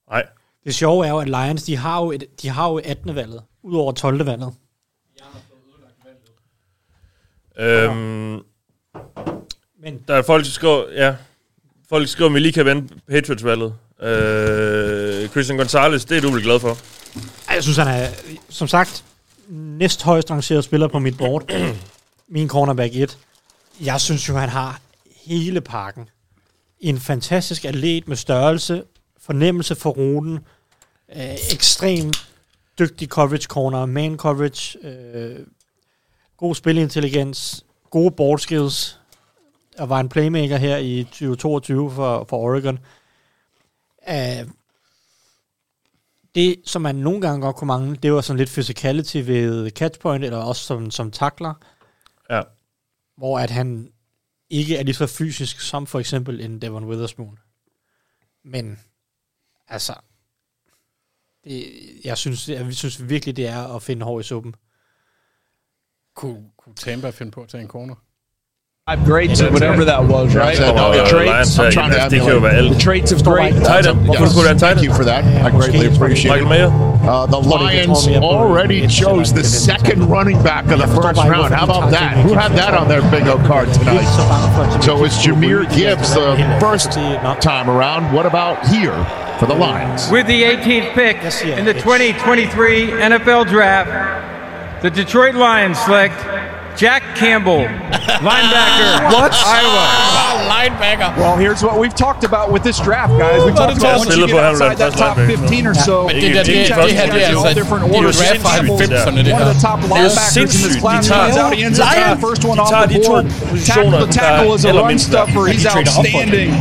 Nej. Det sjove er jo, at Lions, de har jo, et, de har jo 18. valget, ud over 12. valget. Øhm, Men- Der er folk, der skriver, ja, folk skriver, om vi lige kan vende Patriots-valget. Øh, Christian Gonzalez, det er du vel glad for. Ej, Jeg synes, han er, som sagt, næst højst rangeret spiller på mit board. Min cornerback 1. Jeg synes jo, han har hele pakken. En fantastisk atlet med størrelse, fornemmelse for ruten, øh, ekstrem dygtig coverage corner, man coverage, øh, god spilintelligens, gode board skills, og var en playmaker her i 2022 for, for Oregon. Uh, det, som man nogle gange godt kunne mangle, det var sådan lidt physicality ved catchpoint, eller også som, som takler. Ja. Hvor at han ikke er lige så fysisk som for eksempel en Devon Witherspoon. Men, altså, det, jeg, synes, jeg synes virkelig, det er at finde hår i suppen. Kunne, kunne Tampa finde på at tage en corner? Five greats or whatever that was, right? Yeah, no, the yeah, traits, Lions, uh, yeah, that's the hero, El. the traits of great. Tight end. Yes. Thank you for that. I greatly appreciate it. Michael Mayer. Uh, the Lions already chose the second running back of the first round. How about that? Who had that on their bingo card tonight? So it's Jameer Gibbs the first time around. What about here for the Lions? With the 18th pick in the 2023 NFL Draft, the Detroit Lions select Jack Campbell, linebacker, What? Ah, Iowa. linebacker. Well, here's what we've talked about with this draft, guys. We've Hvor talked er det about once tungt. you get outside that top 15 or so. Men det, der, det, det, det her, det er all altså et different det er jo orders. draft fra Campbell's 90'erne, det her. One of the top Det er jo linebackers in this sindssygt. class De tager- comes out. He ends up Lions. the first one De off tager the de to board. positioner, Tackle to der tackle is a eller run mindst der- stuffer. de He's trader op for det. outstanding.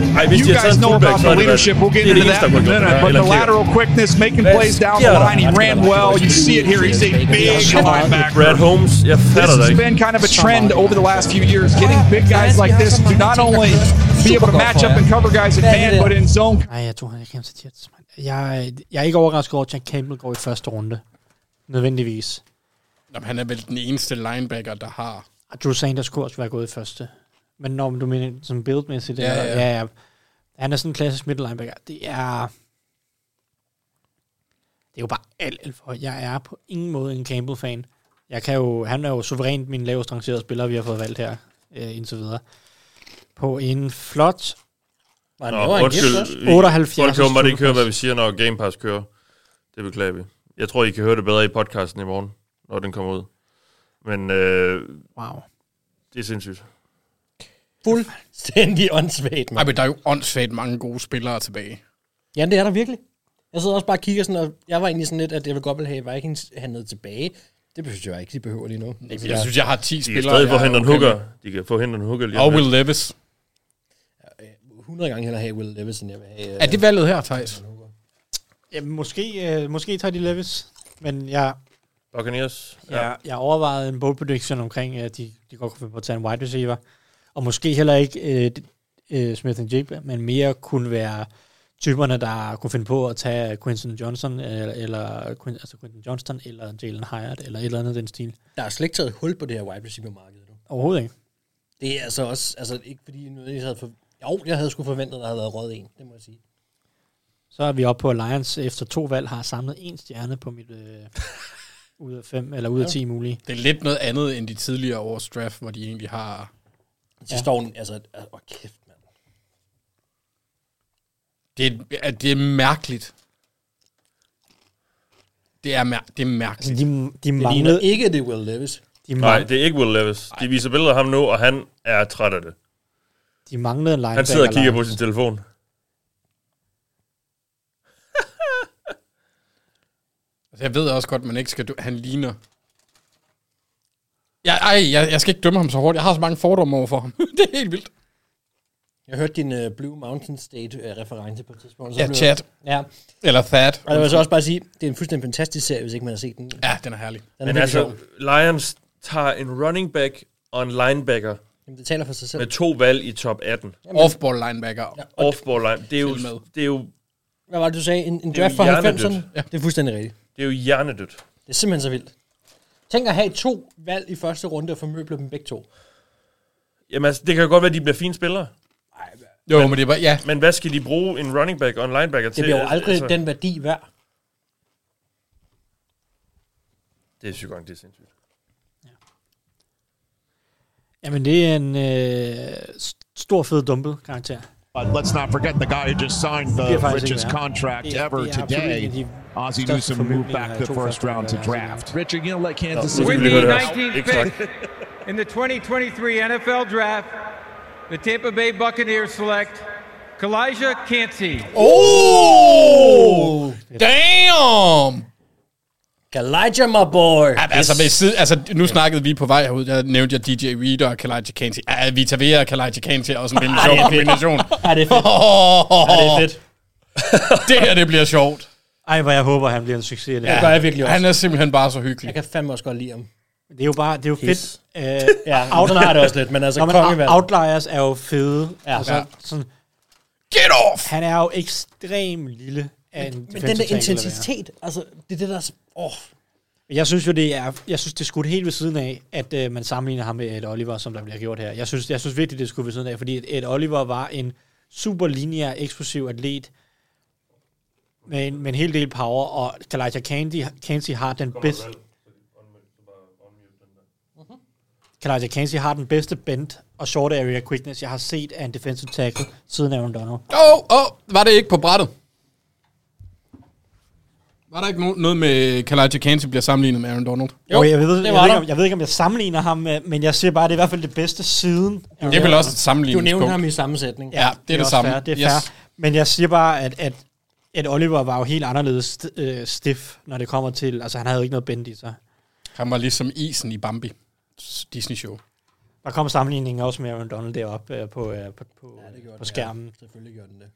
Ej, hvis You de havde guys taget en know fullback, about så the havde det været- leadership. We'll get det er det into eneste, that in der a kunne have minute. gjort det, But eller the kicker. lateral quickness, making plays down the sker der? line. He ran well. You see it here. He's a big linebacker. Brad Holmes, jeg This fatter det has ikke. been kind of a trend over the last few years. Getting big guys like this to not only be able to match up and cover guys in man, but in zone. Nej, jeg tror, han ikke til Jets. mand. Jeg, jeg er ikke overrasket over, at Jack Campbell går i første runde. Nødvendigvis. Jamen, han er vel den eneste linebacker, der har... Og Drew Sanders kunne også være gået i første. Men når du mener sådan buildmæssigt, Ja, ja, ja. ja. ja, ja. Han er sådan en klassisk midtlinebacker. Det er... Det er jo bare alt, alt for højt. Jeg er på ingen måde en Campbell-fan. Jeg kan jo, han er jo suverænt min lavest rangerede spiller, vi har fået valgt her, øh, indtil videre. På en flot... Nå, undskyld. Vi- 78. Folk kan åbenbart ikke høre, hvad vi siger, når Game Pass kører. Det beklager vi. Jeg tror, I kan høre det bedre i podcasten i morgen, når den kommer ud. Men øh, wow. det er sindssygt. Fuldstændig åndssvagt, Ej, mand. men der er jo åndssvagt mange gode spillere tilbage. Ja, det er der virkelig. Jeg sidder også bare og kigger sådan, og jeg var egentlig sådan lidt, at jeg vil godt vil have Vikings handlet tilbage. Det synes jeg ikke, de behøver lige nu. Altså, Jeg synes, jeg har 10 De kan spillere. stadig få jeg er Hendon okay Hooker. med. De kan få Hendon Hooker lige om Og lidt. Will Levis. 100 gange hellere have Will Levis, end jeg vil have... øh, Er det valget her, Thijs? Ja, måske, øh, måske tager de Levis, men jeg, Buccaneers. jeg, jeg overvejede en bold prediction omkring, at de, de godt kunne finde på at tage en wide receiver. Og måske heller ikke øh, d- øh, Smith Jigba, men mere kunne være typerne, der kunne finde på at tage Quinton Johnson, øh, eller, eller Quin- altså Quinton Johnston, eller Jalen Hyatt, eller et eller andet af den stil. Der er slet ikke taget hul på det her wide receiver-marked. Overhovedet ikke. Det er altså også, altså ikke fordi jeg nødvendigvis havde for... Jo, jeg havde sgu forventet, at der havde været råd en, det må jeg sige. Så er vi oppe på at Lions efter to valg har samlet en stjerne på mit øh, ud af fem, eller ud af Ja. ti mulige. Det er lidt noget andet end de tidligere års draft, hvor de egentlig har... De står en- altså... Åh, kæft, mand. Det er, at det er mærkeligt. Det er, mær- det er mærkeligt. Altså, de, de Det ligner ikke, at det er Will Levis. De Nej, det er ikke Will Levis. De viser billeder af ham nu, og han er træt af det. De manglede en linebacker. Han sidder og kigger på Lions. sin telefon. Altså, jeg ved også godt, man ikke skal... dø- Han ligner... Jeg, ej, jeg, jeg skal ikke dømme ham så hårdt. Jeg har så mange fordomme over for ham. det er helt vildt. Jeg hørte din uh, Blue Mountain State-reference på et tidspunkt. Ja, blev- Chad. Ja. Eller Thad. Og jeg vil så også bare sige, det er en fuldstændig fantastisk serie, hvis ikke man har set den. Ja, den er herlig. Den Men er altså, altså... Lions tager en running back og en linebacker Jamen, det taler for sig selv. med to valg i top 18. Jamen- Off-ball linebacker. Ja. Off-ball line. Det er jo, Til med. det er jo, Hvad var det, du sagde? En, en Det er jo draft fra hjernedødt. 90'erne? Ja. Det er fuldstændig rigtigt. det er jo hjernedødt. Det er simpelthen så vildt. Tænk at have to valg i første runde og formøble dem begge to. Jamen altså, det kan jo godt være, at de bliver fine spillere. Jo, men det var... Ja. Men hvad skal de bruge en running back og en linebacker Det til? bliver jo Altså, aldrig altså, den værdi værd. Det er sygt godt, det er sindssygt. Jamen, det er en øh, s- stor fed dumbbell karakter. But let's not forget the guy who just signed the Det er faktisk richest ikke værre. contract Det er- ever det er absolut today. en af de Ozzie største Newsome moved formidlinger back af the to first første round to runde, altså. draft. Richard, you're gonna let Kansas Nå, nu With skal vi the høre det her. 19th Ikke tak. pick in the 2023 NFL Draft, the Tampa Bay Buccaneers select Kalijah Cansey. Oh! Damn! Kalijah, my boy! Ja, men altså, ved siden, altså, nu snakkede vi på vej herud, der nævnte jeg DJ Reader og Kalaji Kanti. Ja, Vita Vea og Kalaji Kanti er også en rimelig sjov kombination. Ja, det er fedt. Ja, det er fedt. Det her, det bliver sjovt. Ej, hvor jeg håber, han bliver en succes. i Det, Det gør jeg virkelig også. Han er simpelthen bare så hyggelig. Jeg kan fandme også godt lide ham. det er jo bare, det er jo Pis. fedt. Øh, ja, Ja, out har det også lidt, men altså Nå, men kongevalg. out- outliers er jo fede. Ja. Ja. Ja. Altså, sådan, Get off! han er jo ekstremt lille. af en Men den defensive der tackle, intensitet, altså, det er det, der... er så- Åh, hvad det er. Jeg synes jo, det er, jeg synes, det er skudt helt ved siden af, at øh, man sammenligner ham med Ed Oliver, som der bliver gjort her. Jeg synes, jeg synes virkelig, det er skudt ved siden af, fordi at Ed Oliver var en super lineær, eksplosiv atlet, med en, med en hel del power, og Kalijah Candy, Candy har den bedste... Kalijah Kansi Mm-hmm. har den bedste bend og short area quickness, jeg har set af en defensive tackle siden Aaron Donald. Åh, oh, åh, oh, var det ikke på brættet? Var der ikke no- noget med Kalaja Kansi bliver sammenlignet med Aaron Donald? Jo, okay, jeg, ved, jeg, ved ikke, om, jeg ved ikke, om jeg sammenligner ham, med, men jeg siger bare, at det er i hvert fald det bedste siden. Det er vel også et sammenligningspunkt. Du nævnte ham i sammensætning. Ja, det er det også samme. Fair, det er Yes. fair. Men jeg siger bare, at, at, at Oliver var jo helt anderledes st- øh, stiff, når det kommer til... Altså, han havde jo ikke noget bend i sig. Han var ligesom isen i Bambi. Disney-show. Der kom sammenligningen også med Aaron Donald deroppe øh, på, øh, på, på, ja, på skærmen. Ja. Selvfølgelig gjorde den det.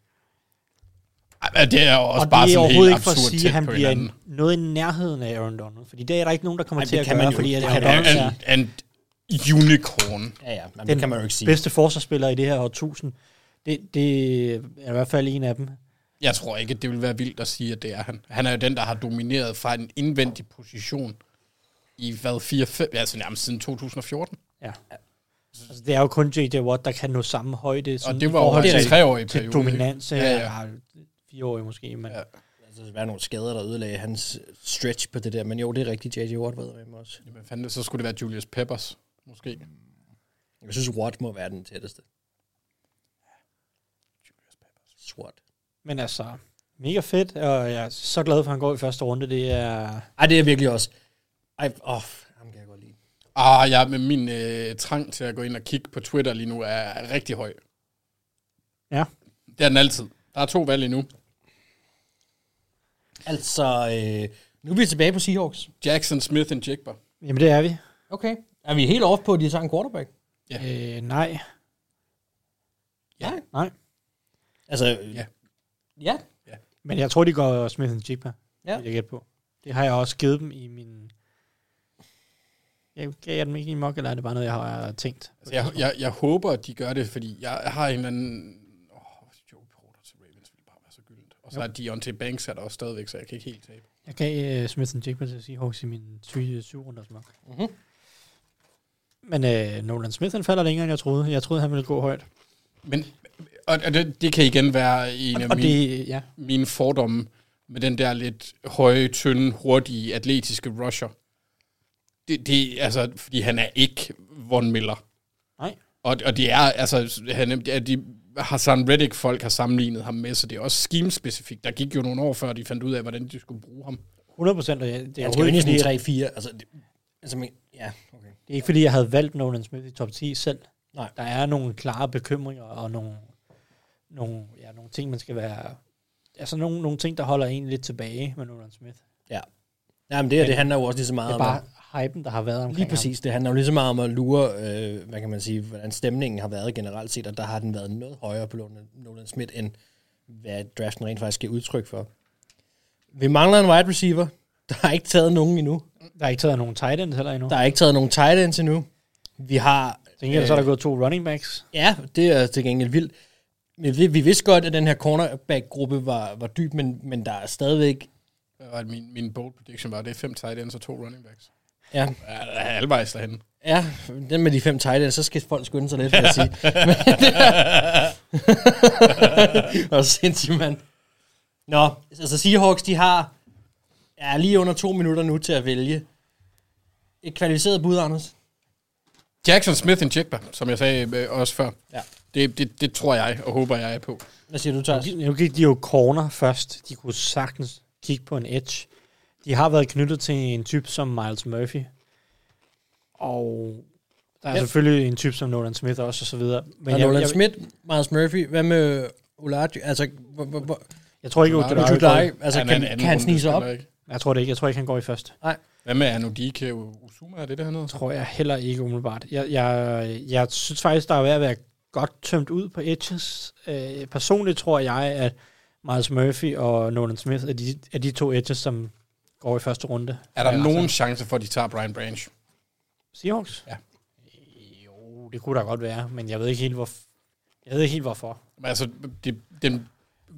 Ja, det er jo også Og bare det er sådan helt overhovedet ikke for absurd at sige, tæt at han på bliver hinanden. en, noget i nærheden af Aaron Donald. Fordi det er der ikke nogen, der kommer Ej, til det at kan gøre, man jo fordi at ikke. Aaron Ja, Donald en- er En unicorn. Ja, ja, men den det kan man jo ikke sige. bedste forsvarsspiller i det her årtusind. Det, det er i hvert fald en af dem. Jeg tror ikke, det vil være vildt at sige, at det er han. Han er jo den, der har domineret fra en indvendig position i hvad, 4-5, altså nærmest siden 2014. Ja. Altså, det er jo kun J.J. Watt, der kan nå samme højde. Og det var jo også en treårig til periode, dominans. ikke? Ja, ja. ja. Fireårig måske, men... Ja. Altså, der var nogle skader, der ødelagde hans stretch på det der. Men jo, det er rigtigt, J.J. Watt ved jeg også. Jamen, fandme, så skulle det være Julius Peppers, måske. Jeg synes, Watt må være den tætteste. SWAT. Men altså, mega fedt, og jeg er så glad for, at han går i første runde. Det er... Ej, det er virkelig også. Ej, åh, ham kan jeg godt lide. Ah, ja, men min øh, trang til at gå ind og kigge på Twitter lige nu er rigtig høj. Ja. Det er den altid. Der er to valg endnu. Altså, øh, nu er vi tilbage på Seahawks. Jackson, Smith and Jigba. Jamen, det er vi. Okay. Er vi helt off på, at de tager en quarterback? Ja. Øh, nej. Ja. Nej. Altså, ja. Ja. Men jeg tror, de går Smith and Jigba. Ja. Ja. Jeg gætte på. Det har jeg også givet dem i min... Jeg gav jeg dem ikke i mok, eller er det bare noget, jeg har tænkt? Altså, jeg, jeg, jeg håber, at de gør det, fordi jeg har en eller anden... Åh, Joe Porter til Ravens ville bare være så gyldent. Og så Jo. er Deontay Banks er der også stadigvæk, så jeg kan ikke helt tabe. Jeg gav uh, Smith and Jigba til Seahawks i min 27 runders mok. Mm-hmm. Men uh, Nolan Smith, han falder længere, end jeg troede. Jeg troede, han ville gå højt. Men, og, og det, det kan igen være en Og- af og mine, det- ja. mine fordomme med den der lidt høje, tynde, hurtige, atletiske rusher. Det, det altså, fordi han er ikke Von Miller. Nej. Og, og det er, altså, han, er- ja, de, Hassan Reddick-folk har sammenlignet ham med, så det er også scheme-specifikt. Der gik jo nogle år før, de fandt ud af, hvordan de skulle bruge ham. 100 procent, og jeg- det er Han overhovedet skal jo ind i sådan fordi- 3-4, altså... Det, altså, men, ja, okay. Det er ikke fordi, jeg havde valgt Nolan Smith i top 10 selv. Nej. Der er nogle klare bekymringer og nogle, nogle, ja, nogle ting, man skal være... Altså nogle, nogle ting, der holder en lidt tilbage med Nolan Smith. Ja. Jamen, det her, det handler jo også lige så meget det er om bare at- hypen, der har været omkring Lige præcis. Det handler jo lige så meget om at lure, øh, hvad kan man sige, hvordan stemningen har været generelt set, og der har den været noget højere på Nolan- Nolan Smith, end hvad draften rent faktisk giver udtryk for. Vi mangler en wide receiver. Der er ikke taget nogen endnu. Der er ikke taget nogen tight ends heller endnu. Der er ikke taget nogen tight ends endnu. Vi har... Til gengæld så er der gået to running backs. Ja, det er til gengæld vildt. Men vi, vi vidste godt, at den her cornerback-gruppe var, var dyb, men, men der er stadigvæk... Og min, min bold prediction var, at det er fem tight ends og to running backs. Ja, Ja, der er halvvejs derhen. Ja, den med de fem tight ends, så skal folk skynde sig lidt, vil jeg sige. Men det er- Hvor sindssygt, mand. Nå, altså Seahawks, de har ja, lige under to minutter nu til at vælge. Et kvalificeret bud, Anders. Jackson Smith and Jigba, som jeg sagde øh, også før. Ja. Det, det, det tror jeg og håber, jeg er på. Hvad siger du, Thijs? Nu gik de jo corner først. De kunne sagtens kigge på en edge. De har været knyttet til en type som Miles Murphy. Og der er Ja. selvfølgelig en type som Nolan Smith også, og så videre. Men og Nolan Smith, Miles Murphy, hvad med Olaji? Altså, hvor, hvor, hvor, Jeg tror ikke, Olajuwon. Ojulari går- altså, Han er kan, en anden kan han snige sig op? rundespiller, ikke? Jeg tror det ikke. Jeg tror ikke, han går i første. Nej. Hvad med Anudike Usuma, er det det, han hedder? Tror jeg heller ikke umiddelbart. Jeg, jeg, jeg synes faktisk, der er ved at være godt tømt ud på edges. Øh, personligt tror jeg, at Miles Murphy og Nolan Smith er de, er de to edges, som går i første runde. Er der Ja, nogen altså, chance for, at de tager Brian Branch? Seahawks? Ja. Jo, det kunne der godt være, men jeg ved ikke helt, hvor, jeg ved ikke helt hvorfor. Men Altså, det, den,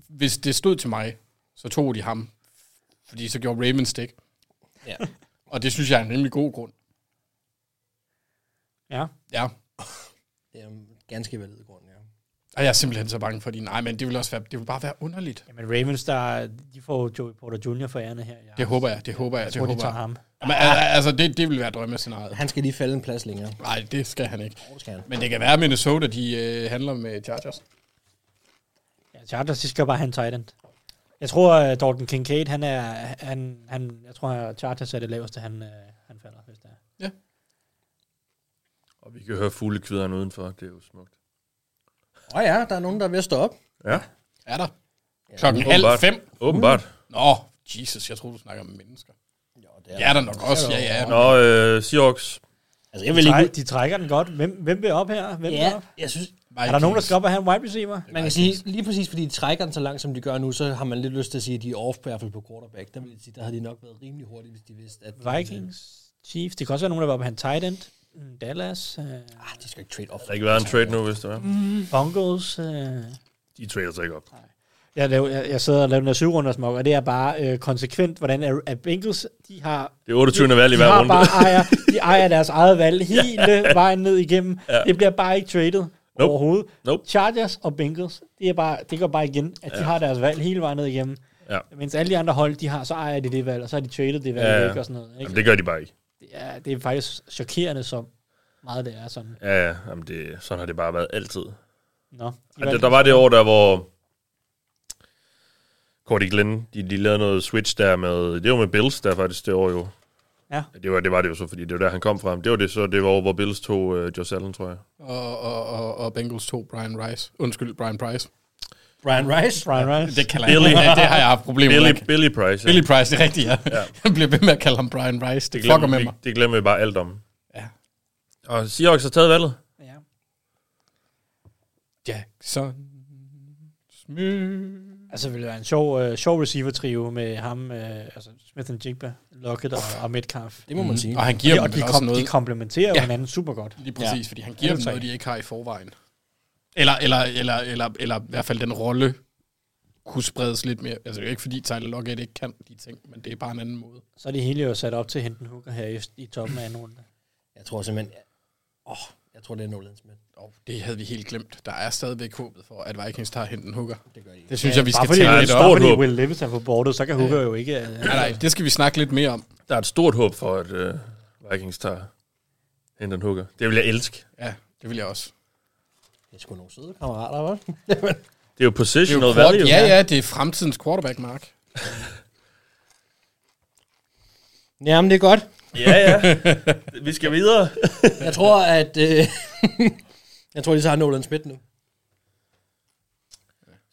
hvis det stod til mig, så tog de ham. Fordi så gjorde Ravens det, ikke? Ja. Og det synes jeg er en rimelig god grund. Ja. Ja. Det er en ganske valid grund, ja. Og jeg er simpelthen så bange for din. Nej, men det vil også være, det vil bare være underligt. Jamen Ravens, der, de får Joey Porter Jr. for ærende her. Jeg, Det håber jeg, det håber jeg, jeg det tror, håber de tager jeg. ham. Jamen, al- al- altså, det, det vil være drømmescenariet. Han skal lige falde en plads længere. Nej, det skal han ikke. skal han. Men det kan være, at Minnesota de, øh, handler med Chargers. Ja, Chargers, de skal bare have en tight end. Jeg tror, at Dalton Kincaid, han er, han, han, jeg tror, at Chargers er det laveste, han, øh, han falder, hvis det er. Og vi kan høre fuglekvideren udenfor, det er jo smukt. Åh oh ja, der er nogen, der er ved at stå op. Ja. Er der? Klokken Åbenbart. halv fem. Åbenbart. Nå, Jesus, jeg tror du snakker om mennesker. det er, der nok også, ja, ja. Nå, øh, Seahawks. Altså, Jeg vil ikke... De trækker den godt. Hvem, hvem vil op her? Hvem Ja, vil op? jeg synes- Er der nogen, der skal op og have en wide receiver? Man kan sige, lige præcis fordi de trækker den så langt, som de gør nu, så har man lidt lyst til at sige, at de er off på, i hvert fald på quarterback. Der, vil jeg sige, der havde de nok været rimelig hurtige, hvis de vidste, at... Vikings, Chiefs. Det kan også være nogen, der vil op og have en tight end. Mm, Dallas. Øh, ah, de skal ikke trade op. Der har ikke været en trade nu, hvis det var. Mm. Bungles. Øh, De trader sig ikke op. Jeg, laver, jeg, jeg sidder og laver den her syvrundersmok, og det er bare øh, konsekvent, hvordan er, at Bengals, de har... Det er 28. valg i de hver har runde. Bare ejer, de ejer deres eget valg hele vejen ned igennem. Ja. Ja. Det bliver bare ikke traded nope. overhovedet. Nope. Chargers og Bengals, det, er bare, det går bare igen, at ja. Ja. de har deres valg hele vejen ned igennem. Ja. Mens alle de andre hold, de har, så ejer de det valg, og så har de traded det valg ja. væk og sådan noget. Ikke? Jamen, det gør de bare ikke. Ja, det er faktisk chokerende, så meget det er sådan. Ja, ja. Jamen, det, sådan har det bare været altid. Nå. Ja, der, der var det år, der hvor Cordy Glenn, de, de lavede noget switch der med, det var med Bills der faktisk det år jo. Ja. Det var det, var det jo så, fordi det var der, han kom fra. Men Det var det så, det var år, hvor Bills tog uh, Josh Allen, tror jeg. Og, og, og, og Bengals to Brian Rice. Undskyld, Brian Price. Brian Rice? Brian Rice. Det kalder Billy. jeg. Det har jeg haft problemer Billy, med. Billy Price. Billy Price, det er rigtigt, ja. Ja. ja. Jeg bliver ved med at kalde ham Brian Rice. Det glemmer fucker med vi- mig. Det glemmer vi bare alt om. Ja. Og Seahawks har taget valget. Jackson Smith. Altså, det ville være en sjov, øh, sjov receiver-trio med ham, øh, altså Smith and Jigba, Lockett og, og Metcalf. Det må man Mm. sige. Og han giver de, dem de, vel kom, også noget. de komplementerer ja. Ja. hinanden super godt. Lige præcis, ja. fordi han Alle giver dem tre. noget, de ikke har i forvejen. Eller, eller, eller, eller, eller i hvert fald den rolle kunne spredes lidt mere. Altså, det er ikke fordi Tyler Lockett ikke kan de ting, men det er bare en anden måde. Så er de hele jo sat op til at hente en hooker her i, i toppen af anden runde. Jeg tror simpelthen... Åh, oh, jeg tror, det er Nolan Smith. Og det havde vi helt glemt. Der er stadigvæk håbet for, at Vikings tager henten hooker. Det, gør de. det synes jeg, vi skal bare fordi, tale lidt Bare om. fordi Will Levis er på bordet, så kan hooker jo ikke... Øh, Nej, nej, det skal vi snakke lidt mere om. Der er et stort håb for, at øh, Vikings tager Hendon Hooker. Det vil jeg elske. Ja, det vil jeg også. Det er sgu nogle søde kammerater, hva'? Det er jo positional Det er jo value. quar- Ja, ja, det er fremtidens quarterback, Mark. Jamen, det er godt. Ja, ja. Vi skal videre. jeg tror, at... Øh, jeg tror, de så har Nolan Smith nu.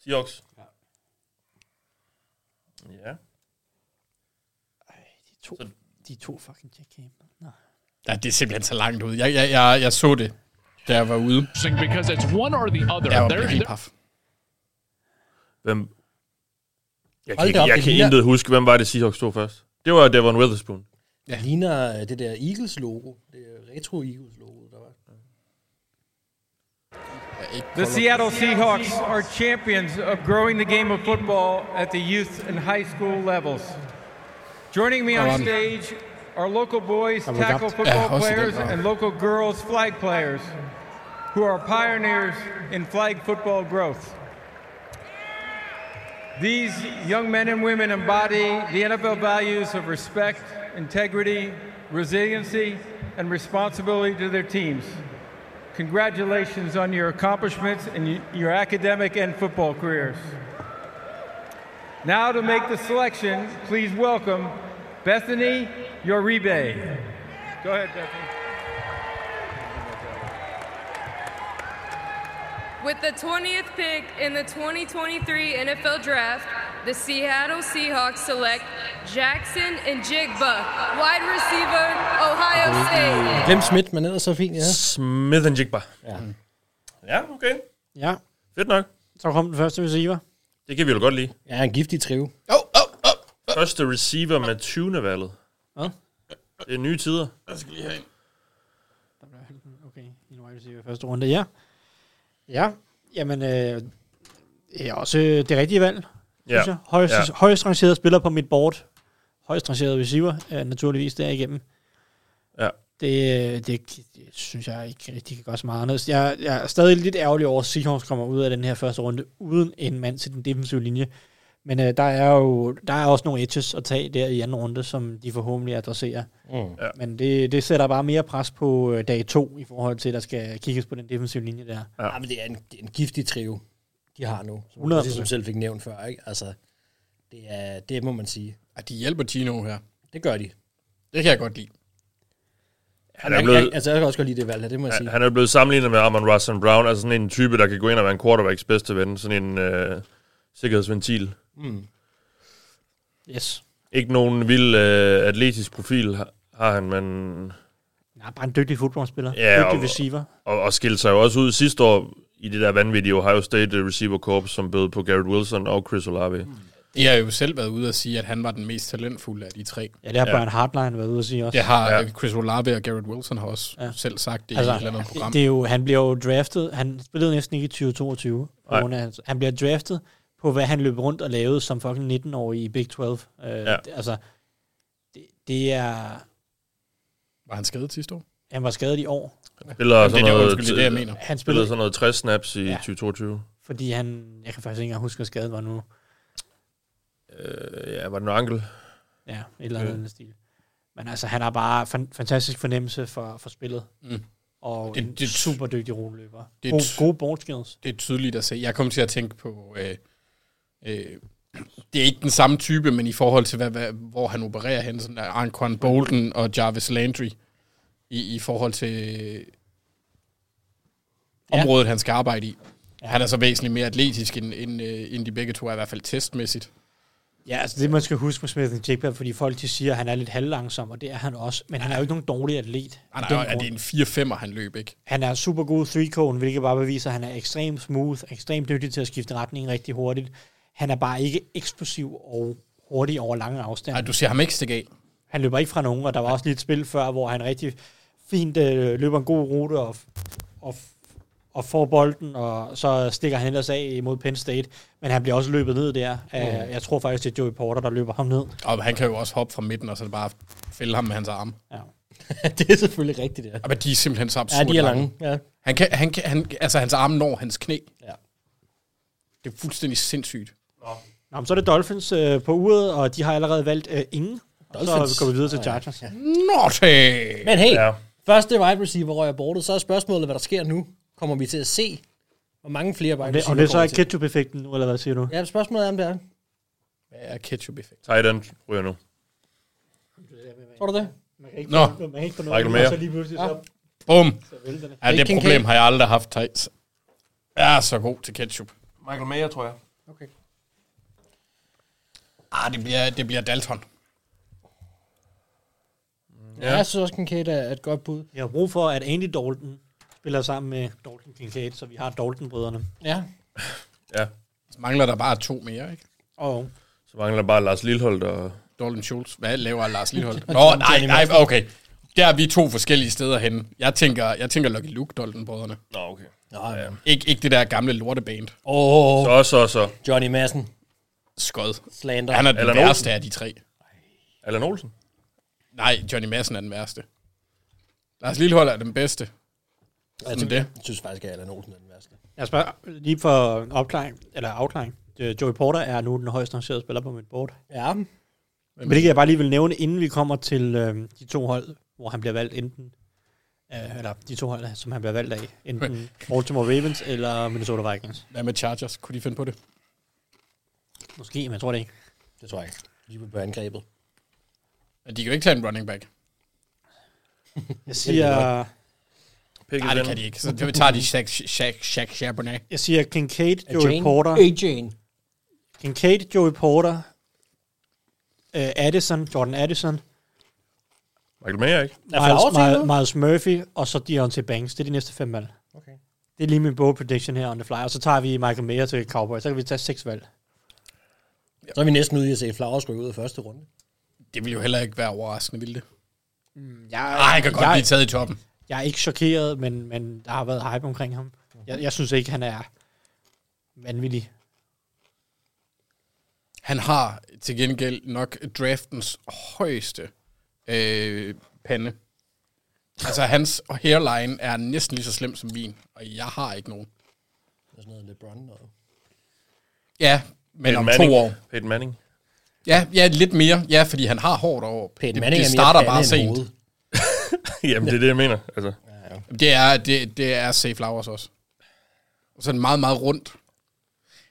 Seahawks. Ja. to, de to fucking Jack Campbell. Nå. Ja, det er simpelthen så langt ud. Jeg, jeg, jeg, jeg så det, da jeg var ude. Because it's one or the other. Jeg var There- helt paf. Hvem? Jeg Hold kan, da ikke, op, jeg det kan ligner- intet huske, hvem var det Seahawks stod først. Det var Devon Witherspoon. Ja. Ligner øh, det der Eagles-logo. Det er retro Eagles-logo, der var. The Seattle Seahawks are champions of growing the game of football at the youth and high school levels. Joining me on Hold on. stage are local boys Oh, we got- tackle Yeah, football how's it players going? and local girls flag players who are pioneers in flag football growth. These young men and women embody the NFL values of respect, integrity, resiliency, and responsibility to their teams. Congratulations on your accomplishments in y- your academic and football careers. Now to make the selection, please welcome Bethany Yoribe. Go ahead, Bethany. With the 20th pick in the 2023 NFL Draft, the Seattle Seahawks select Jackson and Jigba, wide receiver, Ohio State. Glem Smith, men ellers så fint, ja. Smith and Jigba. Mm. Ja. Ja, okay. Ja. Fedt nok. Så kom den første receiver. Det kan vi jo godt lide. Ja, en giftig trive. Første receiver med 20. valget. Hvad? Det er nye tider. Jeg skal lige have en. Okay, en wide receiver i første runde, ja. Ja, jamen, øh, det er også øh, det rigtige valg, Ja. synes jeg. Højst, Ja. ja. højst rangerede spiller på mit board. Højst rangerede receiver, øh, naturligvis, derigennem. Ja. Det, øh, det, det synes jeg ikke rigtig kan gøre så meget andet. Jeg, jeg er stadig lidt ærgerlig over, at Seahawks kommer ud af den her første runde, uden en mand til den defensive linje. Men øh, der er jo der er også nogle edges at tage der i anden runde, som de forhåbentlig adresserer. Mm. Ja. Men det, det sætter bare mere pres på øh, dag to i forhold til, at der skal kigges på den defensive linje der. Ja. Ah, ja men det er, en, det er en giftig trive, de har nu. Som ligesom 100%. som selv fik nævnt før, ikke? Altså, Det, er, det må man sige. At de hjælper Gino her. Det gør de. Det kan jeg godt lide. Han er blevet- altså, jeg kan også godt lide det valg, det må jeg sige. Han, han er blevet sammenlignet med Amon Russell Brown, altså sådan en type, der kan gå ind og være en quarterbacks bedste ven. Sådan en øh, sikkerhedsventil. Mm. Yes. Ikke nogen vild øh, atletisk profil har, har han, men... Nej, bare en dygtig fodboldspiller. Ja, dygtig receiver. Og, og skilte sig jo også ud sidste år i det der vanvittige Ohio State øh, receiver corps, som bød på Garrett Wilson og Chris Olave. Mm. De har jo selv været ude og sige, at han var den mest talentfulde af de tre. Ja, det har Brian Hartline været ude at sige også. Det har ja. Chris Olave og Garrett Wilson har også ja. selv sagt det altså, i et eller andet program. Det er jo, han bliver jo draftet, han spillede næsten ikke i 2022. på Nej. grund af hans- Han bliver draftet på, hvad han løb rundt og lavede som fucking 19-årig i Big 12. Uh, ja. Altså, det, det er... Var han skadet sidste år? Han var skadet i år. Spiller Jamen, det er sådan det, noget, undskyld, det er det, jeg mener. Han spillede sådan noget 60 snaps i Ja. ja. 2022. Fordi han... Jeg kan faktisk ikke engang huske, hvad skadet var nu. Øh, ja, var det noget ankel? Ja, et eller Øh. andet ja. stil. Men altså, han har bare fan- fantastisk fornemmelse for, for spillet. Mm. Og Det- det, en det- super dygtig rulløber. det- Gode, gode ball skills. Det er tydeligt at se. Jeg kom til at tænke på... Øh, øh, det er ikke den samme type, men i forhold til, hvad, hvad, hvor han opererer hen, sådan der Anquan Bolden og Jarvis Landry, i, i forhold til øh, området, ja. han skal arbejde i. Ja. Han er så væsentligt mere atletisk, end, end, øh, end de begge to er, i hvert fald testmæssigt. Ja, altså det, man skal huske med Smith and Jigba, fordi folk de siger, at han er lidt halvlangsom, og det er han også. Men han er jo ikke nogen dårlig atlet. af Nej, den nej, er grund. det en 4-5'er, han løb, ikke? Han er super god 3 hvilket bare beviser, at han er ekstremt smooth, ekstremt dygtig til at skifte retning rigtig hurtigt. Han er bare ikke eksplosiv og hurtig over lange afstande. Nej, du ser ham ikke stikke af. Han løber ikke fra nogen, og der var også lige et spil før, hvor han rigtig fint øh, løber en god rute og, og, og får bolden, og så stikker han ellers af mod Penn State. Men han bliver også løbet ned der. Mm. Mm. Jeg tror faktisk, det er Joey Porter, der løber ham ned. Og han kan jo også hoppe fra midten, og så bare fælde ham med hans arme. Ja. det er selvfølgelig rigtigt, det er. Ja, men de er simpelthen så absurd Ja, de er lange. Ja. Han kan, han kan, han, altså, hans arme når hans knæ. Ja. Det er fuldstændig sindssygt. Nå, men så er det Dolphins øh, på uret, og de har allerede valgt øh, ingen. Og Dolphins. så går vi videre til Nå, ja. Chargers. Ja. Naughty! Men hey, Ja. ja. første wide receiver røg abortet, så er spørgsmålet, hvad der sker nu. Kommer vi til at se, hvor mange flere wide Om det, receiver om det så er kommer til? ketchup-effekten nu, eller hvad siger du? Ja, spørgsmålet er, om det er. Hvad er ketchup-effekt? Tight end ryger nu. Tror du det? Man kan ikke Nå. få- man kan ikke få Michael noget, Mayer. og så lige pludselig så... Bum! Så vælter det. Ja, det Hey, problem Kincaid. har jeg aldrig haft, Thijs. Jeg er så god til ketchup. Michael Mayer, tror jeg. Okay. Ah, det bliver, det bliver Dalton. Ja. Jeg synes også, Kincaid er et godt bud. Jeg har brug for, at Andy Dalton spiller sammen med Dalton Kincaid, så vi har Dalton-brødrene. Ja. Ja. Så mangler der bare to mere, ikke? Og Så mangler der bare Lars Lilholdt og... Dalton Schultz. Hvad laver Lars Lidholdt? Nå, nej, nej, okay. Der er vi to forskellige steder henne. Jeg tænker, jeg tænker Lucky Luke, Dalton-brødrene. Nå, okay. Nå, ja. Ikke, ikke det der gamle lorteband. Åh, oh, så, så, så. Johnny Madsen. Skød. Slander. Han er den Allan værste Olsen. af de tre. Allan Olsen? Nej, Johnny Madsen er den værste. Lars Lillehold er den bedste. Sådan synes- det. Jeg synes faktisk, at Allan Olsen er den værste. Jeg spørger lige for opklaring, eller afklaring. Øh, Joey Porter er nu den højst rangerede spiller på mit board. Ja. Men det jeg bare lige vil nævne, inden vi kommer til øh, de to hold, hvor han bliver valgt enten, øh, eller de to hold, som han bliver valgt af, enten Baltimore Ravens eller Minnesota Vikings. Hvad med Chargers? Kunne de finde på det? Måske, men jeg tror det ikke. Det tror jeg ikke. De vil blive angrebet. Men de kan jo ikke tage en running back. Jeg siger, Pickens Nej, det ind. kan de ikke. Så det tager de Shaq, Shaq, Shaq Charbonnet. jeg siger Kincaid, Joey Jane. Porter. A. Jane. Kincaid, Joey Porter, øh, Addison, Jordan Addison, Michael Mayer, ikke? Miles, Miles, Miles Murphy, og så Deontay Banks. Det er de næste fem valg. Okay. Det er lige min bold prediction her on the fly. Og så tager vi Michael Mayer til Cowboys. Så kan vi tage seks valg. Så er vi næsten ude i at se Flowers ryge ud af første runde. Det vil jo heller ikke være overraskende, vil det? Jeg, Ej, han kan godt blive taget i toppen. Jeg er ikke chokeret, men, men der har været hype omkring ham. Jeg, jeg synes ikke, han er vanvittig. Han har til gengæld nok draftens højeste øh, pande. Altså, hans hairline er næsten lige så slem som min, og jeg har ikke nogen. Det er sådan noget LeBron noget. Ja, men Peyton om Manning. to år. Peyton Manning. Ja, ja, lidt mere. Ja, fordi han har hårdt over. Peyton det, Manning det er mere starter pande bare end sent. hovedet. Jamen, det er det, jeg mener. Altså. Det er, det, det er Safe Flowers også. Og sådan meget, meget rundt.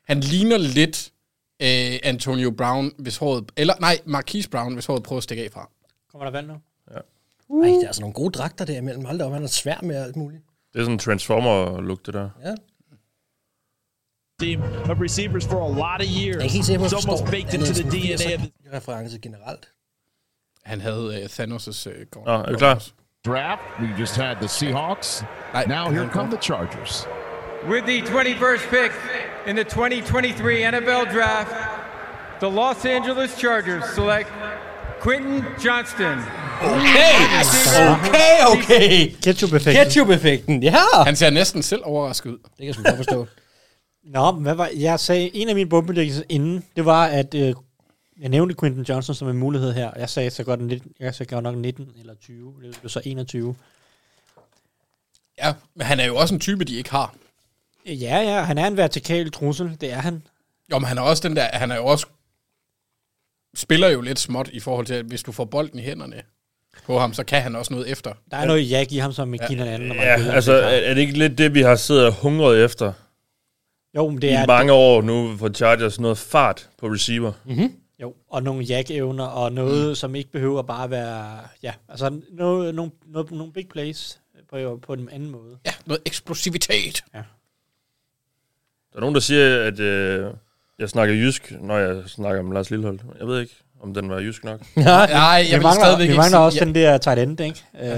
Han ligner lidt øh, Antonio Brown, hvis håret... Eller nej, Marquise Brown, hvis håret prøver at stikke af fra. Kommer der vand nu? Ja. Uh. Ej, der er altså nogle gode dragter der imellem. Hold da op, han er svær med alt muligt. Det er sådan en Transformer-look, det der. Ja. Team of receivers for a lot of years. Jeg kan ikke se, hvor It's jeg forstår almost det. baked into the DNA of the reference generelt. Han havde øh, Thanos' øh, gård. Nå, er vi klar? Draft. We just had the Seahawks. Now here come the Chargers. With the 21st pick in the 2023 NFL Draft, the Los Angeles Chargers select Quentin Johnston. Okay, okay. Ketchup-effekten. Ketchup-effekten, ja. Han ser næsten selv overrasket ud. Det kan jeg sgu godt forstå. Nå, men hvad var, jeg sagde, en af mine bombelæggelser inden, det var, at øh, jeg nævnte Quentin Johnson som en mulighed her. Jeg sagde så godt, en 19, jeg sagde godt nok 19 eller 20, det blev så 21. Ja, men han er jo også en type, de ikke har. Ja, ja, han er en vertikal trussel, det er han. Jo, men han er også den der... Han er jo også... Spiller jo lidt småt i forhold til, at hvis du får bolden i hænderne på ham, så kan han også noget efter. Der er noget jag i ham, som ikke giver en anden. når man Ja, spiller. altså, er, er det ikke lidt det, vi har siddet og hungret efter? Jo, men det I er- mange år nu for Chargers noget fart på receiver. Mm-hmm. Jo, og nogle jag-evner, og noget, mm. som ikke behøver bare at være... Ja, altså noget, nogle, noget, nogle big plays på, på en anden måde. Ja, noget eksplosivitet. Ja. Der er nogen, der siger, at øh, jeg snakker jysk, når jeg snakker om Lars Lillehold. Jeg ved ikke, om den var jysk nok. vi mangler, Vi mangler også den der tight end, ikke? Øh, Men,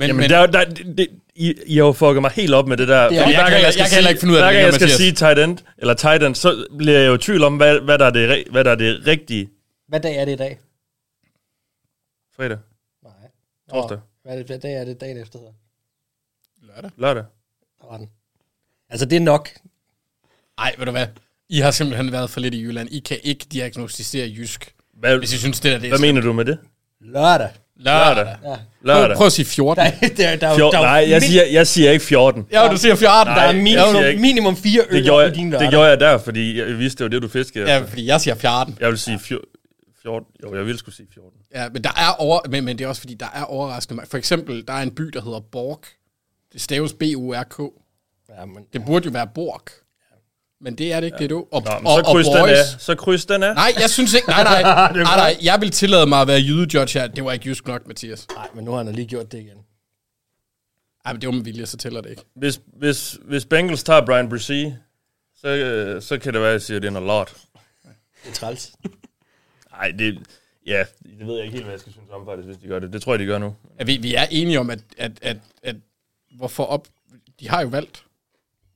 Jamen, men, der, er jo- der, det, det- I, I har jo fucket mig helt op med det der. Det Fordi er- Jeg hver kan- gang jeg skal kan sige- heller ikke finde ud af hver det gang der, jeg skal Mathias. sige tight end, eller tight end, så bliver jeg jo i tvivl om, hvad, hvad, der, er det, re- hvad der er det rigtige. Hvad dag er det i dag? Fredag, Nej. Torsdag. Nå, Hvad, hvad dag er det dagen efter? hedder? lørdag. Der var den. Altså, det er nok. Nej, ved du hvad? I har simpelthen været for lidt i Jylland. I kan ikke diagnostisere jysk. Hvad, hvis I synes, det der det er Hvad mener du med det? Lørdag. Lørdag. Ja. Lørdag. Prøv, prøv at sige 14. Der, er- der, er- der, er jo- Fjord, der, er jo nej, min- jeg siger, jeg siger ikke 14. Ja, du siger 14. Nej, Der er min- det siger jo jeg ikke. minimum fire øl det gjorde i jeg, din Det lørdag. gjorde jeg der, fordi jeg vidste, det var det, du fiskede. Ja, efter. fordi jeg siger 14. Jeg vil sige fjor- 14. Jo, jeg ville skulle sige 14. Ja, men, der er over, men, men det er også fordi, der er overraskende mange. For eksempel, der er en by, der hedder Borg. Det staves B-U-R-K. Ja, men, det burde jo være Borg. Men det er det ikke, ja. det er du. Og, Nå, men så kryds den boys. af. Så kryds den af. Nej, jeg synes ikke. Nej, nej. nej, nej. Jeg vil tillade mig at være jydejudge her. Det var ikke jysk nok, Mathias. Nej, men nu har han lige gjort det igen. Nej, men det var med vilje, så tæller det ikke. Hvis, hvis, hvis Bengals tager Brian Brissy, så, øh, så kan det være, at jeg siger, at det er en lot. Det er træls. Nej, det, ja, det ved jeg ikke helt, hvad jeg skal synes om, faktisk, hvis de gør det. Det tror jeg, de gør nu. At vi, vi er enige om, at, at, at, at hvorfor op... De har jo valgt.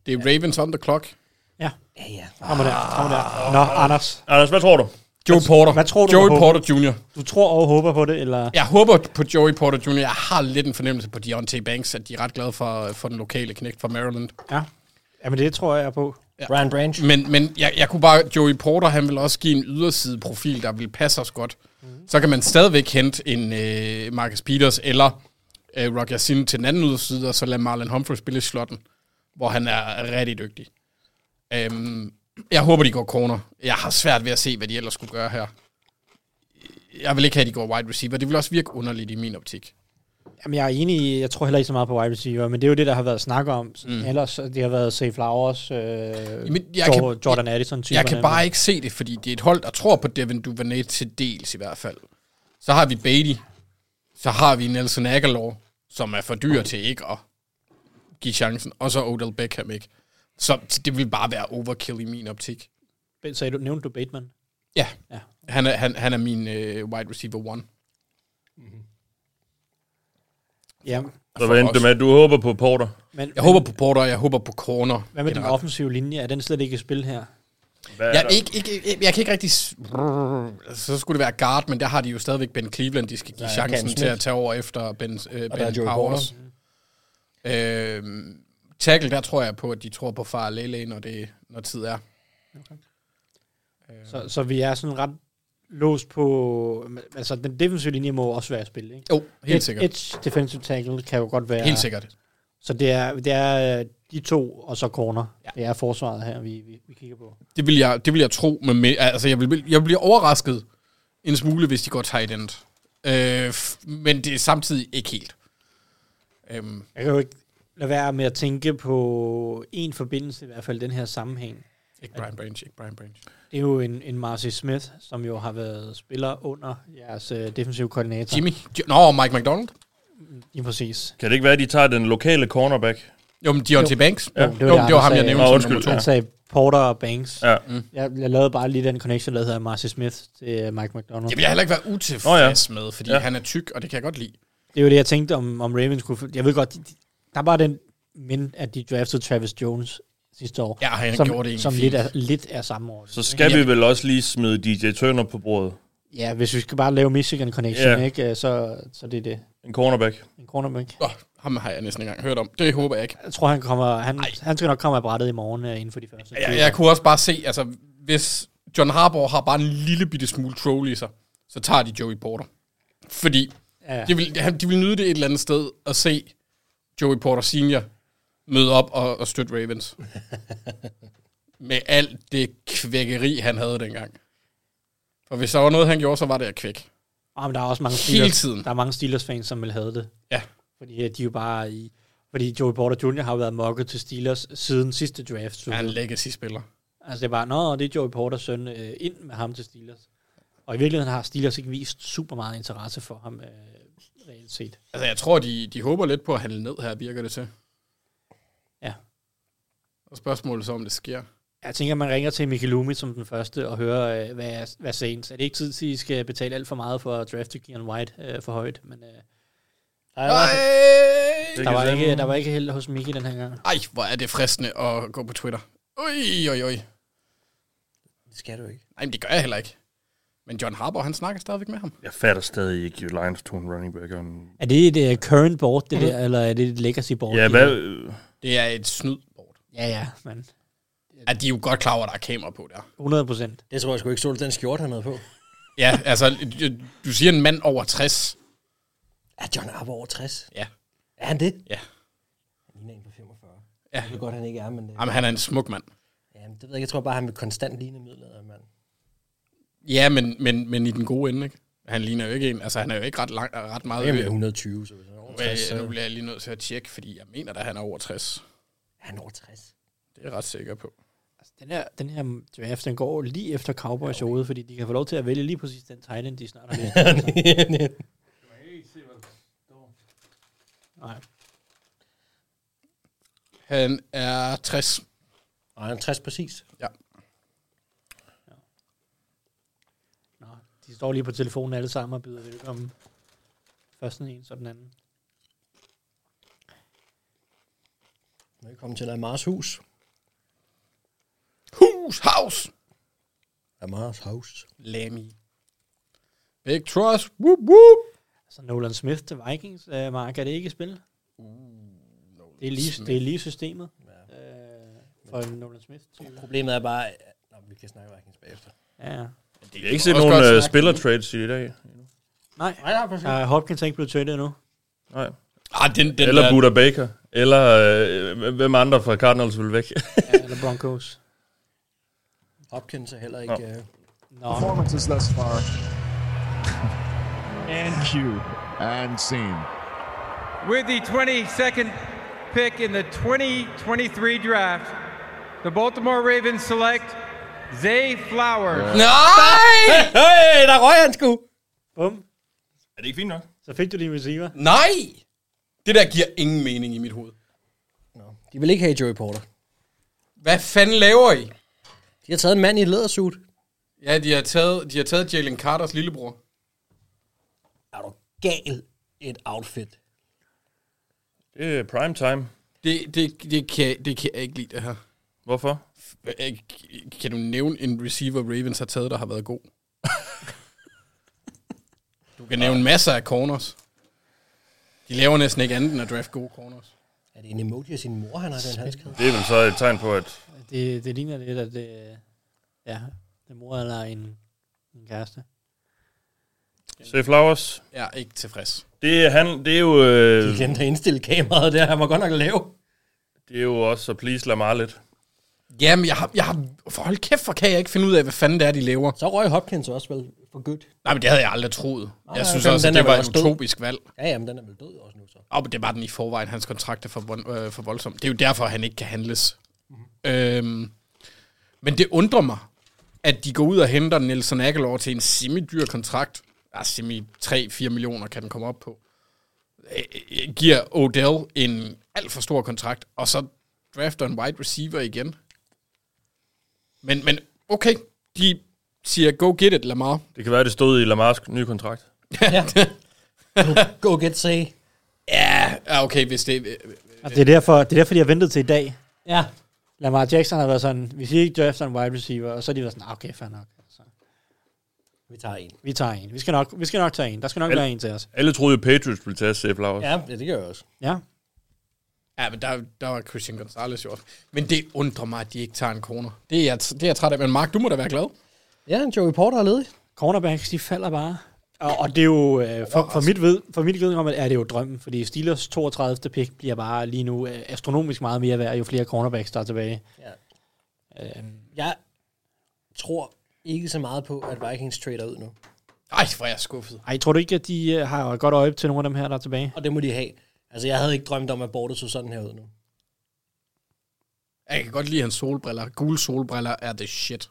Det er Ravens on the clock. Ja. Ja, ja. Kommer der, Ah. kommer der. Nå, Anders. Anders, hvad tror du? Joey Porter. Hvad tror du, Joey du Porter Jr. Du tror og håber på det, eller? Jeg håber på Joey Porter Jr. Jeg har lidt en fornemmelse på Deontay Banks, at de er ret glade for, for den lokale knægt fra Maryland. Ja. Jamen, det tror jeg, jeg er på. Ja. Brian Branch. Men, men jeg, jeg kunne bare... Joey Porter, han vil også give en yderside profil, der vil passe os godt. Mm. Så kan man stadigvæk hente en øh, Marcus Peters eller øh, Rock Yassin til den anden yderside, og så lade Marlon Humphrey spille i slotten, hvor han er rigtig dygtig. Øhm, jeg håber, de går corner. Jeg har svært ved at se, hvad de ellers skulle gøre her. Jeg vil ikke have, at de går wide receiver. Det vil også virke underligt i min optik. Jamen, jeg er enig i, jeg tror heller ikke så meget på wide receiver, men det er jo det, der har været snak om. Mm. Ellers, det har været Safe Flowers, øh, Jamen, Jamen, jeg Jordan, kan- Jordan addison typen Jeg kan bare ikke se det, fordi det er et hold, der tror på Devin Duvernay til dels i hvert fald. Så har vi Beatty. Så har vi Nelson Aguilar, som er for dyr til ikke at give chancen. Og så Odell Beckham, ikke? Så det vil bare være overkill i min optik. Sagde du, nævnte du Bateman? Ja. ja. Han, er, han, han er min øh, wide receiver one. Ja. Så hvad endte det med? Du håber på Porter. Men- jeg håber på Porter, jeg håber på corner. Hvad med den generelt. offensive linje? Er den slet ikke i spil her? Hvad Jeg, ikke, ikke, ikke, jeg kan ikke rigtig... s- Altså, Så skulle det være guard, men der har de jo stadigvæk Ben Cleveland, de skal give Der er chancen Cam Smith. til at tage over efter Ben, øh, Og der er ben Joey Powers. Øh, tackle, der tror jeg på, at de tror på far og Lele, når, det, når tid er. Så, så vi er sådan ret låst på... Altså, den defensive linje må jo også være i spil, ikke? Jo, helt Et- sikkert. Et defensive tackle kan jo godt være... Helt sikkert. Så det er, det er øh, de to, og så corner. Ja. Det er forsvaret her, vi, vi, vi kigger på. Det vil jeg, det vil jeg tro. Med, med, altså, jeg vil, jeg bliver overrasket en smule, hvis de går tight end. Øh, f- men det er samtidig ikke helt. Øhm, Jeg kan jo ikke lade være med at tænke på en forbindelse, i hvert fald i den her sammenhæng. Ikke Brian Branch, ikke Brian Branch. Det er jo en, en Marcy Smith, som jo har været spiller under jeres øh, defensive koordinator. Jimmy? Jo- Nå, Mike McDonald? Lige præcis. Kan det ikke være, at de tager den lokale cornerback? Jo, men Deontay Banks. Ja. Jo, det var, det, det var Anders ham, jeg sagde. nævnte Nå, som undskyld, nummer to. Han sagde Porter og Banks. Ja. Mm. Jeg, jeg lavede bare lige den connection, der hedder Marcy Smith til øh, Mike McDonald. Det vil jeg heller ikke være utilfreds oh, ja. med, fordi ja. han er tyk, og det kan jeg godt lide. Det er jo det, jeg tænkte om, om Ravens kunne... Jeg ved godt, de, de, der var den men, at de draftede Travis Jones sidste år. Ja, han som, gjorde det egentlig Som lidt er, fint. lidt er samme år. Så skal vi vel også lige smide DJ Turner på bordet. Ja, hvis vi skal bare lave Michigan Connection, Ja. yeah. ikke, øh, så, så det er det. En cornerback. En cornerback. Åh, oh, ham har jeg næsten ikke engang hørt om. Det håber jeg ikke. Jeg tror, han, kommer, han, han skal nok komme af brættet i morgen øh, inden for de første. Jeg, jeg kunne også bare se, altså, hvis John Harbour har bare en lille bitte smule troll i sig, så tager de Joey Porter. Fordi Ja. ja. de, vil, han- de vil nyde det et eller andet sted at se Joey Porter Senior møde op og, og støtte Ravens. Med alt det kvækkeri, han havde dengang. For hvis der var noget, han gjorde, så var det at kvæk. Oh, men der er også mange Hele Steelers, tiden. Der er mange Steelers fans, som vil have det. Ja. Fordi øh, de er jo bare i... Fordi Joey Porter Jr. har jo været mokket til Steelers siden sidste draft. Så Han er en legacy-spiller. Altså det er bare, nå, det er Joey Porters søn, øh, ind med ham til Steelers. Og i virkeligheden har Steelers ikke vist super meget interesse for ham, øh, reelt set. Altså, jeg tror, de, de håber lidt på at handle ned her, virker det til. Ja. Og spørgsmålet så, om det sker. Jeg tænker, man ringer til Michael Lumi som den første og hører, øh, hvad, hvad Saints. Er det ikke tid til, at I skal betale alt for meget for at drafte Keon White øh, for højt? Men, øh, der, var, der, var ikke, der var ikke held hos Mickey den her gang. Ej, hvor er det fristende at gå på Twitter. Ui, ui, ui. Det skal du ikke. Nej, men det gør jeg heller ikke. Men John Harbour, han snakker stadigvæk med ham. Jeg fatter stadig ikke Lions to en running back. og en- Er det et uh, current board, det der, eller er det et legacy board? Ja, det hvad... der? Det er et snyd. Ja, ja, men At de er jo godt klar over, at der er kamera på der. 100 procent. Det tror jeg sgu ikke stole den skjorte, han havde på. Ja, altså, du- du siger en mand over 60. Er John Arbo over 60? Ja. Er han det? Ja. Han ligner en på 45. Ja. Jeg ved godt, han ikke er, men... Det, Jamen, han er en smuk mand. Ja, men det ved jeg ikke. Jeg tror bare, han vil konstant ligne midlet, mand. Ja, men, men, men i den gode ende, ikke? Han ligner jo ikke en. Altså, han er jo ikke ret, lang, ret meget... Jamen, 120, så hvis han er over Nu 60, er- så- Nu bliver jeg lige nødt til at tjekke, fordi jeg mener da, han er over 60. Han er over 60. Det er jeg ret sikker på. Altså, Den her, den her draft, den går lige efter Cowboys showet, fordi de kan få lov til at vælge lige præcis den tight end, de snart har læst. Nej. Han er 60. Og han er 60 præcis. Ja. de står lige på telefonen alle sammen og byder velkommen. Først den ene, så den anden. Velkommen til Amars hus. Hus, house. Amars house. Lammy. Big trust. Whoop, whoop. Så Altså, Nolan Smith til Vikings, øh, Mark, er det ikke i spil? Uh, det, er lige, Smith. det er lige systemet. Ja. Øh, for Nolan Smith. Problemet er bare... Nå, vi kan snakke Vikings bagefter. Ja. Jeg har ikke set nogen uh, spiller trades i dag. Nej, Nej, nej, præcis. Uh, Hopkins er ikke blevet traded endnu. Nej. Ah, den, den eller der- Buda Baker. Eller øh, hvem andre fra Cardinals vil væk. Eller Broncos. Hopkins er heller ikke... Øh... Performances thus far. And cue. And scene. With the 22nd pick in the 2023 draft, the Baltimore Ravens select Zay Flowers. Hey, der røg han sgu! Bum. Er det ikke fint nok? Så fik du din receiver. Nej! Det der giver ingen mening i mit hoved. De vil ikke have Joey Porter. Hvad fanden laver I? De har taget en mand i et lædersuit. Ja, de har taget, de har taget Jalen Carters lillebror. Gal et outfit. Det er prime time. Det, det, det, kan, det kan jeg ikke lide, det her. Hvorfor? Kan du nævne en receiver, Ravens har taget, der har været god? du kan nævne masser af corners. De laver næsten ikke andet end at draft gode corners. Er det en emoji af sin mor, han har den halskæde? Det er vel så et tegn på, at... Det, det ligner lidt, at det, ja, det er mor eller en, en kæreste. Se Flowers. Jeg er ikke tilfreds. Det er, han, det er jo... Øh, De glemte at indstille kameraet der. Han var godt nok lav. Det er jo også så please Lamar lidt. Jamen, jeg har, jeg har... For hold kæft, for kan jeg ikke finde ud af, hvad fanden det er, de laver. Så røg Hopkins også vel for good. Nej, men det havde jeg aldrig troet. Nej, jeg nej, synes den- også, den at er det vel var et også død. utopisk valg. Ja, jamen, den er vel død også nu så. Og det var den i forvejen. Hans kontrakt er for, vold, øh, for voldsom. Det er jo derfor, han ikke kan handles. Mm-hmm. Øhm, Men det undrer mig, at de går ud og henter Nelson Aguilar til en semi-dyr kontrakt. Ja, semi 3-4 millioner kan den komme op på. Øh, øh, Giver Odell en alt for stor kontrakt, og så drafter en wide receiver igen. Men, men okay, de siger, go get it, Lamar. Det kan være, det stod i Lamars nye kontrakt. ja. Go get say. Ja, ja, okay, hvis det... Og det, er derfor, det er derfor, de har ventet til i dag. Ja. Lamar Jackson har været sådan, hvis I ikke drafter en wide receiver, og så er de været sådan, "Ah, okay, fair nok. Så Vi tager en. vi tager en. Vi skal nok, vi skal nok tage en. Der skal nok være en til os. Alle troede jo, Patriots ville tage Seth Flowers. Ja, det gør jeg også. Ja. Ja, men der, der var Christian Gonzalez jo også. Men det undrer mig, at de ikke tager en corner. Det er, jeg, det er jeg træt af. Men Mark, du må da være glad. Ja, Joey Porter er ledig. Cornerbacks, de falder bare. Og, og det er jo, øh, for, for, mit ved, for mit vedkommende er det jo drømmen, fordi Steelers 32. pick bliver bare lige nu øh, astronomisk meget mere værd, jo flere cornerbacks der er tilbage. Ja. Øh, Jeg tror ikke så meget på, at Vikings trader ud nu. Ej, hvor er jeg skuffet. ej, tror du ikke, at de øh, har et godt øje til nogle af dem her, der er tilbage? Og det må de have. Altså, jeg havde ikke drømt om, at Bortles så sådan her ud nu. Jeg kan godt lide hans solbriller. Gule solbriller er the shit.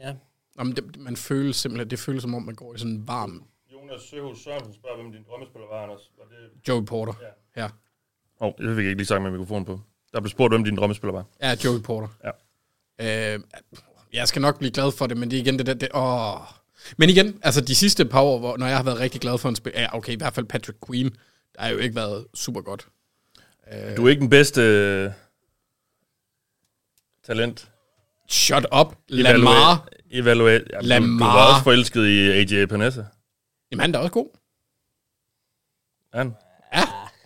Ja. Jamen, det, man føles simpelthen, det føles som om, man går i sådan en varm Jonas Søhus Sørensen spørger, hvem din drømmespiller var, Anders. Var det... Joey Porter. Ja. ja. Åh, oh, det fik jeg ikke lige sagt med mikrofonen på. Der blev spurgt, hvem din drømmespiller var. Ja, Joey Porter. Ja. Øh, jeg skal nok blive glad for det, men det er igen det der... Det, åh. Men igen, altså de sidste par år, hvor, når jeg har været rigtig glad for en spiller... Ja, okay, i hvert fald Patrick Queen. Der har jo ikke været super godt. Øh, Du er ikke den bedste øh, talent. Shut up, Lamar. Evaluate. Ja, Lamar. Du, du Lamar. var også forelsket i AJ Panessa. Jamen, han er da også god. Han.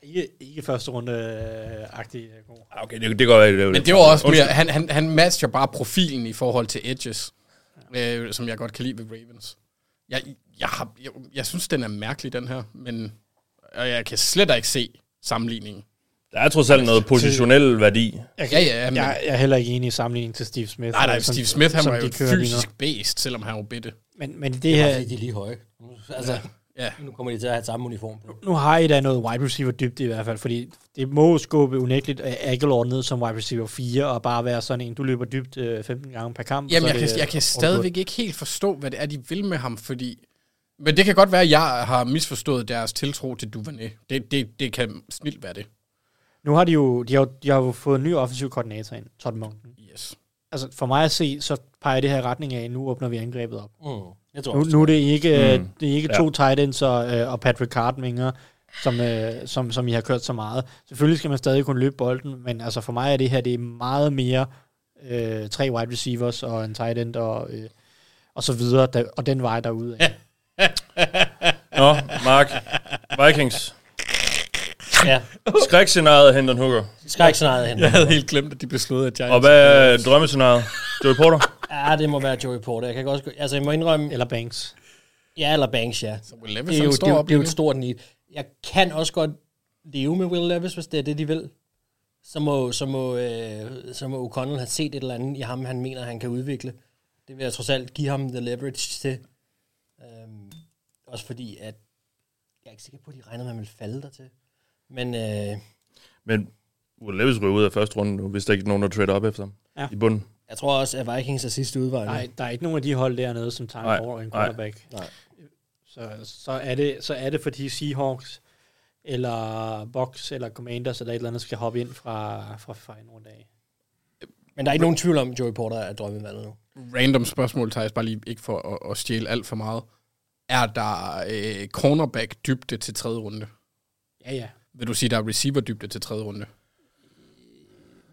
Ikke, ikke første runde-agtig. Øh, Ah, okay, Det, det går være, det var Men det var også mere, han, han, han matcher bare profilen i forhold til Edges, øh, som jeg godt kan lide ved Ravens. Jeg, jeg, har, jeg, jeg synes, den er mærkelig, den her, men og jeg kan slet ikke se sammenligningen. Der er trods alt noget positionel værdi. Jeg kan- Ja, ja, men- jeg, jeg er heller ikke enig i sammenligningen til Steve Smith. Nej, nej, som- Steve Smith, han som var jo de et kører lige nu. fysisk based, selvom han var bitte. Men, men det, Det er bare, her, fordi de er lige høje. Nu- Altså, Ja. Ja. nu kommer de til at have samme uniform på. nu har I da noget wide receiver dybde i hvert fald, fordi det må jo skubbe unægteligt øh, Aguilar ned som wide receiver 4, og bare være sådan en, du løber dybt øh, 15 gange per kamp. og Jamen, så jeg er kan, det jeg kan overstået. stadigvæk ikke helt forstå, hvad det er, de vil med ham, fordi... Men det kan godt være, at jeg har misforstået deres tiltro til Duvernay. Det, det, det kan snilt være det. Nu har de jo, de har, jo- de har jo fået en ny offensiv koordinator ind, Todd Monken. Yes. Altså, for mig at se, så peger det her retning af, nu åbner vi angrebet op. Mm. Jeg tror Nu, også, nu er det ikke, Mm. mm. det er ikke Ja. ja. to tight ends og, øh, og Patrick Card længere, som, øh, som, som I har kørt så meget. Selvfølgelig skal man stadig kunne løbe bolden, men altså for mig er det her det er meget mere øh, tre wide receivers og en tight end og, øh, og så videre, der, og den vej derude. Nå, Mark. Vikings. Ja. Skrækscenariet henter en hooker. Skrækscenariet henter en Jeg havde helt glemt, at de besluttede, at Giants... Og hvad er drømmescenariet? Joey Porter? Ja, det må være Joey Porter. Jeg kan også, altså, jeg må indrømme... Eller Banks. Ja, eller Banks, ja. Så Will det er jo, står det, er jo- op det er jo lige et nu. stort need. Jeg kan også godt leve med Will Levis, hvis det er det, de vil. Så må, så må, øh, så må O'Connell have set et eller andet i ham, han mener, han kan udvikle. Det vil jeg trods alt give ham the leverage til. Øhm, også fordi, at jeg er ikke sikker på, at de regner med, at man vil falde der til. Men øh, Men Will Levis ryger ud af første runde nu, hvis der ikke er nogen, der trader op efter ham. Ja. I bunden. jeg tror også, at Vikings er sidste udvej. nu. Nej, der er ikke nogen af de hold dernede, som tager Nej, en over en nej, quarterback. nej. Så, så, er det, så er det, fordi Seahawks eller Box eller Commanders eller et eller andet skal hoppe ind fra, fra, fra en runde af. Men der er ikke nogen tvivl om, at Joey Porter er drømmevalget nu. Random spørgsmål, Thijs, bare lige ikke for at, at stjæle alt for meget. Er der øh, cornerback-dybde til tredje runde? Ja, ja. Vil du sige, der er receiver-dybde til tredje runde?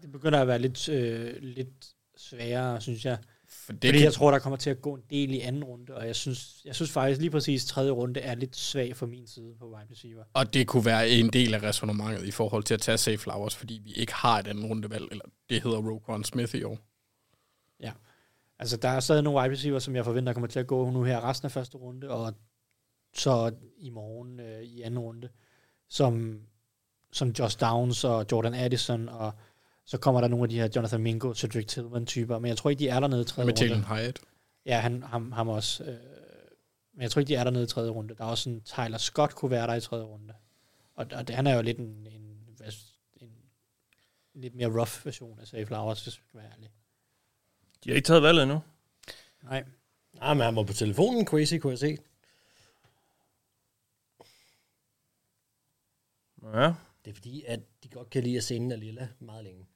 Det begynder at være lidt, øh, lidt sværere, synes jeg. For det det Fordi kan- jeg tror, der kommer til at gå en del i anden runde, og jeg synes, jeg synes faktisk lige præcis, tredje runde er lidt svag fra min side på wide receiver. Og det kunne være en del af resonemanget i forhold til at tage Safe Flowers, fordi vi ikke har et andet rundevalg, eller det hedder Roquan Smith i år. Ja. Altså, der er stadig nogle wide receiver, som jeg forventer kommer til at gå nu her resten af første runde, og så i morgen øh, i anden runde, som, som Josh Downs og Jordan Addison, og så kommer der nogle af de her Jonathan Mingo, Cedric Tillman-typer, men jeg tror ikke, de er dernede i tredje Med runde. Jalen Hyatt. Ja, han, ham, ham også. Øh, men jeg tror ikke, de er dernede i tredje runde. Der er også en Tyler Scott kunne være der i tredje runde. Og, og det, han er jo lidt en, en, en, en lidt mere rough version af Safe Flowers, hvis vi skal være ærlige. De har ikke taget valget endnu. Nej. Nej, men han var på telefonen, Crazy, kunne jeg se. Ja. Det er fordi, at de godt kan lide at scenen af Lilla meget længe.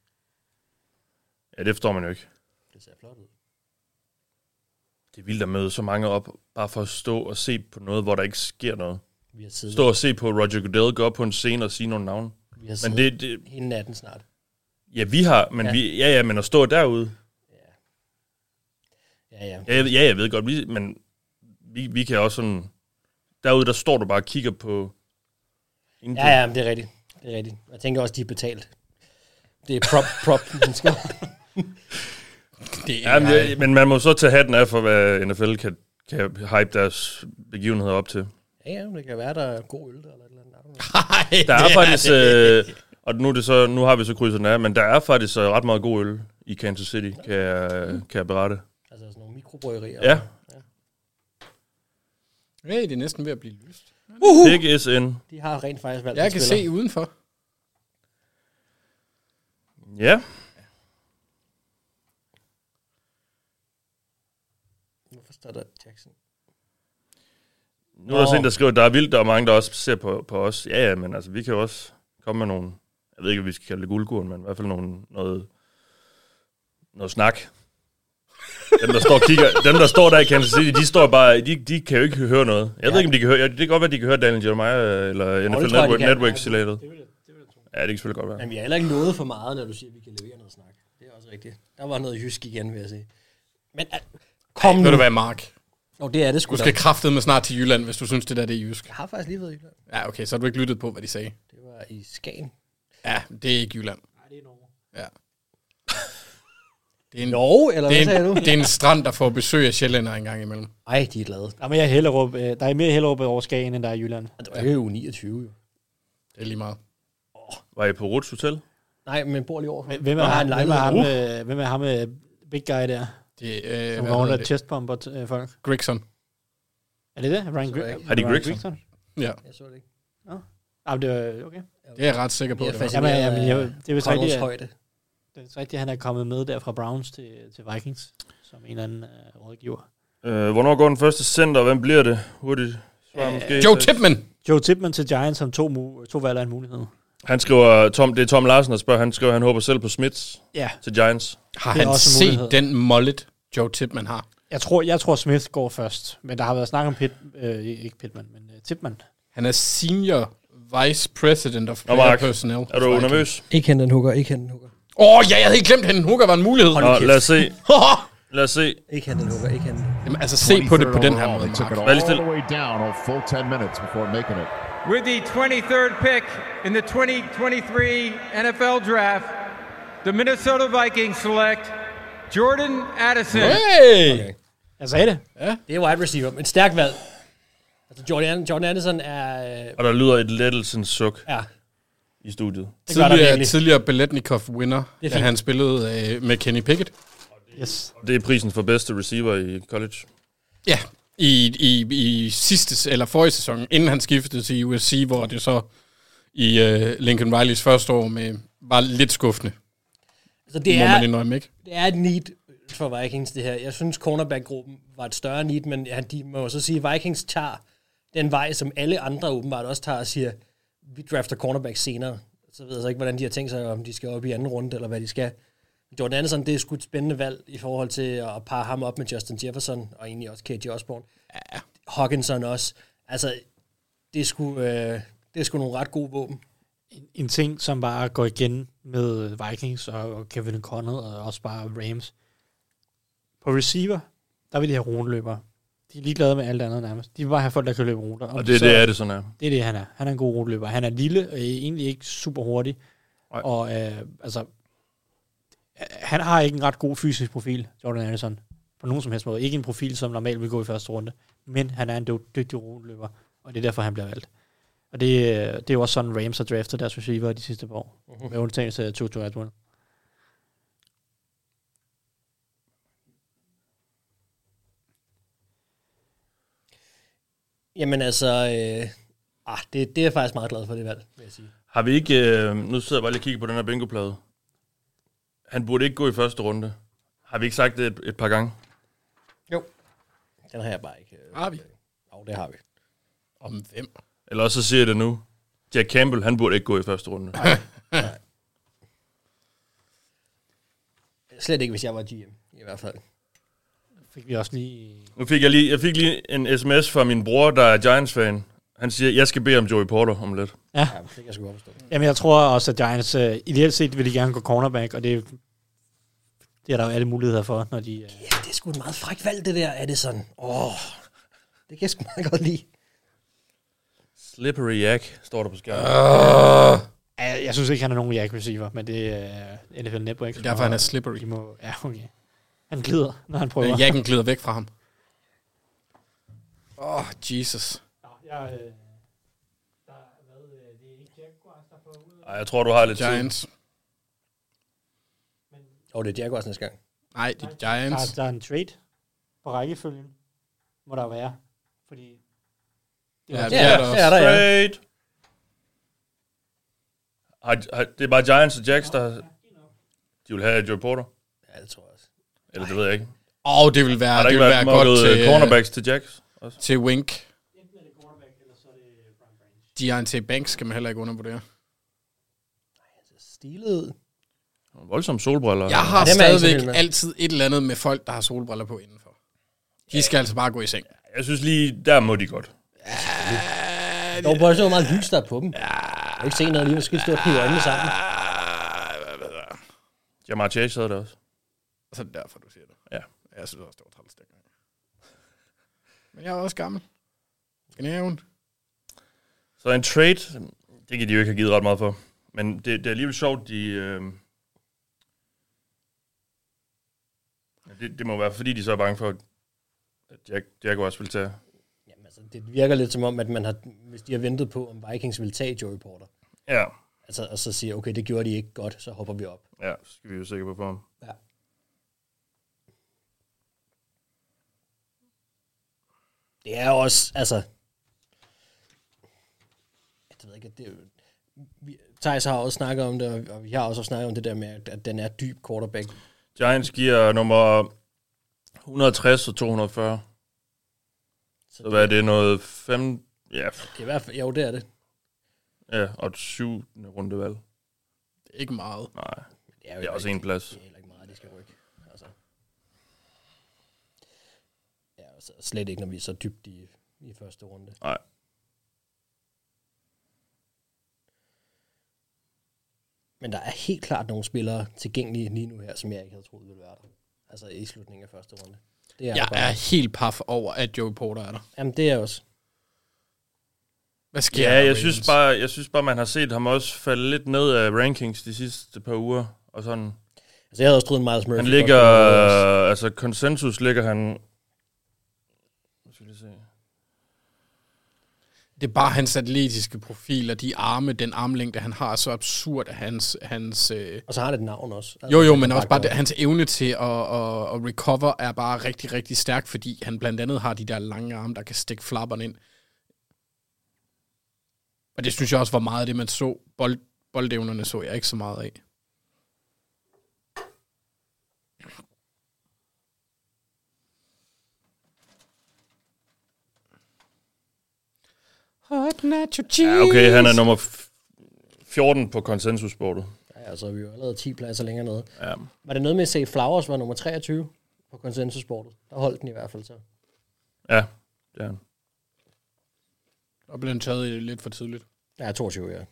Ja, det forstår man jo ikke. Det ser flot ud. Det er vildt at møde så mange op, bare for at stå og se på noget, hvor der ikke sker noget. Vi har siddet- Stå og se på Roger Goodell gå op på en scene og sige nogle navne. Vi har Men siddet det, det, hele natten snart. ja, vi har, men Ja. ja. vi, ja, ja, men at stå derude, Ja, ja. ja, jeg, ja, jeg ved godt, vi, men vi, vi kan også sådan, derude, der står du bare og kigger på, Ja, ja, men det er rigtigt. Det er rigtigt. Jeg tænker også, de er betalt. Det er prop, prop, den skal. Det ja, men, det, men man må så tage hatten af for, hvad NFL kan, kan hype deres begivenheder op til. Ja, ja, men det kan være, der er god øl der, eller et eller andet. Der er det er faktisk, det. øh, og nu, er det så, nu har vi så krydset den af, men der er faktisk øh, ret meget god øl i Kansas City, kan jeg, kan jeg berette. Altså sådan nogle mikrobryggerier. Ja. Hey, det er næsten ved at blive lyst. Uhu. Uh-huh. Big SN. De har rent faktisk valgt Jeg en kan spiller. se udenfor. Ja. Hvorfor står der Jackson? Nu er der også Nå. en, der skriver, der er vildt, der er mange, der også ser på, på os. Ja, ja, men altså, vi kan jo også komme med nogle, jeg ved ikke, om vi skal kalde det guldkuren, men i hvert fald nogle, noget, noget snak. Dem, der står og kigger, dem, der står der i Kansas City, de står bare, de, de kan jo ikke høre noget. Jeg ja. ved ikke, om de kan høre, ja, det kan godt være, de kan høre Daniel Jeremiah øh, eller tror jeg, NFL de Network, kan. network silatet Ja, det kan selvfølgelig godt være. Jamen, vi har heller ikke nået for meget, når du siger, at vi kan levere noget snak. Det er også rigtigt. Der var noget jysk igen, vil jeg sige. Men al- kom Ej, nu. Ved du hvad, Mark? Mm. Nå, det er det sgu Du da. skal kraftedeme med snart til Jylland, hvis du synes, det der det er jysk. Jeg har faktisk lige været i Jylland. Ja, okay, så har du ikke lyttet på, hvad de sagde. Det var i Skagen. Ja, det er ikke Jylland. Nej, det er Norge. Ja. Det er en, Norge, eller det er hvad en, sagde du? Det er en strand, der får besøg af sjællænder en gang imellem. Ej, de er glade. Der er, mere Hellerup, øh, der er mere Hellerup over Skagen, end der er i Jylland. Det er jo 29, jo. Det er lige meget. Var I på Ruts Hotel? Nej, men bor lige over. for. Hvem er, Og har ham, en hvem er, ham, lejlighed. øh, hvem er ham med big guy der? Det, øh, som Uh! hvad går rundt hedder og det? chestbomber t- øh, folk. Grigson. Er det det? Ryan Så er jeg Gri- ikke- Hardy Ryan Grigson? Ja. Jeg så det ikke. Ah, men det var, okay. Det er øh, jeg ret sikker på, Mere det var. Jamen, fascineret jamen, jeg, af det er vist Conrads rigtigt, at- højde. det er vist rigtigt, at han er kommet med der fra Browns til, til Vikings, som en eller anden øh, rådgiver. Øh, hvornår går den første center, og hvem bliver det? Hurtigt svar øh, måske. Joe Tipman til Giants som to, mu- to valg er en mulighed. Han skriver, Tom, det er Tom Larsen, der spørger, han skriver, han håber selv på Smiths Ja. til Giants. Har han set den mollet, Joe Tipman har? Jeg tror, jeg tror Smith går først, men der har været snak om Pitt, øh, ikke Pittman, men øh, Tipman. Han er senior vice president of Nå, player Mark, personnel. er du nervøs? Ikke hente en hooker, ikke hente en hooker. Åh, oh, ja, jeg havde helt glemt, at en hooker var en mulighed. Nå, lad os se. lad os se. Ikke hente en hooker, ikke hente en hooker. Jamen, altså, se på det på den her måde, They took Mark. it all Vær lige stille. the way down a full 10 minutes before making it. With the 23rd pick in the 2023 NFL Draft, the Minnesota Vikings select Jordan Addison. Okay. Jeg sagde det. Ja. Det er wide receiver. Et stærkt valg. Altså, Jordan, Jordan Anderson er... Øh, Og der lyder et lettelsens suk Ja. i studiet. Det gør der Tidligere, virkelig. tidligere Beletnikov winner, Det er da fint. han spillede øh, med Kenny Pickett. Yes. Det er prisen for bedste receiver i college. Ja, i, i, i sidste, eller forrige sæson, inden han skiftede til USC, hvor det så i øh, Lincoln Rileys første år med, var lidt skuffende. altså, det må er, man indrømme, ikke? Det er et need for Vikings, det her. Jeg synes, cornerback-gruppen var et større need, men ja, de må jo så sige, at Vikings tager den vej, som alle andre åbenbart også tager og siger, vi drafter cornerback senere. Så ved jeg så ikke, hvordan de har tænkt sig, om de skal op i anden runde, eller hvad de skal. Jordan Anderson, det er sgu et spændende valg i forhold til at parre ham op med Justin Jefferson, og egentlig også KJ Osborne. Ja. Hawkinson også. Altså, det er sgu, øh, det er sgu nogle ret gode våben. en ting, som bare går igen med Vikings og Kevin Conner og også bare Rams. På receiver, der vil de have runeløbere. De er ligeglade med alt andet nærmest. De vil bare have folk, der kan løbe ruter. Om Og det er så- det, er det sådan er. Det er det, han er. Han er en god ruteløber. Han er lille og egentlig ikke super hurtig. Og øh, altså, han har ikke en ret god fysisk profil, Jordan Anderson. På nogen som helst måde. Ikke en profil, som normalt vil gå i første runde. Men han er en dyg- dygtig ruteløber, og det er derfor, han bliver valgt. Og det, øh, det er jo også sådan, Rams har draftet deres receiver de sidste par år. Mhm. Med undtagelse af Tutu Atwell. Jamen altså, øh, ah, det, det er jeg faktisk meget glad for, det valg, vil jeg sige. Har vi ikke... Øh, nu sidder jeg bare lige og kigger på den her bingoplade. Han burde ikke gå i første runde. Har vi ikke sagt det et, et par gange? Den har jeg bare ikke. øh, Har vi? Jo, det har vi. Om hvem? Eller også så siger jeg det nu. Jack Campbell, han burde ikke gå i første runde. Slet ikke, hvis jeg var GM, i hvert fald. Fik vi også lige... nu fik jeg lige, jeg fik lige en sms fra min bror, der er Giants-fan. Han siger, jeg skal bede om Joey Porter om lidt. Ja. ja det kan jeg sgu godt forstå. Jamen, jeg tror også, at Giants øh, ideelt set vil de gerne gå cornerback, og det, det er der jo alle muligheder for, når de... Øh, Ja, det er sgu et meget frækt valg, det der, er det sådan. Åh, oh, det kan jeg sgu meget godt lide. Slippery Jack, står der på skærmen. jeg, jeg synes ikke, han er nogen jack receiver, men det er øh, NFL Network. som derfor, har- han er slippery. De må, ja, okay. Han glider, når han prøver. Øh, Jacken glider væk fra ham. Åh, oh, Jesus. Jeg, øh, Ej, jeg tror, du har lidt Giants. tid. Og det er Jaguars næste gang. Nej, det er der, Ah, Giants. er- der er en trade på rækkefølgen, må der være. Fordi Ja, det er der også. Trade. Har, har, det er bare Giants og Jacks, der... De vil have Joey Porter. Ja, det tror jeg også. Eller det ved jeg ikke. Åh, oh, det vil være, Har der det ikke vil været være meget godt noget til... øh, øh, cornerbacks til Jacks også? Til Wink. øh, Deontay Banks skal man heller ikke undervurdere. Stilet. Voldsomme solbriller. Jeg har Dem er ikke så vild stadigvæk med. altid et eller andet med folk, der har solbriller på indenfor. De skal altså bare gå i seng. Jeg synes lige, der må de godt. Der var bare så meget lys, der er på dem. Ja. Jeg kan ikke se noget lige, måske stå og hive øjnene sammen. Jamar Chase havde det også. Og så er det derfor, du siger det. Ja. Jeg synes også, det var træls dengang. Men jeg er også gammel. Gnaven. Så en trade, det kan de jo ikke have givet ret meget for. Men det, det er alligevel sjovt, de... Øh... ja, Det, det må være, fordi de så er bange for, at Jack, Jack også vil tage... altså, Det virker lidt som om, at man har, hvis de har ventet på, om Vikings ville tage Joey Porter. Ja. Altså, og så siger, okay, det gjorde de ikke godt, så hopper vi op. Ja, så skal vi jo sikre på for ham. Ja. Det er også, altså... Jeg ved ikke, at det er jo... Vi, Thijs har også snakket om det, og- og vi har også snakket om det der med, at- at den er dyb quarterback. Giants giver nummer 160 og 240. Så, hvad er det? Noget 5... Ja, f- Det er i hvert fald, jo, det er det. ja og et syvende rundevalg. Det er ikke meget. Nej, det er, det er også en plads. Altså, slet ikke, når vi er så dybt i, i første runde. Nej. Men der er helt klart nogle spillere tilgængelige lige nu her, som jeg ikke havde troet ville være der. Altså i slutningen af første runde. Det Jeg der bare. er helt paf over, at Joey Porter er der. Jamen, det er jeg også. Hvad sker Ja, der, jeg Ravens? synes, bare, jeg synes bare, man har set ham også falde lidt ned af rankings de sidste par uger. Og sådan. Altså, jeg havde også troet Miles Murphy. Han godt ligger, kunne være der også. altså konsensus ligger han... Nu skal vi lige se. Det er bare hans atletiske profil og de arme, den armlængde, han har, er så absurd, at hans... hans øh... Og så har det et navn også. Altså, Jo, jo, det men kan også bare bare det, gøre. hans evne til at, at, at recover er bare rigtig, rigtig stærk, fordi han blandt andet har de der lange arme, der kan stikke flapperne ind. Og det synes jeg også var meget af det, man så. Bold, boldevnerne så jeg ikke så meget af. Hot nacho cheese. Ja, okay, han er nummer f- 14 på konsensusbordet. Ja, altså, vi er jo allerede 10 pladser længere nede. Ja. Var det noget med at se, Flowers var nummer 23 på konsensusbordet? Der holdt den i hvert fald så. Ja, det er han. Der blev han taget lidt for tidligt. Ja, 22, ja.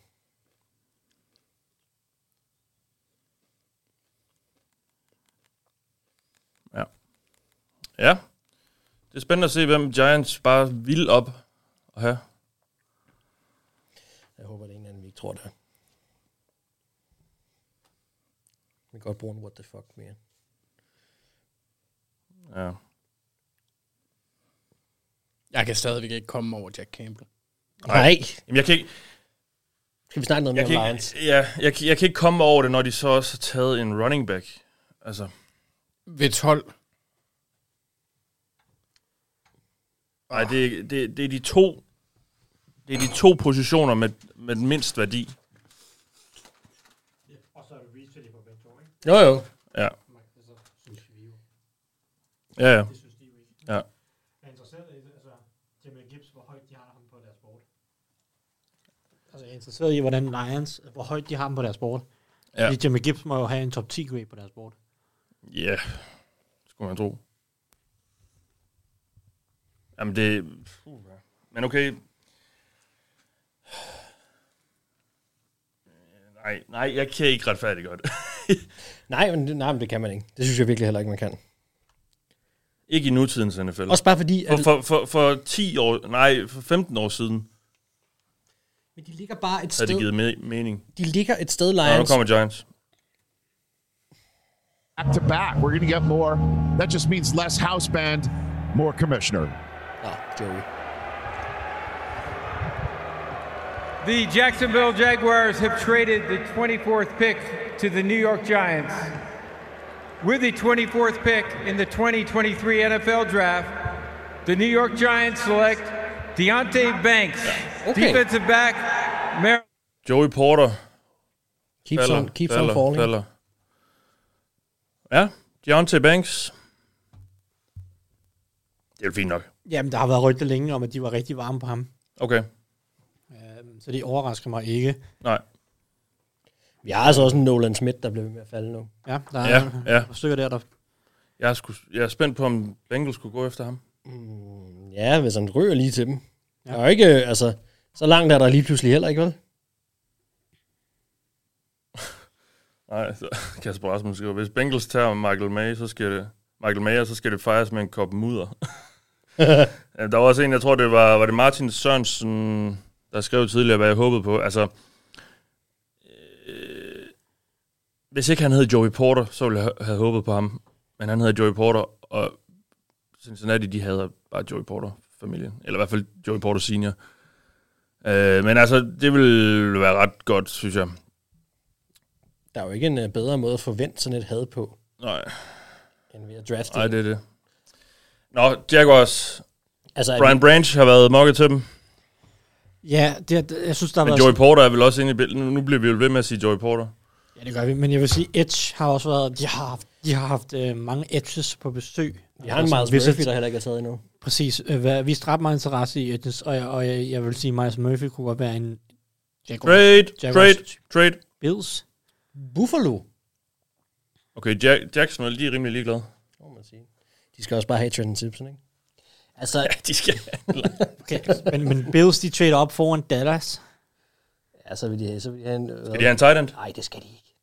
Ja. Det er spændende at se, hvem Giants bare vil op og have. Jeg håber, det er en eller anden, vi ikke tror, det er. Vi kan godt bruge en what the fuck mere. Ja. Jeg kan stadigvæk ikke komme over Jack Campbell. Nej. Jamen, jeg kan ikke... Skal vi snakke noget Jeg mere om kan Lions? ikke, ja, jeg, kan- jeg kan ikke komme over det, når de så også har taget en running back. Altså, Ved 12. nej, det, det, det er de to... Det er de to positioner med, med den mindst værdi. Jo, jo. Altså, Ja. Ja, ja. ja. er interesseret i det. Altså, Jamal Gibbs, hvor højt de har ham på deres board. Altså, jeg er interesseret i, hvordan Lions, hvor højt de har ham på deres board. Ja. Ja. Fordi Jamal Gibbs må jo have en top 10 grade på deres board. Ja, yeah. skulle man tro. Jamen det... Puh, ja. men okay... Nej, nej, jeg kan ikke retfærdiggøre det. nej, men, nej, men det kan man ikke. Det synes jeg virkelig heller ikke, man kan. ikke i nutidens NFL. Også bare fordi, For, at- for, for, for 10 år... Nej, for 15 år siden Men de ligger bare et havde det givet sted, me- mening. de ligger et sted, Nå, nu Lions. kommer Giants. Back to back, we're going to get more. That just means less house band, more commissioner. Ah, Joey. The Jacksonville Jaguars have traded the 24th pick to the New York Giants. With the 24th pick in the 2023 NFL Draft, the New York Giants select Deontay Banks, defensive back, Maryland. Joey Porter. Keeps on- keeps on falling. Falder. Ja, Deontay Banks. Det er jo fint nok. Jamen, der har været rygter længe om, at de var rigtig varme på ham. Okay. Øhm, Så det overrasker mig ikke. Nej. Vi har altså også en Nolan Smith, der bliver ved med at falde nu. Ja, der er Ja, ja. stykker der, der... Jeg er, sku, jeg er spændt på, om Bengals skulle gå efter ham. Ja, hvis han ryger lige til dem. Ja. Der er jo ikke, øh, altså, så langt er der lige pludselig heller ikke, vel? Nej, så, Kasper Rasmussen skriver, hvis Bengals tager Michael May, så skal det, Michael Mayer, så skal det fejres med en kop mudder. Ja, der var også en, jeg tror, det var, var det Martin Sørensen, der skrev tidligere, hvad jeg håbede på. Altså, øh, hvis ikke han hed Joey Porter, så ville jeg ha- have håbet på ham. Men han hedder Joey Porter, og Cincinnati, de havde bare Joey Porter-familien. Eller i hvert fald Joey Porter senior. Øh, men altså, det ville være ret godt, synes jeg. Der er jo ikke en øh, bedre måde at forvente sådan et had på, Nej. end ved at drafte. Nej, det er det. Nå, Jaguars. Altså, Altså, er Brian det- Branch har været mokket til dem. Ja, det, er- jeg synes, der har Men været... Joey Porter er vel også inde i billedet. Nu- Nu bliver vi jo ved med at sige Joey Porter. Ja, det gør vi. Men jeg vil sige, Edge har også været... De har haft, de har haft øh, mange edges på besøg. Vi har en Miles Visse- Murphy, der heller ikke er taget endnu. Præcis. Øh, hvad, vi ret meget interesse i edges, og, jeg, og jeg, jeg vil sige, Miles Murphy kunne godt være en... Jaguars- Trade, Jaguars- trade, trade. Bills. Buffalo. Okay, Jack, Jacksonville, de er rimelig ligeglade. De skal også bare have Trenton Simpson, ikke? Altså, ja, de skal. okay. Men, men Bills, de trader op foran Dallas. Ja, så vil de have, så vil de have en... de have en tight end? Nej, det skal de ikke.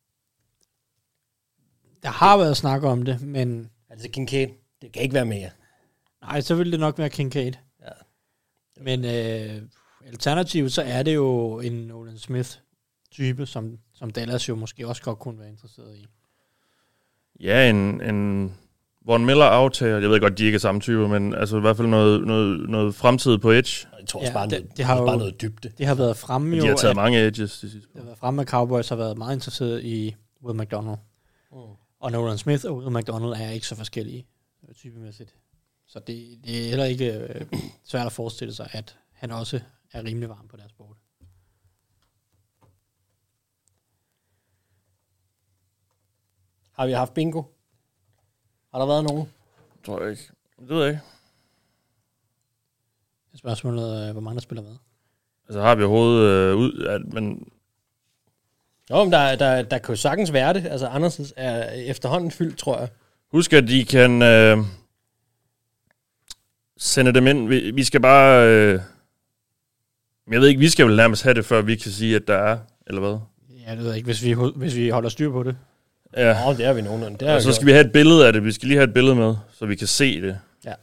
Der har været snak om det, men... Altså, Kincaid, det kan ikke være mere. Nej, så ville det nok være Kincaid. Ja. Men øh, alternativt, så er det jo en Nolan Smith-type, som, som Dallas jo måske også godt kunne være interesseret i. Ja, en, en Von Miller aftager. Jeg ved godt, de ikke er samme type, men altså i hvert fald noget, noget, noget fremtid på edge. Jeg tror også bare det- noget- det har bare jo- noget dybde. det har været fremme De jo, har taget at- mange edges de sidste. Det har været fremme, at Cowboys har været meget interesseret i Will McDonald. Mm. Og Nolan Smith og Will McDonald er ikke så forskellige øh, typemæssigt. Så det, det er heller ikke øh, svært at forestille sig, at han også er rimelig varm på deres board. Har vi haft bingo? Har der været nogen? Tror jeg ikke. Det ved jeg ikke. Spørgsmålet er, øh, hvor mange der spiller med. Altså har vi overhovedet øh, ud, at, men Jo, men der, der, der kan jo sagtens være det. Altså, Anders er efterhånden fyldt, tror jeg. Husk, at de kan øh, sende dem ind. Vi, vi skal bare... Øh, jeg ved ikke, vi skal vel nærmest have det, før vi kan sige, at der er, eller hvad? Ja, det ved jeg ikke, hvis vi, ho- hvis vi holder styr på det. Ja. Nå, det er vi nogenlunde. Det er og Altså, så vi skal gjort. vi have et billede af det. Vi skal lige have et billede med, så vi kan se det. Ja.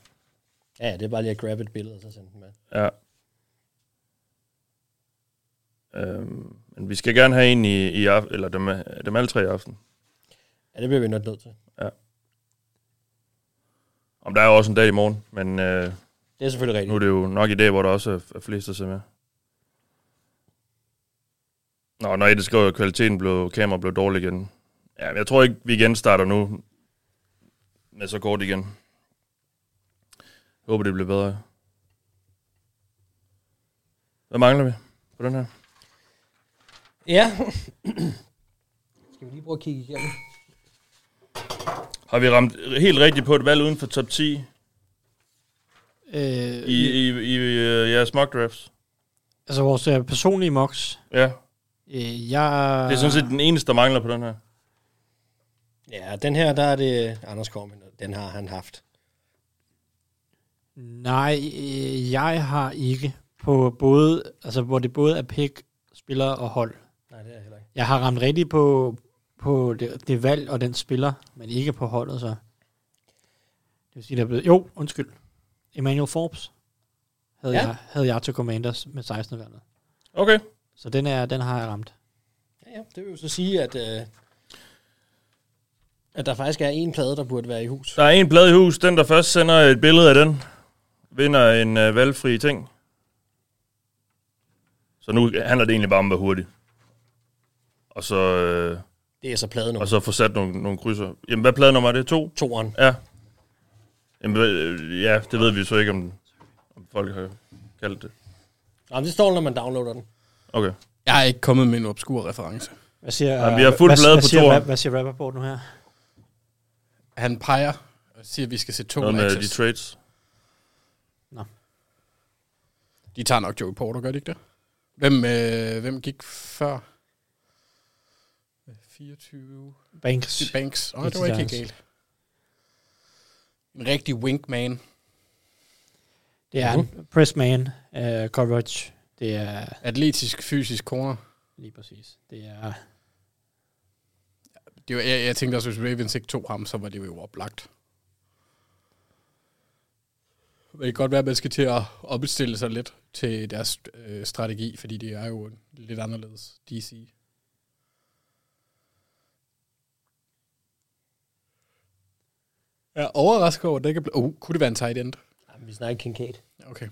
Ja, ja, det er bare lige at grabbe et billede og så sende det med. Ja. Øhm, men vi skal gerne have en i, i aften, eller dem, dem alle tre i aften. Ja, det bliver vi nok nødt til. Ja. Om der er jo også en dag i morgen, men... Øh, det er selvfølgelig rigtigt. Nu er det jo nok i dag, hvor der også er- er flest, der ser med. Nå, når I det skriver, at kvaliteten blev, kamera blev dårlig igen. Ja, men jeg tror ikke, vi igen starter nu med så kort igen. Jeg håber, det bliver bedre. Hvad mangler vi på den her? Ja. skal vi lige prøve at kigge igennem? Har vi ramt helt rigtigt på et valg uden for top 10 Øh, i, i, i, i øh, jeres mock drafts? altså vores øh, personlige mocks. Ja. Øh, jeg... Det er sådan set den eneste, der mangler på den her. Ja, den her, der er det Anders Kormen. Den har han haft. Nej, øh, jeg har ikke på både, altså hvor det både er pick, spillere og hold. Nej, det er jeg heller ikke. Jeg har ramt rigtigt på, på det, det, valg og den spiller, men ikke på holdet så. Det vil sige, der er blevet, jo, undskyld. Emmanuel Forbes havde, Ja. ja. jeg, havde jeg til Commanders med 16. valget. Okay. Så den, er, den har jeg ramt. Ja, ja, det vil jo så sige, at, øh, at der faktisk er en plade, der burde være i hus. Der er en blad i hus. Den, der først sender et billede af den, vinder en øh, valgfri ting. Så nu handler det egentlig bare om at være hurtig. Og så... Øh, Det er så pladenummer. Og så få sat nogle, nogle krydser. Jamen, hvad pladenummer er det? To? Toren. Ja. Jamen, hvad- øh, ja, det ved vi så ikke, om, om folk har kaldt det. Jamen, det står, når man downloader den. Okay. Jeg er ikke kommet med en obskur reference. Hvad siger, Jamen, vi har fuld blade på siger, toren. rap, hvad siger Rappaport nu her? Han peger og siger, at vi skal se to Noget med matches. øh, de trades. Nå. De tager nok Joey Porter, gør de ikke det? Hvem, øh, hvem gik før? Øh, 24. Banks. Det er Banks. Åh, Det er det var ikke helt Giants. galt. En rigtig winkman. Det er Mhm. mm-hmm. pressman, uh, coverage. Det er, Atletisk, fysisk corner. Lige præcis. Det er... Det var, jeg, jeg tænkte også, hvis Ravens ikke tog ham, så var det jo oplagt. Det kan godt være, at man skal til at opstille sig lidt til deres øh, strategi, fordi det er jo en lidt anderledes DC. Jeg er overrasket over, at det ikke er blevet... Oh, kunne det være en tight end? Jamen, vi snakker Kincaid. Okay.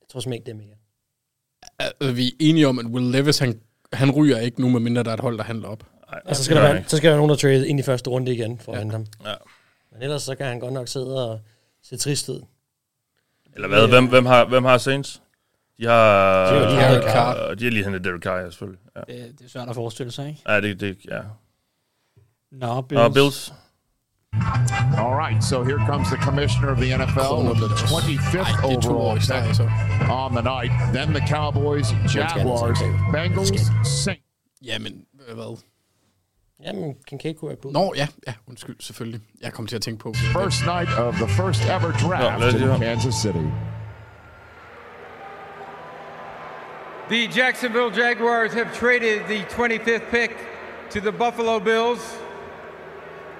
Jeg tror simpelthen ikke, det er mere. Altså, vi er enige om, at Will Levis, han, han ryger ikke nu, medmindre der er et hold, der handler op. Ej, Og så skal, der være, så skal der være nogen, der trade ind i første runde igen for ja. at Ja. hente ham. Ja. Men ellers så kan han godt nok sidde og se trist ud. Eller hvad? Hvem, hvem, har, hvem har Saints? De har... De har lige hentet øh, Carr. De har lige hentet Derek Carr, ja, selvfølgelig. Ja, det, det er svært at forestille sig, ikke? ja det, det, ja. Nå, Bills. Bills. Nå, Bills. All right, so here comes the commissioner of the NFL with the 25th overall pick on the night. Then the Cowboys, Jaguars, Bengals, Saints. Jamen, øh, hvad? Jamen, Kincaid kunne have Nå, ja, ja, undskyld, selvfølgelig. Jeg kom til at tænke på... First night of the first ever Ja, lad draft os lige in høre. Kansas City. The Jacksonville Jaguars have traded the 25th pick to the Buffalo Bills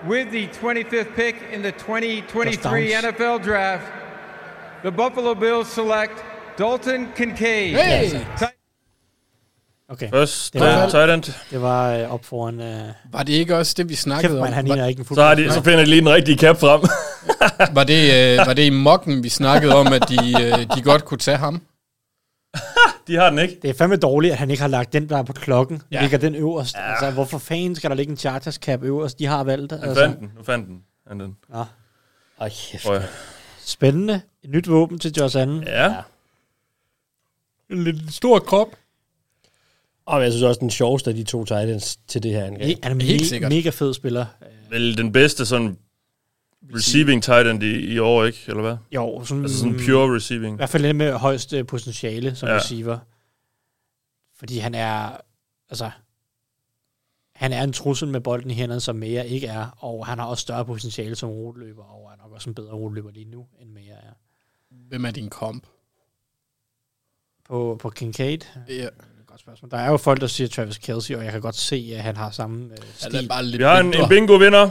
with the 25th pick in the 2023 Touchdowns. NFL Draft. The Buffalo Bills select Dalton Kincaid. Hey! Okay. Først, Det var- øh, tight end. Det var øh, op foran... Øh, Var det ikke også det, vi snakkede Kæft, man, om? han Var- ligner ikke en Så, har de, så finder de lige den rigtige cap frem. Var det, øh, var det i mokken, vi snakkede om, at de, øh, de godt kunne tage ham? de har den ikke. Det er fandme dårligt, at han ikke har lagt den, der er på klokken. Ja. Ja. Ligger den øverst. Ja. Altså, hvorfor fanden skal der ligge en Chargers cap øverst? De har valgt. Han Altså. fandt den. Nu fandt den. Han den. Nå. Ej, kæft. Prøv at- Spændende. Et nyt våben til Josh Allen. Ja. En lidt stor krop. Og jeg synes også, den sjoveste af de to titans til det her angreb. Han er Helt me- sikkert. mega fed spiller. Vel den bedste sådan receiving tight end i, i år, ikke? Eller hvad? Jo, sådan, altså sådan pure receiving. I hvert fald den med højst øh, potentiale som ja. Ja. receiver. Fordi han er, altså, han er en trussel med bolden i hænderne, som mere ikke er, og han har også større potentiale som roteløber, og er nok også en bedre roteløber lige nu, end mere er. Hvem er din komp? På, på Kincaid. Ja. Godt spørgsmål. Der er jo folk, der siger Travis Kelsey, og jeg kan godt se, at han har samme øh, stil. er Altså, bare Vi har en, en bingo-vinder.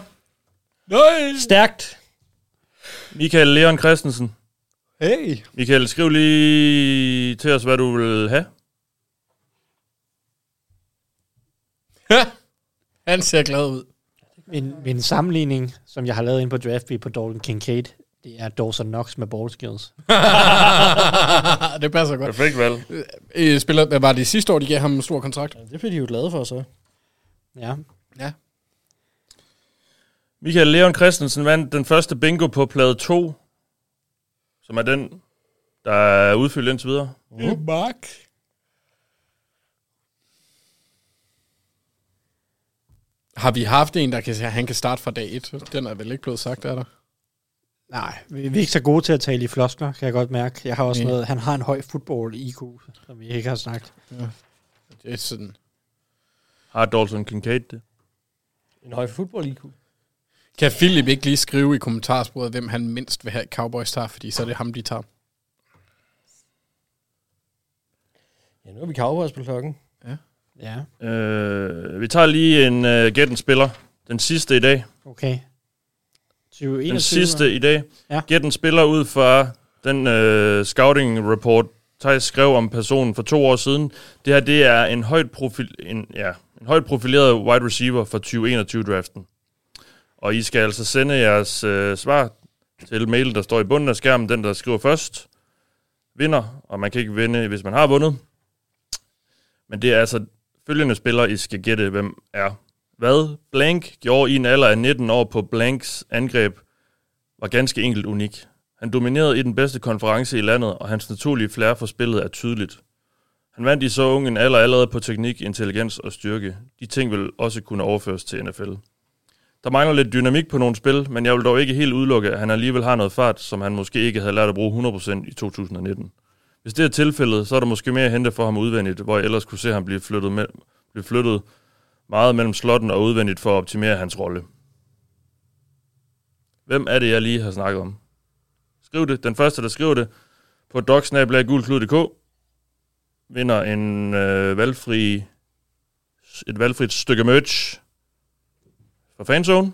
Nej! Stærkt. Michael Leon Christensen. Hey! Michael, skriv lige til os, hvad du vil have. Han ser glad ud. Min, min sammenligning, som jeg har lavet ind på DraftBee på Dalton Kincaid, det er Dawson Knox med ball skills. det passer godt. Perfekt valg. Øh, spiller, hvad var det sidste år, de gav ham en stor kontrakt? Det blev de jo glade for, så. Ja. Michael Leon Christensen vandt den første bingo på plade 2, som er den, der er udfyldt indtil videre. Mm. Mark. Har vi haft en, der kan, han kan starte fra dag 1? Den er vel ikke blevet sagt, er der? Nej, vi vi er ikke så gode til at tale i floskler, kan jeg godt mærke. Jeg har også Nej. noget, han har en høj football-IQ, som vi ikke har snakket. Ja. Det er sådan... Har Dalton Kincaid det? En høj fodbold-IQ. Kan Philip ikke lige skrive i kommentarsporet, hvem han mindst vil have at Cowboys tager, fordi så er det ham, de tager. Ja, nu er vi Cowboys på klokken. Ja. Ja. Øh, vi tager lige en uh, gæt en spiller. Den sidste i dag. Okay. 20, Den sidste i dag. Ja. Gæt en spiller ud fra den øh, scouting report, Thijs skrev om personen for to år siden. Det her, det er en højt, profil, en, ja, en højt profileret wide receiver fra 2021-draften. Og I skal altså sende jeres øh, svar til mailen, der står i bunden af skærmen. Den, der skriver først, vinder, og man kan ikke vinde, hvis man har vundet. Men det er altså følgende spillere, I skal gætte, hvem er. Hvad Blank gjorde i en alder af 19 år på Blanks angreb, var ganske enkelt unik. Han dominerede i den bedste konference i landet, og hans naturlige flair for spillet er tydeligt. Han vandt i så ung en alder allerede på teknik, intelligens og styrke. De ting vil også kunne overføres til NFL. Der mangler lidt dynamik på nogle spil, men jeg vil dog ikke helt udelukke, at han alligevel har noget fart, som han måske ikke havde lært at bruge 100% i 2019. Hvis det er tilfældet, så er der måske mere at hente for ham udvendigt, hvor jeg ellers kunne se ham blive flyttet, med, blive flyttet meget mellem slotten og udvendigt for at optimere hans rolle. Hvem er det, jeg lige har snakket om? Skriv det. Den første, der skriver det på docsnabelaggulklud.dk, vinder en øh, valgfri, et valgfrit stykke merch fra fanzone.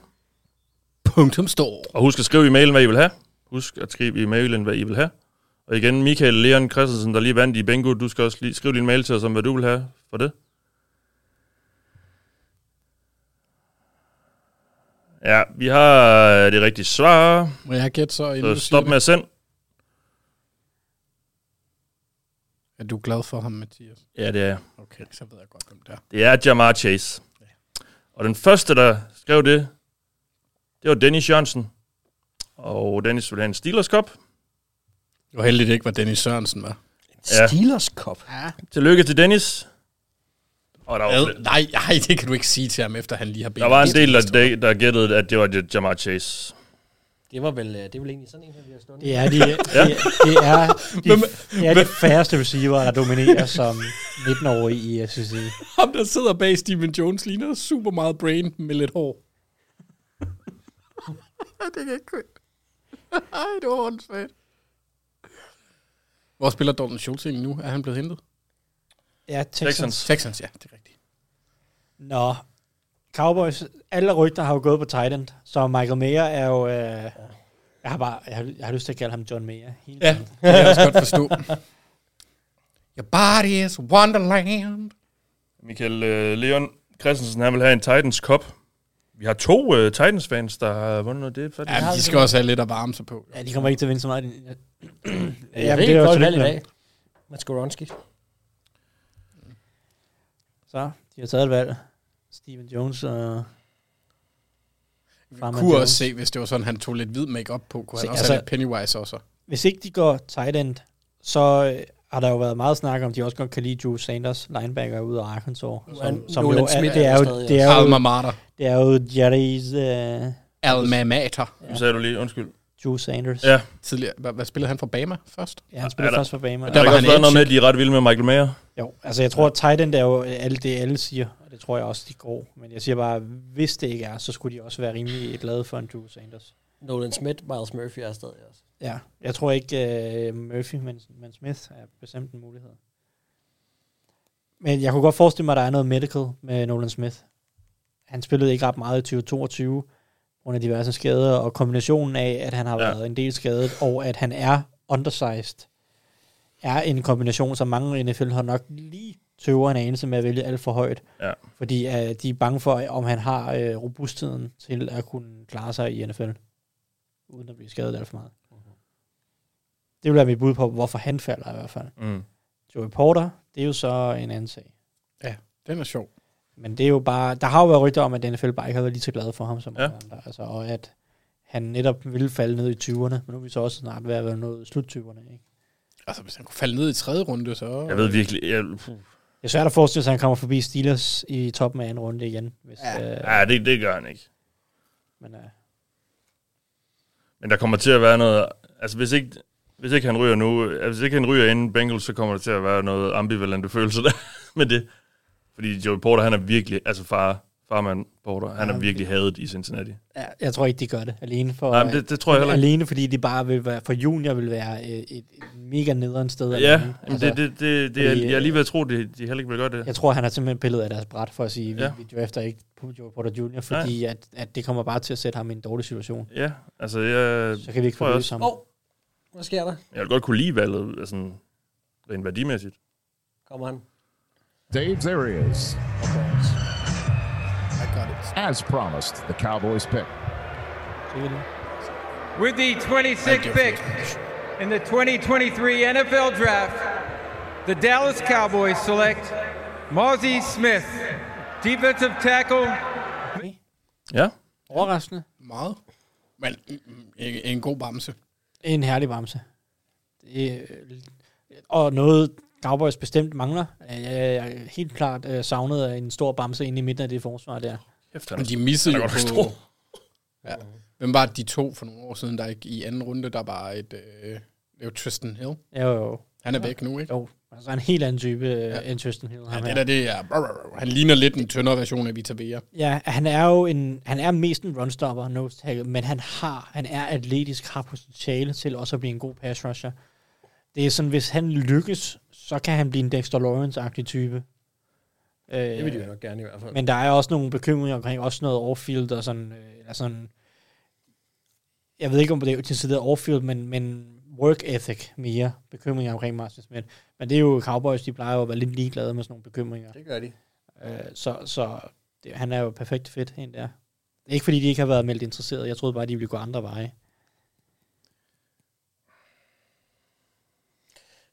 Punktum står. Og husk at skrive i mailen, hvad I vil have. Husk at skrive i mailen, hvad I vil have. Og igen, Michael Leon Christensen, der lige vandt i Bingo, du skal også lige skrive din mail til os om, hvad du vil have for det. Ja, vi har øh, det rigtige svar. Må jeg gætte så, inden Så du siger stop det? med at sende. Er du glad for ham, Mathias? Ja, det er jeg. Okay, så ved jeg godt, hvem det er. Det er Jamar Chase. Og den første, der skrev det, det var Dennis Jørgensen. Og Dennis ville have en Steelers Cup. Det var heldigt, det ikke var Dennis Sørensen, var. Ja. Steelers Cup? Ja. Tillykke til Dennis. Og der var, Ad, nej, nej, det kan du ikke sige til ham, efter han lige har bedt. der var en del, der, der gættede, at det var Jamar Chase. Det var vel, øh, det er vel egentlig sådan en, her, vi har stået. Det er de, det, det er de, det er de færreste receiver, der dominerer som 19-årig i SEC. Ham, der sidder bag Steven Jones, ligner super meget brain med lidt hår. det kan jeg ikke købe. Ej, det var åndssvagt. Hvor spiller Dalton Schultz egentlig nu? Er han blevet hentet? Ja, Texans. Texans. Texans, ja. Det er rigtigt. Nå, Cowboys, alle rygter har jo gået på tight end, så Michael Mayer er jo... Øh, jeg har bare, jeg har, jeg har lyst til at kalde ham John Mayer. hele Ja, tiden. det kan jeg også godt forstå. Your body is wonderland. Michael øh, Leon Christensen, han vil have en Titans Cup. Vi har to øh, Titans-fans, der har vundet noget. Det er faktisk... Ja, men de skal også have lidt at varme sig på. Ja, de kommer ikke til at vinde så meget. i den- Ja, Jamen, det er er jo godt valg tillykke i med dag. dem. Mads Goronski. Så, de har taget et valg. Steven Jones øh, og... Farman Kunne Jones. også se, hvis det var sådan, han tog lidt hvid makeup på, kunne Se, han også altså- have lidt Pennywise også. Hvis ikke de går tight end, så øh, har der jo været meget snak om, at de også godt kan lide Drew Sanders, linebacker ude af Arkansas. Som, som Nolan jo, er, Smith det er er jo, stadig, det ja. er jo, Alma mater. Det er jo Jerry's... Øh, Alma mater. Nu sagde du lige, undskyld. Drew Sanders. Ja. Tidligere, hvad, hvad spillede han for Bama først? Ja, han spillede Er der- først for Bama. Er Der, der ikke også været noget med, at de er ret vilde med Michael Mayer. Jo, altså jeg tror, at tight end er jo alt det, alle siger, og det tror jeg også, de går. Men jeg siger bare, hvis det ikke er, så skulle de også være rimelig glade for en Drew Sanders. Nolan Smith, Miles Murphy er stadig også. Ja, jeg tror ikke uh, Murphy, men, men Smith er bestemt en mulighed. Men jeg kunne godt forestille mig, at der er noget medical med Nolan Smith. Han spillede ikke ret meget i 2022 under diverse skader, og kombinationen af, at han har Ja. ja. været en del skadet, og at han er undersized, er en kombination, som mange i NFL har nok lige tøver en anelse med at vælge alt for højt. Ja. Fordi uh, de er bange for, om han har uh, robustheden til at kunne klare sig i NFL, uden at blive skadet alt for meget. Det vil være mit bud på, hvorfor han falder i hvert fald. Mm. Joey Porter, det er jo så en anden sag. Ja, den er sjov. Men det er jo bare, der har jo været rygter om, at NFL bare ikke har været lige så glad for ham som Ja. ja. andre. Altså, og at han netop ville falde ned i 20'erne, men nu er vi så også snart ved at være nået i slut 20'erne. Ikke? Altså, hvis han kunne falde ned i tredje runde, så... Jeg ved virkelig... Jeg, puh. Det er svært at forestille sig, at han kommer forbi Steelers i toppen af en runde igen. Hvis, ja. Øh, Ja, det, det gør han ikke. men, øh, Men der kommer til at være noget... Altså, hvis ikke, hvis ikke han ryger nu... Altså, hvis ikke han ryger inden Bengals, så kommer der til at være noget ambivalente følelser der med det. Fordi Joey Porter, han er virkelig... Altså, far, farmand Porter, han er Ja, virkelig hadet i Cincinnati. ja, jeg tror ikke, de gør det alene. For, øh, Nej, men det- det tror jeg heller ikke. Alene, fordi de bare vil være, for junior vil være øh, et, et mega nederen sted. Ja, alene. Altså, men det, det, det, det er, fordi, øh, jeg er lige ved at tro, det, de heller ikke vil gøre det. Jeg tror, han har simpelthen pillet af deres bræt for at sige, Ja. ja. vi, vi drafter ikke Joe Porter Jr., fordi at, at det kommer bare til at sætte ham i en dårlig situation. Ja, altså jeg... Så kan vi ikke tror jeg få også- løst ham. Oh. Hvad sker der? Jeg vil godt kunne lide valget, altså, rent værdimæssigt. Kommer han? Dave, there he is. As promised, the Cowboys pick. With the 26th pick in the 2023 NFL Draft, the Dallas Cowboys select Mozzie Smith, defensive tackle. Ja. Overraskende. Meget. Men mm, mm, en, en god bamse. En herlig bamse. Det, øh, og noget, Cowboys bestemt mangler. Øh, Jeg jeg helt klart øh, savnet af en stor bamse inde i midten af det forsvar der. Kæft, Men de missede jo på... Ja. Hvem var det, de to for nogle år siden, der ikke i anden runde, der var et... Øh, det var Tristan Hill. Ja, jo, jo. Han er væk nu, ikke? Jo, altså en helt anden type ja. end Tristan Hill. Ja, ham det her. der, det er... Han ligner lidt en tyndere version af Vita Vea. Ja, han er jo en, han er mest en runstopper, nose tackle, men han har, han er atletisk, har potentiale til også at blive en god pass rusher. Det er sådan, hvis han lykkes, så kan han blive en Dexter Lawrence-agtig type. Øh, Det vil de jo nok gerne i hvert fald. Men der er også nogle bekymringer omkring også noget off-field og sådan, øh, eller sådan jeg ved ikke, om det er til side off-field, men, men work ethic mere bekymringer omkring Martin Smith. Men det er jo Cowboys, de plejer jo at være lidt ligeglade med sådan nogle bekymringer. Det gør de. Øh, så så det, han er jo perfekt fedt hen der. Ikke fordi de ikke har været meldt interesseret. Jeg troede bare, de ville gå andre veje.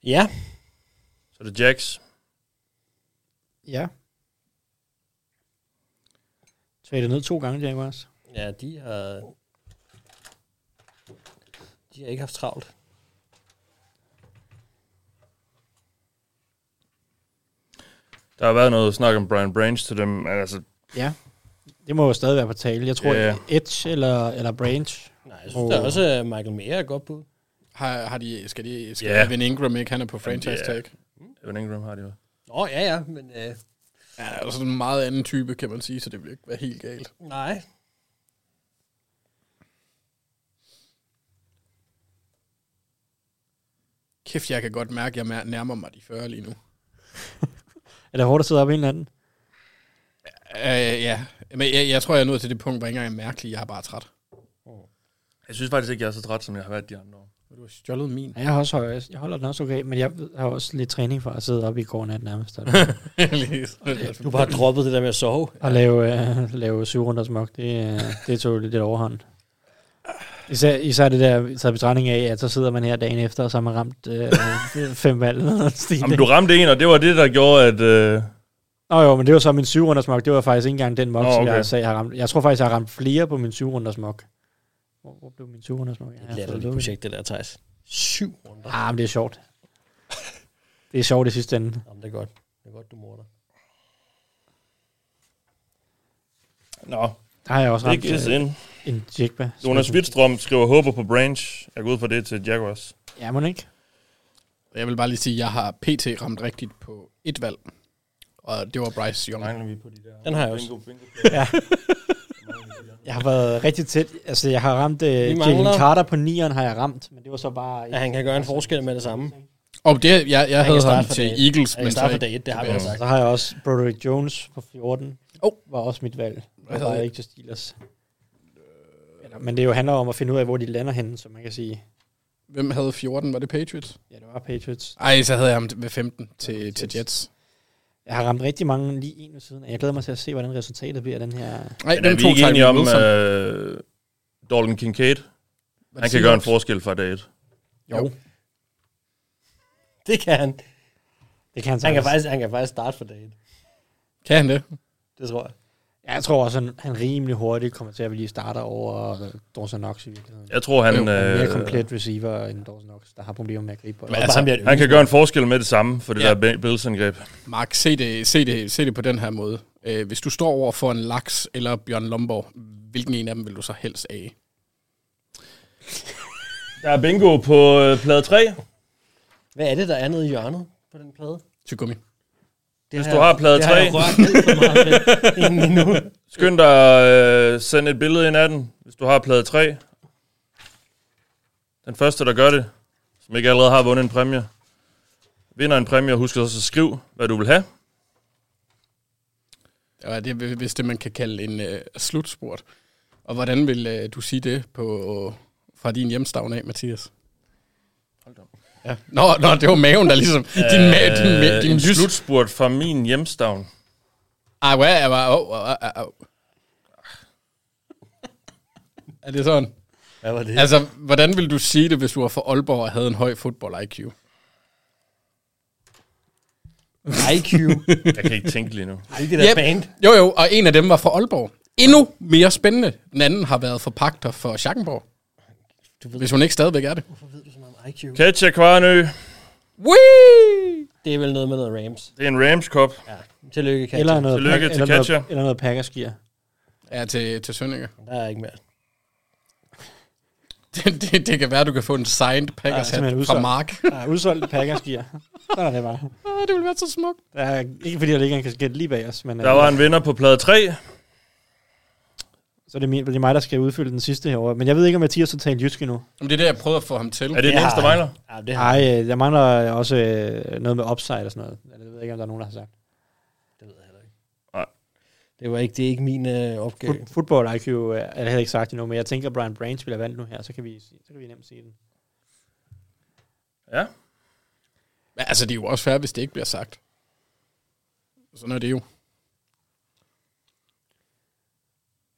Ja. Så er det Jax. Ja. Traded ned to gange, Jaguars. Ja, de har... De har ikke haft travlt. Der har været noget snak om Brian Branch til dem, men altså, Ja. Det må jo stadig være på tale. Jeg tror, Ja. yeah. Edge eller, eller Branch. Nej, Jeg synes, oh. der er også øh, Michael Mayer er godt bud. Har, har de, skal de, skal Ja. yeah. Evan Ingram ikke, han er på franchise Ja. yeah. tag. Evan Ingram har de jo. Nå, ja, ja, men... Øh, Ja, han er sådan en meget anden type, kan man sige, så det vil ikke være helt galt. nej. Kæft, jeg kan godt mærke, at jeg mær- nærmer mig de 40 lige nu. Er det hårdt at sidde op i en eller anden? Øh, ja, men jeg, jeg tror, jeg er nået til det punkt, hvor jeg ikke engang er mærkelig, jeg er bare træt. Jeg synes faktisk ikke, jeg er så træt, som jeg har været de andre år. Du har stjålet min. Ja, jeg, har også, høj- jeg holder den også okay, men jeg har også lidt træning for at sidde op i går nat nærmest. Du har bare droppet det der med at sove. At lave, øh, lave syv runder smok, det, øh, det tog lidt overhånd. Især, især det der taget i betragtning af, at så sidder man her dagen efter, og så har man ramt øh, fem valg. eller noget stil. Jamen, du ramte en, og det var det, der gjorde, at... Øh, Nå jo, men det var så min syv runders mok. Det var faktisk ikke engang den mok, Nå, oh, okay. okay. som jeg sagde, jeg har ramt. Jeg tror faktisk, jeg har ramt flere på min syv runders mok. Hvor, hvor blev min syv runders mok? Et latterligt projekt, det der, Thijs. Syv runder. Ah, men det er sjovt. Det er sjovt i sidste ende. Jamen, det er godt. Det er godt, du morder. Nå. Der har jeg også ramt Ikke is øh, in. en jigba. Jonas Wittstrøm skriver håber på Branch. Jeg går ud fra det til Jaguars. Ja, må ikke? Jeg vil bare lige sige, at jeg har PT ramt rigtigt på et valg. Og det var Bryce Young. Mangler vi på de der... Den har jeg også. Bingo, bingo. Ja. Jeg har været rigtig tæt. Altså, jeg har ramt øh, mangler- Jalen Carter på nieren, har jeg ramt. Men det var så bare... Ja, han kan gøre en forskel med det samme. Og det, jeg, jeg, kan jeg havde starte ham fra til dag et. Eagles, Jeg kan men starte så fra ikke. dag et, det har vi tilbage. også sagt. Så har jeg også Broderick Jones på 14. Oh. Var også mit valg. Hvad Og hedder var det? ikke til Steelers. Eller, men det jo handler om at finde ud af, hvor de lander henne, som man kan sige. Hvem havde 14? Var det Patriots? Ja, det var Patriots. Ej, så havde jeg ham ved 15 til, til Jets. Jeg har ramt rigtig mange lige en ved siden af. Jeg glæder mig til at se, hvordan resultatet bliver af den her... Ej, Men er vi ikke enige om øh, Dalton Kincaid? øh, Han kan siger gøre en også? forskel fra dag et. Jo. Det kan han. Det Han kan han kan sagtens. faktisk, han kan faktisk starte for dagen. Kan han det? Det tror jeg. Jeg tror også, han, han rimelig hurtigt kommer til at blive starter over øh, Dawson Knox i virkeligheden. Jeg tror, han, Han er en mere øh, komplet receiver end Dawson Knox, der har problemer med at gribe bolden. Men altså, han, han kan gøre en forskel med det samme for det ja. der Bills-angreb. Mark, se det, se det, se det på den her måde. Øh, hvis du står over for en laks eller Bjørn Lomborg, hvilken en af dem vil du så helst af? Der er bingo på øh, plade 3. Hvad er det, der er nede i hjørnet på den plade? Tyggegummi. Det Hvis har du jeg- har plade det 3, har jeg rørt alt for meget ved inden endnu. skynd dig at øh, sende et billede ind af den, hvis du har plade 3. Den første, der gør det, som ikke allerede har vundet en præmie, vinder en præmie, og husk også at skrive, hvad du vil have. Og det er vist det, man kan kalde en øh, slutspurt. Og hvordan vil øh, du sige det på, fra din hjemstavn af, Mathias? Hold da. Ja. Nå, nå, det var maven, der ligesom... din, ma- din, ma- Øh, din en lys... slutspurt fra min hjemstavn. Ej, hvad er det? Au, au, au, au. Er det sådan? Hvad var det? Altså, hvordan vil du sige det, hvis du var fra Aalborg og havde en høj fodbold-IQ? IQ? Jeg kan ikke tænke lige nu. Ej, det der band. Jo, jo, og en af dem var fra Aalborg. Endnu mere spændende. Den anden har været forpagter for Schackenborg. Hvis hun ikke stadigvæk er det. IQ. Katja Kvarnø. Wee! Det er vel noget med noget Rams. Det er en Rams Cup. Ja. Tillykke, Katja. Eller noget, Tillykke pack- til eller Katja. noget, eller noget Packers-gear. Ja, til, til Sønninger. Der er ikke mere. Det, det, det kan være, du kan få en signed Packers hat fra Mark. Ja, udsolgt Packers-gear. Sådan er det bare. Ah, det ville være så smukt. Der er, ikke fordi, der ligger en kasket lige bag os, men... øh, Der var en vinder på plade 3. Så er det, min, det er mig, der skal udfylde den sidste herovre. Men jeg ved ikke, om Mathias har talt jysk endnu. Men det er det, jeg prøvede at få ham til. Er det den eneste, der mangler? Ja, det har Nej, øh, jeg mangler også øh, noget med upside og sådan noget. Eller, Jeg ved ikke, om der er nogen, der har sagt. Det, var ikke, det er ikke min øh, opgave. Fut, football IQ øh, er heller ikke sagt endnu, men jeg tænker, Brian Branch bliver valgt nu her, så kan vi, så kan vi nemt sige den. Ja. Men altså, det er jo også fair, hvis det ikke bliver sagt. Sådan er det jo.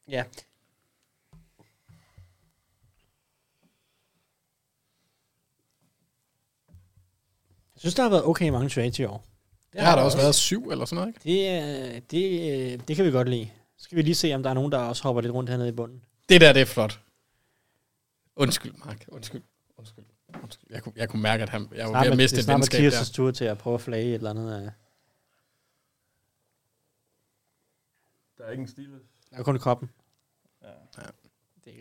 Ja. Jeg synes, der har været okay mange trades i år. Det har der også været syv eller sådan noget, ikke? Det, øh, det, øh, det kan vi godt lide. Så skal vi lige se, om der er nogen, der også hopper lidt rundt hernede i bunden. Det der, det er flot. Undskyld, Mark. Undskyld. Undskyld. Undskyld. Jeg, kunne, jeg kunne mærke, at han, jeg var ved at miste det et snart venskab Mathias' der. tur til at prøve at flage et eller andet. øh. Der er ikke en stil. Der er kun koppen.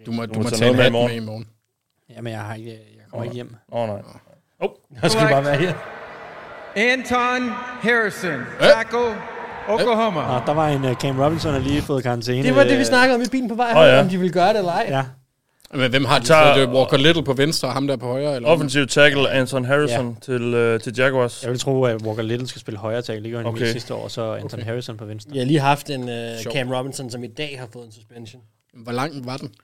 Du må, Du du må må tage tage noget en hat med i med i morgen. Jamen, jeg, har ikke, jeg kommer ikke hjem. Åh, oh, nej. Oh. Jeg skal bare være her. Anton Harrison, tackle, Oklahoma. Nå, der var en uh, Cam Robinson, der lige fået karantæne. Det var det, vi øh, snakkede om i bilen på vej, Åh, oh, ja. ja. om de ville gøre det eller ej. Ja. Men hvem har de tager- tager... fået? Det er Walker Little på venstre, og ham der på højre? Eller Offensiv tackle Anton Harrison ja. til, øh, til Jaguars. Jeg vil tro, at Walker Little skal spille højre tackle. Det gjorde han Okay. okay. sidste år, så Anton Okay. okay. Harrison på venstre. Vi har lige haft en uh, Sjovt. Cam Robinson, som i dag har fået en suspension. Hvor lang var den?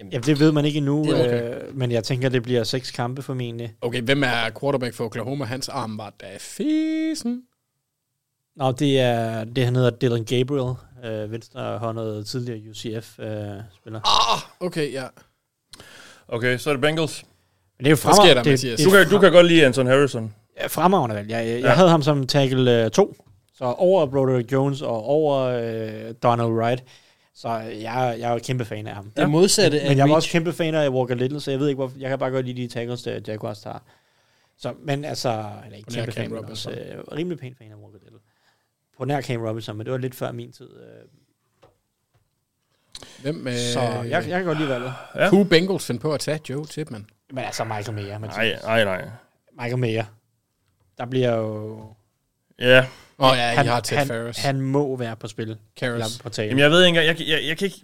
Jamen, det ved man ikke endnu, Det er okay. øh, men jeg tænker, det bliver seks kampe formentlig. Okay, hvem er quarterback for Oklahoma? Hans arm var da fisen. Nå, det er det, han hedder Dylan Gabriel, øh, venstrehåndet tidligere UCF-spiller. Ah, okay, ja. Okay, så er det Bengals. Men det er jo fremad- Hvad sker der, det- Mathias? det- du, kan, du kan godt lide Anton Harrison. Øh, fremragende valg. Jeg, jeg, Ja. jeg havde ham som tackle 2, så over Broderick Jones og over øh, Donald Wright. Så jeg, jeg er jo kæmpe fan af ham. Det modsatte men, af Men jeg var Reach. også kæmpe fan af Walker Little, så jeg ved ikke, hvorfor. Jeg kan bare godt lide de tackles, der Jaguars tager. Så, men altså, eller ikke På nær kæmpe Cam fan, men også, Robinson. øh, rimelig pæn fan af Walker Little. På nær Cam Robinson, men det var lidt før min tid. Øh, Hvem, øh... Så jeg, jeg kan godt lide valget. Ja. Kunne Bengals finde på at tage Joe Tipman? Men altså Michael Mayer. Mathias. Nej, nej, nej. Michael Mayer. Der bliver jo... Ja. Åh oh, ja, I har Ted han, Ferris. Han må være på spil. Karras. Eller På tale. Jamen, jeg ved ikke engang, jeg, kan- jeg, jeg kan ikke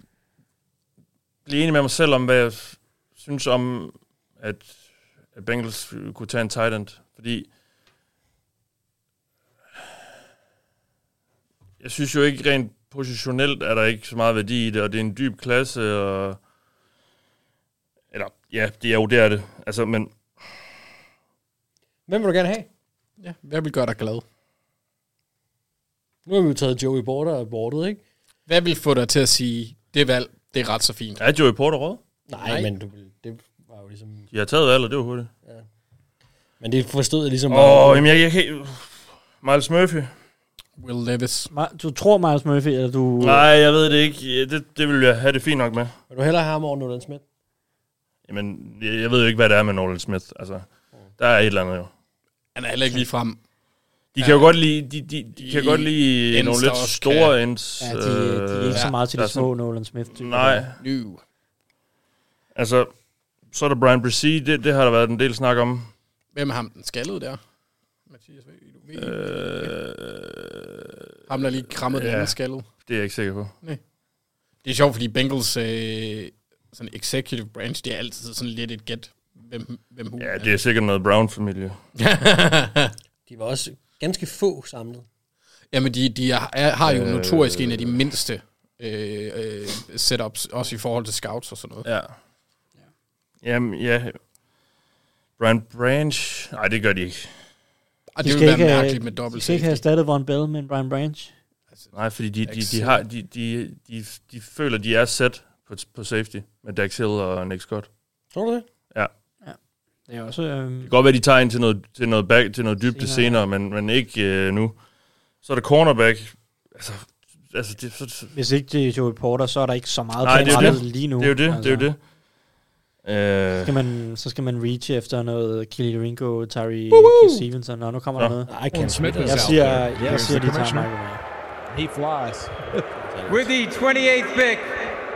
blive enig med mig selv om, hvad jeg f- synes om, at, at Bengals kunne tage en tight end. Fordi jeg synes jo ikke rent positionelt, er der ikke så meget værdi i det, og det er en dyb klasse, og eller ja, det er jo det, er det. Altså, men Hvem vil du gerne have? Ja, hvad vil gøre dig glad? Nu har vi jo taget Joey Porter og bordet, ikke? Hvad vil få dig til at sige, det valg, det er ret så fint? Er Joey Porter råd? Nej, Nej. Nej. men du, vil- det var jo ligesom... de har taget valget, det var hurtigt. Men det forstod jeg ligesom Åh, oh, jamen jeg, jeg kan ikke- Miles Murphy. Will Levis. Ma- Du tror Miles Murphy, eller du... Nej, jeg ved det ikke. Det, det vil jeg have det fint nok med. Vil du hellere have ham over Nolan Smith? Jamen, jeg, jeg ved jo ikke, hvad det er med Nolan Smith. Altså, der er et eller andet jo. Han er heller ikke lige frem. De kan jo godt lide, de, de, de kan De godt lide øh, ends, nogle der lidt også store kan- ends. Ja, de- de er ikke så øh, meget til der de er sådan- små Nolan Smith-typer. Nej. Altså, så er der Brian Brissy, det, det har der været en del snak om. Hvem er ham den skaldede der? Mathias, ved du ved? Øh, ham, der lige krammede den ja. anden skaldede. Øh, Det er jeg ikke sikker på. Nej. Det er sjovt, fordi Bengals øh, sådan executive branch, det er altid sådan lidt et gæt, hvem, hvem hun Ja, det er sikkert noget Brown-familie. De var også ganske få samlet. Jamen, de, de er, er, har jo Øh. notorisk en af de mindste øh, øh, setups, også i forhold til scouts og sådan noget. Ja. Jamen, ja. Brian Branch... Nej, det gør de ikke. Og De det vil skal være ikke, øh, mærkeligt med dobbelt De skal ikke have erstattet Von Bell med en Brian Branch. Nej, fordi de, de, de, har, de, de, de, de føler, de er set på, på safety med Dax Hill og Nick Scott. Tror du det? Ja. Det er også... Øhm, Det kan godt være, de tager ind til noget, til noget, back, til noget dybde senere, men, men ikke øh, nu. Så er der cornerback. Altså, altså det, så, hvis ikke det er Joey Porter, så er der ikke så meget Nej, det er jo planlagt det. lige nu. Det er jo det, det er jo det. Så Øh, skal man, så skal man reach efter noget Kelly Ringo, Tyree Stevenson, og nu kommer Nå. der noget. I can't Smith is jeg out siger, there. jeg Here's siger, the de tager commissioner. Michael Mayer. He flies. With With the 28th pick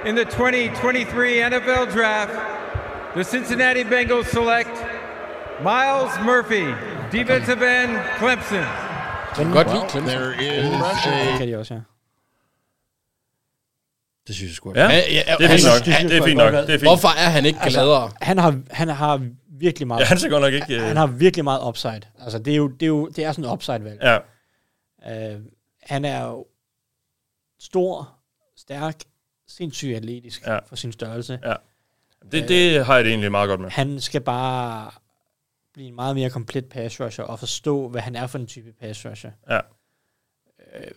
in the 2023 NFL Draft, the Cincinnati Bengals select Miles Murphy, defensive end, Clemson. Godt Well, there is Det a kan de også, ja. Det synes jeg sgu Ja, det er fint nok. Det er fint nok. Det er fint. Hvorfor er han ikke Altså- gladere? han, har, han har virkelig meget... Ja, han ser godt nok ikke, øh- Han har virkelig meget upside. Altså, det er jo, det er jo det er sådan en upside-valg. Ja. Øh, han er jo stor, stærk, sindssygt atletisk ja. for sin størrelse. Ja. Det, det har jeg det egentlig meget godt med. Han skal bare blive en meget mere komplet pass rusher og forstå, hvad han er for en type pass rusher. Ja. Øh,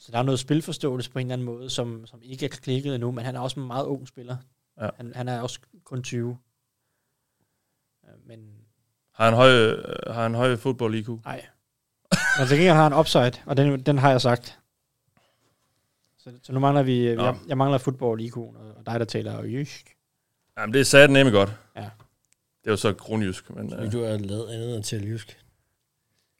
Så der er noget spilforståelse på en eller anden måde, som, som ikke er klikket endnu, men han er også en meget ung spiller. Ja. Han, han er også kun 20. Øh, Men, Har han høj, øh, har han høj fodbold IQ? Nej. men til gengæld har han upside, og den, den har jeg sagt. Så, så nu mangler vi... Nå. Jeg, jeg mangler football IQ, og dig, der taler jysk. Jamen, det er sat nemlig godt. Ja. Det er jo så kronjysk. Men, øh. Men du har lavet andet end til jysk.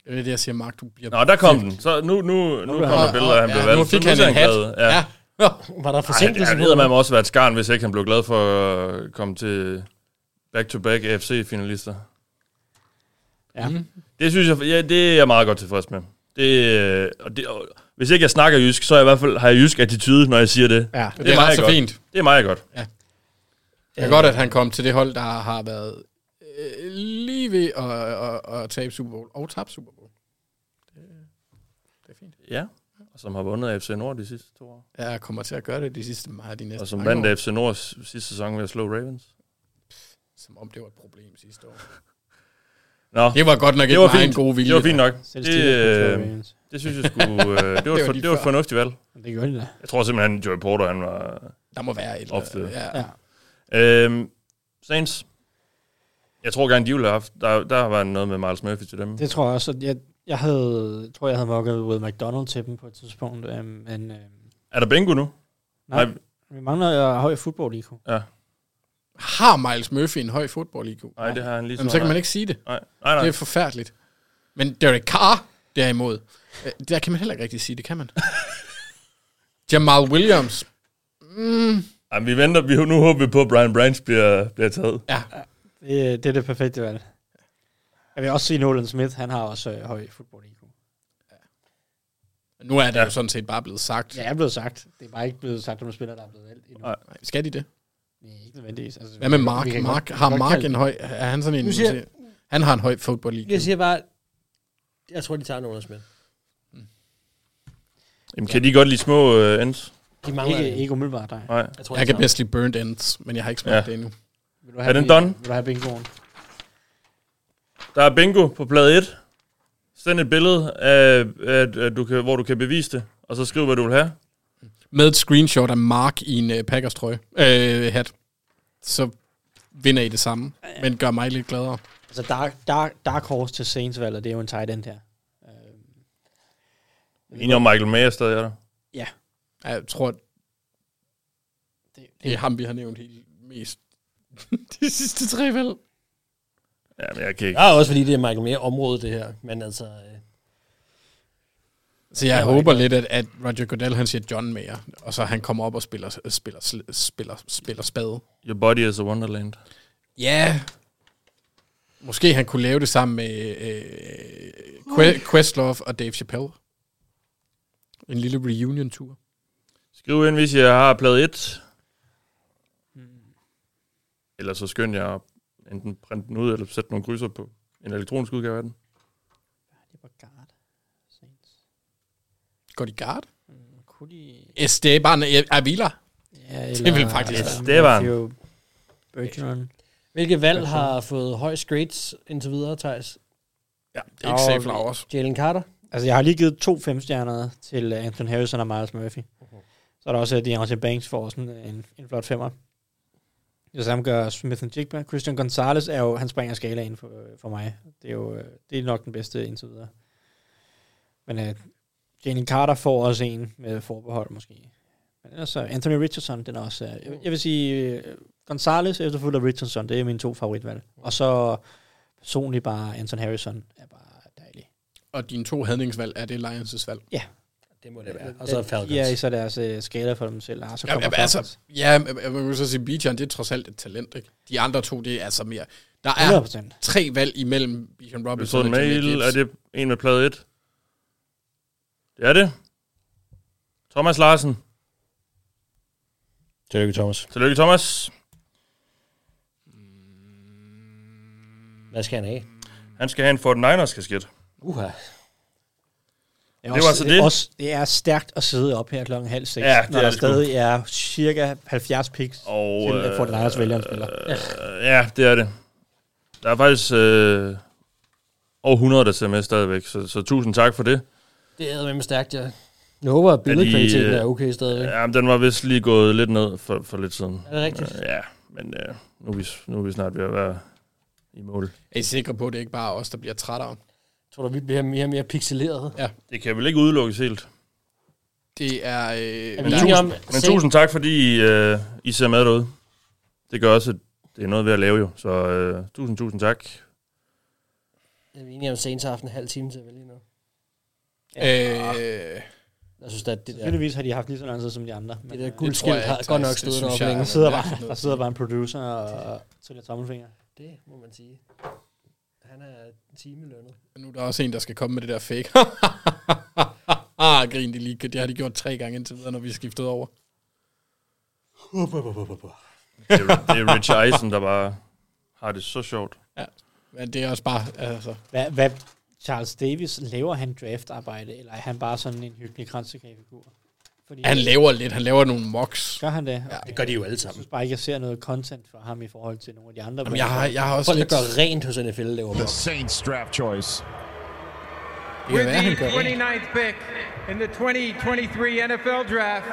Det er det, jeg siger, Mark, du bliver... Nå, der kom den. Så nu, nu, nu kom der billeder af, han blev valgt. Nu fik Så han ser en hat. glad. Ja. Var der forsinkelse Ej, på Han, han man den? også været et skarn, hvis ikke han blev glad for at komme til back-to-back AFC-finalister. Ja. Mm. Det synes jeg, ja, det er jeg meget godt tilfreds med. Det, øh, og det, og hvis ikke jeg snakker jysk, så er jeg i hvert fald, har jeg jysk attitude, når jeg siger det. Ja. Det er meget ret så godt. fint. Det er meget godt. Ja. Det er godt, at han kom til det hold, der har været øh, lige ved at, at, at tabe Super Bowl og tabe Super Bowl. Ja, og som har vundet AFC Nord de sidste to år. Ja, jeg kommer til at gøre det de sidste meget de næste Og som mange vandt år. AFC Nord sidste sæson ved at slå Ravens. Som om det var et problem sidste år. Nå, Det var godt nok ikke var meget fint. en god vilje. Det var fint nok. Selv Det, Steelers kunne slå øh, Ravens. det synes jeg skulle... Øh, det var, Det det var var, lige det var et før. fornuftigt valg. Det gjorde det da. Jeg tror simpelthen, at Joey Porter, han var... Der må være et ofte. eller andet, Ja. Øhm, Saints. Jeg tror gerne, de ville have haft... Der, der var noget med Miles Murphy til dem. Det tror jeg også. at Jeg, jeg havde, jeg tror, jeg havde mokket Will McDonald til dem på et tidspunkt. øhm, Men, øhm, Er der bingo nu? nej, Nej. vi mangler øh, høj fodbold IQ. Ja. Har Miles Murphy en høj fodbold-IQ? Nej, det har han lige Jamen, så så kan meget. man ikke sige det. Nej, nej, nej. Det er forfærdeligt. Men Derek Carr, derimod, øh, der kan man heller ikke rigtig sige det, kan man? Jamal Williams. Mm. Jamen, vi venter. Vi, nu håber vi på, at Brian Branch bliver, bliver taget. Ja. Det, det er det perfekte valg. Jeg vil også sige, Nolan Smith, han har også øh, høj fodbold IQ. Nu er det ja. jo sådan set bare blevet sagt. Ja, jeg er blevet sagt. Det er bare ikke blevet sagt, om en spiller, der er blevet valgt endnu. Nej, skal de det? Nej, ikke nødvendigvis. Altså, Hvad med vi- Mark? vi kan Mark godt- har godt Mark kalde- en høj... Er han sådan Nu en... siger- Han har en høj fodbold-IQ. Jeg siger bare, jeg tror, de tager Nolan Smith. Jamen, kan de godt lide små øh, ends? De mangler Ikke- en. ikke umiddelbart, nej. Nej. Jeg tror, Jeg kan bedst lide Burnt Ends, men jeg har ikke smagt Ja. ja. det endnu. Vil Er den done? Vil du have bingoen? Der er bingo på plade 1. Send et billede, af, at, at du kan, hvor du kan bevise det, og så skriv, hvad du vil have. Med et screenshot af Mark i en uh, Packers trøje. Øh, hat. Så vinder I det samme, men gør mig lidt gladere. Altså, Dark, Dark, Dark Horse til Saints-valget, det er jo en tight end her. Øh, Enig om Michael Mayer stadig er der. Ja. Jeg tror, det, det, det er ham, vi har nævnt helt mest de sidste tre, vel? Ja, men jeg kan ikke. Ja, også fordi det er Michael Mayer-området, det her. Men altså... Øh, så jeg, jeg håber ikke. lidt, at, at Roger Goodell, han siger John Mayer, og så han kommer op og spiller, spiller, spiller, spiller, spiller spade. Your body is a wonderland. Ja. Yeah. Måske han kunne lave det sammen med øh, Que- Questlove og Dave Chappelle. En lille reunion-tur. Skriv ind, hvis jeg har plade 1. Eller så skynd jer at enten printe den ud, eller sætte nogle krydser på en elektronisk udgave af den. Går de guard? Esteban Avila. Ja, det vil faktisk være. Esteban. Bergeron. Hvilke valg har fået højst grades indtil videre, Thijs? Ja, det er ikke safe flowers. Jalen Carter? Altså, jeg har lige givet to femstjerner til øh, Anthony Harrison og Miles Murphy. Så er der også øh, Deontay Banks for sådan øh, en, en flot femmer. Det samme gør Smith and Jigba. Christian Gonzalez er jo, han springer skalaen for, for mig. Det er jo øh, det er nok den bedste indtil videre. Men øh, Jalen Carter får også en med forbehold måske. Men ellers så Anthony Richardson, den er også... øh, Jeg, jeg vil sige, øh, Gonzalez efterfulgt af Richardson, det er mine to favoritvalg. Og så personligt bare Anthony Harrison er bare dejlig. Og dine to hadningsvalg, er det Lions' valg? Ja. Det må det være. Og så Falcons. Ja, så deres øh, skala for dem selv. Og så Ja, kommer ja, Falcons. altså, ja, men man kan så sige, Bijan, det er trods alt et talent, ikke? De andre to, det er altså mere... Der er 100%. tre valg imellem Bijan Vi har Robinson fået en Jameer mail. Gibbs. Er det en med plade 1? Det er det. Thomas Larsen. Tillykke, Thomas. Tillykke, Thomas. Hvad skal han have? Han skal have en 49ers kasket. Uha. Det, var altså det. Også, det er stærkt at sidde op her klokken halv seks, Ja, ja, det når er der det stadig er cirka 70 picks Og, til at få den ejers vælger en spiller. Øh, ja, det er det. Der er faktisk øh, over 100, der ser med stadigvæk, så, så tusind tak for det. Det er med stærkt, ja. Jeg håber, at billedkvaliteten er okay stadigvæk. Ja, men den var vist lige gået lidt ned for, for lidt siden. Er det rigtigt? Øh, ja, men øh, nu, er vi, nu er vi snart ved at være i mål. Er I sikre på, at det ikke bare er os, der bliver trættere? Tror du, vi bliver mere og mere pixeleret? Ja. Det kan vel ikke udelukkes helt. Det er... Øh, Er Men, vi enige tusind, om... men tusind tak, fordi I, øh, I ser med derude. Det gør også, at det er noget ved at lave jo. Så øh, tusind, tusind tak. Er vi enige om Saints har haft en halv time til at vælge noget? Øh, Jeg synes, at det der... Sandsynligvis har de haft lige så lang tid som de andre. Men Det der guldskilt jeg har ikke, godt nok Thijs. Det stået synes deroppe jeg er længe. der, sidder bare, der sidder bare en producer og tæller tommelfinger. Det må man sige. Han er timelønnet. Nu er der også en, der skal komme med det der fake. ah, grin de lige. Det har de gjort tre gange indtil videre, når vi er skiftet over. Det er, det er Rich Eisen, der bare har det så sjovt. Ja, men det er også bare... Altså, Hvad, hvad Charles Davis, laver han draftarbejde, eller er han bare sådan en hyggelig kransekagefigur? Fordi han laver lidt. Han laver nogle mocks. Gør han det? Okay. Ja, det gør de jo alle Jeg sammen. synes bare ikke, jeg ser noget content for ham i forhold til nogle af de andre. Jamen, jeg har- jeg har også Folk, der lidt- gør rent hos NFL, laver The mock. Saints draft choice. Det kan være, han With the gør det. 29th pick in the 2023 NFL Draft,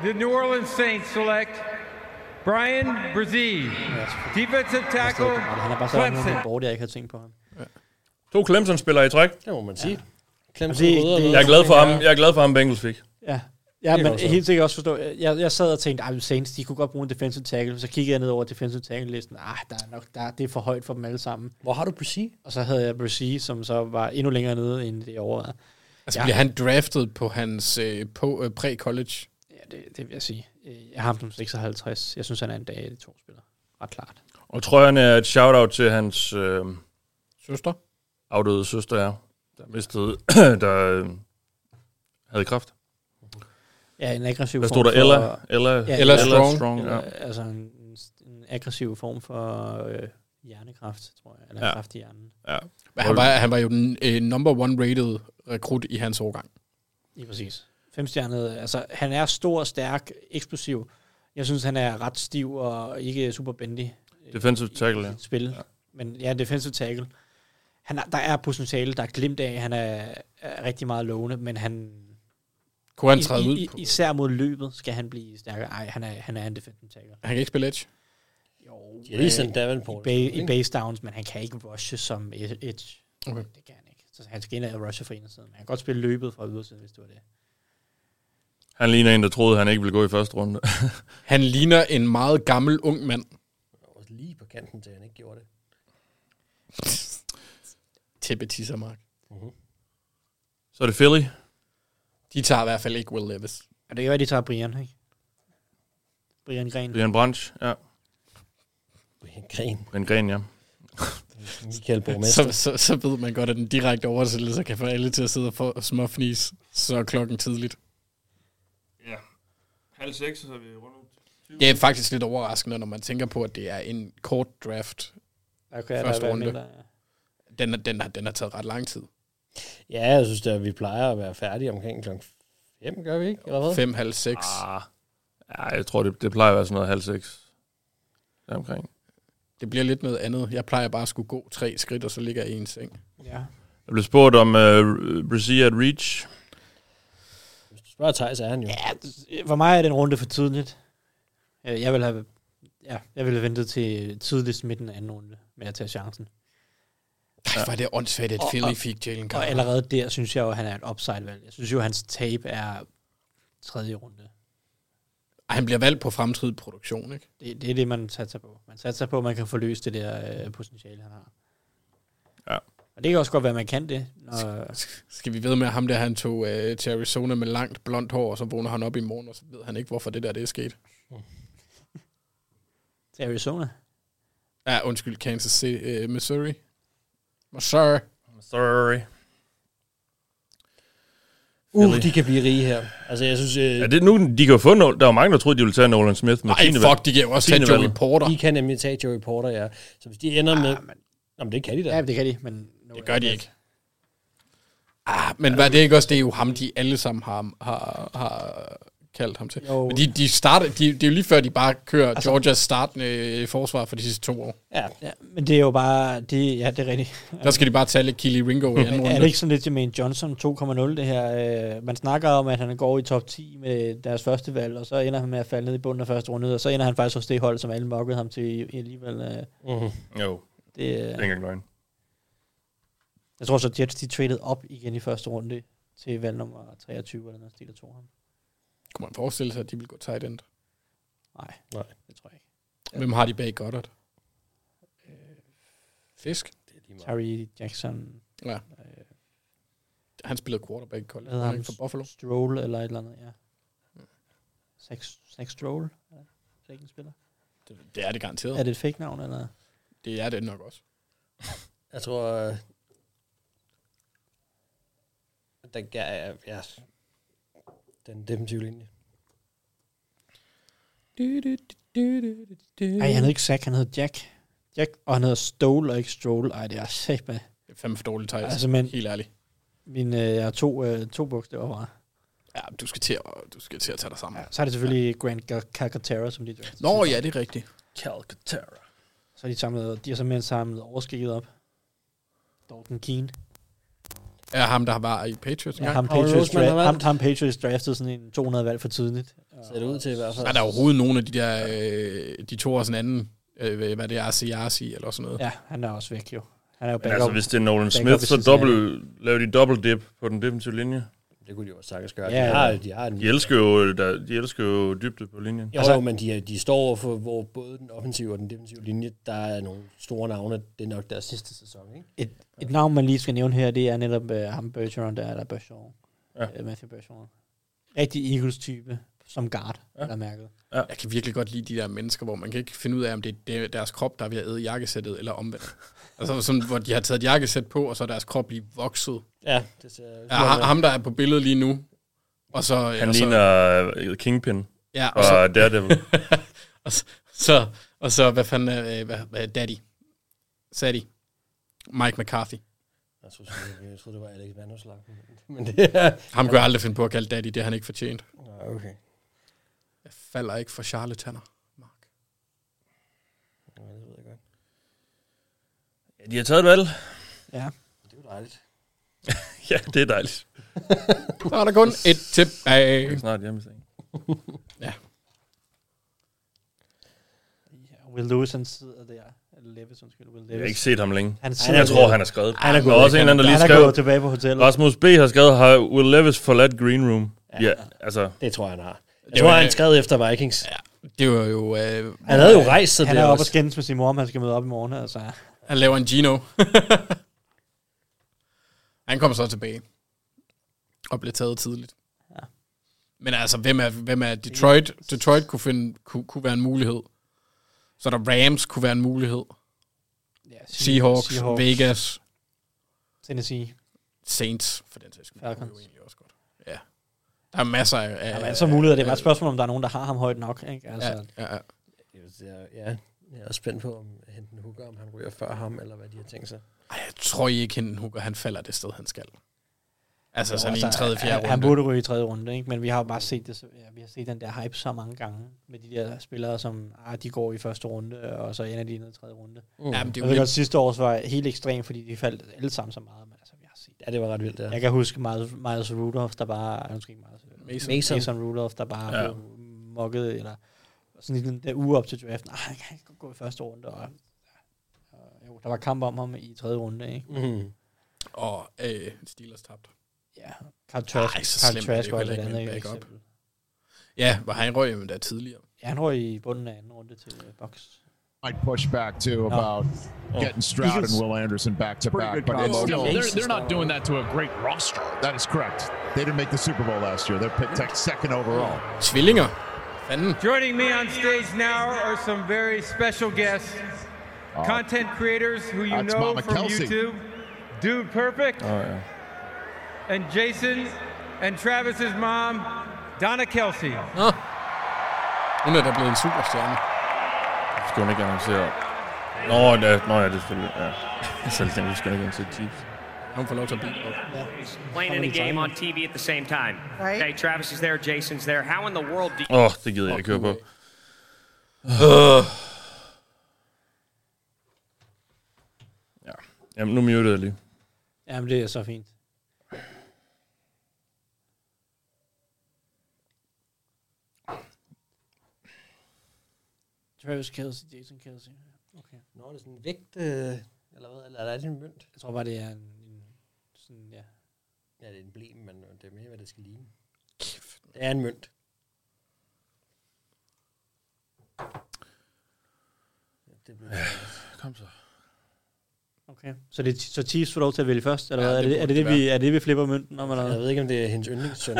the New Orleans Saints select Brian Brzee, defensive tackle, Han er bare sådan nogle Clemson. af borte, jeg ikke har tænkt på ham. To Clemson-spillere i træk. Det må man sige. Og Clemson det- røde og det- røde. Jeg er glad for ham, jeg er glad for ham Bengals fik. Ja, ja Det kan men jeg også. helt sikkert også forstå. Jeg, jeg sad og tænkte, at Saints, de kunne godt bruge en defensive tackle. Så kiggede jeg ned over defensive tackle-listen. Ah, der er nok, der, det er for højt for dem alle sammen. Hvor har du Brissy? Og så havde jeg Brissy, som så var endnu længere nede, end det overvejede. Altså, Ja. bliver han draftet på hans øh, på, øh, pre-college? Ja, det, det vil jeg sige. Øh, Jeg har ham som 56. Jeg synes, han er en dag i de to spillere. Ret klart. Og trøjerne er et shout-out til hans øh, Søster? afdøde søster, ja, der mistede, der øh, havde kræft. Ja, en aggressiv Hvad form stod der? for- Ella? Ella- ja, Ella Strong. ja. Altså en, en aggressiv form for øh, hjernekraft, tror jeg. Eller Ja. ja. kraft i hjernen. Ja. Men Han var, han var jo den øh, number one rated rekrut i hans årgang. Lige præcis. Femstjernet, altså han er stor, stærk, eksplosiv. Jeg synes, han er ret stiv og ikke super bendig. Defensive tackle, ja. sit spil. Ja. Men ja, defensive tackle. Han er, der er potentiale, der er glimt af, han er, er rigtig meget lovende, men han... Kunne han træde i, ud i, på- Især mod løbet skal han blive stærkere. Ej, han er, han er en defensive tackle. Han kan ikke spille edge. Jo, øh, De har lige sendt Davenport. I, ba- i base downs, men han kan ikke rushe som e- edge. Okay. Det kan han ikke. Så han skal ind og rushe fra en side. Men han kan godt spille løbet fra ydersiden, hvis det var det. Han ligner en, der troede, han ikke ville gå i første runde. han ligner en meget gammel ung mand. Også lige på kanten til, han ikke gjorde det. Tæppe tisser, Mark. Uh-huh. Så er det Philly. De tager i hvert fald ikke Will Levis. Ja, det kan være, de tager Brian, ikke? Brian Gren. Brian Branch, ja. Brian Gren. Brian Gren, ja. Michael Borgmester. Så, så, så ved man godt, at den direkte oversættelse kan få alle til at sidde og få småfnis, så er klokken tidligt. Ja. Halv seks, så er vi rundt. Det er faktisk lidt overraskende, når man tænker på, at det er en kort draft. Okay, første der runde. Mindre, ja. den, er- den, har, den har taget ret lang tid. Ja, jeg synes, at vi plejer at være færdige omkring klokken 5, gør vi ikke? Eller hvad? Fem, halv seks. Ah, ja, jeg tror, det, det plejer at være sådan noget halv seks. Deromkring. Det bliver lidt noget andet. Jeg plejer bare at skulle gå tre skridt, og så ligger jeg i en seng. Ja. Jeg blev spurgt om uh, Brazil at reach. Spørg Thijs, er han jo. Ja, det- for mig er den runde for tidligt. Øh, Jeg vil have, ja, jeg vil have ventet til tidligst midten af anden runde med at tage chancen. Ej, hvor er det åndssvagt, at Og- Philly og- fik Jalen Carter. Og allerede der synes jeg jo, at han er et upside-valg. Jeg synes jo, at hans tape er tredje runde. Ej, han bliver valgt på fremtidig produktion, ikke? Det, det er det, man satser på. Man satser på, at man kan få løst det der øh, potentiale, han har. Ja. Og det kan også godt være, at man kan det. Når, Skal vi ved med, at ham der, han tog øh, til Arizona med langt blondt hår, og så vågner han op i morgen, og så ved han ikke, hvorfor det der, det er sket. til Arizona. Ja, undskyld, Kansas City, øh, Missouri. Missouri. Sorry. Uh, de kan blive rige her. Altså, jeg synes... Øh, Er det nu, de kan jo få Nolan. Der var mange, der troede, de ville tage Nolan Smith. Men Nej, fuck, de kan jo også tage Joey Porter. De kan nemlig tage Joey Porter, ja. Så hvis de ender med... Ah, men... Jamen, det kan de da. Ja, det kan de, men... Det gør de ikke. Ah, men var det ikke også, det er jo ham, de alle sammen har, har, har kaldt ham til. Jo. Men de, de starter, de, det er jo lige før, de bare kører altså, Georgias startende øh, forsvar for de sidste to år. Ja. ja, men det er jo bare... Det, ja, det er rigtigt. Der skal de bare tage lidt Kili Ringo i anden Men runde. er det ikke sådan lidt Jermaine Johnson 2,0 det her? Øh, man snakker om, at han går i top 10 med deres første valg, og så ender han med at falde ned i bunden af første runde, og så ender han faktisk hos det hold, som alle mokkede ham til i- alligevel. Øh. Mhm. Jo. Det, øh, Det er ikke engang løgn. Jeg tror så, Jets de traded op igen i første runde til valg nummer 23, eller noget stil, der tog ham. Kunne man forestille sig, at de ville gå tight end? Nej, Nej. det tror jeg ikke. Hvem har de bag Goddard? Øh, Fisk? Terry Jackson, Ja. Han spillede quarterback i college. hvad hedder Han han? ikke for Buffalo. Stroll eller et eller andet, ja. Sex, sex Stroll? Er det ikke en spiller? Det, det er det garanteret. Er det et fake navn, eller? Det er det nok også. Jeg tror... Øh, den, ja, ja, den defensive linje. Ej, han hed ikke Zach, han hed Jack. Jack, og han hedder Stole og ikke Stroll. Ej, det er sæt med. Det er fandme for dårligt, Thijs. Altså, men- Helt ærligt. Min, øh, jeg har to, øh, to bogstaver fra. Ja, du skal til at, du skal til at tage dig sammen. Ja, Så er det selvfølgelig ja. Grant Cal- Calcaterra, som de draftede. Nå ja, det er rigtigt. Calcaterra. Så har de, samlet, de har simpelthen samlet overskikket op. Dalton Keane. Er ham, der var i Patriots Ja, engang? ham, Patriots dra- ham, ham Patriots draftede sådan en 200 valg for tidligt. Ser det ud til i hvert fald. Er der overhovedet nogen af de der, øh, de to og sådan anden, øh, hvad det er, RCRC eller sådan noget? Ja, han er også væk jo. Han er jo Men backup, altså, hvis det er Nolan backup Smith, så i Cincinnati. dobbelt, laver de dobbelt dip på den defensive linje. Det kunne de jo også sagtens gøre. Ja, de, har, ja. de har en De elsker jo, der, de elsker jo dybde på linjen. Jo, altså, jo, men de, er- de står over for, hvor både den offensive og den defensive linje, der er nogle store navne. Det er nok deres sidste sæson, ikke? Et, et navn, man lige skal nævne her, det er netop øh, ham Bergeron, der er der Bergeron. Ja. Øh, Matthew Bergeron. Rigtig Eagles-type, som guard, ja. er mærket. Ja. Jeg kan virkelig godt lide de der mennesker, hvor man kan ikke finde ud af, om det er de- deres krop, der er ved at æde jakkesættet, eller omvendt. altså sådan, hvor de har taget et jakkesæt på, og så er deres krop lige vokset. Ja, det ser Ja, ham, ham, der er på billedet lige nu, og så... Han og så, ligner øh, Kingpin Ja, og fra Daredevil. og, så, så, og så, hvad fanden er, øh, hvad, hvad, Daddy? Saddy? Mike McCarthy. Jeg troede, jeg troede det var Alex Vanderslag. Men det er... Ham kunne jeg aldrig finde på at kalde Daddy, det har han ikke fortjent. Nå, okay. Jeg falder ikke for charlataner. Ja, det ved jeg godt. Ja, de har taget et valg. Ja. Det er jo dejligt. ja, det er dejligt. Så er der kun et Jeg er tilbage. snart hjemme i sengen. Ja. Will Lewis, han sidder der Levis, undskyld. Will Levis. Jeg har ikke set ham længe. Han jeg tror, han er skrevet. Han er gået, også en eller anden, der lige han er skrev. gået tilbage på hotellet. Rasmus B. har skrevet, har Will Levis forladt Green Room? Ja, ja altså. Det tror jeg, han har. Jeg Det tror, var- han skrev efter Vikings. Ja, det var jo... Øh, han havde jo rejst sig Han der er oppe og også. skændes med sin mor, om han skal møde op i morgen. Altså. Han laver en Gino. han kommer så tilbage. Og blev taget tidligt. Men altså, hvem er, hvem er Detroit? Detroit kunne, finde, kunne, kunne være en mulighed. Så er der Rams kunne være en mulighed. Seahawks, Seahawks. Seahawks, Vegas, Tennessee. Saints, for den sags skyld. Falcons. Ja. Der er masser af... Der er masser af muligheder. Det er bare et spørgsmål, om der er nogen, der har ham højt nok. Ikke? Altså, Ja, ja, ja. Ja, jeg er spændt på, om Henten Hooker, om han ryger før ham, eller hvad de har tænkt sig. Ej, jeg tror I ikke, hende hooker, han falder det sted, han skal. Altså, Jo, sådan i en tredje, fjerde han- runde. Han burde ryge i tredje runde, ikke? men vi har jo bare set, det, så- ja, vi har set den der hype så mange gange med de der spillere, som ah, de går i første runde, og så ender de ned i tredje runde. Mm. Jamen, det er jo jeg ved lidt- godt, sidste år var helt ekstremt, fordi de faldt alle sammen så meget. Men altså, vi har set. Ja, det var ret vildt, ja. Jeg kan huske Miles, Miles Rudolph, der bare... Måske ikke Miles, Mason. Mason. Mason Rudolph, der bare Ja. ja. mokkede, eller sådan i den der uge op til draften. Ah, han kan ikke gå i første runde, og, og jo, der var kamp om ham i tredje runde, ikke? Mm. Mhm. Og øh, Steelers tabte. Ja. Carl Trask, Ej, så Carl slemt Trask er det jo var heller et ikke andet med en backup. eksempel. Ja, var han røg jo der tidligere. Ja, han røg i bunden af anden runde til øh, Bucks. Might push back too about Oh. getting Stroud Eagles- and Will Anderson back to Pretty back, good but it's combo. still They're, they're not doing that to a great roster. that is correct. They didn't make the Super Bowl last year. They're picked tech second overall. Tvillinger. Joining me on stage now are some very special guests, content creators who you That's know Mama from Kelsey. YouTube, Dude Perfect, Oh, and Jason, and Travis's mom, Donna Kelsey. Hun er da blevet en superstjerne. Det skulle hun ikke annoncere. Nå, da, nå ja, det er selvfølgelig. Ja. Jeg selv tænkte, vi skulle ikke annoncere Chiefs. Hun får lov til at blive på. Playing in a game on TV at the same time. Right. Okay, Travis is there, Jason's there. How in the world do you... Åh, oh, det gider jeg ikke høre på. Øh. Ja. Jamen, nu mutede jeg lige. Jamen, det er så fint. Travis Kelsey, Jason Kelsey. Okay. Nå, det er sådan en vægt, øh, eller hvad, eller er det en mønt? Jeg tror bare, det er en, en sådan, ja. Ja, det er en blem, men øh, det er mere, hvad det skal ligne. Det er en mønt. Kom så. Okay. Så, det, så Chiefs får lov til at vælge først, eller Ja, ja, hvad? Er det det er burde det det, det, vi, være. er det, vi flipper mønten om? Eller? Jeg ved ikke, om det er hendes yndlingssøn.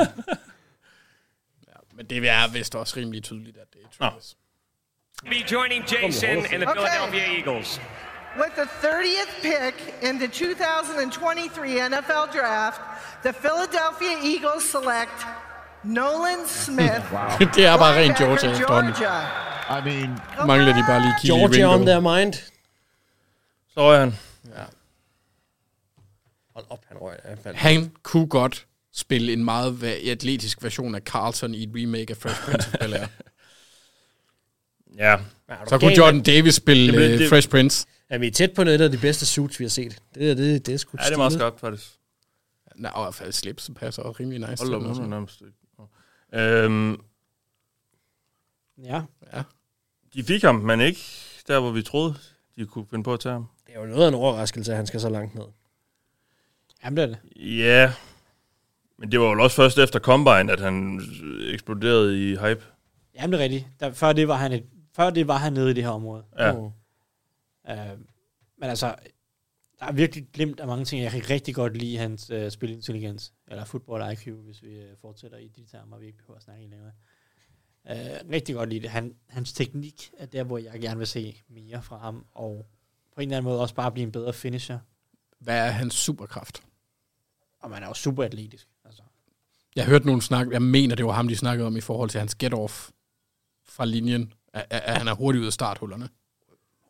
Men det er vist også rimelig tydeligt, at det er Travis. Be joining Jason and the Okay. Philadelphia Eagles. With the 30th pick in the 2023 NFL Draft, the Philadelphia Eagles select Nolan Smith. Wow. det er bare rent Georgia efterhånden. Georgia. I mean, Mangler de bare lige Kili Georgia on their mind. Så røg han. Ja. Hold op, han røg. Han faldt. Han kunne godt spille en meget va- atletisk version af Carlton i et remake af Fresh Prince of Bel-Air. Ja. Så kunne Jordan Davis spille øh, Fresh Prince. Ja, vi er tæt på noget af de bedste suits, vi har set. Det er, det, det er sgu Ja, det er meget skarpt, faktisk. Nej, og i hvert fald slips passer også rimelig nice. Hold til op, den også. hun er nærmest ikke. Øhm, Ja. ja. de fik ham, men ikke der, hvor vi troede, de kunne finde på at tage ham. Det er jo noget af en overraskelse, at han skal så langt ned. Jamen, det er det. Ja, men det var jo også først efter Combine, at han eksploderede i hype. Jamen, det er rigtigt. Der, før, det var han et, før det var han nede i det her område. Ja. Mm. Øh, men altså, der er virkelig glemt af mange ting. Jeg kan rigtig godt lide hans øh, spilintelligens, eller football IQ, hvis vi øh, fortsætter i de termer, vi ikke behøver at snakke i længere. Øh, rigtig godt lide det. Han, hans teknik er der, hvor jeg gerne vil se mere fra ham, og på en eller anden måde også bare blive en bedre finisher. Hvad er hans superkraft? Og man er jo super atletisk. Altså. Jeg hørte nogen snakke, jeg mener, det var ham, de snakkede om i forhold til hans get-off fra linjen, at, at- at han er hurtig ud af starthullerne.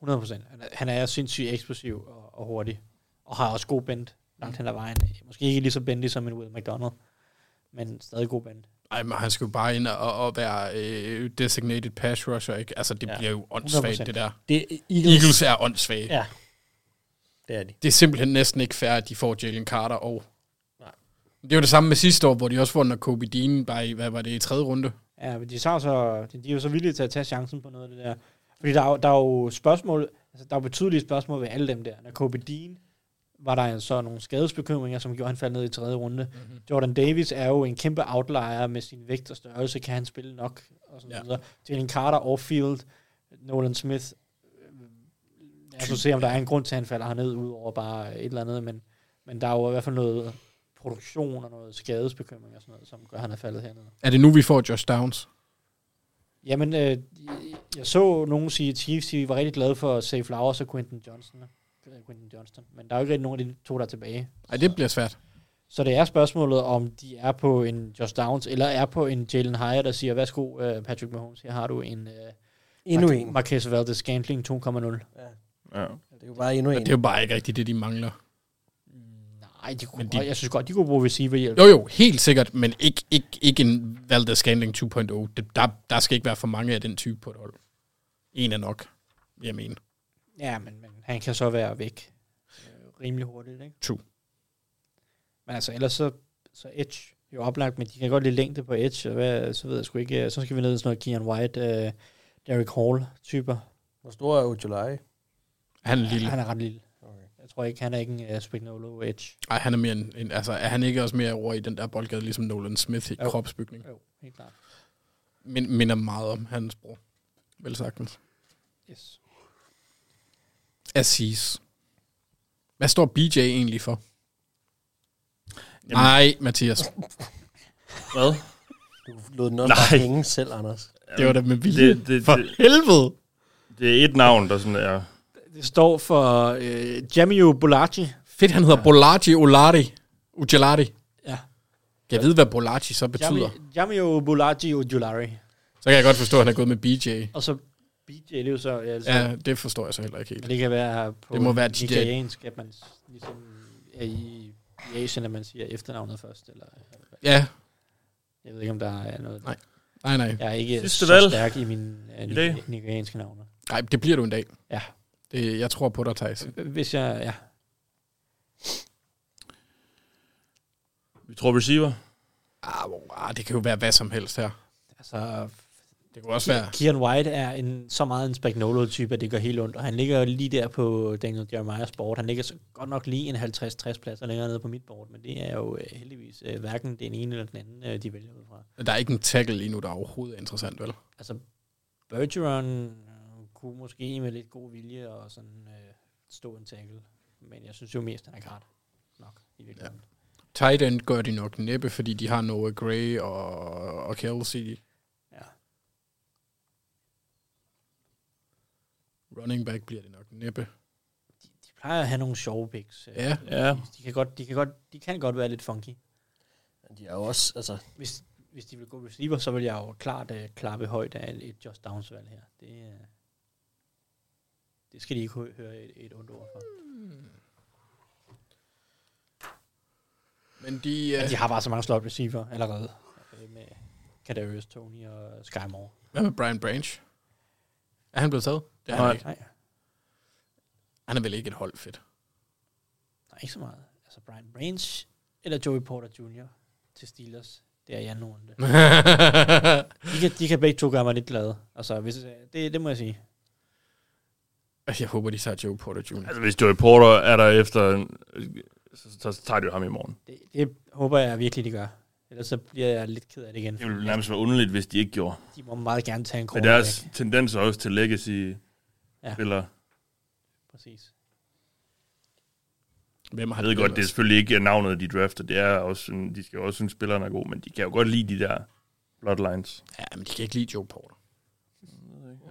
100 procent. Han er sindssygt eksplosiv og, og hurtig, og har også god bend langt hen ad vejen. Måske ikke lige så bendig som en Will McDonald, men stadig god bend. Ej, men han skal jo bare ind og, og være øh, designated pass rusher, ikke? Altså, det ja. bliver jo åndssvagt, 100%. det der. Det er Eagles. Eagles. Eagles er åndssvage. Ja. Det er de. Det er simpelthen næsten ikke fair, at de får Jalen Carter og... Nej. Det var det samme med sidste år, hvor de også var under Kobe Dean, bare i, hvad var det, i tredje runde? Ja, men de, tager så, de de er jo så villige til at tage chancen på noget af det der. Fordi der er, jo- der er jo spørgsmål, altså der er jo betydelige spørgsmål ved alle dem der. Når Kobe Dean var der så nogle skadesbekymringer, som gjorde, at han faldt ned i tredje runde. Mm-hmm. Jordan Davis er jo en kæmpe outlier med sin vægt og størrelse. Kan han spille nok? Og sådan ja. videre. Jalen Carter, Off-Field, Nolan Smith. øh, Jeg skal se, om der er en grund til, at han falder herned, ud over bare et eller andet. Men, men der er jo i hvert fald noget produktion og noget skadesbekymring og sådan noget, som gør, at han er faldet herned. Er det nu, vi får Josh Downs? Jamen, øh, jeg så nogen sige, at Chiefs de var rigtig glade for Safe Flowers og Quentin Johnston. øh, Quentin Johnston. Men der er jo ikke rigtig nogen af de to, der er tilbage. Nej, det bliver svært. Så det er spørgsmålet, om de er på en Josh Downs, eller er på en Jalen Hyatt, der siger, værsgo øh, Patrick Mahomes, her har du en... Øh, Endnu Mar- en. Marquez Valdez Scantling 2,0. Ja. Det er jo bare endnu en. Men det er jo bare ikke rigtigt det, de mangler. Nej, de kunne, Men de, de- jeg synes godt, de kunne bruge receiverhjælp. Jo, jo, helt sikkert, men ikke, ikke, ikke en Valdez Scandling 2.0. Det, der, der skal ikke være for mange af den type på et hold. En er nok, vil jeg mene. Ja, men, men han kan så være væk øh, rimelig hurtigt, ikke? True. Men altså, ellers så, så Edge jo oplagt, men de kan godt lide længde på Edge, og hvad, så ved jeg sgu ikke. øh, Så skal vi ned i sådan noget Kian White, øh, Derek Hall-typer. Hvor stor er Ojolai? Han er lille. Han er ret lille. Okay. Jeg tror ikke, han er ikke en uh, Spinolo Edge. Ej, han er mere en, en, altså, er han ikke også mere over i den der boldgade, ligesom Nolan Smith i Jo. kropsbygning? Jo, helt klart. Men, minder meget om hans bror. Vel sagtens. Yes. Assis. Hvad står BJ egentlig for? Nej, Mathias. Hvad? Du lod den også bare hænge selv, Anders. Det var da med vilje. For helvede! Det er et navn, der sådan er... Det står for øh, Jamio Bolaji. Fedt, han hedder ja. Bolati Olari. Ujalari. Ja. Jeg ved, hvad Bolati så betyder. Jami- Jamio Bolaji Ojulari. Så kan jeg godt forstå, at han er gået med BJ. Og så BJ, det er jo så... Altså, Ja, det forstår jeg så heller ikke helt. Men det kan være på Det må være DJ. nigeriansk, at man s- ligesom er i, i Asien, at man siger efternavnet først. Eller, Ja. jeg ved ikke, om der er noget... Nej. Nej, nej. Jeg er ikke Sidste så valg. stærk i mine uh, I dag. nigerianske navne. Nej, det bliver du en dag. Ja. Det, jeg tror på dig, Thijs. Hvis jeg... Ja. Vi tror receiver. Ah, hvor- ah, det kan jo være hvad som helst her. Altså, det kunne også være... Kieran White er en, så meget en Spagnolo-type, at det gør helt ondt. Og han ligger lige der på Daniel Jeremiah's board. Han ligger så godt nok lige en 50-60 pladser længere nede på mit board. Men det er jo øh, heldigvis øh, hverken den ene eller den anden, øh, de vælger ud fra. Der er ikke en tackle lige nu, der er overhovedet interessant, vel? altså Bergeron øh, kunne måske med lidt god vilje og sådan øh, stå en tackle, men jeg synes jo mest, han er kart nok i virkeligheden. Tight end gør de nok næppe, fordi de har Noah Gray og, og Kelsey. Ja. Running back bliver det nok næppe. De plejer at have nogle sjove picks. øh, Ja. Ja. De kan, godt, de, kan godt, de kan godt være lidt funky. Men de er jo også, altså... Hvis, hvis de vil gå receiver, så vil jeg jo klart øh, klappe højt af et- et Josh Downs-valg her. Det, øh, det skal de ikke hø- høre et, et ondt ord for. Men de, Men øh, de har bare så mange slot receiver allerede. øh, Med Kadarius Tony og Sky Moore. Hvad med Brian Branch? Er han blevet taget? Det er Nej. han ikke. Nej. Han er vel ikke et hold fedt. Nej, ikke så meget. Altså Brian Branch eller Joey Porter Jr. til Steelers. Det er jeg nu runde. de, kan, de kan begge to gøre mig lidt glad. Altså, hvis, det, det må jeg sige. Altså, Jeg håber, de tager Joe Porter Jr. Altså, hvis Joey Porter er der efter... Så, så, så tager de jo ham i morgen. Det, det håber jeg virkelig, de gør. Ellers så bliver jeg lidt ked af det igen. Det ville nærmest være underligt, hvis de ikke gjorde. De må meget gerne tage en Men cornerback. deres tendens er også til legacy ja. spiller. Præcis. Hvem har Jeg ved de godt, det er ellers? selvfølgelig ikke navnet, de drafter. Det er også, en- de skal jo også synes, spilleren er god, men de kan jo godt lide de der bloodlines. Ja, men de kan ikke lide Joe Porter.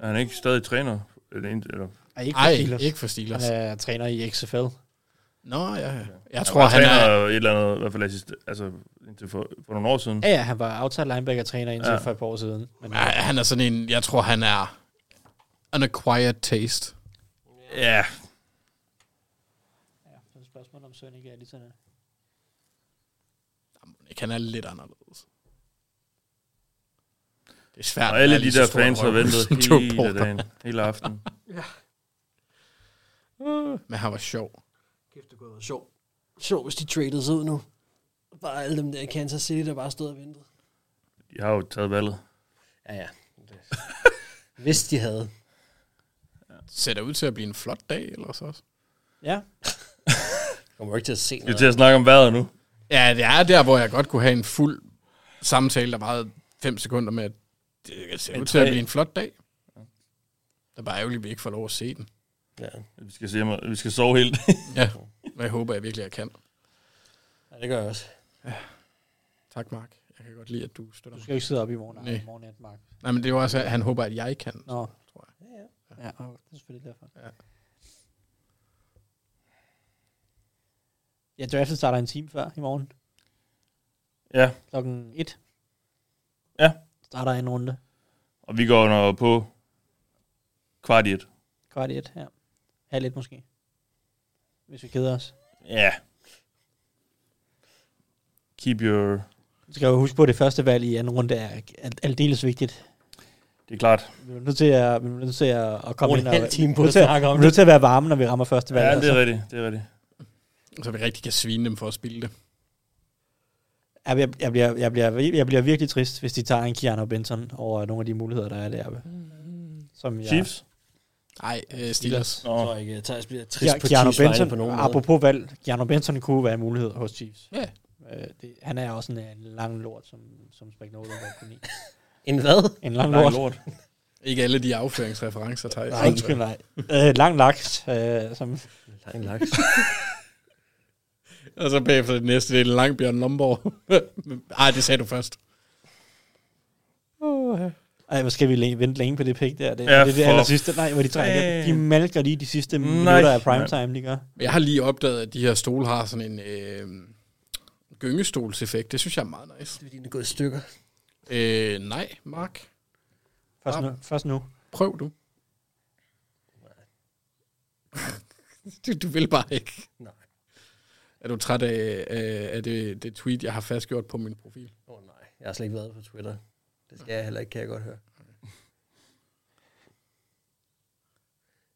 Er han ikke stadig træner? Eller, en- eller? Ej, ikke for Ej, Steelers. ikke for Steelers. Han er træner i XFL. Nå, ja, ja. Jeg var tror, han træner er... et eller andet, i hvert fald assist, altså, indtil for, for nogle år siden. Ja, ja, han var outside linebacker-træner indtil Ja. ja. for et par år siden. Men Ej, Han er sådan en... Jeg tror, han er... An acquired taste. Ja. ja, så er det spørgsmålet, om Søren ikke er lige sådan Han er lidt anderledes. Det er svært. Og alle at være de lige der så stor fans har røv ventet som Joe hele Porter. dagen, hele aftenen. Men han var sjov. Kæft, det kunne have været sjovt. Sjovt, hvis de tradede sig ud nu. Bare alle dem der i Kansas City, der bare stod og ventede. De har jo taget valget. Ja, ja. Hvis de havde. ser da ud til at blive en flot dag ellers også. Ja. Kommer jo ikke til at se Vi er til at snakke om vejret nu. Ja, det er der, hvor jeg godt kunne have en fuld samtale, der varede fem sekunder med, at det ser En ud til at tre. blive en flot dag. Det er bare ærgerligt, at vi ikke får lov at se den. Ja. Vi skal, se, om- vi skal sove helt. ja, men jeg håber jeg virkelig, jeg kan. Ja, det gør jeg også. Tak, Mark. Jeg kan godt lide, at du støtter Du skal jo ikke sidde op i morgen, Nej. morgen nat, Mark. Nej, men det var også, at han håber, at jeg kan. Nå. Tror jeg. Ja, og det er selvfølgelig derfor. Ja. Ja, draften starter en time før i morgen. Ja. Klokken 1. Ja. Starter en runde. Og vi går under på kvart i et. Kvart i et, ja. Halv et måske. Hvis vi keder os. Ja. Keep your... Du skal jo huske på, at det første valg i anden runde er al- aldeles vigtigt. Det er klart. Vi er nødt til at, vi er nødt til at, at komme Bruge ind en halv time på vi er nødt at til snakke om Vi er nødt det. til at være varme, når vi rammer første valg. Ja, det er altså. rigtigt. Det er rigtigt. Så vi rigtig kan svine dem for at spille det. Ja, Jeg, jeg, bliver, jeg, bliver, jeg bliver virkelig trist, hvis de tager en Keanu Benson over nogle af de muligheder, der er deroppe. Mm. Som jeg, Chiefs? Nej, øh, Steelers. Nå. Så ikke, Thijs bliver trist Keanu, på Keanu Chiefs vegne Benson, på nogen Ah, måde. apropos valg, Keanu Benson kunne være en mulighed hos Chiefs. Ja. Øh, det, han er også en, en lang lort, som, som Spagnuolo godt kunne lide. En hvad? En lang lort. Ikke alle de afføringsreferencer, Thijs. Nej, undskyld, nej. Øh, lang laks. Øh, som... Lang laks. Og så bagefter det næste, det er lang Bjørn Lomborg. Ej, det sagde du først. Ej, hvor skal vi læ- vente længe på det pik der? Det, Ja, ja, det er det for aller sidste. Nej, hvor de trækker. fanden. De malker lige de sidste Nej, minutter af mand. primetime, de gør. Jeg har lige opdaget, at de her stole har sådan en øh, gyngestolseffekt. Det synes jeg er meget nice. Det er fordi, den er gået i stykker. Øh, nej, Mark. Først nu. Først nu. Prøv du. du. Du vil bare ikke. Nej. Er du træt af, af, af det, det tweet, jeg har fastgjort på min profil? Åh oh, nej, jeg har slet ikke været på Twitter. Det skal jeg heller ikke, kan jeg godt høre.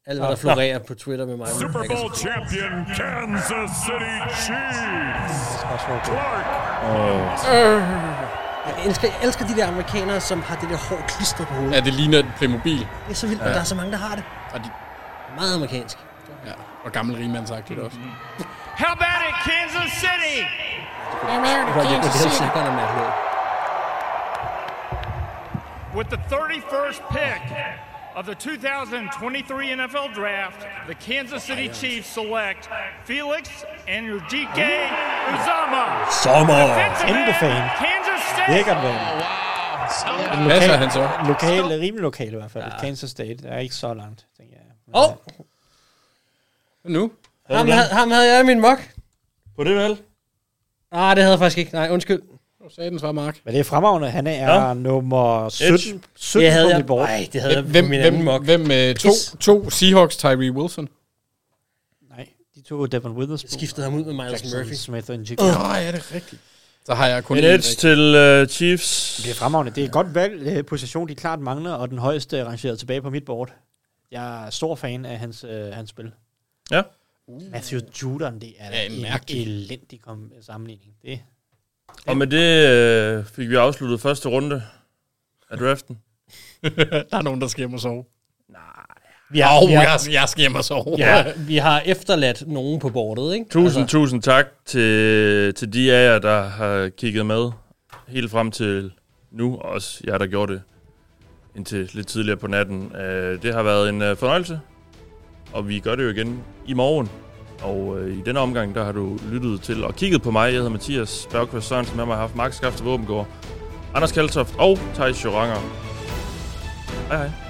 Alt, hvad der Nå. florerer på Twitter med mig. Super Bowl champion Kansas City Chiefs. Clark. Øh. Jeg elsker, jeg elsker de der amerikanere, som har det der hår klistret på hovedet. Ja, det ligner et Playmobil. Det er så vildt, ja. og der er så mange, der har det. Og de... Meget amerikansk. Ja, og gammel rigmandsagtigt også. How about it, Kansas City? With the 31st pick of the 2023 NFL Draft, the Kansas City Chiefs select Felix Anudike Uzama. Sommer. Defensive Kæmpe fan. end, Kansas State. Lækkert valg. En Hvad så, han så? Lokal, rimelig lokal i hvert fald. Ja. Kansas State. Det er ikke så langt, tænker jeg. Åh! Nu? Ham, havde- ham havde jeg i min mok. På det vel? Ah, det havde jeg faktisk ikke. Nej, undskyld. Hvor sagde den svar, Mark? Men det er fremragende. Han er Ja. ja. nummer 17, Et. 17 Det havde på jeg- mit board. Ej, det havde jeg på hvem, Øh, min hvem, anden mock. hvem øh, to, Yes. to Seahawks Tyree Wilson? De to Devon Witherspoon. Skiftede ham ud med Miles Jackson Murphy. Smith og Njik. Åh, ja, det er rigtigt. Så har jeg kun En én edge rigtig. til øh, Chiefs. Det er fremragende. Det er et godt valg. øh, Position, de klart mangler, og den højeste rangeret tilbage på mit board. Jeg er stor fan af hans, øh, hans spil. Ja. Matthew Judon, det er Ja, ja, en mærkelig. elendig kom- sammenligning. Det. Og med det øh, fik vi afsluttet første runde af draften. der er nogen, der skal hjem og sove. Vi Au, jeg- jeg skal hjem og sove. Ja, vi har efterladt nogen på bordet, ikke? Tusind, altså. tusind tak til, til de af jer, der har kigget med helt frem til nu. og Også jer, der gjorde det indtil lidt tidligere på natten. Øh, Det har været en øh, fornøjelse, og vi gør det jo igen i morgen. Og øh, i denne omgang, der har du lyttet til og kigget på mig. Jeg hedder Mathias Bergqvist Sørensen, med mig har haft Mark Skafte Våbengård, Anders Kaltoft og Thijs Joranger. Hej hej.